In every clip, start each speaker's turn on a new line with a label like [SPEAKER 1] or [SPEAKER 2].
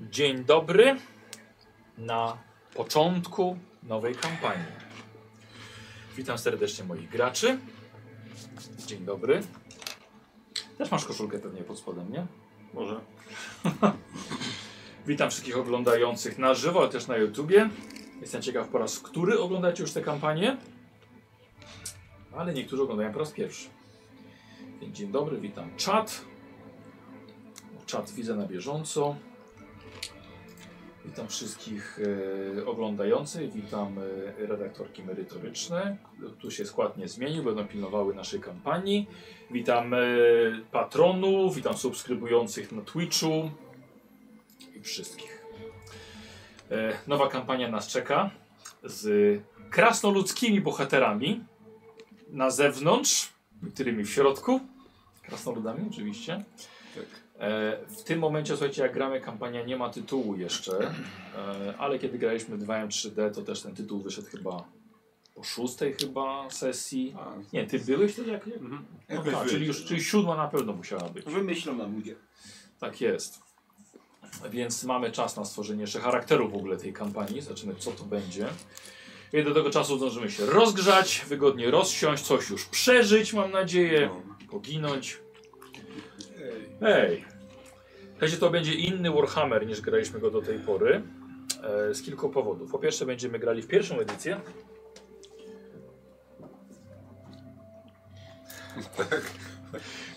[SPEAKER 1] Dzień dobry na początku nowej kampanii. Witam serdecznie moich graczy. Dzień dobry. Też masz koszulkę pewnie pod spodem, nie?
[SPEAKER 2] Może.
[SPEAKER 1] Witam wszystkich oglądających na żywo, ale też na YouTubie. Jestem ciekaw po raz który oglądacie już tę kampanię. Ale niektórzy oglądają po raz pierwszy. Więc Dzień dobry, witam czat. Czat widzę na bieżąco. Witam wszystkich e, oglądających, witam e, redaktorki merytoryczne. Tu się skład nie zmienił, będą pilnowały naszej kampanii. Witam e, patronów, witam subskrybujących na Twitchu, i wszystkich. E, nowa kampania nas czeka z krasnoludzkimi bohaterami na zewnątrz, niektórymi w środku, krasnoludami oczywiście.
[SPEAKER 2] Tak.
[SPEAKER 1] E, w tym momencie, słuchajcie, jak gramy, kampania nie ma tytułu jeszcze, e, ale kiedy graliśmy 2M3D, to też ten tytuł wyszedł chyba po szóstej chyba sesji. Nie, ty byłeś wtedy jak... jak?
[SPEAKER 2] Mhm.
[SPEAKER 1] No tak, czyli już czyli siódma na pewno musiała być.
[SPEAKER 3] Wymyślą nam ludzie.
[SPEAKER 1] Tak jest. Więc mamy czas na stworzenie jeszcze charakteru w ogóle tej kampanii. Zobaczymy, co to będzie. I do tego czasu zdążymy się rozgrzać, wygodnie rozsiąść, coś już przeżyć, mam nadzieję,
[SPEAKER 2] No.
[SPEAKER 1] poginąć. Hej! Słuchajcie, to będzie inny Warhammer niż graliśmy go do tej pory. E, z kilku powodów. Po pierwsze, będziemy grali w pierwszą edycję.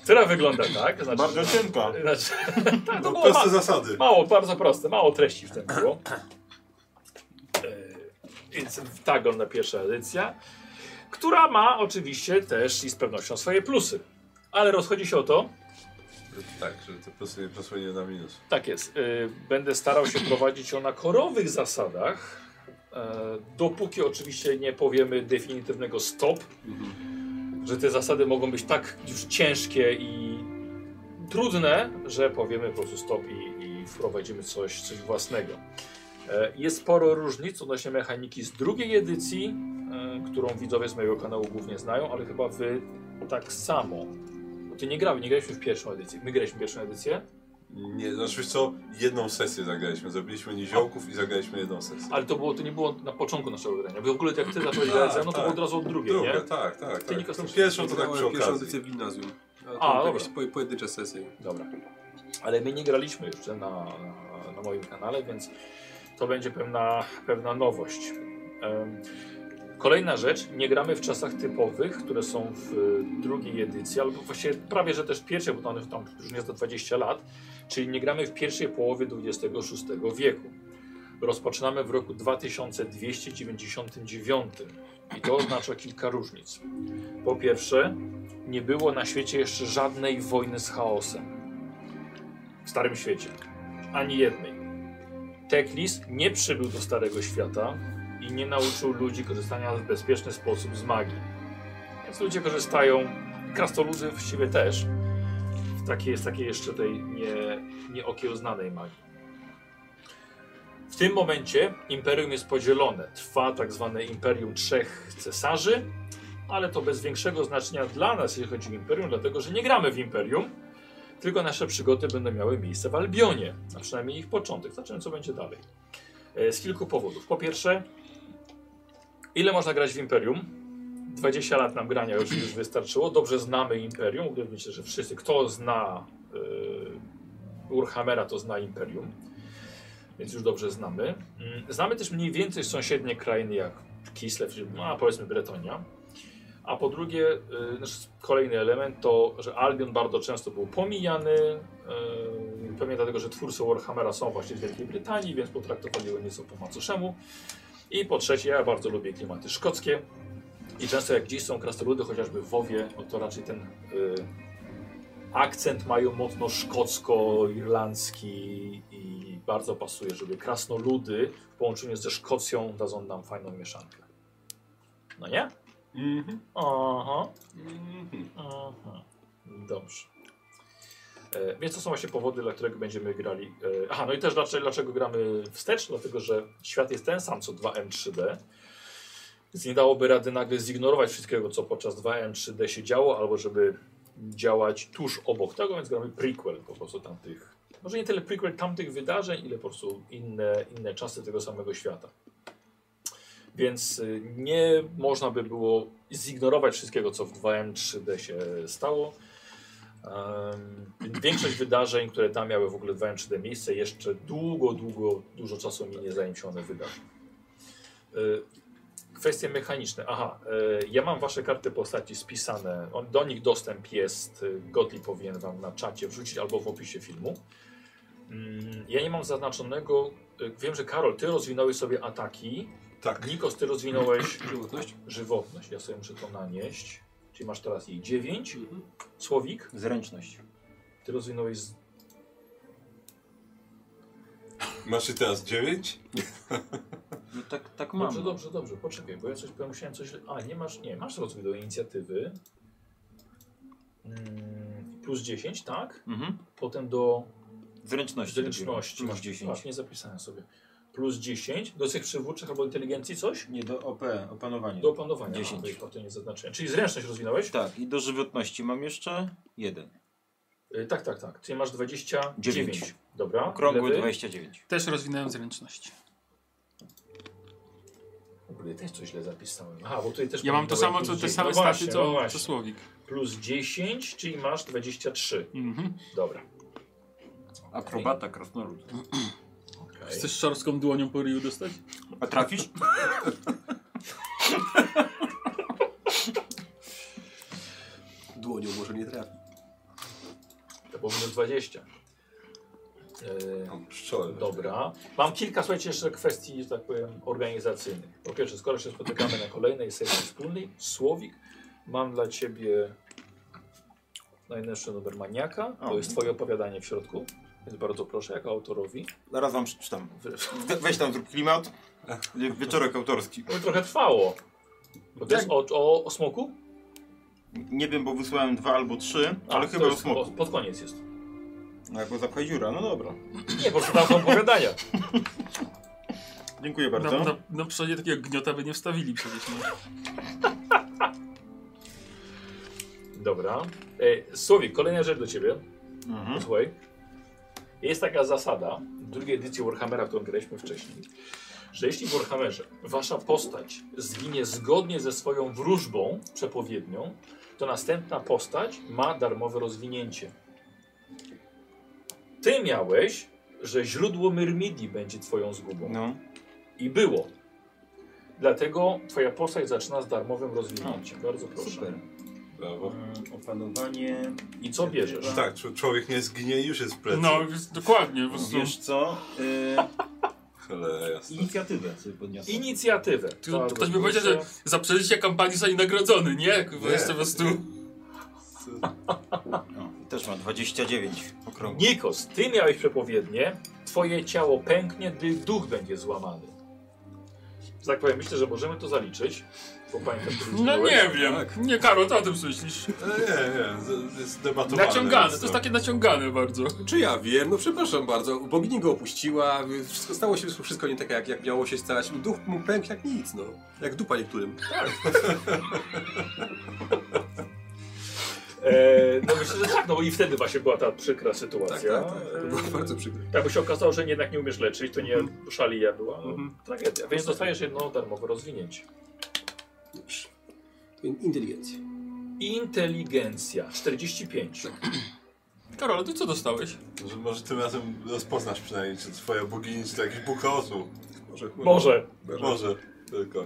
[SPEAKER 1] Która wygląda tak. to Znaczy,
[SPEAKER 2] Bardzo cienka.
[SPEAKER 1] znaczy, tak, to
[SPEAKER 4] No,
[SPEAKER 1] było
[SPEAKER 4] proste
[SPEAKER 1] ma,
[SPEAKER 4] zasady.
[SPEAKER 1] mało, bardzo proste, mało treści w tym było. E, Więc tak wygląda pierwsza edycja, która ma oczywiście też i z pewnością swoje plusy. Ale rozchodzi się o to,
[SPEAKER 4] Tak, że to pasuje, pasuje na minus.
[SPEAKER 1] tak jest, e, będę starał się prowadzić ją na korowych zasadach, e, dopóki oczywiście nie powiemy definitywnego stop,
[SPEAKER 4] Mhm.
[SPEAKER 1] że te zasady mogą być tak już ciężkie i trudne, że powiemy po prostu stop i, i wprowadzimy coś, coś własnego. E, Jest sporo różnic odnośnie mechaniki z drugiej edycji, e, którą widzowie z mojego kanału głównie znają, ale chyba wy tak samo. Bo ty nie grałeś, nie graliśmy w pierwszą edycję. My graliśmy w pierwszą edycję,
[SPEAKER 4] Nie, znaczy wiesz co, jedną sesję zagraliśmy. Zrobiliśmy niziołków i zagraliśmy jedną sesję.
[SPEAKER 1] ale to, było, to nie było na początku naszego grania. Bo w ogóle jak ty zacząłeś grać ze mną, to
[SPEAKER 4] tak.
[SPEAKER 1] było od razu od drugiej,
[SPEAKER 4] Druga,
[SPEAKER 1] nie?
[SPEAKER 4] tak, tak.
[SPEAKER 1] Ty, Niko,
[SPEAKER 4] tak. Tą
[SPEAKER 1] chcesz-
[SPEAKER 4] pierwszą to tak
[SPEAKER 3] Grałem
[SPEAKER 4] przy
[SPEAKER 3] pierwszą
[SPEAKER 4] okazji.
[SPEAKER 3] edycję w gimnazjum.
[SPEAKER 1] A,
[SPEAKER 3] A, tam
[SPEAKER 1] dobra.
[SPEAKER 3] jakieś po, pojedyncze sesje.
[SPEAKER 1] Dobra. Ale my nie graliśmy jeszcze na, na, na moim kanale, więc to będzie pewna, pewna nowość. Em, Kolejna rzecz, nie gramy w czasach typowych, które są w e, drugiej edycji, albo właściwie prawie, że też pierwszej, bo tam, tam już jest to 20 lat, czyli nie gramy w pierwszej połowie XXVI wieku. Rozpoczynamy w roku 2299 i to oznacza kilka różnic. Po pierwsze, nie było na świecie jeszcze żadnej wojny z chaosem. W Starym Świecie. Ani jednej. Teklis nie przybył do Starego Świata i nie nauczył ludzi korzystania w bezpieczny sposób z magii. Więc ludzie korzystają, krastoludzy właściwie też, w takiej, z takiej jeszcze tej nie, nieokiełznanej magii. W tym momencie imperium jest podzielone. Trwa tak zwane imperium trzech cesarzy, ale to bez większego znaczenia dla nas, jeśli chodzi o imperium, dlatego że nie gramy w imperium, tylko nasze przygody będą miały miejsce w Albionie, a przynajmniej ich początek. Zobaczymy, co będzie dalej. E, Z kilku powodów. Po pierwsze, ile można grać w imperium? 20 lat nam grania już, już wystarczyło. Dobrze znamy imperium. W ogóle Myślę, że wszyscy, kto zna e, Warhammera, to zna imperium. Więc już dobrze znamy. Mm, Znamy też mniej więcej sąsiednie krainy jak Kislev, czy- no, a powiedzmy Bretonia. A po drugie, y, znaczy kolejny element to, że Albion bardzo często był pomijany. y, Pewnie dlatego, że twórcy Warhammera są właśnie z Wielkiej Brytanii, więc potraktowali go nieco po macoszemu. I po trzecie, ja bardzo lubię klimaty szkockie. I często jak gdzieś są krasnoludy, chociażby w Wowie, no to raczej ten y, akcent mają mocno szkocko-irlandzki i bardzo pasuje, żeby krasnoludy w połączeniu ze Szkocją dadzą nam fajną mieszankę. No nie?
[SPEAKER 4] Mhm.
[SPEAKER 1] Aha.
[SPEAKER 4] Mhm.
[SPEAKER 1] Aha, dobrze. E, więc to są właśnie powody, dla których będziemy grali. E, aha, no i też dlaczego, dlaczego gramy wstecz? Dlatego, że świat jest ten sam co 2M3D. Więc nie dałoby rady nagle zignorować wszystkiego, co podczas 2M3D się działo, albo żeby działać tuż obok tego, więc gramy prequel po prostu tamtych Może nie tyle prequel tamtych wydarzeń, ile po prostu inne, inne czasy tego samego świata. Więc y, nie można by było zignorować wszystkiego, co w 2M 3D się stało. Em, większość wydarzeń, które tam miały w ogóle 2M 3D miejsce, jeszcze długo, długo, dużo czasu minie, zanim się one wydarzą. Y, Kwestie mechaniczne. Aha, y, ja mam wasze karty postaci spisane. On, do nich dostęp jest. y, Gotli powinien wam na czacie wrzucić albo w opisie filmu. Mm, Ja nie mam zaznaczonego. y, Wiem, że Karol, ty rozwinąłeś sobie ataki.
[SPEAKER 4] Tak.
[SPEAKER 1] Nikos, ty rozwinąłeś
[SPEAKER 3] Żywotność?
[SPEAKER 1] żywotność. Ja sobie muszę to nanieść. Czyli masz teraz jej 9.
[SPEAKER 2] Mhm.
[SPEAKER 1] Słowik,
[SPEAKER 2] Zręczność.
[SPEAKER 1] ty rozwinąłeś. Z...
[SPEAKER 4] Masz i teraz 9?
[SPEAKER 2] No tak, tak mam.
[SPEAKER 1] Dobrze, dobrze, dobrze. Poczekaj, bo ja coś bo ja musiałem coś. A, nie masz. Nie, masz rozwój do inicjatywy. Mm, Plus 10, tak?
[SPEAKER 2] Mhm.
[SPEAKER 1] Potem do
[SPEAKER 2] Zręczności.
[SPEAKER 1] Zręczności.
[SPEAKER 2] dopiero. Plus
[SPEAKER 1] Masz-
[SPEAKER 2] 10.
[SPEAKER 1] Masz, nie zapisałem sobie. Plus 10. Do cech przywódczych albo inteligencji coś?
[SPEAKER 2] Nie, do OP, opanowanie.
[SPEAKER 1] Tak. Do opanowania.
[SPEAKER 2] 10.
[SPEAKER 1] A, to nie zaznaczyłem. Czyli zręczność rozwinąłeś?
[SPEAKER 2] Tak, i do żywotności mam jeszcze jeden.
[SPEAKER 1] Y, tak, tak, tak. Czyli masz 29.
[SPEAKER 2] Dziewięć.
[SPEAKER 1] Dobra.
[SPEAKER 2] Okrągły
[SPEAKER 1] Lewy?
[SPEAKER 2] 29.
[SPEAKER 5] Też rozwinąłem zręczność.
[SPEAKER 1] Kurde, też coś źle zapisałem. Aha, bo tutaj też
[SPEAKER 5] Ja mam to samo,
[SPEAKER 1] pominąłem
[SPEAKER 5] co,
[SPEAKER 1] plus
[SPEAKER 5] te
[SPEAKER 1] 10.
[SPEAKER 5] same
[SPEAKER 1] no
[SPEAKER 5] staty,
[SPEAKER 1] właśnie, no
[SPEAKER 5] co, co
[SPEAKER 1] właśnie.
[SPEAKER 5] Słowik.
[SPEAKER 1] Plus 10, czyli masz 23.
[SPEAKER 5] Mhm.
[SPEAKER 1] Dobra.
[SPEAKER 2] Akrobata, krasnolud.
[SPEAKER 1] Okay.
[SPEAKER 5] Chcesz szorską dłonią po ryju dostać?
[SPEAKER 2] A trafisz?
[SPEAKER 3] Dłonią może nie trafi.
[SPEAKER 1] To było minus 20. Yy,
[SPEAKER 4] Mam No, pszczoły.
[SPEAKER 1] Dobra. Mam kilka, słuchajcie, jeszcze kwestii, że tak powiem, organizacyjnych. Po pierwsze, skoro się spotykamy na kolejnej sesji wspólnej, Słowik, mam dla Ciebie najnowszy numer Maniaka.
[SPEAKER 2] O.
[SPEAKER 1] To jest Twoje opowiadanie w środku, więc bardzo proszę, jako autorowi.
[SPEAKER 2] Zaraz wam przeczytam. We- Weź tam zrób klimat. Wieczorek autorski.
[SPEAKER 1] To by trochę trwało. Bo to
[SPEAKER 2] Tak.
[SPEAKER 1] jest o, o, o smoku?
[SPEAKER 2] Nie wiem, bo wysłałem dwa albo trzy, ale
[SPEAKER 5] Tak,
[SPEAKER 1] to
[SPEAKER 2] chyba o
[SPEAKER 1] jest, po,
[SPEAKER 2] smoku.
[SPEAKER 1] Pod koniec jest.
[SPEAKER 2] No jak go zapcha dziura, no dobra.
[SPEAKER 1] Nie, po prostu tam są opowiadania.
[SPEAKER 2] Dziękuję
[SPEAKER 5] No,
[SPEAKER 2] bardzo.
[SPEAKER 5] no, no przecież takiego gniota by nie wstawili przecież. No.
[SPEAKER 1] Dobra. E, Słowik, kolejna rzecz do Ciebie.
[SPEAKER 2] Mhm.
[SPEAKER 1] Słuchaj, jest taka zasada w drugiej edycji Warhammera, którą graliśmy wcześniej, że jeśli w Warhammerze wasza postać zginie zgodnie ze swoją wróżbą przepowiednią, to następna postać ma darmowe rozwinięcie. Ty miałeś, że źródło Myrmidii będzie twoją zgubą.
[SPEAKER 2] No.
[SPEAKER 1] I było. Dlatego twoja postać zaczyna z darmowym rozwinięciem.
[SPEAKER 3] No,
[SPEAKER 1] Bardzo proszę.
[SPEAKER 2] Super.
[SPEAKER 4] Brawo.
[SPEAKER 2] Mm, Opanowanie.
[SPEAKER 1] I co bierzesz?
[SPEAKER 2] Dobra.
[SPEAKER 4] Tak, czł- człowiek nie zginie i już jest w plecy.
[SPEAKER 5] No, więc dokładnie. Po prostu.
[SPEAKER 2] Wiesz co? Y...
[SPEAKER 4] Cholera jasna.
[SPEAKER 2] Inicjatywę sobie podniosę.
[SPEAKER 1] Inicjatywę.
[SPEAKER 5] Kto-
[SPEAKER 1] Bardzo
[SPEAKER 5] ktoś by powiedział, że
[SPEAKER 1] proszę.
[SPEAKER 5] za przeżycie kampanii zostanie nagrodzony, nie? Bo
[SPEAKER 4] Nie.
[SPEAKER 5] jest po prostu...
[SPEAKER 2] O, No, też ma 29 okrągły.
[SPEAKER 1] Nikos, ty miałeś przepowiednie, twoje ciało pęknie, gdy duch będzie złamany. Że Tak powiem, myślę, że możemy to zaliczyć, bo pamiętasz, co
[SPEAKER 5] No nie wiem.
[SPEAKER 4] Tak.
[SPEAKER 5] Nie, Karol, to o tym co myślisz.
[SPEAKER 4] No nie, nie, z- jest no. debatowane.
[SPEAKER 5] Naciągane, to jest takie naciągane bardzo.
[SPEAKER 3] Czy ja wiem? No przepraszam bardzo. Bogini go opuściła. Wszystko stało się wszystko nie tak, jak, jak miało się stać. Duch mu pękł jak nic, no. Jak dupa niektórym. Tak,
[SPEAKER 1] E, no myślę, że tak, no bo i wtedy właśnie była ta przykra
[SPEAKER 3] Tak,
[SPEAKER 1] sytuacja.
[SPEAKER 3] tak, tak. To było bardzo przykre.
[SPEAKER 1] E, Jakby się okazało, że jednak nie umiesz leczyć, to nie szalija była. No,
[SPEAKER 5] Mhm.
[SPEAKER 1] Tragedia. Więc dostajesz jedno darmowe rozwinięcie.
[SPEAKER 3] Dobrze. Inteligencja.
[SPEAKER 1] Inteligencja 45.
[SPEAKER 5] Karol, ty co dostałeś?
[SPEAKER 4] Może, może tym razem rozpoznasz przynajmniej, czy twoja bogini, czy to jakiś Bóg losu.
[SPEAKER 3] Może.
[SPEAKER 1] Może.
[SPEAKER 4] Może. Tylko. Ja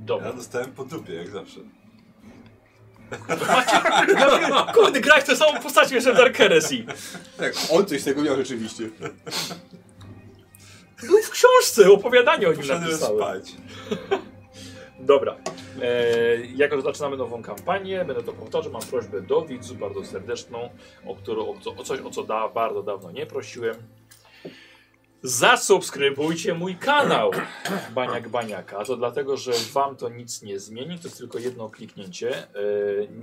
[SPEAKER 1] Dobra.
[SPEAKER 4] dostałem po dupie, jak zawsze.
[SPEAKER 1] Kurde, grałeś tę samą postać jeszcze w Dark Heresy.
[SPEAKER 3] Tak, on coś z tego miał rzeczywiście.
[SPEAKER 1] Był w książce, opowiadanie o nim
[SPEAKER 4] Poszedłem
[SPEAKER 1] napisałem.
[SPEAKER 4] spać.
[SPEAKER 1] Dobra. E, jako że zaczynamy nową kampanię, będę to powtarzał, mam prośbę do widzów bardzo serdeczną, o, którą, o, co, o coś, o co da, bardzo dawno nie prosiłem. Zasubskrybujcie mój kanał Baniak Baniaka. A to dlatego, że wam to nic nie zmieni, to jest tylko jedno kliknięcie. E,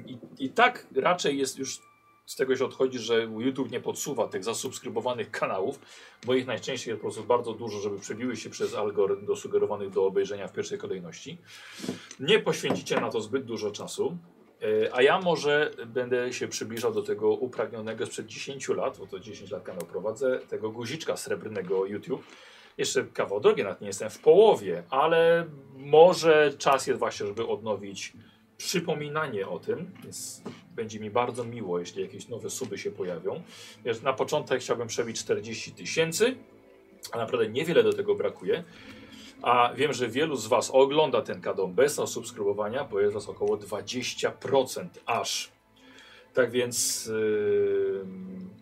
[SPEAKER 1] i, I tak raczej jest już z tego się odchodzi, że YouTube nie podsuwa tych zasubskrybowanych kanałów, bo ich najczęściej jest po prostu bardzo dużo, żeby przebiły się przez algorytm do sugerowanych do obejrzenia w pierwszej kolejności. Nie poświęcicie na to zbyt dużo czasu. E, A ja może będę się przybliżał do tego upragnionego sprzed 10 lat, bo to 10 lat kanał prowadzę, tego guziczka srebrnego YouTube. Jeszcze kawał drogi, nawet nie jestem w połowie, ale może czas jest właśnie, żeby odnowić przypominanie o tym, więc będzie mi bardzo miło, jeśli jakieś nowe suby się pojawią. Wiesz, na początek chciałbym przebić 40 tysięcy, a naprawdę niewiele do tego brakuje. A wiem, że wielu z Was ogląda ten kadon bez subskrybowania, bo jest Was około 20% aż. Tak więc yy,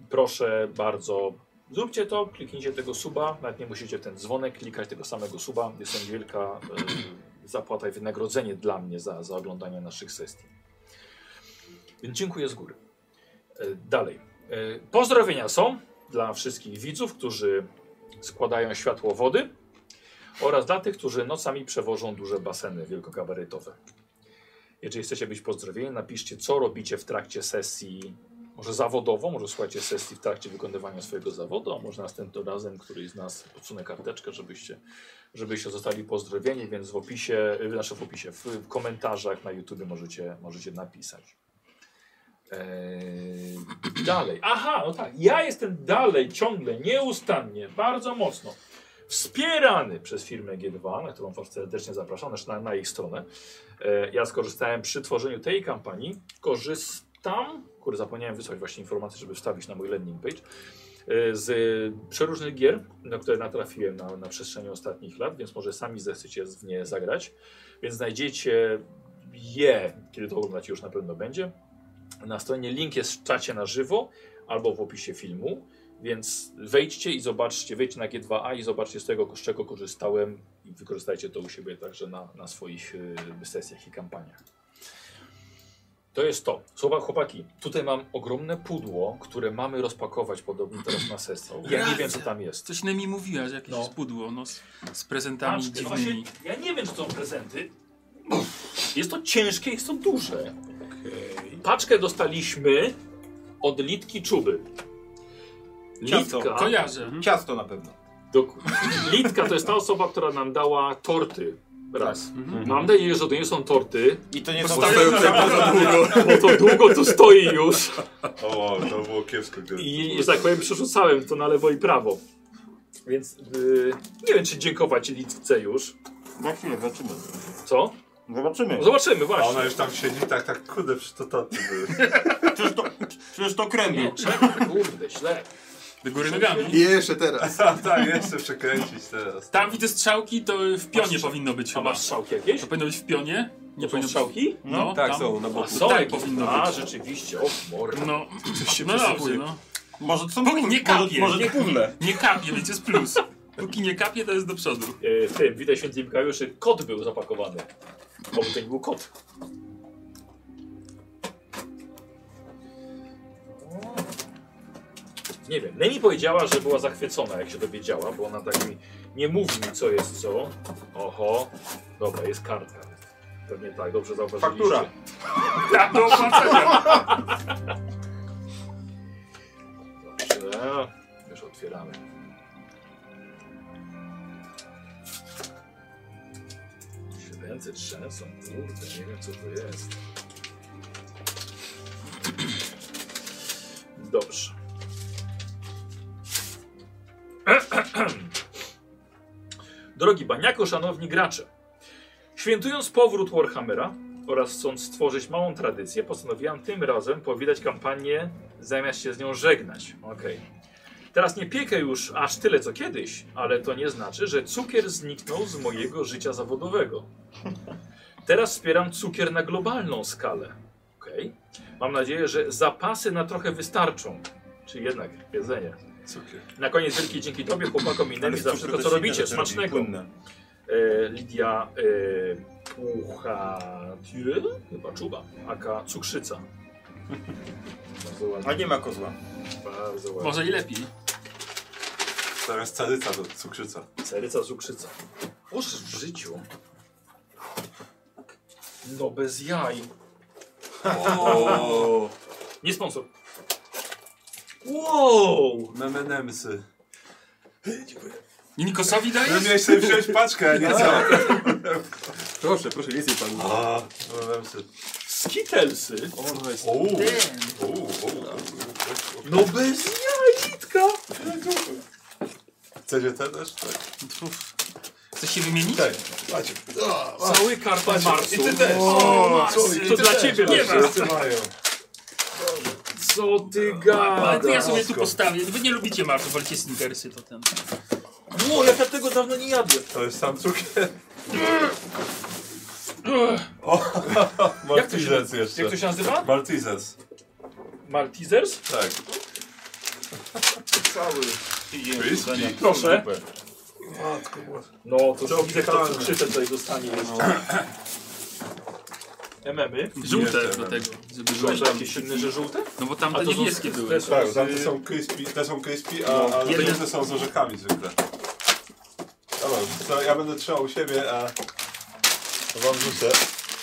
[SPEAKER 1] proszę bardzo, zróbcie to, kliknijcie tego suba, nawet nie musicie w ten dzwonek klikać tego samego suba. Jest to wielka yy, zapłata i wynagrodzenie dla mnie za, za oglądanie naszych sesji. Więc dziękuję z góry. Yy, dalej. Yy, pozdrowienia są dla wszystkich widzów, którzy składają światło wody oraz dla tych, którzy nocami przewożą duże baseny wielkogabarytowe. Jeżeli chcecie być pozdrowieni, napiszcie, co robicie w trakcie sesji, może zawodowo, może słuchajcie sesji w trakcie wykonywania swojego zawodu, a może następnym razem któryś z nas podsunie karteczkę, żebyście, żebyście zostali pozdrowieni, więc w opisie, y, znaczy w opisie, w, w komentarzach na YouTube możecie, możecie napisać. Eee, dalej. Aha, no tak. Ja jestem dalej, ciągle, nieustannie, bardzo mocno wspierany przez firmę G2, na którą was serdecznie zapraszam, znaczy na, na ich stronę. E, ja skorzystałem przy tworzeniu tej kampanii. Korzystam, kurde, zapomniałem wysłać właśnie informację, żeby wstawić na mój landing page, e, z e, przeróżnych gier, na które natrafiłem na, na przestrzeni ostatnich lat, więc może sami zechcecie w nie zagrać. Więc znajdziecie je, kiedy to oglądacie już na pewno będzie. Na stronie link jest w czacie na żywo albo w opisie filmu. Więc wejdźcie i zobaczcie, wejdźcie na G2A i zobaczcie z tego, z czego korzystałem i wykorzystajcie to u siebie także na, na swoich y, sesjach i kampaniach. To jest to. Słowa chłopaki, tutaj mam ogromne pudło, które mamy rozpakować podobnie teraz na sesję. Ja nie wiem, co tam jest.
[SPEAKER 5] Coś mi mówiłaś, jakieś
[SPEAKER 1] No.
[SPEAKER 5] spudło, no, z, z prezentami
[SPEAKER 1] Patrzcie,
[SPEAKER 5] dziwnymi.
[SPEAKER 1] właśnie ja nie wiem, czy to są prezenty. Jest to ciężkie, jest to duże. Paczkę dostaliśmy od Litki Czuby.
[SPEAKER 2] Ciasto.
[SPEAKER 1] Litka,
[SPEAKER 5] Kojarzę.
[SPEAKER 2] Ciasto na pewno.
[SPEAKER 1] Dok- Litka to jest ta osoba, która nam dała torty. Raz. Mam nadzieję, że to nie są torty,
[SPEAKER 2] I to nie są...
[SPEAKER 5] Postawię-
[SPEAKER 1] bo to długo tu stoi już.
[SPEAKER 4] O, to było kiepsko, gdy...
[SPEAKER 1] I, że tak powiem, przerzucałem to na lewo i prawo. Więc yy, nie wiem, czy dziękować Litce już.
[SPEAKER 2] Za chwilę, zobaczymy.
[SPEAKER 1] Co?
[SPEAKER 2] Zobaczymy.
[SPEAKER 1] Zobaczymy,
[SPEAKER 4] A
[SPEAKER 1] właśnie.
[SPEAKER 4] ona już tam siedzi, tak, tak, kurde, przecież to taty były.
[SPEAKER 2] Przecież to, przecież to krem był.
[SPEAKER 1] Nie, czemu? Kurde, źle.
[SPEAKER 5] Do góry nogami.
[SPEAKER 3] I jeszcze teraz.
[SPEAKER 4] A tak, jeszcze przekręcić teraz.
[SPEAKER 5] Tam widzę strzałki, to w pionie powinno być
[SPEAKER 1] A
[SPEAKER 5] chyba.
[SPEAKER 1] masz strzałki jakieś?
[SPEAKER 5] To powinno być w pionie?
[SPEAKER 1] Nie
[SPEAKER 5] powinno
[SPEAKER 1] są
[SPEAKER 5] być-
[SPEAKER 1] strzałki?
[SPEAKER 5] No,
[SPEAKER 3] Tak,
[SPEAKER 5] tam.
[SPEAKER 3] są na boku.
[SPEAKER 1] A są
[SPEAKER 5] tak
[SPEAKER 1] jakieś.
[SPEAKER 5] powinno
[SPEAKER 1] A,
[SPEAKER 5] być.
[SPEAKER 1] rzeczywiście, o morda.
[SPEAKER 5] No,
[SPEAKER 3] się
[SPEAKER 5] no dobrze,
[SPEAKER 3] przesypuje.
[SPEAKER 5] no.
[SPEAKER 2] Może to są...
[SPEAKER 5] Póki nie kapie.
[SPEAKER 2] Może, może to pudle.
[SPEAKER 5] Nie kapie, więc jest plus. Póki nie kapie, to jest do przodu.
[SPEAKER 1] E, w tym, widać święty Mikajuszy, kot był zapakowany. Oby to nie był kot. Nie wiem, Nemi powiedziała, że była zachwycona, jak się dowiedziała, bo ona tak mi nie mówi mi, co jest co. Oho, dobra, jest kartka. Pewnie tak, dobrze zauważyliście.
[SPEAKER 2] Faktura.
[SPEAKER 5] Tak, do opłacenia.
[SPEAKER 1] Dobrze, już otwieramy. Się Ręce trzęsą, kurde, nie wiem co to jest. Dobrze. Drogi baniako, szanowni gracze. Świętując powrót Warhammera oraz chcąc stworzyć małą tradycję, postanowiłam tym razem powitać kampanię zamiast się z nią żegnać. Okej. Teraz nie piekę już aż tyle co kiedyś, ale to nie znaczy, że cukier zniknął z mojego życia zawodowego. Teraz wspieram cukier na globalną skalę. Okej. Mam nadzieję, że zapasy na trochę wystarczą. Czy jednak jedzenie.
[SPEAKER 4] Cukier.
[SPEAKER 1] Na koniec wielkie dzięki Tobie, chłopakom i Nemi za wszystko, co robicie. Smacznego. E, Lidia e, Puchatyl, chyba czuba, aka cukrzyca. Bardzo
[SPEAKER 2] A
[SPEAKER 1] ładnie,
[SPEAKER 2] nie ma kozła.
[SPEAKER 1] bardzo ładnie.
[SPEAKER 5] Może i lepiej.
[SPEAKER 4] Zamiast cadyca to cukrzyca.
[SPEAKER 1] Ceryca cukrzyca. Boże, w życiu. No bez jaj.
[SPEAKER 4] O,
[SPEAKER 1] Nie sponsor. Wow!
[SPEAKER 4] memenemsy.
[SPEAKER 5] I Nikosowi
[SPEAKER 4] Ty
[SPEAKER 5] dajesz?
[SPEAKER 4] miałeś sobie
[SPEAKER 1] No.
[SPEAKER 4] wziąć paczkę, a nie co?
[SPEAKER 3] Proszę, proszę, więcej panu.
[SPEAKER 4] A, memenemsy.
[SPEAKER 1] skitelsy.
[SPEAKER 3] O, no jest.
[SPEAKER 4] Uuu, uuu,
[SPEAKER 5] Damn.
[SPEAKER 4] uuu.
[SPEAKER 1] No bez jaj, Litka!
[SPEAKER 4] Chcecie te też? Tak.
[SPEAKER 5] Chcesz się wymienić?
[SPEAKER 4] Tak, macie. A, a,
[SPEAKER 1] Cały karton Marsu.
[SPEAKER 4] I ty też.
[SPEAKER 5] O,
[SPEAKER 4] sorry,
[SPEAKER 5] Marsy,
[SPEAKER 1] To
[SPEAKER 4] ty
[SPEAKER 1] dla
[SPEAKER 4] też.
[SPEAKER 1] ciebie
[SPEAKER 4] Dobrze,
[SPEAKER 1] leży.
[SPEAKER 4] wszyscy mają.
[SPEAKER 1] Co ty
[SPEAKER 5] Ale to ja
[SPEAKER 1] gadasz?
[SPEAKER 5] sobie tu postawię. Wy nie lubicie Marsu, walcie snickersy, to ten.
[SPEAKER 1] O, jak ja tego dawno nie jadłem.
[SPEAKER 4] To jest sam cukier.
[SPEAKER 5] Ugh.
[SPEAKER 4] Maltizers jeszcze.
[SPEAKER 1] Jak to się nazywa?
[SPEAKER 4] Maltizers,
[SPEAKER 1] Maltesers?
[SPEAKER 4] tak.
[SPEAKER 5] Wyzwanie.
[SPEAKER 1] Proszę.
[SPEAKER 4] Matko, matko.
[SPEAKER 1] No, to co widzę, kto krzycze tutaj dostanie jeszcze. No. Mememy.
[SPEAKER 5] Żółte
[SPEAKER 4] Jeszcze
[SPEAKER 5] do tego, żeby
[SPEAKER 1] Żółte
[SPEAKER 5] żółte.
[SPEAKER 1] jakieś silne, że żółte?
[SPEAKER 5] No bo tamte
[SPEAKER 1] A to są
[SPEAKER 5] niebieskie
[SPEAKER 1] te-
[SPEAKER 5] były.
[SPEAKER 1] te-
[SPEAKER 4] Tak, No. tamte są crispy, te są crispy, a, a
[SPEAKER 5] Jeden-
[SPEAKER 4] te są z orzechami zwykle. Dobra, to ja będę trzymał u siebie, a to wam rzucę.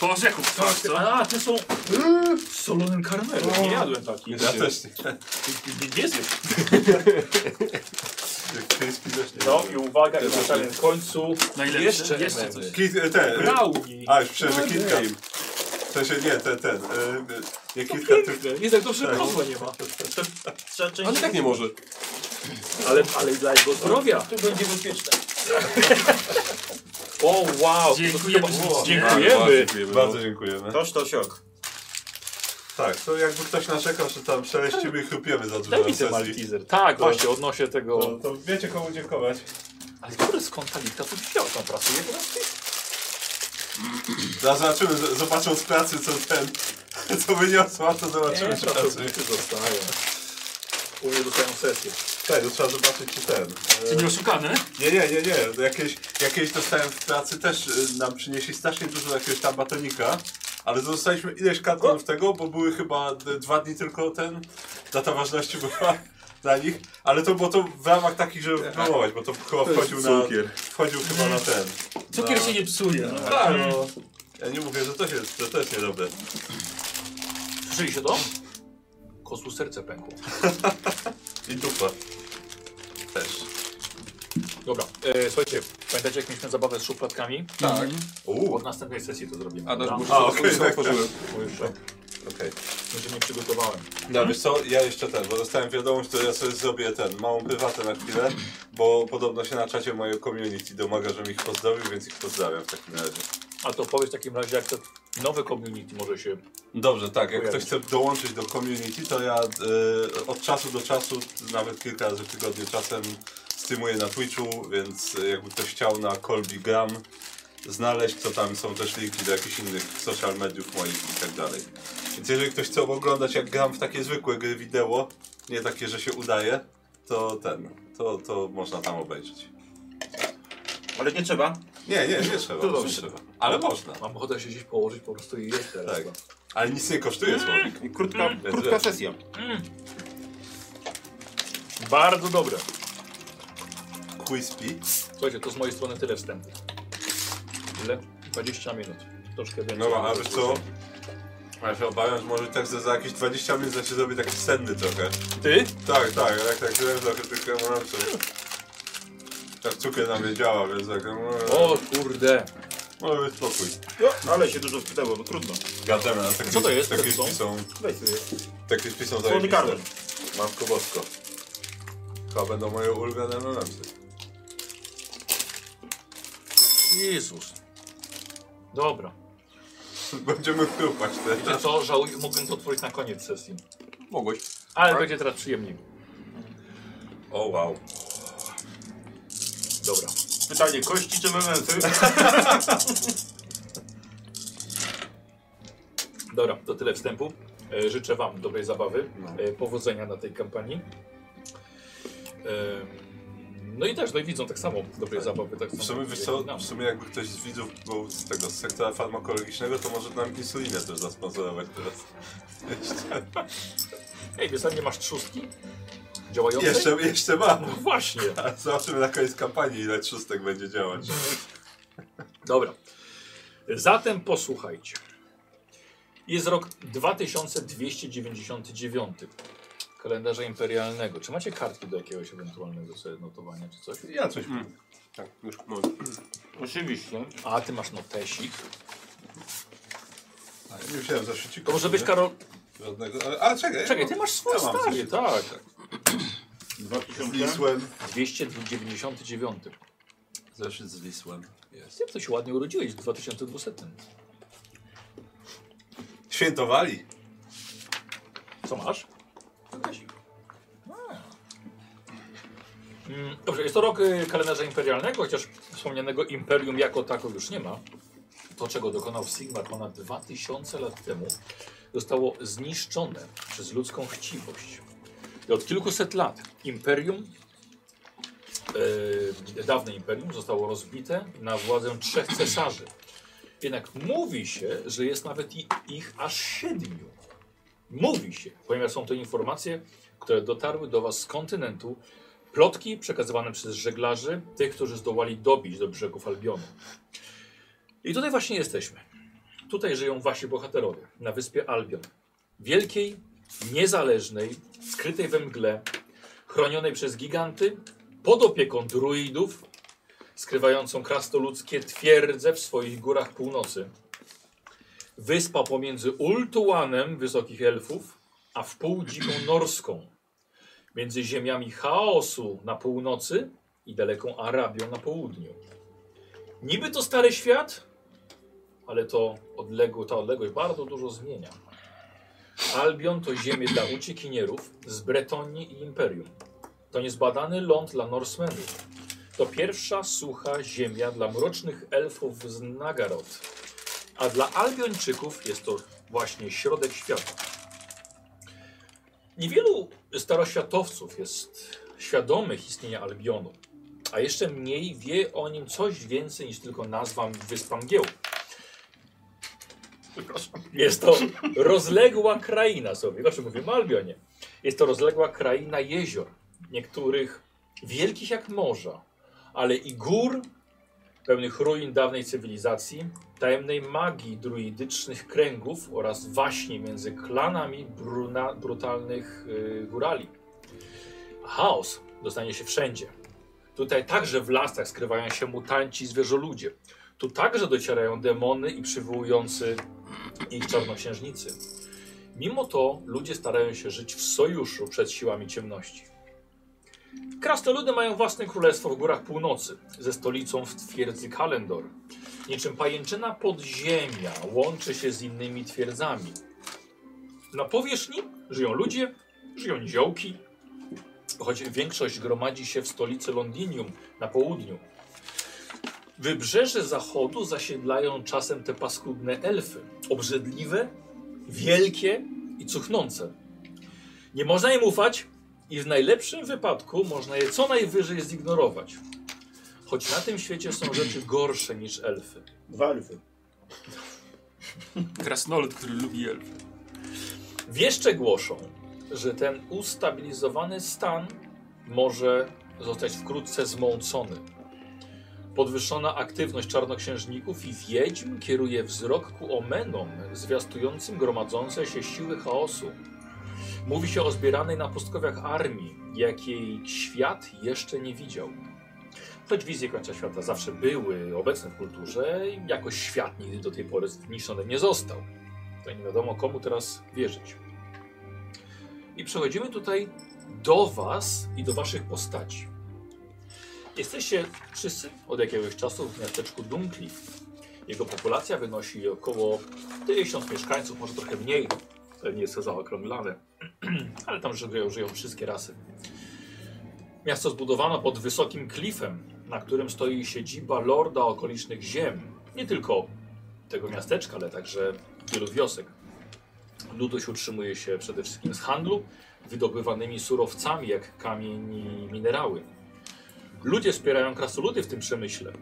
[SPEAKER 5] Po orzechu, tak, co?
[SPEAKER 1] A, te są z solonym karmelem. Nie jadłem takich.
[SPEAKER 4] Ja też nie.
[SPEAKER 1] Nie zjem.
[SPEAKER 4] Jak Crispy też nie.
[SPEAKER 1] No i uwaga, i na samym końcu
[SPEAKER 5] Najlepsze.
[SPEAKER 1] jeszcze
[SPEAKER 5] Jeszcze
[SPEAKER 1] coś.
[SPEAKER 4] Kit, e, ten. e,
[SPEAKER 1] Brownie.
[SPEAKER 4] A, już przecież że kitka. W sensie nie, ten, ten. e, e, Nie kitka, tylko...
[SPEAKER 1] Jest tak dobrze,
[SPEAKER 4] Tak.
[SPEAKER 1] kozła nie ma.
[SPEAKER 2] Trzeba część...
[SPEAKER 3] Ale tak nie może.
[SPEAKER 1] Ale, ale dla jego zdrowia.
[SPEAKER 2] Tu będzie bezpieczne.
[SPEAKER 1] O, wow.
[SPEAKER 5] Dziękujemy ślicznie.
[SPEAKER 1] Dziękujemy.
[SPEAKER 4] Bardzo dziękujemy.
[SPEAKER 2] Toż to siok.
[SPEAKER 4] Tak, to jakby ktoś narzekał, że tam szeleścimy i chrupiemy za dużo
[SPEAKER 1] Daj
[SPEAKER 4] na
[SPEAKER 1] mi ten
[SPEAKER 4] sesji.
[SPEAKER 1] Malteser. No. Tak,
[SPEAKER 4] To-
[SPEAKER 1] właśnie, odnośnie
[SPEAKER 4] To,
[SPEAKER 1] tego...
[SPEAKER 4] to wiecie komu dziękować.
[SPEAKER 1] Ale który skąd ta litka tu wzięła? Tam pracuje teraz?
[SPEAKER 4] No, zobaczymy, z- zobaczą z pracy co ten, co wyniosła, to zobaczymy
[SPEAKER 1] Nie,
[SPEAKER 4] czy pracuje.
[SPEAKER 1] pracownicy zostają. U mnie dostają sesję.
[SPEAKER 4] Tak, to trzeba zobaczyć czy ten.
[SPEAKER 5] Czy nie oszukane?
[SPEAKER 4] Nie, nie, nie, nie. No Jakieś, jakieś dostałem w pracy też y, nam przynieśli strasznie dużo jakiegoś tam batonika, ale zostaliśmy ileś kartonów tego, bo były chyba d- dwa dni tylko ten, data ważności była dla nich, ale to było to w ramach takich, żeby promować, bo to chyba wchodził na, wchodził chyba na ten.
[SPEAKER 5] Cukier się nie psuje. No.
[SPEAKER 4] Tak, no. Ja nie mówię, że to, się, że to jest niedobre.
[SPEAKER 1] Słyszeliście to? Kosu serce pękło.
[SPEAKER 4] I dupa. Też.
[SPEAKER 1] Dobra, e, słuchajcie, pamiętacie jak mieliśmy zabawę z szufladkami?
[SPEAKER 3] Tak.
[SPEAKER 4] Uuu,
[SPEAKER 1] Od następnej sesji to zrobimy.
[SPEAKER 3] A,
[SPEAKER 1] dobra?
[SPEAKER 3] no,
[SPEAKER 4] A, okej,
[SPEAKER 3] okay,
[SPEAKER 4] tak,
[SPEAKER 3] otworzyłem.
[SPEAKER 1] Bo jeszcze,
[SPEAKER 4] okej.
[SPEAKER 1] jeszcze nie przygotowałem.
[SPEAKER 4] No wiesz co, ja jeszcze ten, bo dostałem wiadomość, to ja sobie zrobię ten, małą prywatę na chwilę, bo podobno się na czacie mojego community domaga, żebym ich pozdrowił, więc ich pozdrawiam w takim razie.
[SPEAKER 1] A to powiedz w takim razie, jak to nowe community może się...
[SPEAKER 4] Dobrze, tak, jak
[SPEAKER 1] Pojawi
[SPEAKER 4] ktoś chce dołączyć do community, to ja y, od czasu do czasu, nawet kilka razy w tygodniu czasem streamuję na Twitchu, więc y, jakby ktoś chciał na Colby Gram znaleźć, to tam są też linki do jakichś innych social mediów moich i tak dalej. Więc jeżeli ktoś chce oglądać jak gram w takie zwykłe gry wideo, nie takie, że się udaje, to ten, to, to można tam obejrzeć.
[SPEAKER 2] Ale nie trzeba.
[SPEAKER 4] Nie, nie, nie trzeba, nie
[SPEAKER 1] dobrze.
[SPEAKER 4] trzeba. Ale można,
[SPEAKER 1] Mam ochotę się gdzieś położyć po prostu i jeść teraz.
[SPEAKER 4] tak. Ale nic nie kosztuje słowik.
[SPEAKER 2] I Krótka,
[SPEAKER 5] Mm.
[SPEAKER 2] krótka sesja.
[SPEAKER 1] Bardzo dobre.
[SPEAKER 4] Quispy.
[SPEAKER 1] Słuchajcie, to z mojej strony tyle wstępu. Ile? 20 minut. Troszkę więcej.
[SPEAKER 4] No a wiesz co? Ja się obawiam, że może tak za, za jakieś 20 minut zacznie zrobić taki senny trochę.
[SPEAKER 1] Ty?
[SPEAKER 4] Tak, tak, tak, tak, wiem trochę tylko ja mam coś. Tak cukier na mnie działa, więc tak, no,
[SPEAKER 1] O kurde.
[SPEAKER 4] może być spokój.
[SPEAKER 2] No, ale się dużo spytało, bo trudno.
[SPEAKER 4] Gadamy, ale takie,
[SPEAKER 1] Co to jest?
[SPEAKER 4] takie
[SPEAKER 1] Co to są?
[SPEAKER 4] są? są,
[SPEAKER 2] Weź sobie.
[SPEAKER 4] takie śpi są
[SPEAKER 2] Słodki
[SPEAKER 4] zajebiste.
[SPEAKER 2] karmel.
[SPEAKER 4] Matko bosko. Chyba będą moje ulubione MMMsy.
[SPEAKER 1] Jezus. Dobra.
[SPEAKER 4] Będziemy chrupać
[SPEAKER 1] Wiecie
[SPEAKER 4] teraz.
[SPEAKER 1] co? Żałuję, mógłbym to otworzyć na koniec sesji.
[SPEAKER 3] Mogłeś.
[SPEAKER 4] Tak.
[SPEAKER 1] Ale będzie teraz przyjemniej.
[SPEAKER 4] O wow.
[SPEAKER 1] Dobra.
[SPEAKER 2] Pytanie, kości czy mementy?
[SPEAKER 1] Dobra, to tyle wstępu. E, Życzę Wam dobrej zabawy,
[SPEAKER 4] No.
[SPEAKER 1] e, powodzenia na tej kampanii. Em, No i też, no i widzą tak samo dobrej zabawy. Tak
[SPEAKER 4] W
[SPEAKER 1] samo
[SPEAKER 4] sumie, wiesz
[SPEAKER 1] jak i
[SPEAKER 4] co,
[SPEAKER 1] nam.
[SPEAKER 4] w sumie jakby ktoś z widzów był z tego z sektora farmakologicznego, to może nam insulinę też zasponsorować teraz. Jeszcze,
[SPEAKER 1] Ej, wiesz, sam nie masz trzustki działającej?
[SPEAKER 4] jeszcze, jeszcze
[SPEAKER 1] No
[SPEAKER 4] mam.
[SPEAKER 1] właśnie.
[SPEAKER 4] A Zobaczymy na koniec kampanii ile trzustek będzie działać.
[SPEAKER 1] Dobra. Zatem posłuchajcie. Jest rok 2299 kalendarza imperialnego. Czy macie kartki do jakiegoś ewentualnego sobie notowania czy coś?
[SPEAKER 4] Ja coś
[SPEAKER 3] Tak, już mam.
[SPEAKER 1] Oczywiście. A ty masz notesik.
[SPEAKER 4] Tak, Nie wziąłem zeszyciku.
[SPEAKER 1] To może być Karol.
[SPEAKER 4] Żadnego, ale, ale czekaj.
[SPEAKER 1] Czekaj, ty masz swój
[SPEAKER 4] Ja mam
[SPEAKER 1] stary,
[SPEAKER 4] zeszyt.
[SPEAKER 1] tak.
[SPEAKER 5] Dwa
[SPEAKER 4] Z
[SPEAKER 5] tysiące?
[SPEAKER 4] Lisłem.
[SPEAKER 1] 299.
[SPEAKER 4] Zeszyt z Lisłem.
[SPEAKER 1] Jest. Ty coś ładnie urodziłeś w 2200.
[SPEAKER 4] Świętowali.
[SPEAKER 1] Co masz? Mm, Dobrze, jest to rok y, kalendarza imperialnego, chociaż wspomnianego imperium jako tako już nie ma. To, czego dokonał Sigmar ponad 2000 lat temu, zostało zniszczone przez ludzką chciwość. I od kilkuset lat imperium, e, dawne imperium, zostało rozbite na władzę trzech cesarzy. Jednak mówi się, że jest nawet i, ich aż siedmiu. Mówi się, ponieważ są to informacje, które dotarły do Was z kontynentu, plotki przekazywane przez żeglarzy, tych, którzy zdołali dobić do brzegów Albionu. I tutaj właśnie jesteśmy. Tutaj żyją Wasi bohaterowie na wyspie Albion. Wielkiej, niezależnej, skrytej we mgle, chronionej przez giganty, pod opieką druidów, skrywającą krastoludzkie twierdze w swoich górach północy. Wyspa pomiędzy Ultuanem Wysokich Elfów, a wpół dziką Norską. Między ziemiami chaosu na północy i daleką Arabią na południu. Niby to stary świat, ale to odległo, ta odległość bardzo dużo zmienia. Albion to ziemie dla uciekinierów z Bretonii i Imperium. To niezbadany ląd dla Norsemenów. To pierwsza sucha ziemia dla mrocznych elfów z Nagarot. A dla Albiończyków jest to właśnie środek świata. Niewielu staroświatowców jest świadomych istnienia Albionu, a jeszcze mniej wie o nim coś więcej niż tylko nazwa Wyspa Mgieł. Jest to rozległa kraina sobie, znaczy mówimy o Albionie. Jest to rozległa kraina jezior, niektórych wielkich jak morza, ale i gór pełnych ruin dawnej cywilizacji, tajemnej magii druidycznych kręgów oraz waśni między klanami bruna, brutalnych yy, górali. Chaos dostanie się wszędzie. Tutaj także w lasach skrywają się mutanci i zwierzoludzie. Tu także docierają demony i przywołujący ich czarnoksiężnicy. Mimo to ludzie starają się żyć w sojuszu przed siłami ciemności. Krastoludy mają własne królestwo w górach północy, ze stolicą w twierdzy Kalendor. Niczym pajęczyna podziemia łączy się z innymi twierdzami. Na powierzchni żyją ludzie, żyją niziołki, choć większość gromadzi się w stolicy Londinium na południu. Wybrzeże zachodu zasiedlają czasem te paskudne elfy, obrzydliwe, wielkie i cuchnące. Nie można im ufać, i w najlepszym wypadku można je co najwyżej zignorować. Choć na tym świecie są rzeczy gorsze niż elfy.
[SPEAKER 6] Dwa elfy.
[SPEAKER 5] Krasnolud, który lubi elf.
[SPEAKER 1] Wieszcze głoszą, że ten ustabilizowany stan może zostać wkrótce zmącony. Podwyższona aktywność czarnoksiężników i wiedźm kieruje wzrok ku omenom zwiastującym gromadzące się siły chaosu. Mówi się o zbieranej na pustkowiach armii, jakiej świat jeszcze nie widział. Choć wizje końca świata zawsze były obecne w kulturze, jakoś świat nigdy do tej pory zniszczony nie został. To nie wiadomo komu teraz wierzyć. I przechodzimy tutaj do Was i do Waszych postaci. Jesteście wszyscy od jakiegoś czasu w miasteczku Dunkliff. Jego populacja wynosi około 1000 mieszkańców, może trochę mniej. Pewnie jest to zaokrąglane, ale tam żyją, żyją wszystkie rasy. Miasto zbudowano pod wysokim klifem, na którym stoi siedziba lorda okolicznych ziem. Nie tylko tego miasteczka, ale także wielu wiosek. Ludność utrzymuje się przede wszystkim z handlu, wydobywanymi surowcami jak kamień i minerały. Ludzie wspierają krasoludy w tym przemyśle.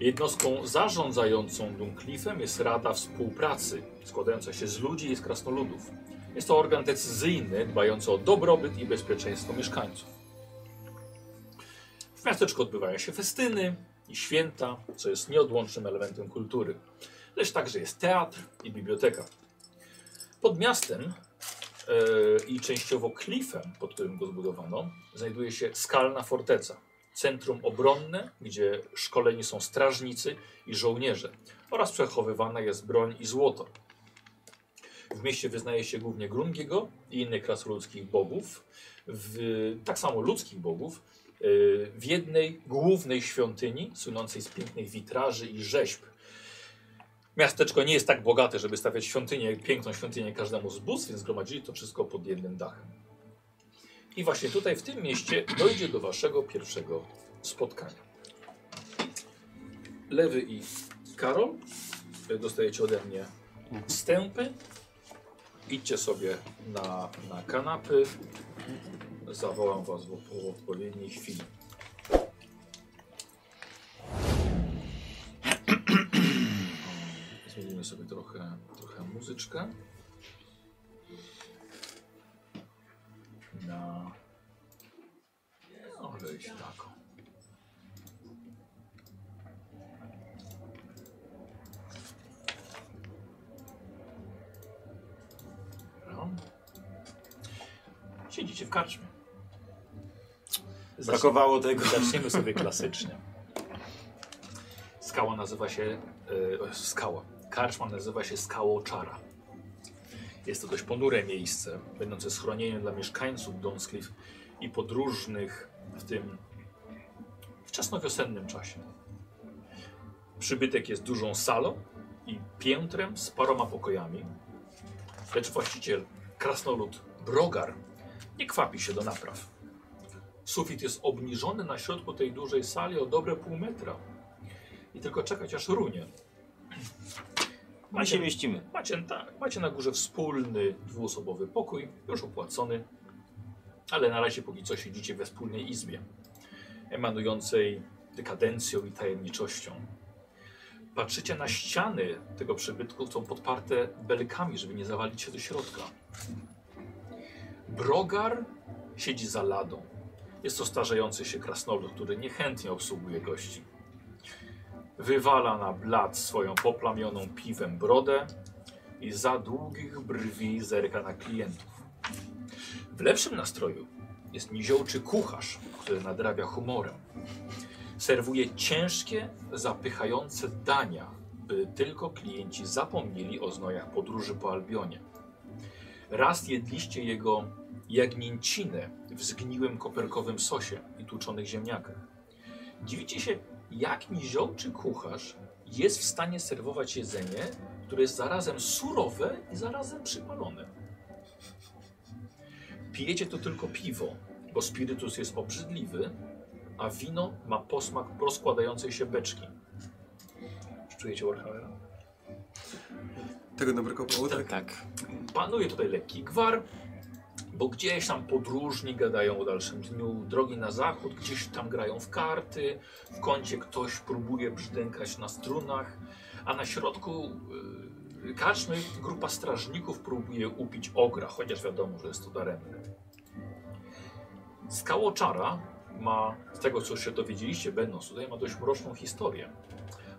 [SPEAKER 1] Jednostką zarządzającą Dunklifem jest Rada Współpracy, składająca się z ludzi i z krasnoludów. Jest to organ decyzyjny, dbający o dobrobyt i bezpieczeństwo mieszkańców. W miasteczku odbywają się festyny i święta, co jest nieodłącznym elementem kultury lecz także jest teatr i biblioteka. Pod miastem e, i częściowo klifem, pod którym go zbudowano, znajduje się skalna forteca. Centrum obronne, gdzie szkoleni są strażnicy i żołnierze oraz przechowywana jest broń i złoto. W mieście wyznaje się głównie Grungiego i innych klas ludzkich bogów, w, tak samo ludzkich bogów, e, w jednej głównej świątyni słynącej z pięknych witraży i rzeźb. Miasteczko nie jest tak bogate, żeby stawiać świątynię, piękną świątynię każdemu z bóstw, więc zgromadzili to wszystko pod jednym dachem. I właśnie tutaj, w tym mieście, dojdzie do waszego pierwszego spotkania. Lewy i Karol, e, dostajecie ode mnie wstępy. Idźcie sobie na, na kanapy. Zawołam was w, w odpowiedniej chwili. Zmienimy sobie trochę, trochę muzyczkę. Na... no, Ale tak. iść taką. Dobra. Siedzicie w karczmie. Zacznie-
[SPEAKER 2] Brakowało tego.
[SPEAKER 1] Zaczniemy sobie klasycznie. Skała nazywa się. e, o, skała. Karczma nazywa się Skałą Czara. Jest to dość ponure miejsce, będące schronieniem dla mieszkańców Donscliff i podróżnych w tym wczesnowiosennym czasie. Przybytek jest dużą salą i piętrem z paroma pokojami, lecz właściciel, krasnolud Brogar, nie kwapi się do napraw. Sufit jest obniżony na środku tej dużej sali o dobre pół metra. I tylko czekać aż runie.
[SPEAKER 2] My się mieścimy.
[SPEAKER 1] Macie, tak, macie na górze wspólny dwuosobowy pokój, już opłacony, ale na razie póki co siedzicie we wspólnej izbie, emanującej dekadencją i tajemniczością. Patrzycie na ściany tego przybytku, są podparte belkami, żeby nie zawalić się do środka. Brogar siedzi za ladą. Jest to starzejący się krasnolud, który niechętnie obsługuje gości. Wywala na blat swoją poplamioną piwem brodę, i za długich brwi zerka na klientów. W lepszym nastroju jest niziołczy kucharz, który nadrabia humorem. Serwuje ciężkie, zapychające dania, by tylko klienci zapomnieli o znojach podróży po Albionie. Raz jedliście jego jagnięcinę w zgniłym koperkowym sosie i tłuczonych ziemniakach. Dziwicie się, jak niziołczy kucharz jest w stanie serwować jedzenie, które jest zarazem surowe i zarazem przypalone. Pijecie to tylko piwo, bo spirytus jest obrzydliwy, a wino ma posmak rozkładającej się beczki. Czy Czujecie Warhammera?
[SPEAKER 3] Tego nam brakowało, tak?
[SPEAKER 5] Tak.
[SPEAKER 1] Panuje tutaj lekki gwar, bo gdzieś tam podróżni gadają o dalszym dniu drogi na zachód, gdzieś tam grają w karty, w kącie ktoś próbuje brzdękać na strunach, a na środku yy, karczmy grupa strażników próbuje upić ogra, chociaż wiadomo, że jest to daremne. Skałoczara ma, z tego co się dowiedzieliście będąc tutaj, ma dość mroczną historię,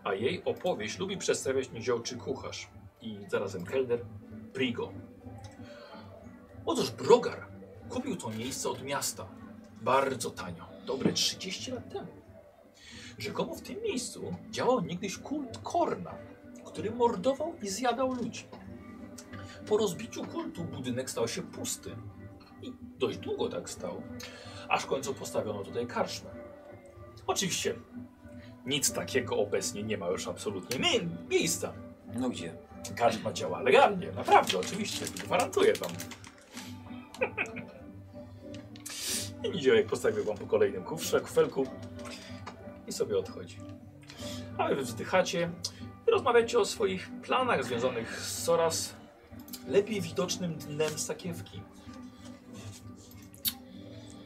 [SPEAKER 1] a jej opowieść lubi przedstawiać niziołczy kucharz i zarazem kelner Prigo. Otóż Brogar kupił to miejsce od miasta bardzo tanio, dobre 30 lat temu. Rzekomo w tym miejscu działał niegdyś kult Korna, który mordował i zjadał ludzi. Po rozbiciu kultu budynek stał się pusty i dość długo tak stał, aż w końcu postawiono tutaj karczmę. Oczywiście nic takiego obecnie nie ma już absolutnie mie- miejsca.
[SPEAKER 2] No gdzie?
[SPEAKER 1] Karczma działa legalnie, naprawdę, oczywiście, gwarantuję wam. I Niziołek postawił wam po kolejnym kufrze, kufelku i sobie odchodzi. A wy wzdychacie i rozmawiacie o swoich planach związanych z coraz lepiej widocznym dnem sakiewki.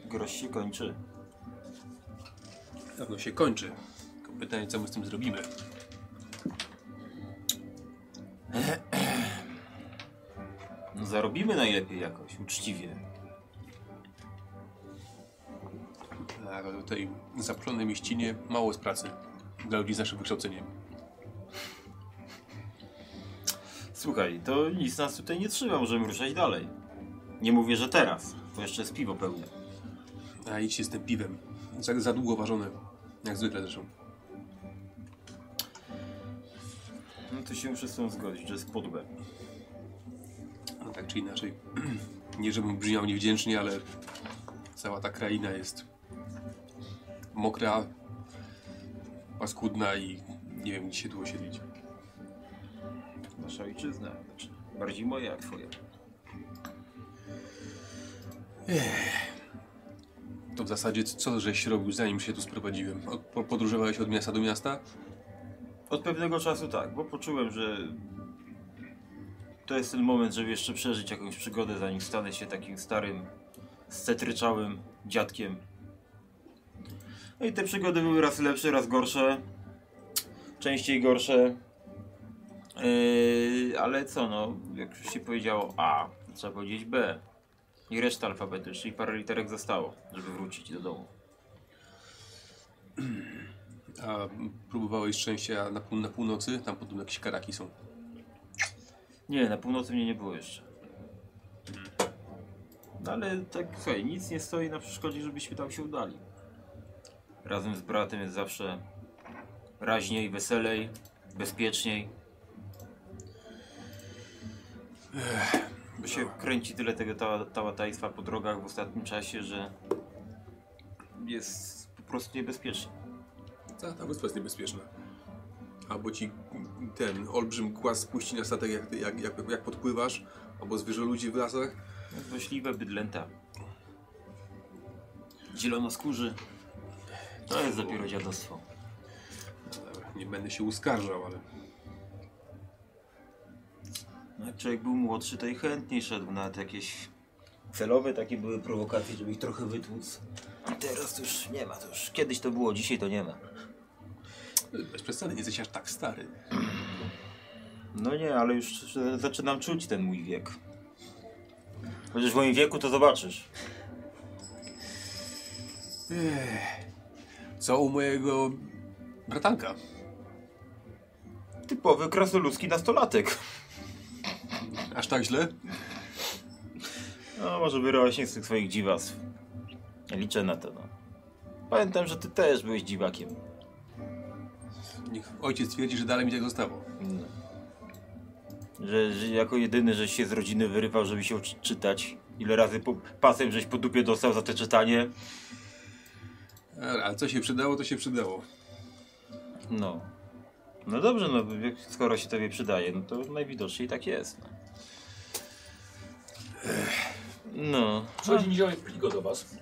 [SPEAKER 2] Grosz się kończy.
[SPEAKER 3] Dawno się kończy. Tylko pytanie, co my z tym zrobimy.
[SPEAKER 2] No zarobimy najlepiej jakoś, uczciwie.
[SPEAKER 3] Tak, ale tutaj zapalonej mieścinie mało jest pracy znaczy dla ludzi z naszym wykształceniem.
[SPEAKER 2] Słuchaj, to nic nas tutaj nie trzyma, możemy ruszać dalej. Nie mówię, że teraz, bo jeszcze jest piwo pełne.
[SPEAKER 3] A idź się z tym piwem. Za, za długo ważone. Jak zwykle zresztą.
[SPEAKER 2] No to się muszę z tym zgodzić, że jest podłe.
[SPEAKER 3] tak czy inaczej. Nie, żebym brzmiał niewdzięcznie, ale cała ta kraina jest mokra, paskudna i nie wiem, gdzie się tu osiedlić.
[SPEAKER 2] Nasza ojczyzna. Znaczy, bardziej moja, jak twoja.
[SPEAKER 3] To w zasadzie c- co żeś robił, zanim się tu sprowadziłem? Od- po- Podróżowałeś od miasta do miasta?
[SPEAKER 2] Od pewnego czasu tak, bo poczułem, że to jest ten moment, żeby jeszcze przeżyć jakąś przygodę, zanim stanę się takim starym, scetryczałym dziadkiem. No i te przygody były raz lepsze, raz gorsze, częściej gorsze. Yy, ale co no, jak już się powiedziało A, to trzeba powiedzieć B. I reszta alfabetu, czyli parę literek zostało, żeby wrócić do domu.
[SPEAKER 3] A próbowałeś szczęścia na, pół- na północy? Tam podobno jakieś karaki są.
[SPEAKER 2] Nie, na północy mnie nie było jeszcze. No ale tak, słuchaj, nic nie stoi na przeszkodzie, żebyśmy tam się udali. Razem z bratem jest zawsze raźniej, weselej, bezpieczniej. Bo się kręci tyle tego ta- tałatajstwa po drogach w ostatnim czasie, że jest po prostu niebezpiecznie.
[SPEAKER 3] Ta, ta wyspa jest niebezpieczna. Albo ci ten olbrzym kłas spuści na statek, jak, jak, jak, jak podpływasz, albo zwierzę ludzi w lasach.
[SPEAKER 2] Złośliwe bydlęta. Zielonoskórzy. To jest dopiero dziadostwo.
[SPEAKER 3] Dobra, nie będę się uskarżał, ale
[SPEAKER 2] No, Jak człowiek był młodszy, to i chętniej szedł na te jakieś... Celowe takie były prowokacje, żeby ich trochę wytłuc. A teraz to już nie ma, to już kiedyś to było, dzisiaj to nie ma.
[SPEAKER 3] bez przesady nie jesteś aż tak stary.
[SPEAKER 2] No nie, ale już e, zaczynam czuć ten mój wiek. Chociaż w moim wieku to zobaczysz.
[SPEAKER 3] Co u mojego bratanka?
[SPEAKER 2] Typowy krasnoludzki nastolatek.
[SPEAKER 3] Aż tak źle?
[SPEAKER 2] No, może wyrośnie z tych swoich dziwactw. Liczę na to, no. Pamiętam, że ty też byłeś dziwakiem.
[SPEAKER 3] Niech ojciec twierdzi, że dalej mi tak zostało.
[SPEAKER 2] Że, że jako jedyny, żeś się z rodziny wyrywał, żeby się uczyć czytać. Ile razy po, pasem żeś po dupie dostał za te czytanie.
[SPEAKER 3] Dobra, A co się przydało, to się przydało.
[SPEAKER 2] No. No dobrze, no jak- skoro się tobie przydaje, no to najwidoczniej tak jest. No. No.
[SPEAKER 1] Przychodzi niziołek Pligo do was.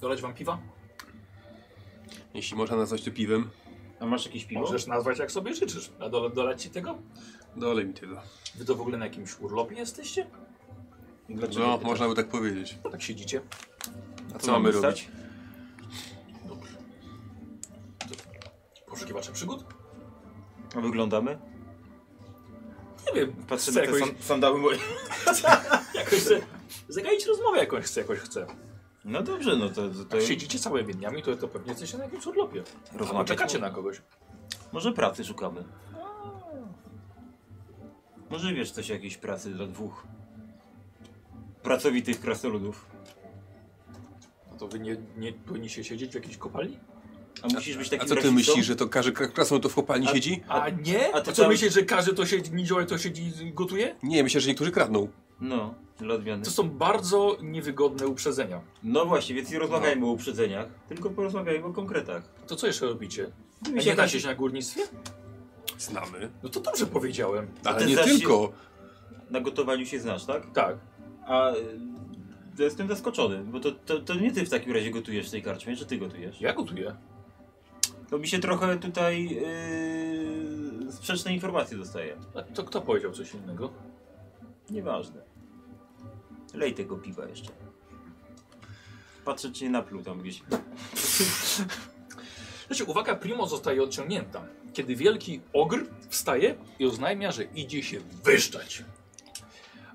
[SPEAKER 1] Dolać wam piwa?
[SPEAKER 3] Jeśli można nazwać to piwem,
[SPEAKER 2] A masz jakieś piwo?
[SPEAKER 1] Możesz nazwać jak sobie życzysz. A do, dolać ci tego?
[SPEAKER 3] dolej mi tego.
[SPEAKER 1] Wy to w ogóle na jakimś urlopie jesteście?
[SPEAKER 2] Dlaczego
[SPEAKER 3] No,
[SPEAKER 2] pytasz?
[SPEAKER 3] można by tak powiedzieć.
[SPEAKER 1] Tak siedzicie.
[SPEAKER 3] A
[SPEAKER 2] Tu
[SPEAKER 3] co mamy
[SPEAKER 2] stać?
[SPEAKER 3] robić?
[SPEAKER 1] Poszukiwacze przygód?
[SPEAKER 2] A wyglądamy?
[SPEAKER 1] Nie wiem,
[SPEAKER 2] Patrzę
[SPEAKER 1] chcę
[SPEAKER 2] na te
[SPEAKER 1] jakoś,
[SPEAKER 2] sand- sandały moje.
[SPEAKER 1] jakoś chcę, zagaić rozmowę jakąś chcę, jakoś chcę.
[SPEAKER 2] No dobrze, no to, to, to
[SPEAKER 1] Jak siedzicie całymi dniami, to, to pewnie jesteście na jakimś urlopie. Albo
[SPEAKER 2] rozmawiać.
[SPEAKER 1] czekacie na kogoś.
[SPEAKER 2] Może pracy szukamy. Może wiesz coś o jakiejś pracy dla dwóch pracowitych krasnoludów.
[SPEAKER 1] No to wy nie, nie powinniście siedzieć w jakiejś kopalni?
[SPEAKER 2] A musisz być
[SPEAKER 3] A
[SPEAKER 2] takim
[SPEAKER 3] co ty
[SPEAKER 2] rasistą?
[SPEAKER 3] myślisz, że to każdy kra- krasnolud to w kopalni siedzi?
[SPEAKER 1] A nie?
[SPEAKER 2] a
[SPEAKER 1] A
[SPEAKER 2] ty
[SPEAKER 1] ty co
[SPEAKER 2] tam-
[SPEAKER 1] myślisz, że każdy to siedzi, niziołek to siedzi i gotuje?
[SPEAKER 3] Nie, myślę, że niektórzy kradną.
[SPEAKER 2] No, dla odmiany.
[SPEAKER 1] To są bardzo niewygodne uprzedzenia.
[SPEAKER 2] No właśnie, więc nie rozmawiajmy o uprzedzeniach, tylko porozmawiajmy o konkretach.
[SPEAKER 1] To co jeszcze robicie? A
[SPEAKER 2] Mi się
[SPEAKER 1] nie da
[SPEAKER 2] tak-
[SPEAKER 1] się na górnictwie?
[SPEAKER 3] Znamy.
[SPEAKER 1] No to dobrze powiedziałem.
[SPEAKER 3] Ale
[SPEAKER 2] ty
[SPEAKER 3] nie
[SPEAKER 2] zaś-
[SPEAKER 3] tylko.
[SPEAKER 2] Na gotowaniu się znasz, tak?
[SPEAKER 1] Tak.
[SPEAKER 2] A y, ja jestem zaskoczony, bo to, to, to nie ty w takim razie gotujesz w tej karczmie, czy ty gotujesz?
[SPEAKER 1] Ja gotuję.
[SPEAKER 2] To mi się trochę tutaj yy, sprzeczne informacje dostaje.
[SPEAKER 1] A to kto powiedział coś innego?
[SPEAKER 2] Nieważne. Lej tego piwa jeszcze. Patrzę, czy nie napluł tam gdzieś.
[SPEAKER 1] Znaczy, uwaga Primo zostaje odciągnięta, kiedy wielki ogr wstaje i oznajmia, że idzie się wyszczać.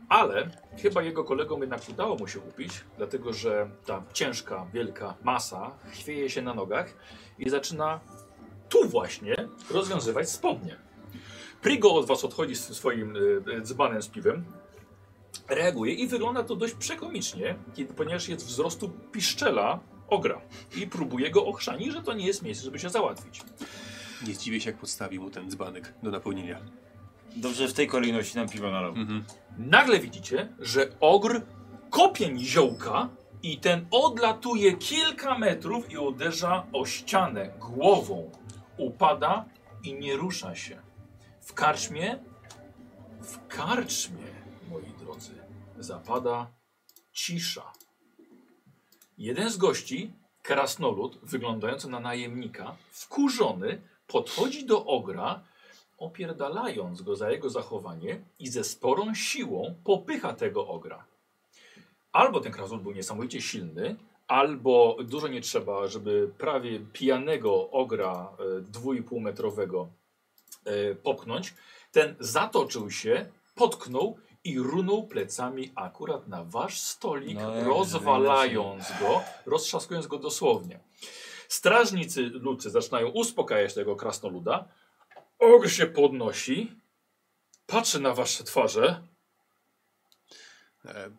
[SPEAKER 1] Ale chyba jego kolegom jednak udało mu się upić, dlatego że ta ciężka, wielka masa chwieje się na nogach i zaczyna tu właśnie rozwiązywać spodnie. Prigo od was odchodzi z tym swoim y, y, dzbanem z piwem, reaguje i wygląda to dość przekomicznie, kiedy, ponieważ jest wzrostu piszczela ogra i próbuje go ochrzanić, że to nie jest miejsce, żeby się załatwić.
[SPEAKER 3] Nie zdziwię się, jak podstawił mu ten dzbanek do napełnienia.
[SPEAKER 2] Dobrze, w tej kolejności nam piwa nalał.
[SPEAKER 1] Mhm. Nagle widzicie, że ogr kopie niziołka i ten odlatuje kilka metrów i uderza o ścianę głową. Upada i nie rusza się. W karczmie, w karczmie, moi drodzy, zapada cisza. Jeden z gości, krasnolud, wyglądający na najemnika, wkurzony, podchodzi do ogra opierdalając go za jego zachowanie i ze sporą siłą popycha tego ogra. Albo ten krasul był niesamowicie silny, albo dużo nie trzeba, żeby prawie pijanego ogra e, 2,5 metrowego e, popchnąć. Ten zatoczył się, potknął i runął plecami akurat na wasz stolik,
[SPEAKER 2] No, jak
[SPEAKER 1] rozwalając go, roztrzaskując go dosłownie. Strażnicy ludcy zaczynają uspokajać tego krasnoluda, Ogr się podnosi, patrzy na wasze twarze.
[SPEAKER 3] E,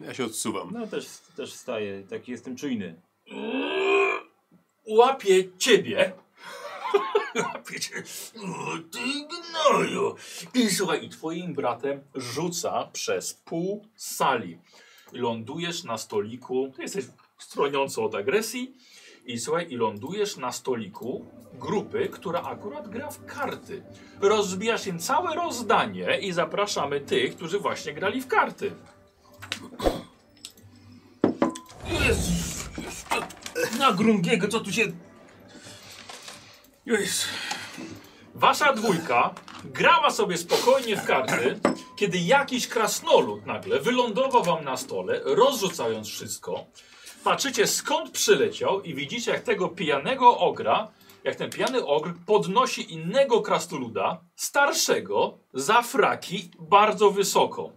[SPEAKER 3] ja się odsuwam.
[SPEAKER 2] No też, też staję, taki jestem czujny.
[SPEAKER 1] Łapie ciebie. Łapie cię. O, Ty gnoju. I słuchaj, i twoim bratem rzuca przez pół sali. Lądujesz na stoliku. Ty jesteś stroniąco od agresji. I słuchaj, i lądujesz na stoliku grupy, która akurat gra w karty. Rozbijasz im całe rozdanie i zapraszamy tych, którzy właśnie grali w karty.
[SPEAKER 5] Jezus, na Grungiego, co tu się... Jezus.
[SPEAKER 1] Wasza dwójka grała sobie spokojnie w karty, kiedy jakiś krasnolud nagle wylądował wam na stole, rozrzucając wszystko. Patrzycie skąd przyleciał i widzicie jak tego pijanego ogra, jak ten pijany ogr podnosi innego krasnoluda, starszego, za fraki, bardzo wysoko.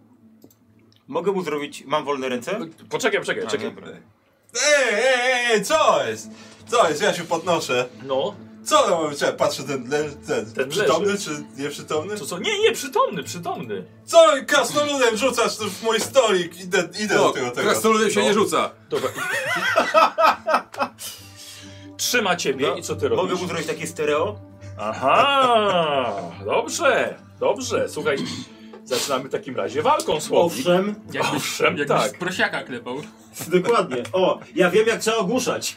[SPEAKER 2] Mogę mu zrobić, mam wolne ręce?
[SPEAKER 1] Poczekaj, poczekaj,
[SPEAKER 2] A,
[SPEAKER 1] No, czekaj.
[SPEAKER 2] dobra.
[SPEAKER 4] Ej, ej, ej, co jest? Co jest? Ja się podnoszę.
[SPEAKER 1] No,
[SPEAKER 4] Co ja mam? Czekaj, patrzę ten, le, ten,
[SPEAKER 1] Ten
[SPEAKER 4] przytomny
[SPEAKER 1] leży.
[SPEAKER 4] czy nieprzytomny?
[SPEAKER 1] to co? Nie, nie, przytomny, przytomny.
[SPEAKER 4] Co krasnoludem rzucasz tu w mój stolik? Idę, idę do
[SPEAKER 3] No,
[SPEAKER 4] tego, tego.
[SPEAKER 3] krasnoludem się nie rzuca.
[SPEAKER 1] Dobra. Trzyma ciebie
[SPEAKER 2] No,
[SPEAKER 1] i co ty robisz?
[SPEAKER 2] Mogę mu zrobić takie stereo?
[SPEAKER 1] Aha, dobrze, dobrze. Słuchaj, zaczynamy w takim razie walką słowną.
[SPEAKER 2] Owszem,
[SPEAKER 5] Jakbyś,
[SPEAKER 1] Owszem,
[SPEAKER 5] jakbyś
[SPEAKER 1] tak.
[SPEAKER 5] tak. prosiaka klepał.
[SPEAKER 2] dokładnie. O, ja wiem jak trzeba ogłuszać.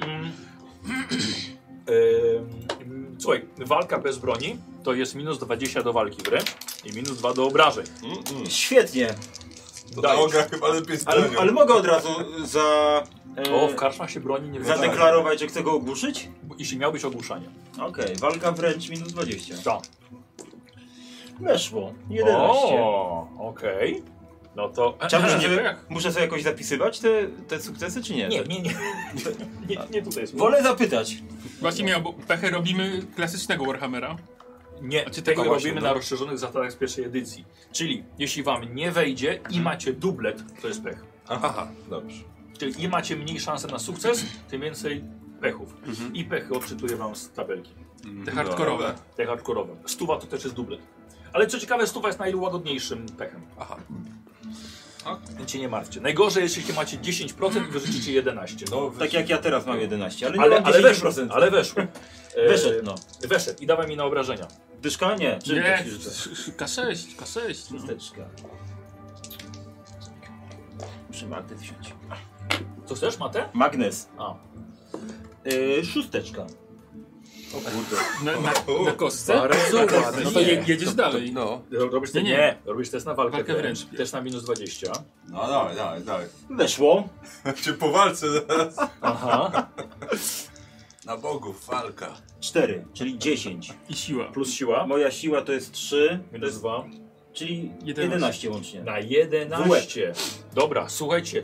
[SPEAKER 1] Mm. Em, Słuchaj, walka bez broni to jest minus 20 do walki wręcz i minus 2 do obrażeń.
[SPEAKER 2] Świetnie,
[SPEAKER 4] To ta
[SPEAKER 1] Dajesz.
[SPEAKER 4] ogra chyba lepiej
[SPEAKER 2] ale,
[SPEAKER 4] stronie.
[SPEAKER 2] ale mogę od razu za... e,
[SPEAKER 1] O, w karczmach się broni nie wydaje.
[SPEAKER 2] zadeklarować, że chcę go ogłuszyć?
[SPEAKER 1] Jeśli miałbyś ogłuszanie.
[SPEAKER 2] Okej, walka wręcz minus 20.
[SPEAKER 1] Tak.
[SPEAKER 2] Weszło, 11.
[SPEAKER 1] O, okej. No to...
[SPEAKER 2] Chciałbym, że muszę sobie jakoś zapisywać te, te sukcesy, czy nie?
[SPEAKER 1] Nie, nie, nie. Nie, nie tutaj jest.
[SPEAKER 2] Wolę zapytać.
[SPEAKER 5] Właśnie miał, bo pechę robimy klasycznego Warhammera.
[SPEAKER 1] Nie,
[SPEAKER 5] A czy
[SPEAKER 1] tego
[SPEAKER 5] tego właśnie,
[SPEAKER 1] robimy
[SPEAKER 5] no?
[SPEAKER 1] na rozszerzonych zasadach z pierwszej edycji. Czyli jeśli wam nie wejdzie i macie dublet, to jest pech.
[SPEAKER 3] Aha.
[SPEAKER 4] Dobrze.
[SPEAKER 1] Czyli im macie mniej szansy na sukces, tym więcej pechów. I pechy odczytuję wam z tabelki.
[SPEAKER 5] Te hardkorowe.
[SPEAKER 1] Te hardkorowe. Stuwa to też jest dublet. Ale co ciekawe, stuwa jest najłagodniejszym pechem.
[SPEAKER 3] Aha.
[SPEAKER 1] Więc się nie martwcie. Najgorzej, jest, jeśli macie 10% i wyrzucicie 11. No,
[SPEAKER 4] No,
[SPEAKER 2] Tak jak ja teraz mam 11, ale nie
[SPEAKER 1] ale,
[SPEAKER 2] mam
[SPEAKER 1] ale
[SPEAKER 2] 10%.
[SPEAKER 1] weszło. Ale weszło. E,
[SPEAKER 2] Wyszedł, no.
[SPEAKER 1] Weszedł i dawaj mi na obrażenia.
[SPEAKER 2] Dyszka? Nie. Czy
[SPEAKER 5] Nie,
[SPEAKER 2] też już to?
[SPEAKER 5] K6, K6. No.
[SPEAKER 2] Szósteczka. Muszę magnes wziąć.
[SPEAKER 1] Co chcesz, Matę?
[SPEAKER 2] Magnes.
[SPEAKER 1] A.
[SPEAKER 2] Yy, szósteczka.
[SPEAKER 5] Na, na, na kostce?
[SPEAKER 3] Bardzo
[SPEAKER 5] ładnie. No to je- jedziesz dalej.
[SPEAKER 3] No.
[SPEAKER 1] Robisz
[SPEAKER 5] Nie,
[SPEAKER 1] test-
[SPEAKER 2] nie.
[SPEAKER 1] Robisz test na walkę,
[SPEAKER 5] Walkę
[SPEAKER 1] wręcz.
[SPEAKER 5] wręcz.
[SPEAKER 1] Też na minus 20.
[SPEAKER 4] no dalej, dalej, dalej.
[SPEAKER 2] Weszło.
[SPEAKER 4] Cię po walce zaraz.
[SPEAKER 1] Aha.
[SPEAKER 3] Na bogów walka.
[SPEAKER 2] 4, czyli 10.
[SPEAKER 5] I siła.
[SPEAKER 1] Plus siła.
[SPEAKER 2] Moja siła to jest 3, to
[SPEAKER 1] Minus
[SPEAKER 2] jest,
[SPEAKER 1] 2.
[SPEAKER 2] czyli 11,
[SPEAKER 5] 11.
[SPEAKER 2] łącznie.
[SPEAKER 1] Na 11. Dobra, słuchajcie.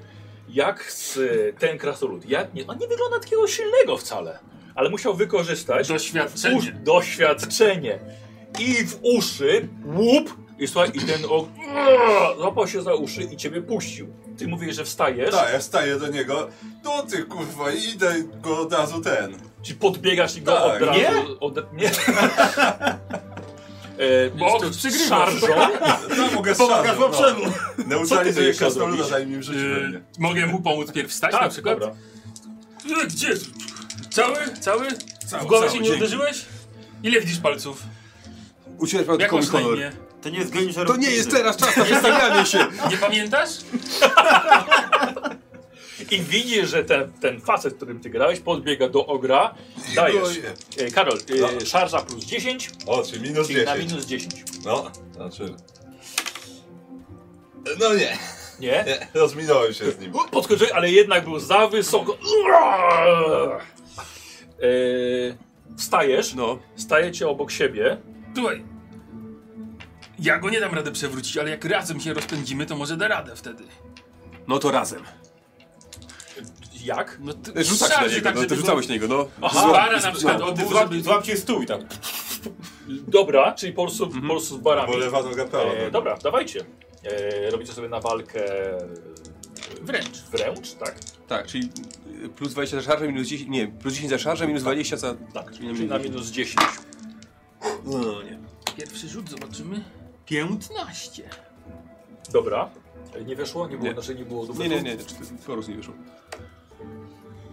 [SPEAKER 1] Jak z, y, ten krasolud, jak nie, on nie wygląda takiego silnego wcale, ale musiał wykorzystać usz,
[SPEAKER 5] Doświadczenie.
[SPEAKER 1] doświadczenie i w uszy łup i słuchaj, i ten og... złapał się za uszy i ciebie puścił. Ty mówisz, że wstajesz,
[SPEAKER 4] Tak, ja staję do niego. No ty kurwa, idę go od razu ten.
[SPEAKER 1] ci podbiegasz i go
[SPEAKER 4] Tak.
[SPEAKER 1] od razu...
[SPEAKER 2] Nie?
[SPEAKER 1] Od, nie. e, bo
[SPEAKER 5] to przygrywasz.
[SPEAKER 1] szarżą
[SPEAKER 4] No mogę
[SPEAKER 2] Pomagasz
[SPEAKER 4] strzelać, no.
[SPEAKER 2] poprzemu!
[SPEAKER 4] Neutralizuję
[SPEAKER 1] jeszcze
[SPEAKER 4] krasnoluda,
[SPEAKER 1] zrobisz?
[SPEAKER 4] zanim im rzuci we mnie.
[SPEAKER 5] Yy, mogę mu pomóc pierw wstać na przykład?
[SPEAKER 1] Tak, Dobra.
[SPEAKER 5] Yy, Gdzie? Cały? Cały?
[SPEAKER 4] Cały,
[SPEAKER 5] w głowę
[SPEAKER 4] cały,
[SPEAKER 5] się nie
[SPEAKER 4] dzięki.
[SPEAKER 5] uderzyłeś? Ile widzisz palców?
[SPEAKER 3] Uciekać
[SPEAKER 5] Jak
[SPEAKER 3] przypadkowy
[SPEAKER 5] masz na
[SPEAKER 3] kolor.
[SPEAKER 5] imię?
[SPEAKER 2] To nie jest Granger
[SPEAKER 3] To nie jest teraz czas na przedstawianie się!
[SPEAKER 5] Nie pamiętasz?
[SPEAKER 1] I widzisz, że ten, ten facet, z którym ty grałeś, podbiega do ogra. Dajesz. E, Karol,
[SPEAKER 4] No.
[SPEAKER 1] e, szarża plus 10,
[SPEAKER 4] O, czyli minus
[SPEAKER 1] czyli na
[SPEAKER 4] 10.
[SPEAKER 1] minus 10.
[SPEAKER 4] No, znaczy... No nie,
[SPEAKER 1] Nie?
[SPEAKER 4] nie, rozminąłem się z nim.
[SPEAKER 1] Podskoczył, ale jednak był za wysoko. E, wstajesz,
[SPEAKER 3] No,
[SPEAKER 1] stajecie obok siebie.
[SPEAKER 5] Słuchaj. Ja go nie dam rady przewrócić, ale jak razem się rozpędzimy, to może da radę wtedy.
[SPEAKER 3] no to razem.
[SPEAKER 1] Jak?
[SPEAKER 5] No ty,
[SPEAKER 3] Rzucać na
[SPEAKER 5] szarży
[SPEAKER 3] niego,
[SPEAKER 5] tak,
[SPEAKER 3] no,
[SPEAKER 5] żeby
[SPEAKER 3] ty
[SPEAKER 5] było-
[SPEAKER 3] rzucałeś na niego, no.
[SPEAKER 5] Aha, para na przykład
[SPEAKER 3] no.
[SPEAKER 5] od
[SPEAKER 4] Ty
[SPEAKER 5] dwóch,
[SPEAKER 4] złap,
[SPEAKER 5] żeby...
[SPEAKER 4] złapcie stół i tak,
[SPEAKER 1] Dobra, czyli po prostu,
[SPEAKER 4] Mhm.
[SPEAKER 1] po prostu z barami.
[SPEAKER 4] bo lewa noga prawa.
[SPEAKER 1] E,
[SPEAKER 4] noga.
[SPEAKER 1] dobra, dawajcie. E, robicie sobie na walkę e,
[SPEAKER 5] Wręcz.
[SPEAKER 1] wręcz, tak?
[SPEAKER 3] Tak, czyli y, plus 20 za szarżę, minus 10, nie, plus 10 za szarżę, minus 20 za...
[SPEAKER 1] Tak,
[SPEAKER 3] Czyli na
[SPEAKER 1] czyli na
[SPEAKER 3] minus
[SPEAKER 1] minus 10.
[SPEAKER 4] No nie.
[SPEAKER 5] Pierwszy rzut zobaczymy. 15.
[SPEAKER 1] Dobra. E, Nie weszło? Nie było,
[SPEAKER 3] Nie.
[SPEAKER 1] znaczy nie było
[SPEAKER 3] Nie,
[SPEAKER 1] dobrego.
[SPEAKER 3] nie, znaczy, nie, porus nie wyszło.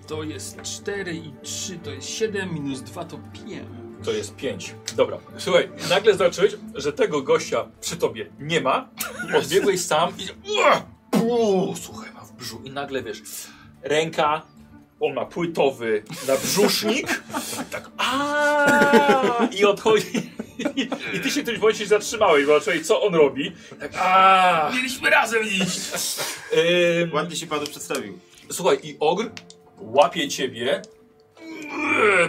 [SPEAKER 5] To jest 4 i 3 to jest 7, minus 2 to 5.
[SPEAKER 1] To jest 5. Dobra. Słuchaj, nagle zobaczyłeś, że tego gościa przy tobie nie ma. Podbiegłeś sam i... Ua! Pu! Słuchaj, ma w brzuchu. I nagle, wiesz, ręka, on ma płytowy na brzusznik. Tak, a I odchodzi. I ty się w którymś momencie zatrzymałeś, bo zobaczyłeś, co on robi. Tak, a
[SPEAKER 5] Mieliśmy razem iść!
[SPEAKER 1] Ym,
[SPEAKER 2] Ładnie się panu przedstawił.
[SPEAKER 1] Słuchaj, i ogr łapie ciebie,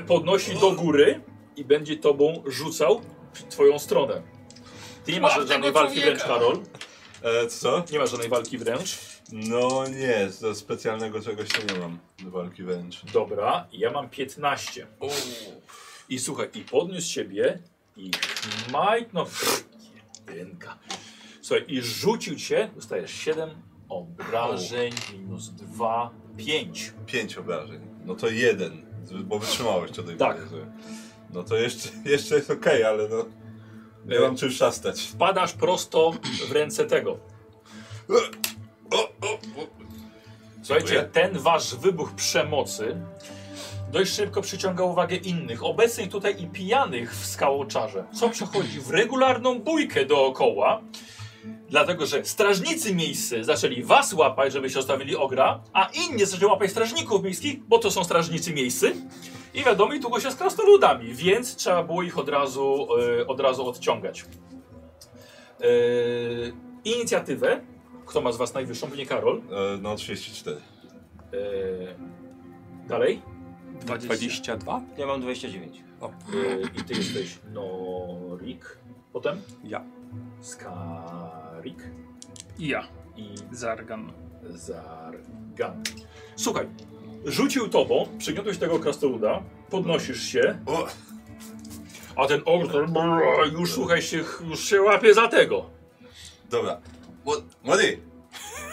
[SPEAKER 1] podnosi do góry i będzie tobą rzucał w twoją stronę. Ty nie masz
[SPEAKER 5] Łap
[SPEAKER 1] żadnej
[SPEAKER 5] tego
[SPEAKER 1] walki wręcz,
[SPEAKER 5] człowieka!
[SPEAKER 1] Karol.
[SPEAKER 4] E, co?
[SPEAKER 1] Nie masz żadnej walki wręcz.
[SPEAKER 4] No nie, do specjalnego czegoś tu nie mam do walki wręcz.
[SPEAKER 1] Dobra, ja mam 15. I słuchaj, i podniósł ciebie i maj, no jedynka. Słuchaj, i rzucił cię, dostajesz 7 obrażeń, minus 2, 5.
[SPEAKER 4] Pięć obrażeń. No to jeden, bo wytrzymałeś to do
[SPEAKER 1] Tak.
[SPEAKER 4] imprezy. No to jeszcze, jeszcze jest okej, ale no... Nie mam czym szastać.
[SPEAKER 1] Padasz prosto w ręce tego. Słuchajcie,
[SPEAKER 4] Dziękuję.
[SPEAKER 1] ten wasz wybuch przemocy dość szybko przyciąga uwagę innych, obecnych tutaj i pijanych w skałoczarze, co przechodzi w regularną bójkę dookoła, dlatego że strażnicy miejscy zaczęli was łapać, żeby się ostawili ogra, a inni zaczęli łapać strażników miejskich, bo to są strażnicy miejscy. I wiadomo, i długo się z krasnoludami, więc trzeba było ich od razu, e, od razu odciągać. E, inicjatywę, kto ma z was najwyższą, nie Karol.
[SPEAKER 4] E, no 34.
[SPEAKER 1] E, dalej.
[SPEAKER 5] 20.
[SPEAKER 3] 22?
[SPEAKER 2] Ja mam 29.
[SPEAKER 1] E, I ty jesteś Norik. Potem
[SPEAKER 3] Ja.
[SPEAKER 1] Skarik
[SPEAKER 5] I ja,
[SPEAKER 1] i
[SPEAKER 5] Zargan.
[SPEAKER 1] Zargan. Słuchaj, rzucił tobą, przygniotłeś tego krasnoluda, podnosisz się,
[SPEAKER 4] O!
[SPEAKER 1] a ten ogr to brrr, już słuchaj się, już się łapie za tego.
[SPEAKER 4] Dobra. Mł- Młody!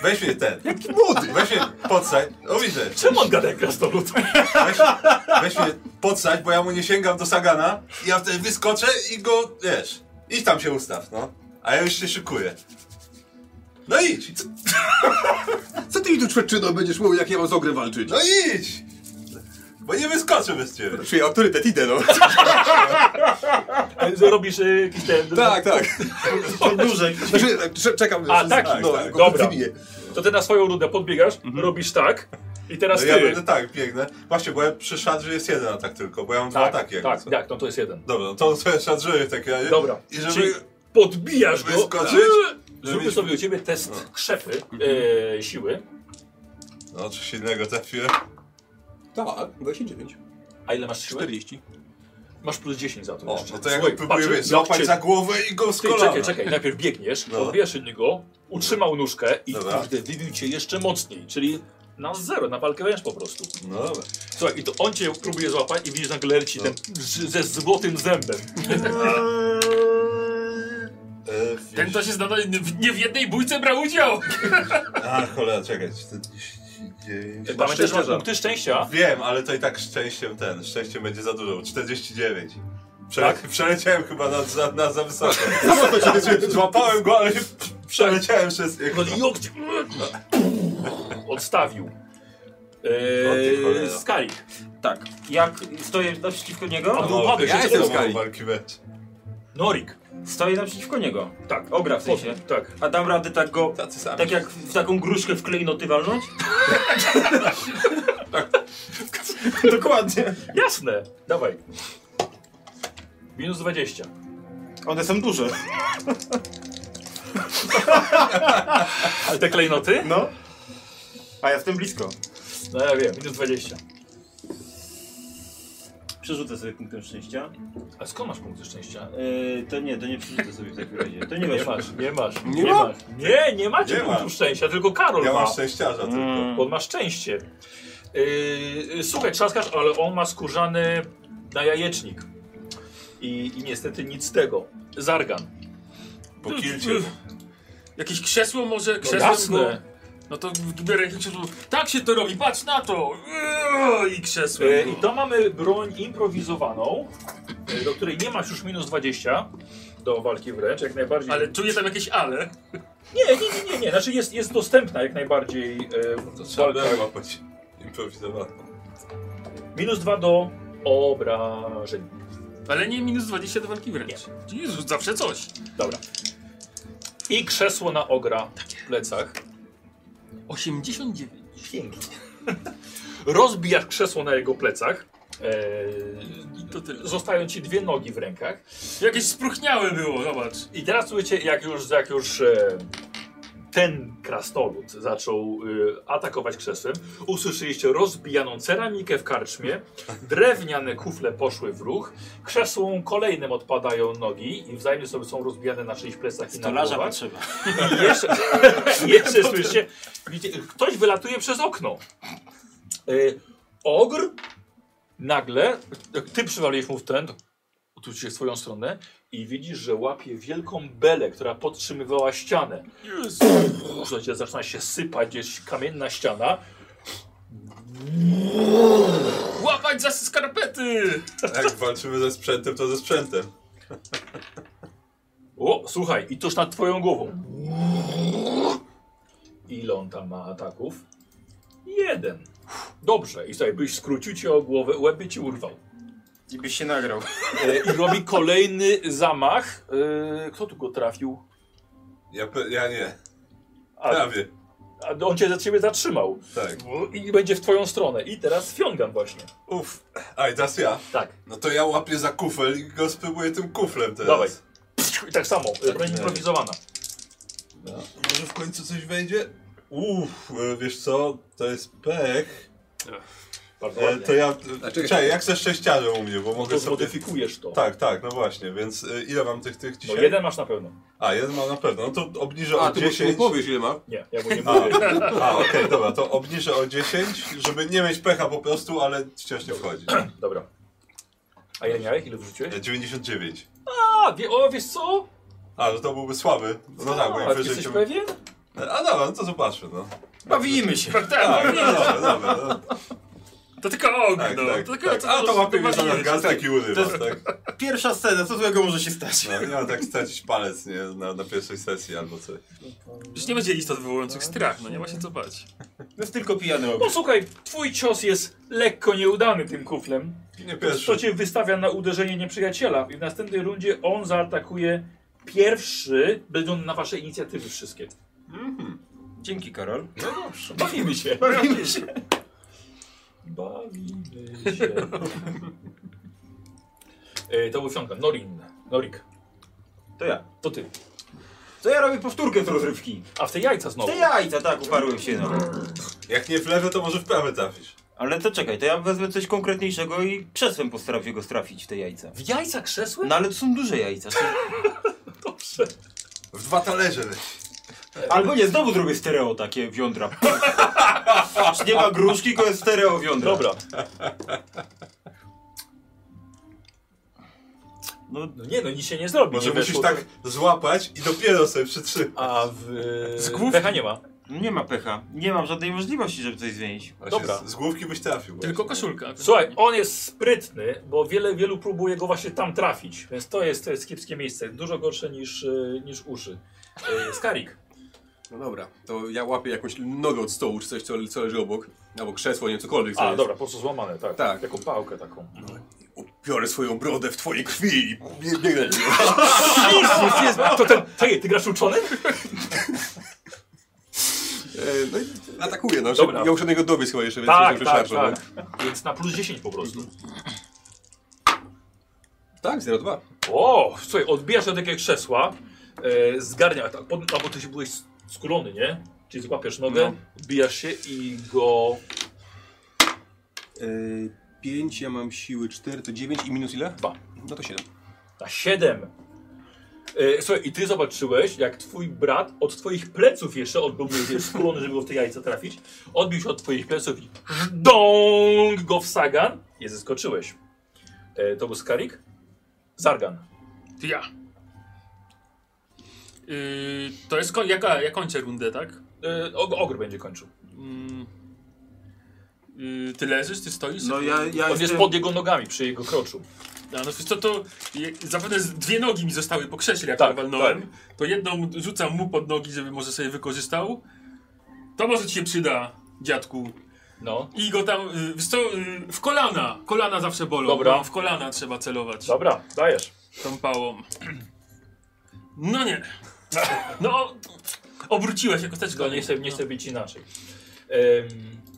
[SPEAKER 4] Weź mnie ten. Młody! Weź mnie podsadź. No widzę.
[SPEAKER 1] Czemu tak? on gada jak krasnolud?
[SPEAKER 4] Weź, weź mnie podsadź, bo ja mu nie sięgam do Sagana. I ja wtedy wyskoczę i go, wiesz, idź tam się ustaw, no. A ja już się szykuję. No idź!
[SPEAKER 3] Co ty mi tu czweczyno będziesz mówił, jak ja mam z ogrem walczyć?
[SPEAKER 4] No idź! Bo nie wyskoczę bez ciebie.
[SPEAKER 3] Czyli autorytet idę, no.
[SPEAKER 1] Robisz e, jakiś ten...
[SPEAKER 3] tak, tak.
[SPEAKER 2] Podnóżek.
[SPEAKER 3] Znaczy, tak, cze- czekam.
[SPEAKER 1] A, taki,
[SPEAKER 3] no,
[SPEAKER 4] tak, Mhm.
[SPEAKER 3] tylko
[SPEAKER 1] dobra.
[SPEAKER 3] wybiję.
[SPEAKER 1] To ty na swoją rundę podbiegasz, robisz tak i teraz
[SPEAKER 4] No
[SPEAKER 1] ty.
[SPEAKER 4] ja będę tak, biegnę. Właśnie, bo ja przy szadrze jest jeden atak tylko, bo ja mam
[SPEAKER 1] tak,
[SPEAKER 4] dwa ataki. jakby
[SPEAKER 1] tak,
[SPEAKER 4] co.
[SPEAKER 1] tak, no to jest jeden.
[SPEAKER 4] Dobra, no to sobie szadrzyję w takim razie.
[SPEAKER 1] Dobra.
[SPEAKER 4] I żeby...
[SPEAKER 1] Czyli podbijasz go. Eee,
[SPEAKER 4] wyskoczyć,
[SPEAKER 1] Zróbmy
[SPEAKER 4] żeby-
[SPEAKER 1] sobie u ciebie test krzepy
[SPEAKER 4] Mhm.
[SPEAKER 1] e, siły.
[SPEAKER 4] No, czy silnego trafiłem?
[SPEAKER 3] Tak, 29.
[SPEAKER 1] A ile masz siły?
[SPEAKER 3] 40.
[SPEAKER 1] Masz plus 10 za to
[SPEAKER 4] O,
[SPEAKER 1] jeszcze.
[SPEAKER 4] no to ja go
[SPEAKER 1] Słuchaj,
[SPEAKER 4] próbuję
[SPEAKER 1] patrzę,
[SPEAKER 4] wiesz, złapać
[SPEAKER 1] jak
[SPEAKER 4] za głowę i go z
[SPEAKER 1] Ty,
[SPEAKER 4] kolana.
[SPEAKER 1] czekaj, czekaj, najpierw biegniesz,
[SPEAKER 4] No.
[SPEAKER 1] odbijasz innego, utrzymał nóżkę i
[SPEAKER 4] Dobra.
[SPEAKER 1] kurde, wybił cię jeszcze mocniej, czyli na zero, na walkę wręcz po prostu.
[SPEAKER 4] No dobra.
[SPEAKER 1] Słuchaj, i to on cię próbuje złapać i widzisz nagle leci
[SPEAKER 4] No.
[SPEAKER 1] ten z- ze złotym zębem.
[SPEAKER 4] E,
[SPEAKER 5] Ten to się zna, nie w jednej bójce brał udział!
[SPEAKER 4] A, cholera, czekaj, 49...
[SPEAKER 1] Pamiętaj, że masz
[SPEAKER 3] szczęścia.
[SPEAKER 1] punkty szczęścia.
[SPEAKER 4] Wiem, ale to i tak szczęściem ten, szczęściem będzie za dużo, 49. Prze
[SPEAKER 1] Tak? No
[SPEAKER 4] Przeleciałem chyba na, za, na za wysoko. Znaczy, Złapałem go, ale się przeleciałem przez niego.
[SPEAKER 1] No i Jok cię odstawił.
[SPEAKER 4] O ty
[SPEAKER 1] Eee,
[SPEAKER 4] cholera.
[SPEAKER 1] Skalik.
[SPEAKER 2] Tak. Jak stoję naprzeciwko niego?
[SPEAKER 1] No, upadłeś,
[SPEAKER 3] ja jestem
[SPEAKER 1] upadłeś.
[SPEAKER 3] Skali.
[SPEAKER 4] walki mecz.
[SPEAKER 1] Norik.
[SPEAKER 2] Stoję naprzeciwko niego.
[SPEAKER 1] Tak.
[SPEAKER 2] Ogra w sensie.
[SPEAKER 1] Tak.
[SPEAKER 2] A dam radę tak go.
[SPEAKER 3] Tacy sami.
[SPEAKER 2] Tak jak w taką gruszkę w klejnoty walnąć? Tak. Dokładnie.
[SPEAKER 1] Jasne. Dawaj. Minus 20.
[SPEAKER 2] One są duże.
[SPEAKER 1] Ale te klejnoty?
[SPEAKER 2] No. A ja jestem blisko.
[SPEAKER 1] No ja wiem, minus 20.
[SPEAKER 2] Przerzucę sobie punktem szczęścia.
[SPEAKER 1] A skąd masz punkty szczęścia?
[SPEAKER 2] Yy, to nie, to nie przerzucę sobie w takim razie. To nie wiesz.
[SPEAKER 1] masz, nie masz.
[SPEAKER 3] Nie ma?
[SPEAKER 1] masz. Nie, nie macie
[SPEAKER 4] Nie
[SPEAKER 1] punktu
[SPEAKER 4] ma.
[SPEAKER 1] szczęścia, tylko Karol
[SPEAKER 4] Ja
[SPEAKER 1] ma.
[SPEAKER 4] mam szczęściarza
[SPEAKER 2] Mm.
[SPEAKER 4] tylko.
[SPEAKER 1] Bo on ma szczęście. Yy, Yy, słuchaj, trzaskasz, ale on ma skórzany na jajecznik. I, I niestety nic z tego. Zargan.
[SPEAKER 4] Po kilcie.
[SPEAKER 5] Jakieś krzesło może?
[SPEAKER 1] No
[SPEAKER 5] Krzesło
[SPEAKER 1] jasne.
[SPEAKER 5] No to biorę jakieś krzesło. Tak się to robi, patrz na to! Yy, I krzesło.
[SPEAKER 1] E, I to mamy broń improwizowaną, e, do której nie masz już minus 20 do walki wręcz, jak najbardziej.
[SPEAKER 5] Ale czuję tam jakieś ale.
[SPEAKER 1] Nie, nie, nie, nie, nie. Znaczy jest, jest dostępna jak najbardziej. E,
[SPEAKER 4] To trzeba
[SPEAKER 1] walka.
[SPEAKER 4] było łapać. Improwizowaną.
[SPEAKER 1] Minus 2 do obrażeń.
[SPEAKER 5] Ale nie minus 20 do walki wręcz. Jezus, zawsze coś.
[SPEAKER 1] Dobra. I krzesło na ogra w plecach.
[SPEAKER 5] 89.
[SPEAKER 1] Pięknie. Rozbijasz krzesło na jego plecach. E,
[SPEAKER 5] To tyle.
[SPEAKER 1] zostają ci dwie nogi w rękach.
[SPEAKER 5] Jakieś spruchniałe było, zobacz.
[SPEAKER 1] I teraz słuchajcie, jak już, jak już e, ten krasnolud zaczął e, atakować krzesłem, usłyszeliście rozbijaną ceramikę w karczmie, drewniane kufle poszły w ruch, krzesłom kolejnym odpadają nogi i wzajemnie sobie są rozbijane na czyichś plecach i na
[SPEAKER 2] Stolarza
[SPEAKER 1] głowach.
[SPEAKER 2] potrzeba.
[SPEAKER 1] I jeszcze, jeszcze słyszycie, widzicie, ktoś wylatuje przez okno. Y, ogr nagle, jak ty przywaliłeś mu w ten, tu się w swoją stronę i widzisz, że łapie wielką belę, która podtrzymywała ścianę. Słuchajcie, zaczyna się sypać gdzieś kamienna ściana.
[SPEAKER 5] Łapać za skarpety!
[SPEAKER 4] Jak walczymy ze sprzętem, to ze sprzętem.
[SPEAKER 1] O, słuchaj, i tuż nad twoją głową. Ile on tam ma ataków? Jeden. Dobrze, i sobie byś skrócił cię o głowę, łeb by ci urwał.
[SPEAKER 2] I byś się nagrał.
[SPEAKER 1] E, I robi kolejny zamach. E, kto tu go trafił?
[SPEAKER 4] Ja, pe- ja nie.
[SPEAKER 1] A,
[SPEAKER 4] Prawie.
[SPEAKER 1] a on cię za ciebie zatrzymał.
[SPEAKER 4] Tak.
[SPEAKER 1] I będzie w twoją stronę. I teraz Fiongan właśnie.
[SPEAKER 4] Uff. A i teraz ja.
[SPEAKER 1] Tak.
[SPEAKER 4] No to ja łapię za kufel i go spróbuję tym kuflem teraz.
[SPEAKER 1] Dawaj. I tak samo, e, broń
[SPEAKER 4] nie.
[SPEAKER 1] improwizowana.
[SPEAKER 4] No. Może w końcu coś wejdzie? Uff, e, wiesz co? To jest pech.
[SPEAKER 1] Bardzo
[SPEAKER 4] E,
[SPEAKER 1] ładnie.
[SPEAKER 4] to ja...
[SPEAKER 3] A czekaj.
[SPEAKER 4] Czekaj, jak ze szczęściarzem u mnie, bo mogę
[SPEAKER 1] To
[SPEAKER 4] sobie...
[SPEAKER 1] zmodyfikujesz to.
[SPEAKER 4] Tak, tak, no właśnie, więc e, ile mam tych, tych
[SPEAKER 1] No
[SPEAKER 4] dzisiaj?
[SPEAKER 1] jeden masz na pewno.
[SPEAKER 4] A, jeden mam na pewno, no to obniżę
[SPEAKER 3] A,
[SPEAKER 4] o
[SPEAKER 3] ty mu-
[SPEAKER 4] 10.
[SPEAKER 3] mu powiesz ile ma.
[SPEAKER 1] Nie, ja mu nie
[SPEAKER 4] A,
[SPEAKER 1] mówię.
[SPEAKER 4] a okej, dobra, to obniżę o 10, żeby nie mieć pecha po prostu, ale wciąż nie wchodzi.
[SPEAKER 1] Dobra. A ile miałeś? Ile wrzuciłeś?
[SPEAKER 4] E, 99.
[SPEAKER 1] A, wie, o, wiesz co?
[SPEAKER 4] A, że to byłby słaby. No tak, bo
[SPEAKER 1] A,
[SPEAKER 4] jak wyżej
[SPEAKER 1] jesteś
[SPEAKER 4] cię...
[SPEAKER 1] pewien?
[SPEAKER 4] A dobra, no to zobaczmy, no.
[SPEAKER 2] Bawimy się.
[SPEAKER 5] Tak,
[SPEAKER 4] No dobra, dobra. No,
[SPEAKER 5] to tylko ogno.
[SPEAKER 4] tak, tak,
[SPEAKER 5] to tylko,
[SPEAKER 4] tak. A to łapie mnie za
[SPEAKER 5] zobaczymy.
[SPEAKER 4] nogę, taki urywa, tak.
[SPEAKER 2] Pierwsza scena, co złego może się stać?
[SPEAKER 4] No, nie ma tak stracić palec, nie, na, na pierwszej sesji albo coś.
[SPEAKER 5] Już nie będzie istot wywołujących strach, no nie ma się co bać.
[SPEAKER 2] To jest tylko pijany
[SPEAKER 1] No
[SPEAKER 2] obóz.
[SPEAKER 1] słuchaj, twój cios jest lekko nieudany tym kuflem.
[SPEAKER 4] Nie
[SPEAKER 1] To
[SPEAKER 4] pierwszy.
[SPEAKER 1] cię wystawia na uderzenie nieprzyjaciela i w następnej rundzie on zaatakuje pierwszy, będą na wasze inicjatywy wszystkie.
[SPEAKER 2] Dzięki, Karol.
[SPEAKER 1] Bawimy się.
[SPEAKER 2] Bawimy się.
[SPEAKER 1] Bawimy się. e, to był Fionka. Norin. Norik.
[SPEAKER 2] To ja.
[SPEAKER 1] To ty.
[SPEAKER 2] To ja robię powtórkę z rozrywki.
[SPEAKER 1] A w te jajca znowu.
[SPEAKER 2] Te jajca, tak, uparłem się, no.
[SPEAKER 4] Jak nie w lewe, to może w prawe trafisz.
[SPEAKER 2] Ale to czekaj, to ja wezmę coś konkretniejszego i krzesłem postaram się go strafić, w te jajca.
[SPEAKER 1] W jajca krzesłem?
[SPEAKER 2] No ale to są duże jajca.
[SPEAKER 1] Dobrze.
[SPEAKER 4] W dwa talerze leci.
[SPEAKER 2] Albo nie, znowu zrobię stereo takie wiądra. Aż nie ma gruszki, tylko jest stereo wiądra.
[SPEAKER 1] Dobra.
[SPEAKER 2] No,
[SPEAKER 1] No nie, no nic się nie zrobi.
[SPEAKER 4] Może
[SPEAKER 1] nie
[SPEAKER 4] musisz
[SPEAKER 1] weszło.
[SPEAKER 4] tak złapać i dopiero sobie przytrzymać.
[SPEAKER 1] A w...
[SPEAKER 5] Z głów-
[SPEAKER 1] Pecha nie ma.
[SPEAKER 2] nie ma pecha. Nie mam żadnej możliwości, żeby coś zmienić.
[SPEAKER 4] Właśnie
[SPEAKER 1] dobra.
[SPEAKER 4] Z, z główki byś trafił.
[SPEAKER 5] Tylko
[SPEAKER 4] właśnie.
[SPEAKER 5] koszulka.
[SPEAKER 1] Słuchaj, on jest sprytny, bo wiele, wielu próbuje go właśnie tam trafić. Więc to jest, to jest kiepskie miejsce. Dużo gorsze niż, e, niż uszy. E, Skarik.
[SPEAKER 3] No dobra, to ja łapię jakąś nogę od stołu, czy coś, co, co leży obok. Albo krzesło, nie wiem, cokolwiek, co
[SPEAKER 1] A,
[SPEAKER 3] jest.
[SPEAKER 1] dobra, po prostu złamane, tak.
[SPEAKER 3] Tak.
[SPEAKER 1] Jako pałkę taką.
[SPEAKER 3] Upiorę swoją brodę w twojej krwi i bie- biegnę. do niego.
[SPEAKER 1] Jezus, jest, to ten, hej, ty grasz uczonym?
[SPEAKER 3] E, No i atakuję, no.
[SPEAKER 1] Dobra.
[SPEAKER 3] Dobra. Ja muszę do niego dobiec chyba jeszcze, więc
[SPEAKER 1] Tak,
[SPEAKER 3] muszę
[SPEAKER 1] tak,
[SPEAKER 3] szarżą, no.
[SPEAKER 1] tak. Więc na plus 10 po prostu.
[SPEAKER 3] Tak, 0,2.
[SPEAKER 1] O, słuchaj, odbijasz od takiego krzesła, e, zgarnia, tak, pod, albo ty się byłeś skulony, nie? Czyli złapiesz
[SPEAKER 3] No.
[SPEAKER 1] nogę, odbijasz się i go...
[SPEAKER 3] 5, E, ja mam siły 4, to 9 i minus ile?
[SPEAKER 1] Dwa.
[SPEAKER 3] No to 7.
[SPEAKER 1] Na 7. E, słuchaj, i ty zobaczyłeś, jak twój brat od twoich pleców jeszcze odbił się skulony, żeby go w te jajce trafić. Odbił się od twoich pleców i żdąg go w sagan. Je zeskoczyłeś. E, to był Skarik? Zargan.
[SPEAKER 5] Ty ja. Yy, to jest koń, jaka, ja kończę rundę, tak?
[SPEAKER 1] E, og ogr będzie kończył.
[SPEAKER 5] Mm. Yy, ty leżysz, ty stoisz?
[SPEAKER 2] No ja, ja
[SPEAKER 1] On jest
[SPEAKER 2] jestem...
[SPEAKER 1] pod jego nogami, przy jego kroczu.
[SPEAKER 5] A, no to, to je, zapewne z- dwie nogi mi zostały po krześle, jak
[SPEAKER 1] Tak,
[SPEAKER 5] tak, walnąłem. To jedną rzucam mu pod nogi, żeby może sobie wykorzystał. To może ci się przyda, dziadku.
[SPEAKER 1] No.
[SPEAKER 5] I go tam, y, wiesz co, y, w kolana. Kolana zawsze bolą.
[SPEAKER 1] Dobra.
[SPEAKER 5] No, w kolana trzeba celować
[SPEAKER 1] Dobra, dajesz.
[SPEAKER 5] tą pałą. No nie. No, obróciłeś jako
[SPEAKER 1] No,
[SPEAKER 5] teczko.
[SPEAKER 1] nie chcę, nie chcę być inaczej. Em,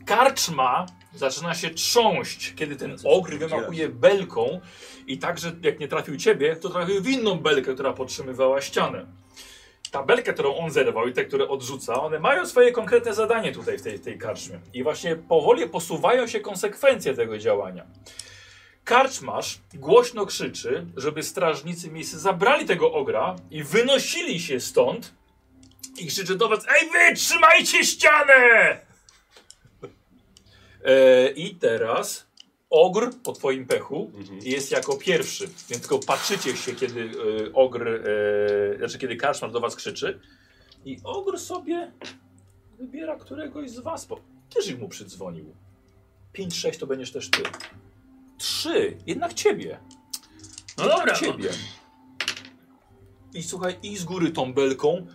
[SPEAKER 1] karczma zaczyna się trząść, kiedy ten ogr wymachuje belką i także jak nie trafił ciebie, to trafił w inną belkę, która podtrzymywała ścianę. Ta belka, którą on zerwał i te, które odrzuca, one mają swoje konkretne zadanie tutaj w tej, tej karczmie. I właśnie powoli posuwają się konsekwencje tego działania. Karczmarz głośno krzyczy, żeby strażnicy miejscy zabrali tego ogra i wynosili się stąd, i krzyczy do was, ej wy, trzymajcie ścianę! E, I teraz ogr po twoim pechu jest jako pierwszy, więc tylko patrzycie się, kiedy e, ogr, e, znaczy kiedy karczmarz do was krzyczy i ogr sobie wybiera któregoś z was, bo też im mu przydzwonił. 5-6 to będziesz też ty. 3, jednak ciebie.
[SPEAKER 5] No dobra. No.
[SPEAKER 1] Ciebie. I słuchaj, i z góry tą belką,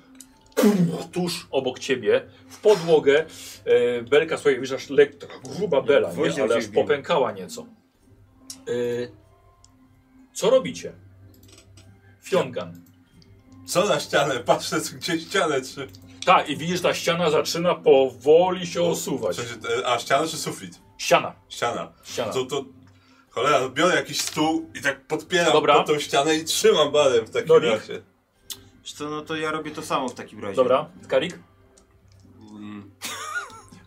[SPEAKER 1] tuż obok ciebie, w podłogę, e, belka, słuchaj, wiesz, aż lek, taka gruba bela, nie?
[SPEAKER 2] gwoździem
[SPEAKER 1] ale
[SPEAKER 2] się
[SPEAKER 1] aż
[SPEAKER 2] wbiło.
[SPEAKER 1] popękała nieco. E, co robicie? Fiongan.
[SPEAKER 4] Co na ścianę? Patrzę, co- gdzie ścianę czy...
[SPEAKER 1] Tak, i widzisz, ta ściana zaczyna powoli się osuwać.
[SPEAKER 4] Coś, e, a ściana czy sufit?
[SPEAKER 1] Ściana,
[SPEAKER 4] Ściana.
[SPEAKER 1] ściana.
[SPEAKER 4] To, to... Cholera, no biorę jakiś stół i tak podpieram
[SPEAKER 1] Dobra.
[SPEAKER 4] pod tą ścianę i trzymam barem w takim
[SPEAKER 1] Dolik.
[SPEAKER 4] razie.
[SPEAKER 2] Wiesz Co, no to ja robię to samo w takim razie.
[SPEAKER 1] Dobra, Karik?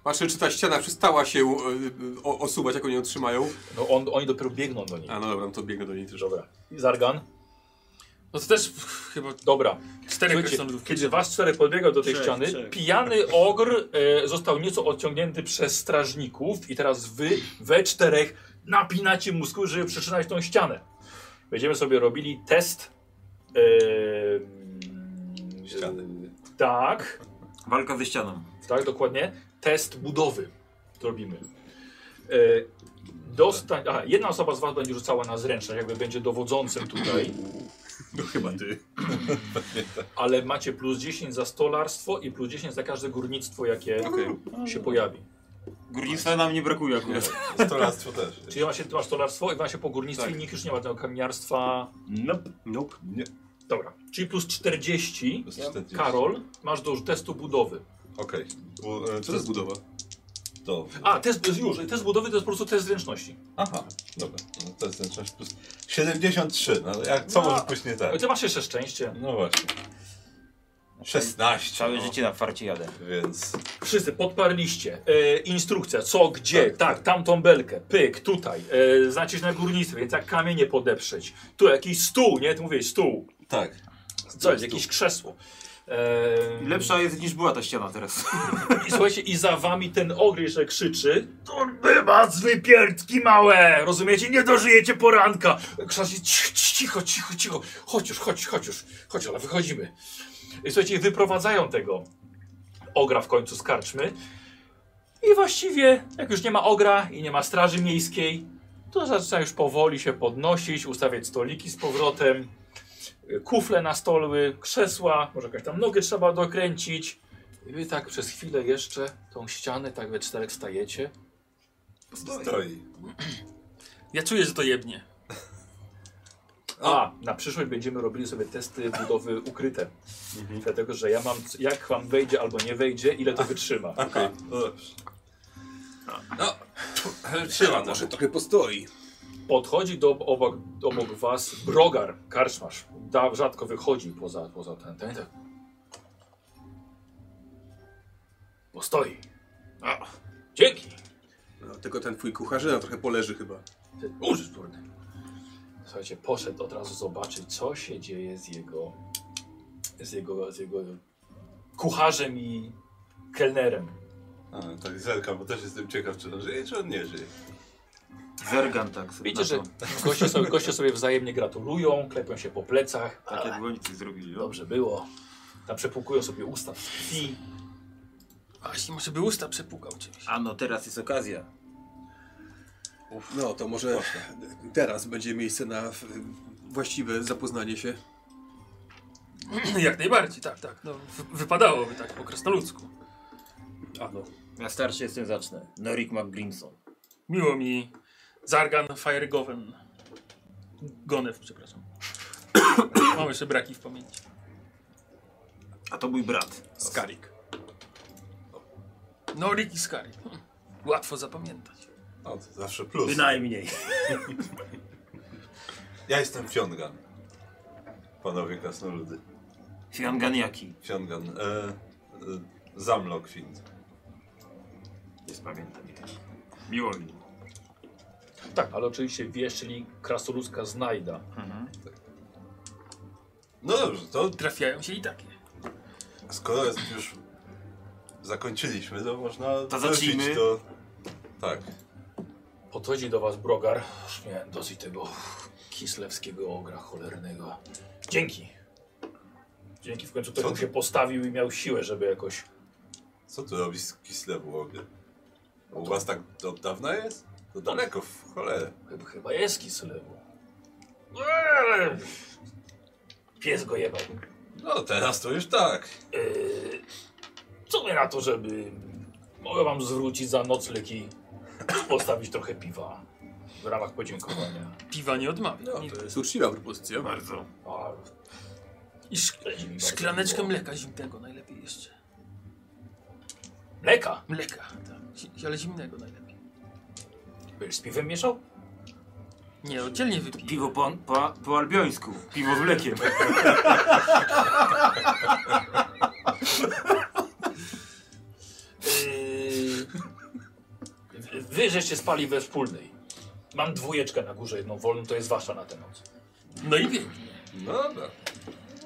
[SPEAKER 3] Patrzę, czy ta ściana przestała się e, e, o- osuwać, jak oni ją trzymają.
[SPEAKER 1] No on, oni dopiero biegną do niej.
[SPEAKER 3] A no dobra, no to biegnę do niej też.
[SPEAKER 1] Dobra. Zargan?
[SPEAKER 5] no to też pff, chyba
[SPEAKER 1] Dobra.
[SPEAKER 5] czterech
[SPEAKER 1] Słuchajcie,
[SPEAKER 5] krasnoludów.
[SPEAKER 1] kiedy wasz czterech podbiegał do tej
[SPEAKER 2] Trzech,
[SPEAKER 1] ściany,
[SPEAKER 2] trzech.
[SPEAKER 1] pijany ogr e, został nieco odciągnięty przez strażników i teraz wy we czterech napinacie mózgu, żeby przytrzymać tą ścianę. Będziemy sobie robili test e, mm,
[SPEAKER 4] Ściany.
[SPEAKER 1] Tak,
[SPEAKER 2] Walka ze ścianą.
[SPEAKER 1] tak, dokładnie. Test budowy robimy. E, dostań, aha, jedna osoba z was będzie rzucała na zręczność, jakby będzie dowodzącym tutaj.
[SPEAKER 3] No chyba ty.
[SPEAKER 1] ale macie plus 10 za stolarstwo i plus 10 za każde górnictwo, jakie się pojawi.
[SPEAKER 2] Górnictwa nam nie brakuje akurat.
[SPEAKER 4] Stolarstwo też.
[SPEAKER 1] Czyli masz, masz stolarstwo i masz się po górnictwie i nikt już nie ma tego kamieniarstwa.
[SPEAKER 3] No,
[SPEAKER 2] Nope.
[SPEAKER 3] Nope.
[SPEAKER 4] Nie,
[SPEAKER 1] Dobra, czyli plus 40.
[SPEAKER 4] to jest 40.
[SPEAKER 1] Karol, masz do testu budowy.
[SPEAKER 4] Okej. Bu- e,
[SPEAKER 3] Co to jest budowa?
[SPEAKER 4] To.
[SPEAKER 1] A, test już, test budowy to jest po prostu test zręczności.
[SPEAKER 4] Aha, dobra. No to jest ten 6 plus 73. No jak, co
[SPEAKER 1] No.
[SPEAKER 4] może pójść nie tak?
[SPEAKER 1] Ty masz jeszcze szczęście.
[SPEAKER 4] No właśnie. 16.
[SPEAKER 2] Całe
[SPEAKER 4] no.
[SPEAKER 2] życie na farcie jadę.
[SPEAKER 4] Więc
[SPEAKER 1] Wszyscy podparliście. E, instrukcja, co, gdzie, tak, tamtą belkę, pyk, tutaj. E, znacie się na górnictwie, więc jak kamienie podeprzeć. Tu jakiś stół, nie? Ty mówisz stół.
[SPEAKER 4] tak.
[SPEAKER 1] Co jest, jakieś krzesło. E,
[SPEAKER 2] Lepsza jest niż była ta ściana teraz.
[SPEAKER 1] I słuchajcie, i za wami ten ogry jeszcze krzyczy. Torby was wypiertki małe! Rozumiecie? Nie dożyjecie poranka! Krzacie, "Cii- cii- cicho, cicho, cicho. Chodź już, chodź, chodź już. Chodź, ale wychodzimy. I słuchajcie, wyprowadzają tego ogra w końcu z karczmy. I właściwie, jak już nie ma ogra i nie ma straży miejskiej, to zaczyna już powoli się podnosić, ustawiać stoliki z powrotem, kufle na stoły, krzesła, może jakaś tam nogę trzeba dokręcić. I wy tak przez chwilę jeszcze tą ścianę tak we czterech stajecie.
[SPEAKER 4] Stoi.
[SPEAKER 5] Ja czuję, że to jebnie.
[SPEAKER 1] A, na przyszłość będziemy robili sobie testy budowy ukryte. Dlatego, że ja mam, jak wam wejdzie albo nie wejdzie, ile to wytrzyma.
[SPEAKER 4] Okej, no dobrze.
[SPEAKER 3] Trzeba, może trochę postoi.
[SPEAKER 1] Podchodzi do, obok, obok was brogar, karczmasz. Da, rzadko wychodzi poza, poza ten, ten, ten. Bo stoi. A, dzięki.
[SPEAKER 3] No, tylko ten twój kucharzyna trochę poleży chyba.
[SPEAKER 1] Użyć burny. Słuchajcie, poszedł od razu zobaczyć, co się dzieje z jego, z jego, z jego kucharzem i kelnerem.
[SPEAKER 4] A, tak zerkam, bo też jestem ciekaw, czy on żyje, czy on nie żyje.
[SPEAKER 2] Zergan tak sobie
[SPEAKER 1] Widzicie,
[SPEAKER 2] na
[SPEAKER 1] że
[SPEAKER 2] to.
[SPEAKER 1] goście sobie, goście sobie wzajemnie gratulują, klepią się po plecach.
[SPEAKER 2] Tak jakby oni coś zrobili. no.
[SPEAKER 1] Dobrze było. Tam przepłukują sobie usta z krwi.
[SPEAKER 5] A jeśli może by usta przepukał czymś.
[SPEAKER 2] A no teraz jest okazja.
[SPEAKER 3] No to może teraz będzie miejsce na w- właściwe zapoznanie się.
[SPEAKER 5] Jak najbardziej, tak, tak. No, wy- wypadałoby tak po krasnoludzku.
[SPEAKER 3] A no.
[SPEAKER 2] Ja starszy jestem, zacznę. Norik McGrimson.
[SPEAKER 5] Miło mi. Zargan Firegoven. Gonew, przepraszam. Mam jeszcze braki w pamięci.
[SPEAKER 2] A to mój brat.
[SPEAKER 3] Skarik.
[SPEAKER 5] Norik i Skari. Hm. Łatwo zapamiętać.
[SPEAKER 4] No, to zawsze plus.
[SPEAKER 2] Bynajmniej.
[SPEAKER 4] Ja jestem Fiongan. Panowie krasnoludy.
[SPEAKER 2] Fianganiaki.
[SPEAKER 4] Fiongan. E, e, Zamlok Find.
[SPEAKER 2] Jest pamiętam i tak. Miło mi.
[SPEAKER 1] Tak, ale oczywiście wiesz, czyli krasoludzka znajda.
[SPEAKER 4] No dobrze, to
[SPEAKER 5] Trafiają się i takie.
[SPEAKER 4] skoro jest już zakończyliśmy, to można
[SPEAKER 2] To zacznijmy.
[SPEAKER 4] wrócić do... Tak.
[SPEAKER 1] Podchodzi do was brogar. Już miałem dosyć tego kislewskiego ogra cholernego. Dzięki. Dzięki, w końcu ktoś
[SPEAKER 4] Co
[SPEAKER 1] mu
[SPEAKER 4] to?
[SPEAKER 1] się postawił i miał siłę, żeby jakoś...
[SPEAKER 4] Co tu robisz z Kislewu obie? U was tak od dawna jest? To daleko, w cholerę.
[SPEAKER 1] Chyba, chyba jest Kislewu. Eee, Pies go jebał.
[SPEAKER 4] No teraz to już tak.
[SPEAKER 1] Eee, Co my na to, żeby... Mogę wam zwrócić za nocleg i postawić trochę piwa w ramach podziękowania.
[SPEAKER 5] Piwa nie odmawia.
[SPEAKER 3] No to jest uczciwa propozycja.
[SPEAKER 2] Bardzo.
[SPEAKER 1] A,
[SPEAKER 5] I szk
[SPEAKER 1] będzie mi bardzo
[SPEAKER 5] szklaneczkę
[SPEAKER 1] miło.
[SPEAKER 5] mleka zimnego najlepiej jeszcze.
[SPEAKER 1] Mleka?
[SPEAKER 5] Mleka, tak. Zi- Ale zimnego najlepiej.
[SPEAKER 1] Będziesz z piwem mieszał?
[SPEAKER 5] Nie, oddzielnie wypiję.
[SPEAKER 2] Piwo po, po, po albiońsku. Piwo z mlekiem.
[SPEAKER 1] Yy, Wy żeście spali we wspólnej. Mam dwójeczkę na górze, jedną wolną, to jest wasza na tę noc.
[SPEAKER 5] No i pięknie.
[SPEAKER 4] No dobra.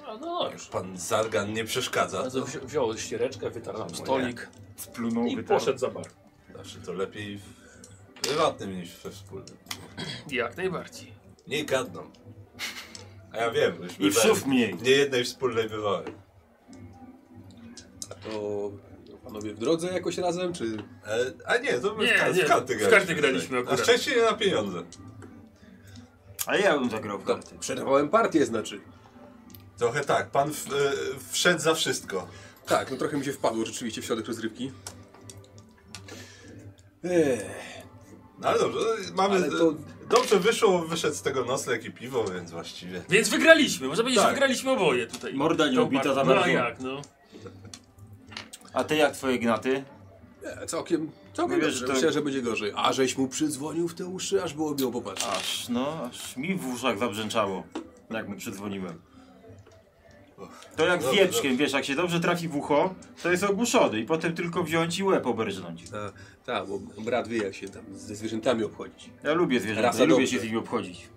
[SPEAKER 1] No, no,
[SPEAKER 5] Tak.
[SPEAKER 1] no już.
[SPEAKER 4] Pan Zargan nie przeszkadza.
[SPEAKER 1] Bardzo wzi- wziął ściereczkę, wytarł tam stolik
[SPEAKER 2] Splunął
[SPEAKER 1] i
[SPEAKER 2] wytarł.
[SPEAKER 1] poszedł za bar.
[SPEAKER 4] Zawsze to lepiej w prywatnym niż we wspólnym.
[SPEAKER 5] Jak najbardziej.
[SPEAKER 4] Nie gadną. A ja wiem, już
[SPEAKER 2] I
[SPEAKER 4] bywałem.
[SPEAKER 2] wszów mniej.
[SPEAKER 4] Nie jednej wspólnej bywałem.
[SPEAKER 3] To panowie w drodze jakoś razem, czy...
[SPEAKER 4] E, A nie, to my
[SPEAKER 5] Nie,
[SPEAKER 4] w, kar-
[SPEAKER 5] nie,
[SPEAKER 4] w karty
[SPEAKER 5] w
[SPEAKER 4] graliśmy.
[SPEAKER 5] karty graliśmy
[SPEAKER 4] tak.
[SPEAKER 5] akurat.
[SPEAKER 4] A wcześniej na pieniądze.
[SPEAKER 2] A ja bym zagrał w
[SPEAKER 3] No,
[SPEAKER 2] karty.
[SPEAKER 3] przerwałem partię, znaczy.
[SPEAKER 4] Trochę tak, pan w, e, wszedł za wszystko.
[SPEAKER 3] Tak, no trochę mi się wpadło rzeczywiście w środek rozrywki. Ech,
[SPEAKER 4] No ale dobrze, e, mamy...
[SPEAKER 3] Ale to-
[SPEAKER 4] e, Dobrze wyszło, wyszedł z tego nocleg i piwo, więc właściwie...
[SPEAKER 5] Więc wygraliśmy. Można powiedzieć,
[SPEAKER 4] Tak.
[SPEAKER 5] że wygraliśmy oboje tutaj.
[SPEAKER 2] Morda nie
[SPEAKER 5] Tą
[SPEAKER 2] obita
[SPEAKER 5] partię.
[SPEAKER 2] za
[SPEAKER 5] No a
[SPEAKER 2] bardzo.
[SPEAKER 5] jak, no.
[SPEAKER 2] A ty jak twoje gnaty?
[SPEAKER 3] e, całkiem, całkiem
[SPEAKER 2] Wiesz,
[SPEAKER 3] dobrze.
[SPEAKER 2] to-
[SPEAKER 3] Myślałem, że będzie gorzej. A żeś mu przydzwonił w te uszy, aż było miło popatrzeć.
[SPEAKER 2] Aż no, aż mi w uszach zabrzęczało, jak mu przydzwoniłem. To jak z
[SPEAKER 4] Dobrze,
[SPEAKER 2] jebczkiem, wiesz, jak się dobrze trafi w ucho, to jest ogłuszony i potem tylko wziąć i łeb oberżnąć.
[SPEAKER 3] A, tak, bo brat wie jak się tam ze zwierzętami obchodzić.
[SPEAKER 2] Ja lubię zwierzęta,
[SPEAKER 3] Rasa
[SPEAKER 2] ja lubię
[SPEAKER 3] dobrze.
[SPEAKER 2] się z nimi obchodzić.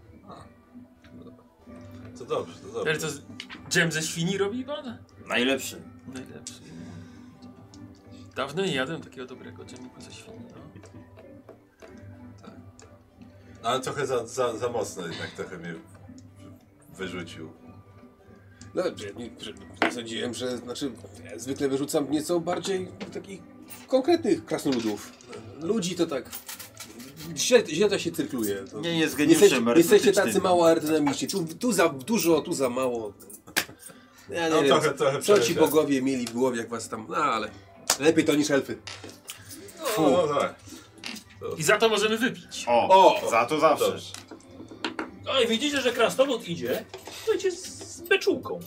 [SPEAKER 4] To dobrze, to dobrze.
[SPEAKER 5] Ale to z- dżem ze świni robi pan?
[SPEAKER 2] Najlepszy.
[SPEAKER 5] Najlepszy. Dawno nie jadłem takiego dobrego dżemiku ze świni. No.
[SPEAKER 4] No, ale trochę za, za, za mocno jednak trochę mnie wyrzucił.
[SPEAKER 3] No, że, że, że sądziłem, że znaczy, ja zwykle wyrzucam nieco bardziej takich konkretnych krasnoludów. Ludzi to tak. Źle, źle to się cyrkluje. To...
[SPEAKER 2] Nie jest
[SPEAKER 3] Jesteście,
[SPEAKER 2] geniuszem
[SPEAKER 3] jesteście
[SPEAKER 2] artystycznym.
[SPEAKER 3] tacy mało aerodynamiczni. Tu, tu za dużo, tu za mało. Ja nie
[SPEAKER 4] No
[SPEAKER 3] wiem,
[SPEAKER 4] trochę, trochę
[SPEAKER 3] co ci
[SPEAKER 4] przejeżdża.
[SPEAKER 3] bogowie mieli w głowie, jak was tam... No ale lepiej to niż elfy.
[SPEAKER 4] No, no, tak.
[SPEAKER 5] I za to możemy wypić.
[SPEAKER 2] O, za to zawsze.
[SPEAKER 4] Dobrze.
[SPEAKER 1] No i widzicie, że krasnolud idzie, słuchajcie, z beczułką.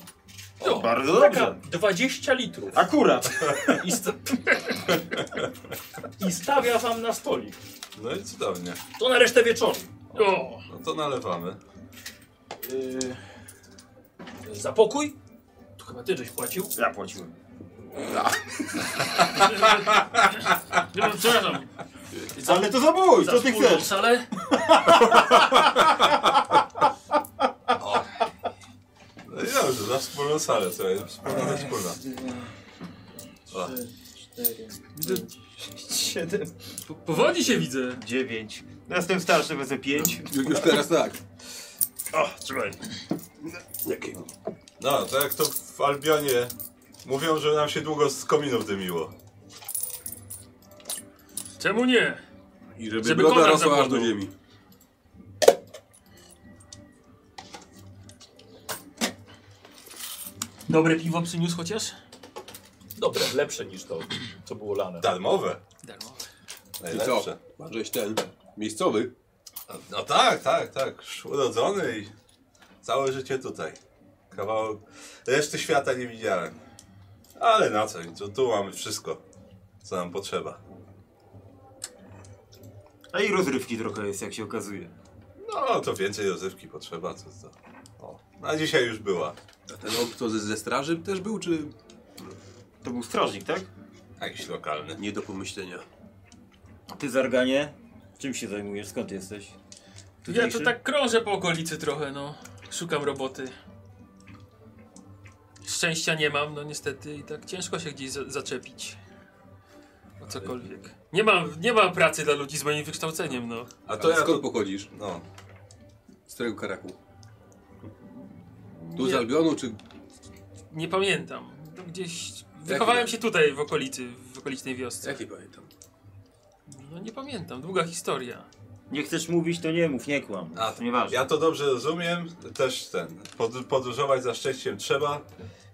[SPEAKER 2] O, bardzo
[SPEAKER 1] Taka
[SPEAKER 2] dobrze.
[SPEAKER 1] 20 litrów
[SPEAKER 2] Akurat.
[SPEAKER 1] i, st- i stawia wam na stolik.
[SPEAKER 4] No i cudownie.
[SPEAKER 1] To na resztę wieczoru.
[SPEAKER 5] O,
[SPEAKER 4] No to nalewamy.
[SPEAKER 2] Yy,
[SPEAKER 1] Za pokój? To chyba ty żeś płacił.
[SPEAKER 2] ja płaciłem.
[SPEAKER 5] nie wiem, przepraszam.
[SPEAKER 2] Ale to zabój,
[SPEAKER 1] Za
[SPEAKER 2] co ty
[SPEAKER 1] wspólną
[SPEAKER 2] chcesz?
[SPEAKER 1] salę?
[SPEAKER 4] No i dobrze, za wspólną salę, co jest wspólna, za wspólna. O,
[SPEAKER 2] 7,
[SPEAKER 5] Po- Powodzi się widzę.
[SPEAKER 2] 9. Ja no jestem starszy, wezmę 5.
[SPEAKER 3] Ju- Już teraz tak.
[SPEAKER 2] O, trzymaj.
[SPEAKER 3] Jakie?
[SPEAKER 4] No, to jak to w Albionie mówią, że nam się długo z kominów dymiło.
[SPEAKER 5] Czemu nie?
[SPEAKER 3] I żeby,
[SPEAKER 5] Żeby
[SPEAKER 3] broda
[SPEAKER 5] konar
[SPEAKER 3] rosła aż do
[SPEAKER 5] zabłodł.
[SPEAKER 3] ziemi.
[SPEAKER 5] Dobre piwo przyniósł chociaż?
[SPEAKER 1] Dobre, lepsze niż to, co było lane.
[SPEAKER 4] Darmowe.
[SPEAKER 5] Darmo.
[SPEAKER 3] I co?
[SPEAKER 4] Najlepsze.
[SPEAKER 3] Żeś ten miejscowy.
[SPEAKER 4] No tak, tak, tak. Urodzony i całe życie tutaj. Kawałek. Reszty świata nie widziałem. Ale na co? Tu, tu mamy wszystko, co nam potrzeba.
[SPEAKER 2] A No i rozrywki trochę jest, jak się okazuje.
[SPEAKER 4] No, to więcej rozrywki potrzeba, co to. O, a dzisiaj już była.
[SPEAKER 3] A ten ob, co ze, ze straży też był, czy
[SPEAKER 2] To był strażnik, tak?
[SPEAKER 4] Jakiś lokalny.
[SPEAKER 3] nie do pomyślenia?
[SPEAKER 2] A ty, Zarganie, czym się zajmujesz? Skąd ty jesteś?
[SPEAKER 5] Ja
[SPEAKER 2] Tutejszy?
[SPEAKER 5] to tak krążę po okolicy trochę, no. Szukam roboty. Szczęścia nie mam, no niestety, i tak ciężko się gdzieś za zaczepić. O cokolwiek. Nie ma, nie ma pracy dla ludzi z moim wykształceniem, no.
[SPEAKER 4] A
[SPEAKER 3] To
[SPEAKER 4] to ja
[SPEAKER 3] skąd
[SPEAKER 4] to...
[SPEAKER 3] pochodzisz?
[SPEAKER 4] No,
[SPEAKER 3] Z którego karaku? Tu z
[SPEAKER 5] Nie.
[SPEAKER 3] Albionu, czy
[SPEAKER 5] Nie pamiętam. To gdzieś. Wychowałem się tutaj w okolicy, w okolicznej wiosce.
[SPEAKER 3] jak nie pamiętam?
[SPEAKER 5] No nie pamiętam, długa historia.
[SPEAKER 2] Nie chcesz mówić, to nie mów, nie kłam.
[SPEAKER 4] A,
[SPEAKER 2] to nieważne.
[SPEAKER 4] Ja to dobrze rozumiem, też ten. Pod, podróżować za szczęściem trzeba.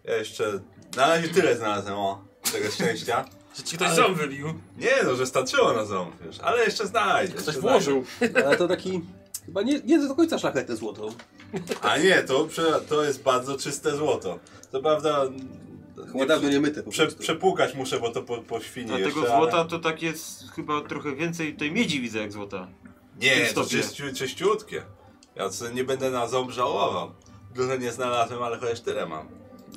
[SPEAKER 4] Ja jeszcze na razie tyle znalazłem o tego szczęścia.
[SPEAKER 5] Że ci ktoś ząb wybił.
[SPEAKER 4] Nie no, że starczyło na ząb już, ale jeszcze znajdę.
[SPEAKER 1] Ktoś
[SPEAKER 4] jeszcze
[SPEAKER 1] włożył.
[SPEAKER 3] Ale to taki chyba nie, nie do końca szlachetne złoto.
[SPEAKER 4] znajdę. A nie, to, prze- to jest bardzo czyste złoto. To prawda,
[SPEAKER 3] Chyba dawno nie myte po
[SPEAKER 4] prze,
[SPEAKER 3] prostu.
[SPEAKER 4] przepłukać muszę, bo to po, po świni
[SPEAKER 2] Dlatego
[SPEAKER 4] jeszcze, ale-
[SPEAKER 2] złota to tak jest chyba trochę więcej tej miedzi widzę jak złota.
[SPEAKER 4] Nie,
[SPEAKER 2] tym
[SPEAKER 4] to
[SPEAKER 2] stopie.
[SPEAKER 4] czyści, czyściutkie. Ja sobie nie będę na ząb żałował. Dużo nie znalazłem, ale chociaż tyle mam.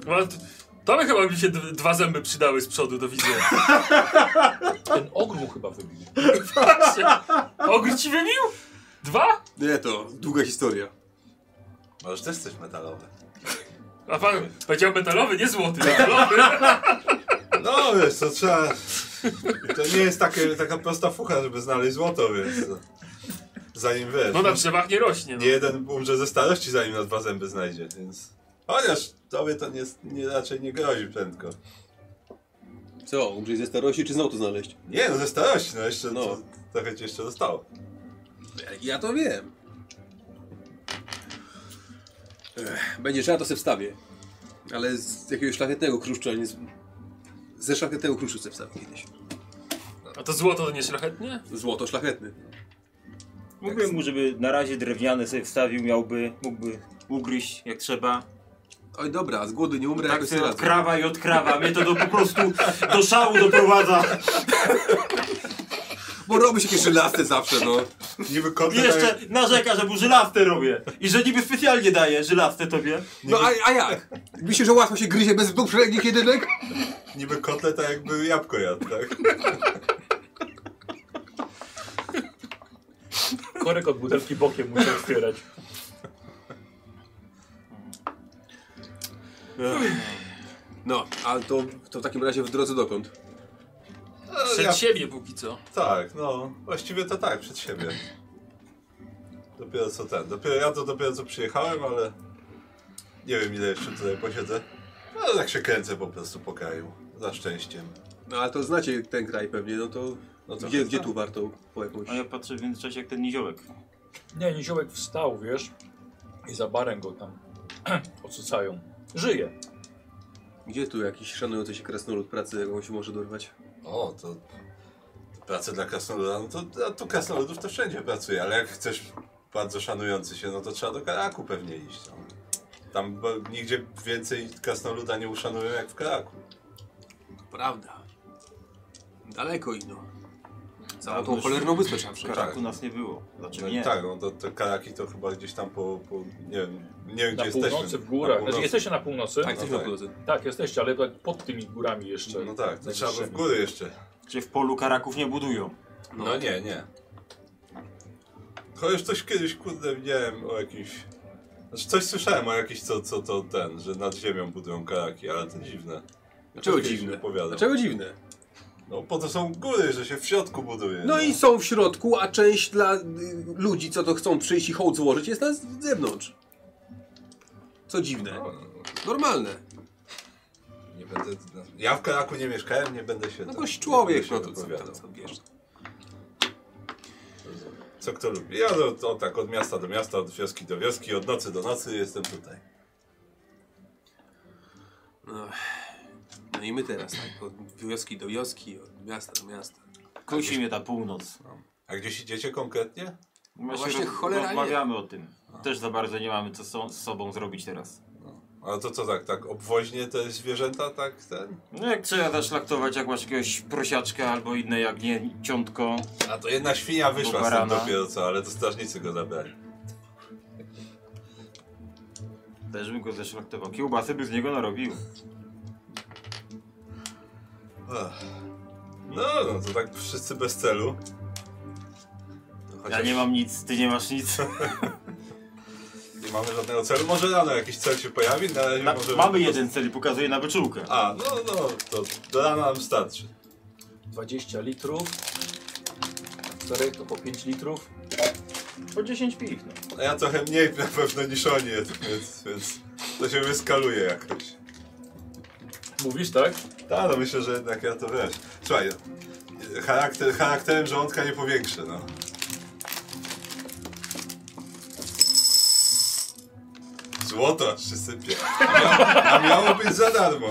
[SPEAKER 5] No, t- To by chyba mi się d- dwa zęby przydały z przodu do widzenia.
[SPEAKER 1] Ten ogniu chyba wybił.
[SPEAKER 5] Patrzcie. Ogr ci wybił? Dwa?
[SPEAKER 3] Nie, to długa historia.
[SPEAKER 4] Możesz też coś metalowe.
[SPEAKER 5] A pan powiedział metalowy, nie złoty. Metalowy.
[SPEAKER 4] No wiesz, to trzeba... To nie jest takie, taka prosta fucha, żeby znaleźć złoto, więc... Zanim wiesz...
[SPEAKER 5] No na drzewach nie rośnie. No.
[SPEAKER 4] Nie jeden umrze ze starości, zanim na dwa zęby znajdzie, więc... Chociaż tobie to nie, nie, raczej nie grozi prędko.
[SPEAKER 3] Co, umrzeć ze starości, czy znowu to znaleźć?
[SPEAKER 4] Nie, no ze starości, no jeszcze...
[SPEAKER 3] No.
[SPEAKER 4] No. Trochę ci jeszcze zostało.
[SPEAKER 3] Ja to wiem. Ech, będzie trzeba, to se wstawię. Ale z jakiegoś szlachetnego kruszcza, nie z... Ze szlachetnego kruszu se wstawię kiedyś.
[SPEAKER 5] A to złoto to nie szlachetnie?
[SPEAKER 3] Złoto szlachetny.
[SPEAKER 2] Mówiłem mu, żeby na razie drewniany sobie wstawił, miałby, mógłby ugryźć jak trzeba.
[SPEAKER 3] Oj dobra, z głodu nie umrę,
[SPEAKER 2] Tak
[SPEAKER 3] jakoś
[SPEAKER 2] sobie
[SPEAKER 3] teraz.
[SPEAKER 2] odkrawa i odkrawa, mnie to do, po prostu do szału doprowadza.
[SPEAKER 3] Bo robi się jakieś żelazne zawsze, no.
[SPEAKER 4] Niby tak koty
[SPEAKER 2] I jeszcze narzeka, że mu żylaste robię. I że niby specjalnie daje żylaste tobie.
[SPEAKER 3] No a, a jak? Myślisz, że łatwo się gryzie bez dwóch przednich jedynek?
[SPEAKER 4] Niby kotlet, a jakby jabłko jadł, tak?
[SPEAKER 1] Korek od butelki bokiem musiał otwierać.
[SPEAKER 3] No, ale to, to w takim razie w drodze dokąd?
[SPEAKER 5] Przed
[SPEAKER 4] ja-
[SPEAKER 5] siebie póki co.
[SPEAKER 4] Tak, no. Właściwie to tak, przed siebie. Dopiero co ten. Dopiero, ja to dopiero co przyjechałem, ale nie wiem ile jeszcze tutaj posiedzę. Ale tak się kręcę po prostu po kraju. Za szczęściem.
[SPEAKER 3] No ale to znacie ten kraj pewnie, no to
[SPEAKER 4] No to
[SPEAKER 3] gdzie,
[SPEAKER 4] tak,
[SPEAKER 3] gdzie
[SPEAKER 4] tak.
[SPEAKER 3] tu warto po jakąś...
[SPEAKER 2] A ja patrzę w międzyczasie jak ten niziołek.
[SPEAKER 1] Nie, niziołek wstał, wiesz, i za barem go tam odsycają. Żyje.
[SPEAKER 3] Gdzie tu jakiś szanujący się krasnolud pracy, jaką się może dorwać?
[SPEAKER 4] O, to praca dla krasnoluda, no to, a to krasnoludów to wszędzie pracuje, ale jak chcesz bardzo szanujący się, no to trzeba do Karaku pewnie iść. No. Tam bo, nigdzie więcej krasnoluda nie uszanują jak w Karaku.
[SPEAKER 3] Prawda. Daleko ino. Całą
[SPEAKER 4] Tam Tak, no
[SPEAKER 3] tą
[SPEAKER 4] już- Tak.
[SPEAKER 3] cholerną wyspę trzeba
[SPEAKER 2] W
[SPEAKER 3] przejść.
[SPEAKER 2] Karaku nas nie było. Znaczy
[SPEAKER 4] No
[SPEAKER 2] nie.
[SPEAKER 4] tak, no to, to Karaki to chyba gdzieś tam po, po nie wiem, nie wiem
[SPEAKER 1] Na
[SPEAKER 4] gdzie jesteśmy.
[SPEAKER 1] północy, w
[SPEAKER 4] Na
[SPEAKER 1] górach.
[SPEAKER 4] północy.
[SPEAKER 1] Znaczy, jesteście na północy?
[SPEAKER 3] Tak,
[SPEAKER 1] Tak.
[SPEAKER 3] jesteśmy
[SPEAKER 4] No
[SPEAKER 3] na
[SPEAKER 4] tak.
[SPEAKER 3] północy.
[SPEAKER 1] jesteście, ale tak pod tymi górami jeszcze.
[SPEAKER 4] No tak, to trzeba by w
[SPEAKER 1] Najwyższymi.
[SPEAKER 4] góry jeszcze.
[SPEAKER 2] Gdzie w polu Karaków nie budują.
[SPEAKER 4] No, nie, nie. Chociaż coś kiedyś, kurde, widziałem o jakimś... Znaczy coś słyszałem o jakimś, co, co to ten, że nad ziemią budują karaki, ale to dziwne.
[SPEAKER 3] Dlaczego
[SPEAKER 4] Ktoś kiedyś mi
[SPEAKER 3] dziwne?
[SPEAKER 4] Opowiadał.
[SPEAKER 3] Dlaczego dziwne?
[SPEAKER 4] No po to są góry, że się w środku buduje.
[SPEAKER 3] No i są w środku, a część dla y, ludzi, co to chcą przyjść i hołd złożyć, jest na z- zewnątrz. Co dziwne.
[SPEAKER 4] No,
[SPEAKER 3] Normalne.
[SPEAKER 4] nie będę... no, Ja w Karaku nie mieszkałem, nie będę się...
[SPEAKER 3] No
[SPEAKER 4] tam-
[SPEAKER 3] boś człowiek,
[SPEAKER 4] nie
[SPEAKER 3] no
[SPEAKER 4] będę się
[SPEAKER 3] to co,
[SPEAKER 4] wypowiadał.
[SPEAKER 3] to, co wiesz.
[SPEAKER 4] Co kto lubi. Ja no, to tak od miasta do miasta, od wioski do wioski, od nocy do nocy jestem tutaj.
[SPEAKER 3] No, no i my teraz, tak, od wioski do wioski, od miasta do miasta.
[SPEAKER 4] Tak.
[SPEAKER 2] Kusi mnie ta północ.
[SPEAKER 4] A gdzieś idziecie konkretnie?
[SPEAKER 2] No
[SPEAKER 3] No właśnie cholera nie.
[SPEAKER 2] Rozmawiamy o tym. Też za bardzo nie mamy co so- z sobą zrobić teraz.
[SPEAKER 4] A to co tak, tak obwoźnie te zwierzęta, tak ten?
[SPEAKER 2] No jak trzeba zaszlaktować, jak masz jakiegoś prosiaczka albo inne jagnię, ciątko.
[SPEAKER 4] A to jedna świnia wyszła z tym
[SPEAKER 2] Barana.
[SPEAKER 4] dopiero co, ale to strażnicy go zabrali.
[SPEAKER 2] Też bym go zeszlaktował. Kiełbasy by z niego narobił.
[SPEAKER 4] Ach. No, no to tak wszyscy bez celu. No,
[SPEAKER 2] Ja nie mam nic, ty nie masz nic.
[SPEAKER 4] Nie mamy żadnego celu. Może rano jakiś cel się pojawi, na razie
[SPEAKER 2] Na,
[SPEAKER 4] może...
[SPEAKER 2] mamy jeden cel i pokazuję na wyczółkę.
[SPEAKER 4] A, no, no, to do rana nam starczy.
[SPEAKER 1] 20 litrów. Czterech to po 5 litrów. Po 10 piw. No.
[SPEAKER 4] A ja trochę mniej na pewno niż oni, więc, więc to się wyskaluje jakoś.
[SPEAKER 1] Mówisz, tak?
[SPEAKER 4] Tak, no myślę, że jednak ja to wiesz. Słuchaj, charakter, charakterem żołądka nie powiększę, no. Złoto aż się sypie. A miało, a miało być za darmo.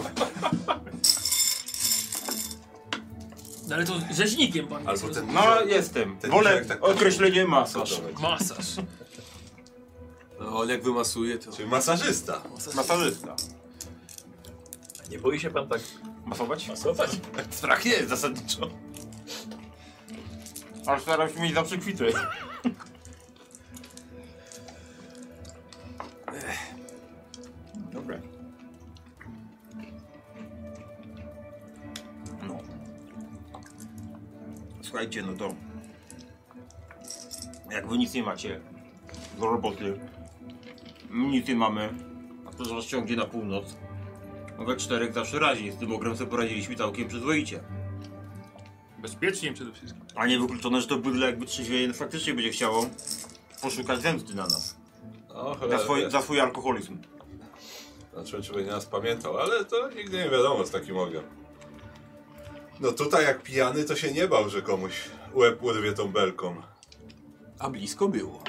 [SPEAKER 5] No ale to rzeźnikiem pan jest.
[SPEAKER 4] Albo ten
[SPEAKER 2] No jestem.
[SPEAKER 4] Ten
[SPEAKER 2] Wolę
[SPEAKER 4] dzieciak tak-
[SPEAKER 2] określenie masaż.
[SPEAKER 5] Masaż.
[SPEAKER 3] No, on jak wymasuje, to...
[SPEAKER 4] Czyli masażysta.
[SPEAKER 2] Masażysta.
[SPEAKER 1] Nie boi się pan tak
[SPEAKER 2] Masować?
[SPEAKER 1] masować?
[SPEAKER 2] Strach nie jest zasadniczo. Ale staram się mieć zawsze kwity. Dobra. No. Słuchajcie, no to... Jak wy nic nie macie do roboty, my nic nie mamy, a to nas ciągnie na północ, no we czterech zawsze raźniej, z tym ogrem sobie poradziliśmy całkiem przyzwoicie.
[SPEAKER 5] Bezpiecznie przede wszystkim.
[SPEAKER 2] A nie wykluczone, że to bydle jakby trzeźwienie faktycznie będzie chciało poszukać zemsty na nas.
[SPEAKER 4] No,
[SPEAKER 2] Za,
[SPEAKER 4] cholera,
[SPEAKER 2] swój,
[SPEAKER 4] wiesz.
[SPEAKER 2] za swój alkoholizm.
[SPEAKER 4] Znaczy, czy będzie nas pamiętał, ale to nigdy nie wiadomo z takim ogniem. No tutaj jak pijany to się nie bał, że komuś łeb urwie tą belką.
[SPEAKER 3] A blisko było.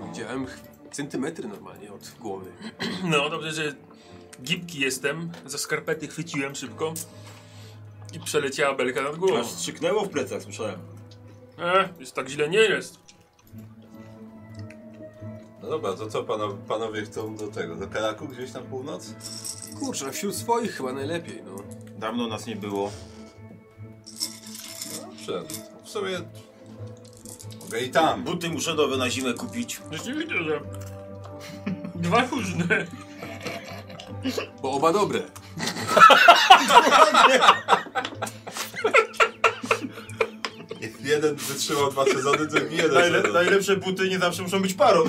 [SPEAKER 3] Ja widziałem ch- centymetry normalnie od głowy.
[SPEAKER 5] No dobrze, że gibki jestem. Za skarpety chwyciłem szybko. I przeleciała belka nad głową.
[SPEAKER 2] Aż strzyknęło w plecach, słyszałem.
[SPEAKER 5] E, jest tak źle nie jest.
[SPEAKER 4] No dobra, to co panowie, panowie chcą do tego? Do Karaku gdzieś na północ?
[SPEAKER 3] Kurczę, no wśród swoich chyba najlepiej, no.
[SPEAKER 2] Dawno nas nie było.
[SPEAKER 4] Dobrze. no W sumie... Mogę i tam.
[SPEAKER 2] Buty muszę nowe na zimę kupić.
[SPEAKER 5] Rzeczywiście, No że... Dwa różne.
[SPEAKER 3] Bo oba dobre.
[SPEAKER 4] Jeden wytrzymał dwa sezony, drugi jeden sezon.
[SPEAKER 2] najlepsze buty nie zawsze muszą być parą.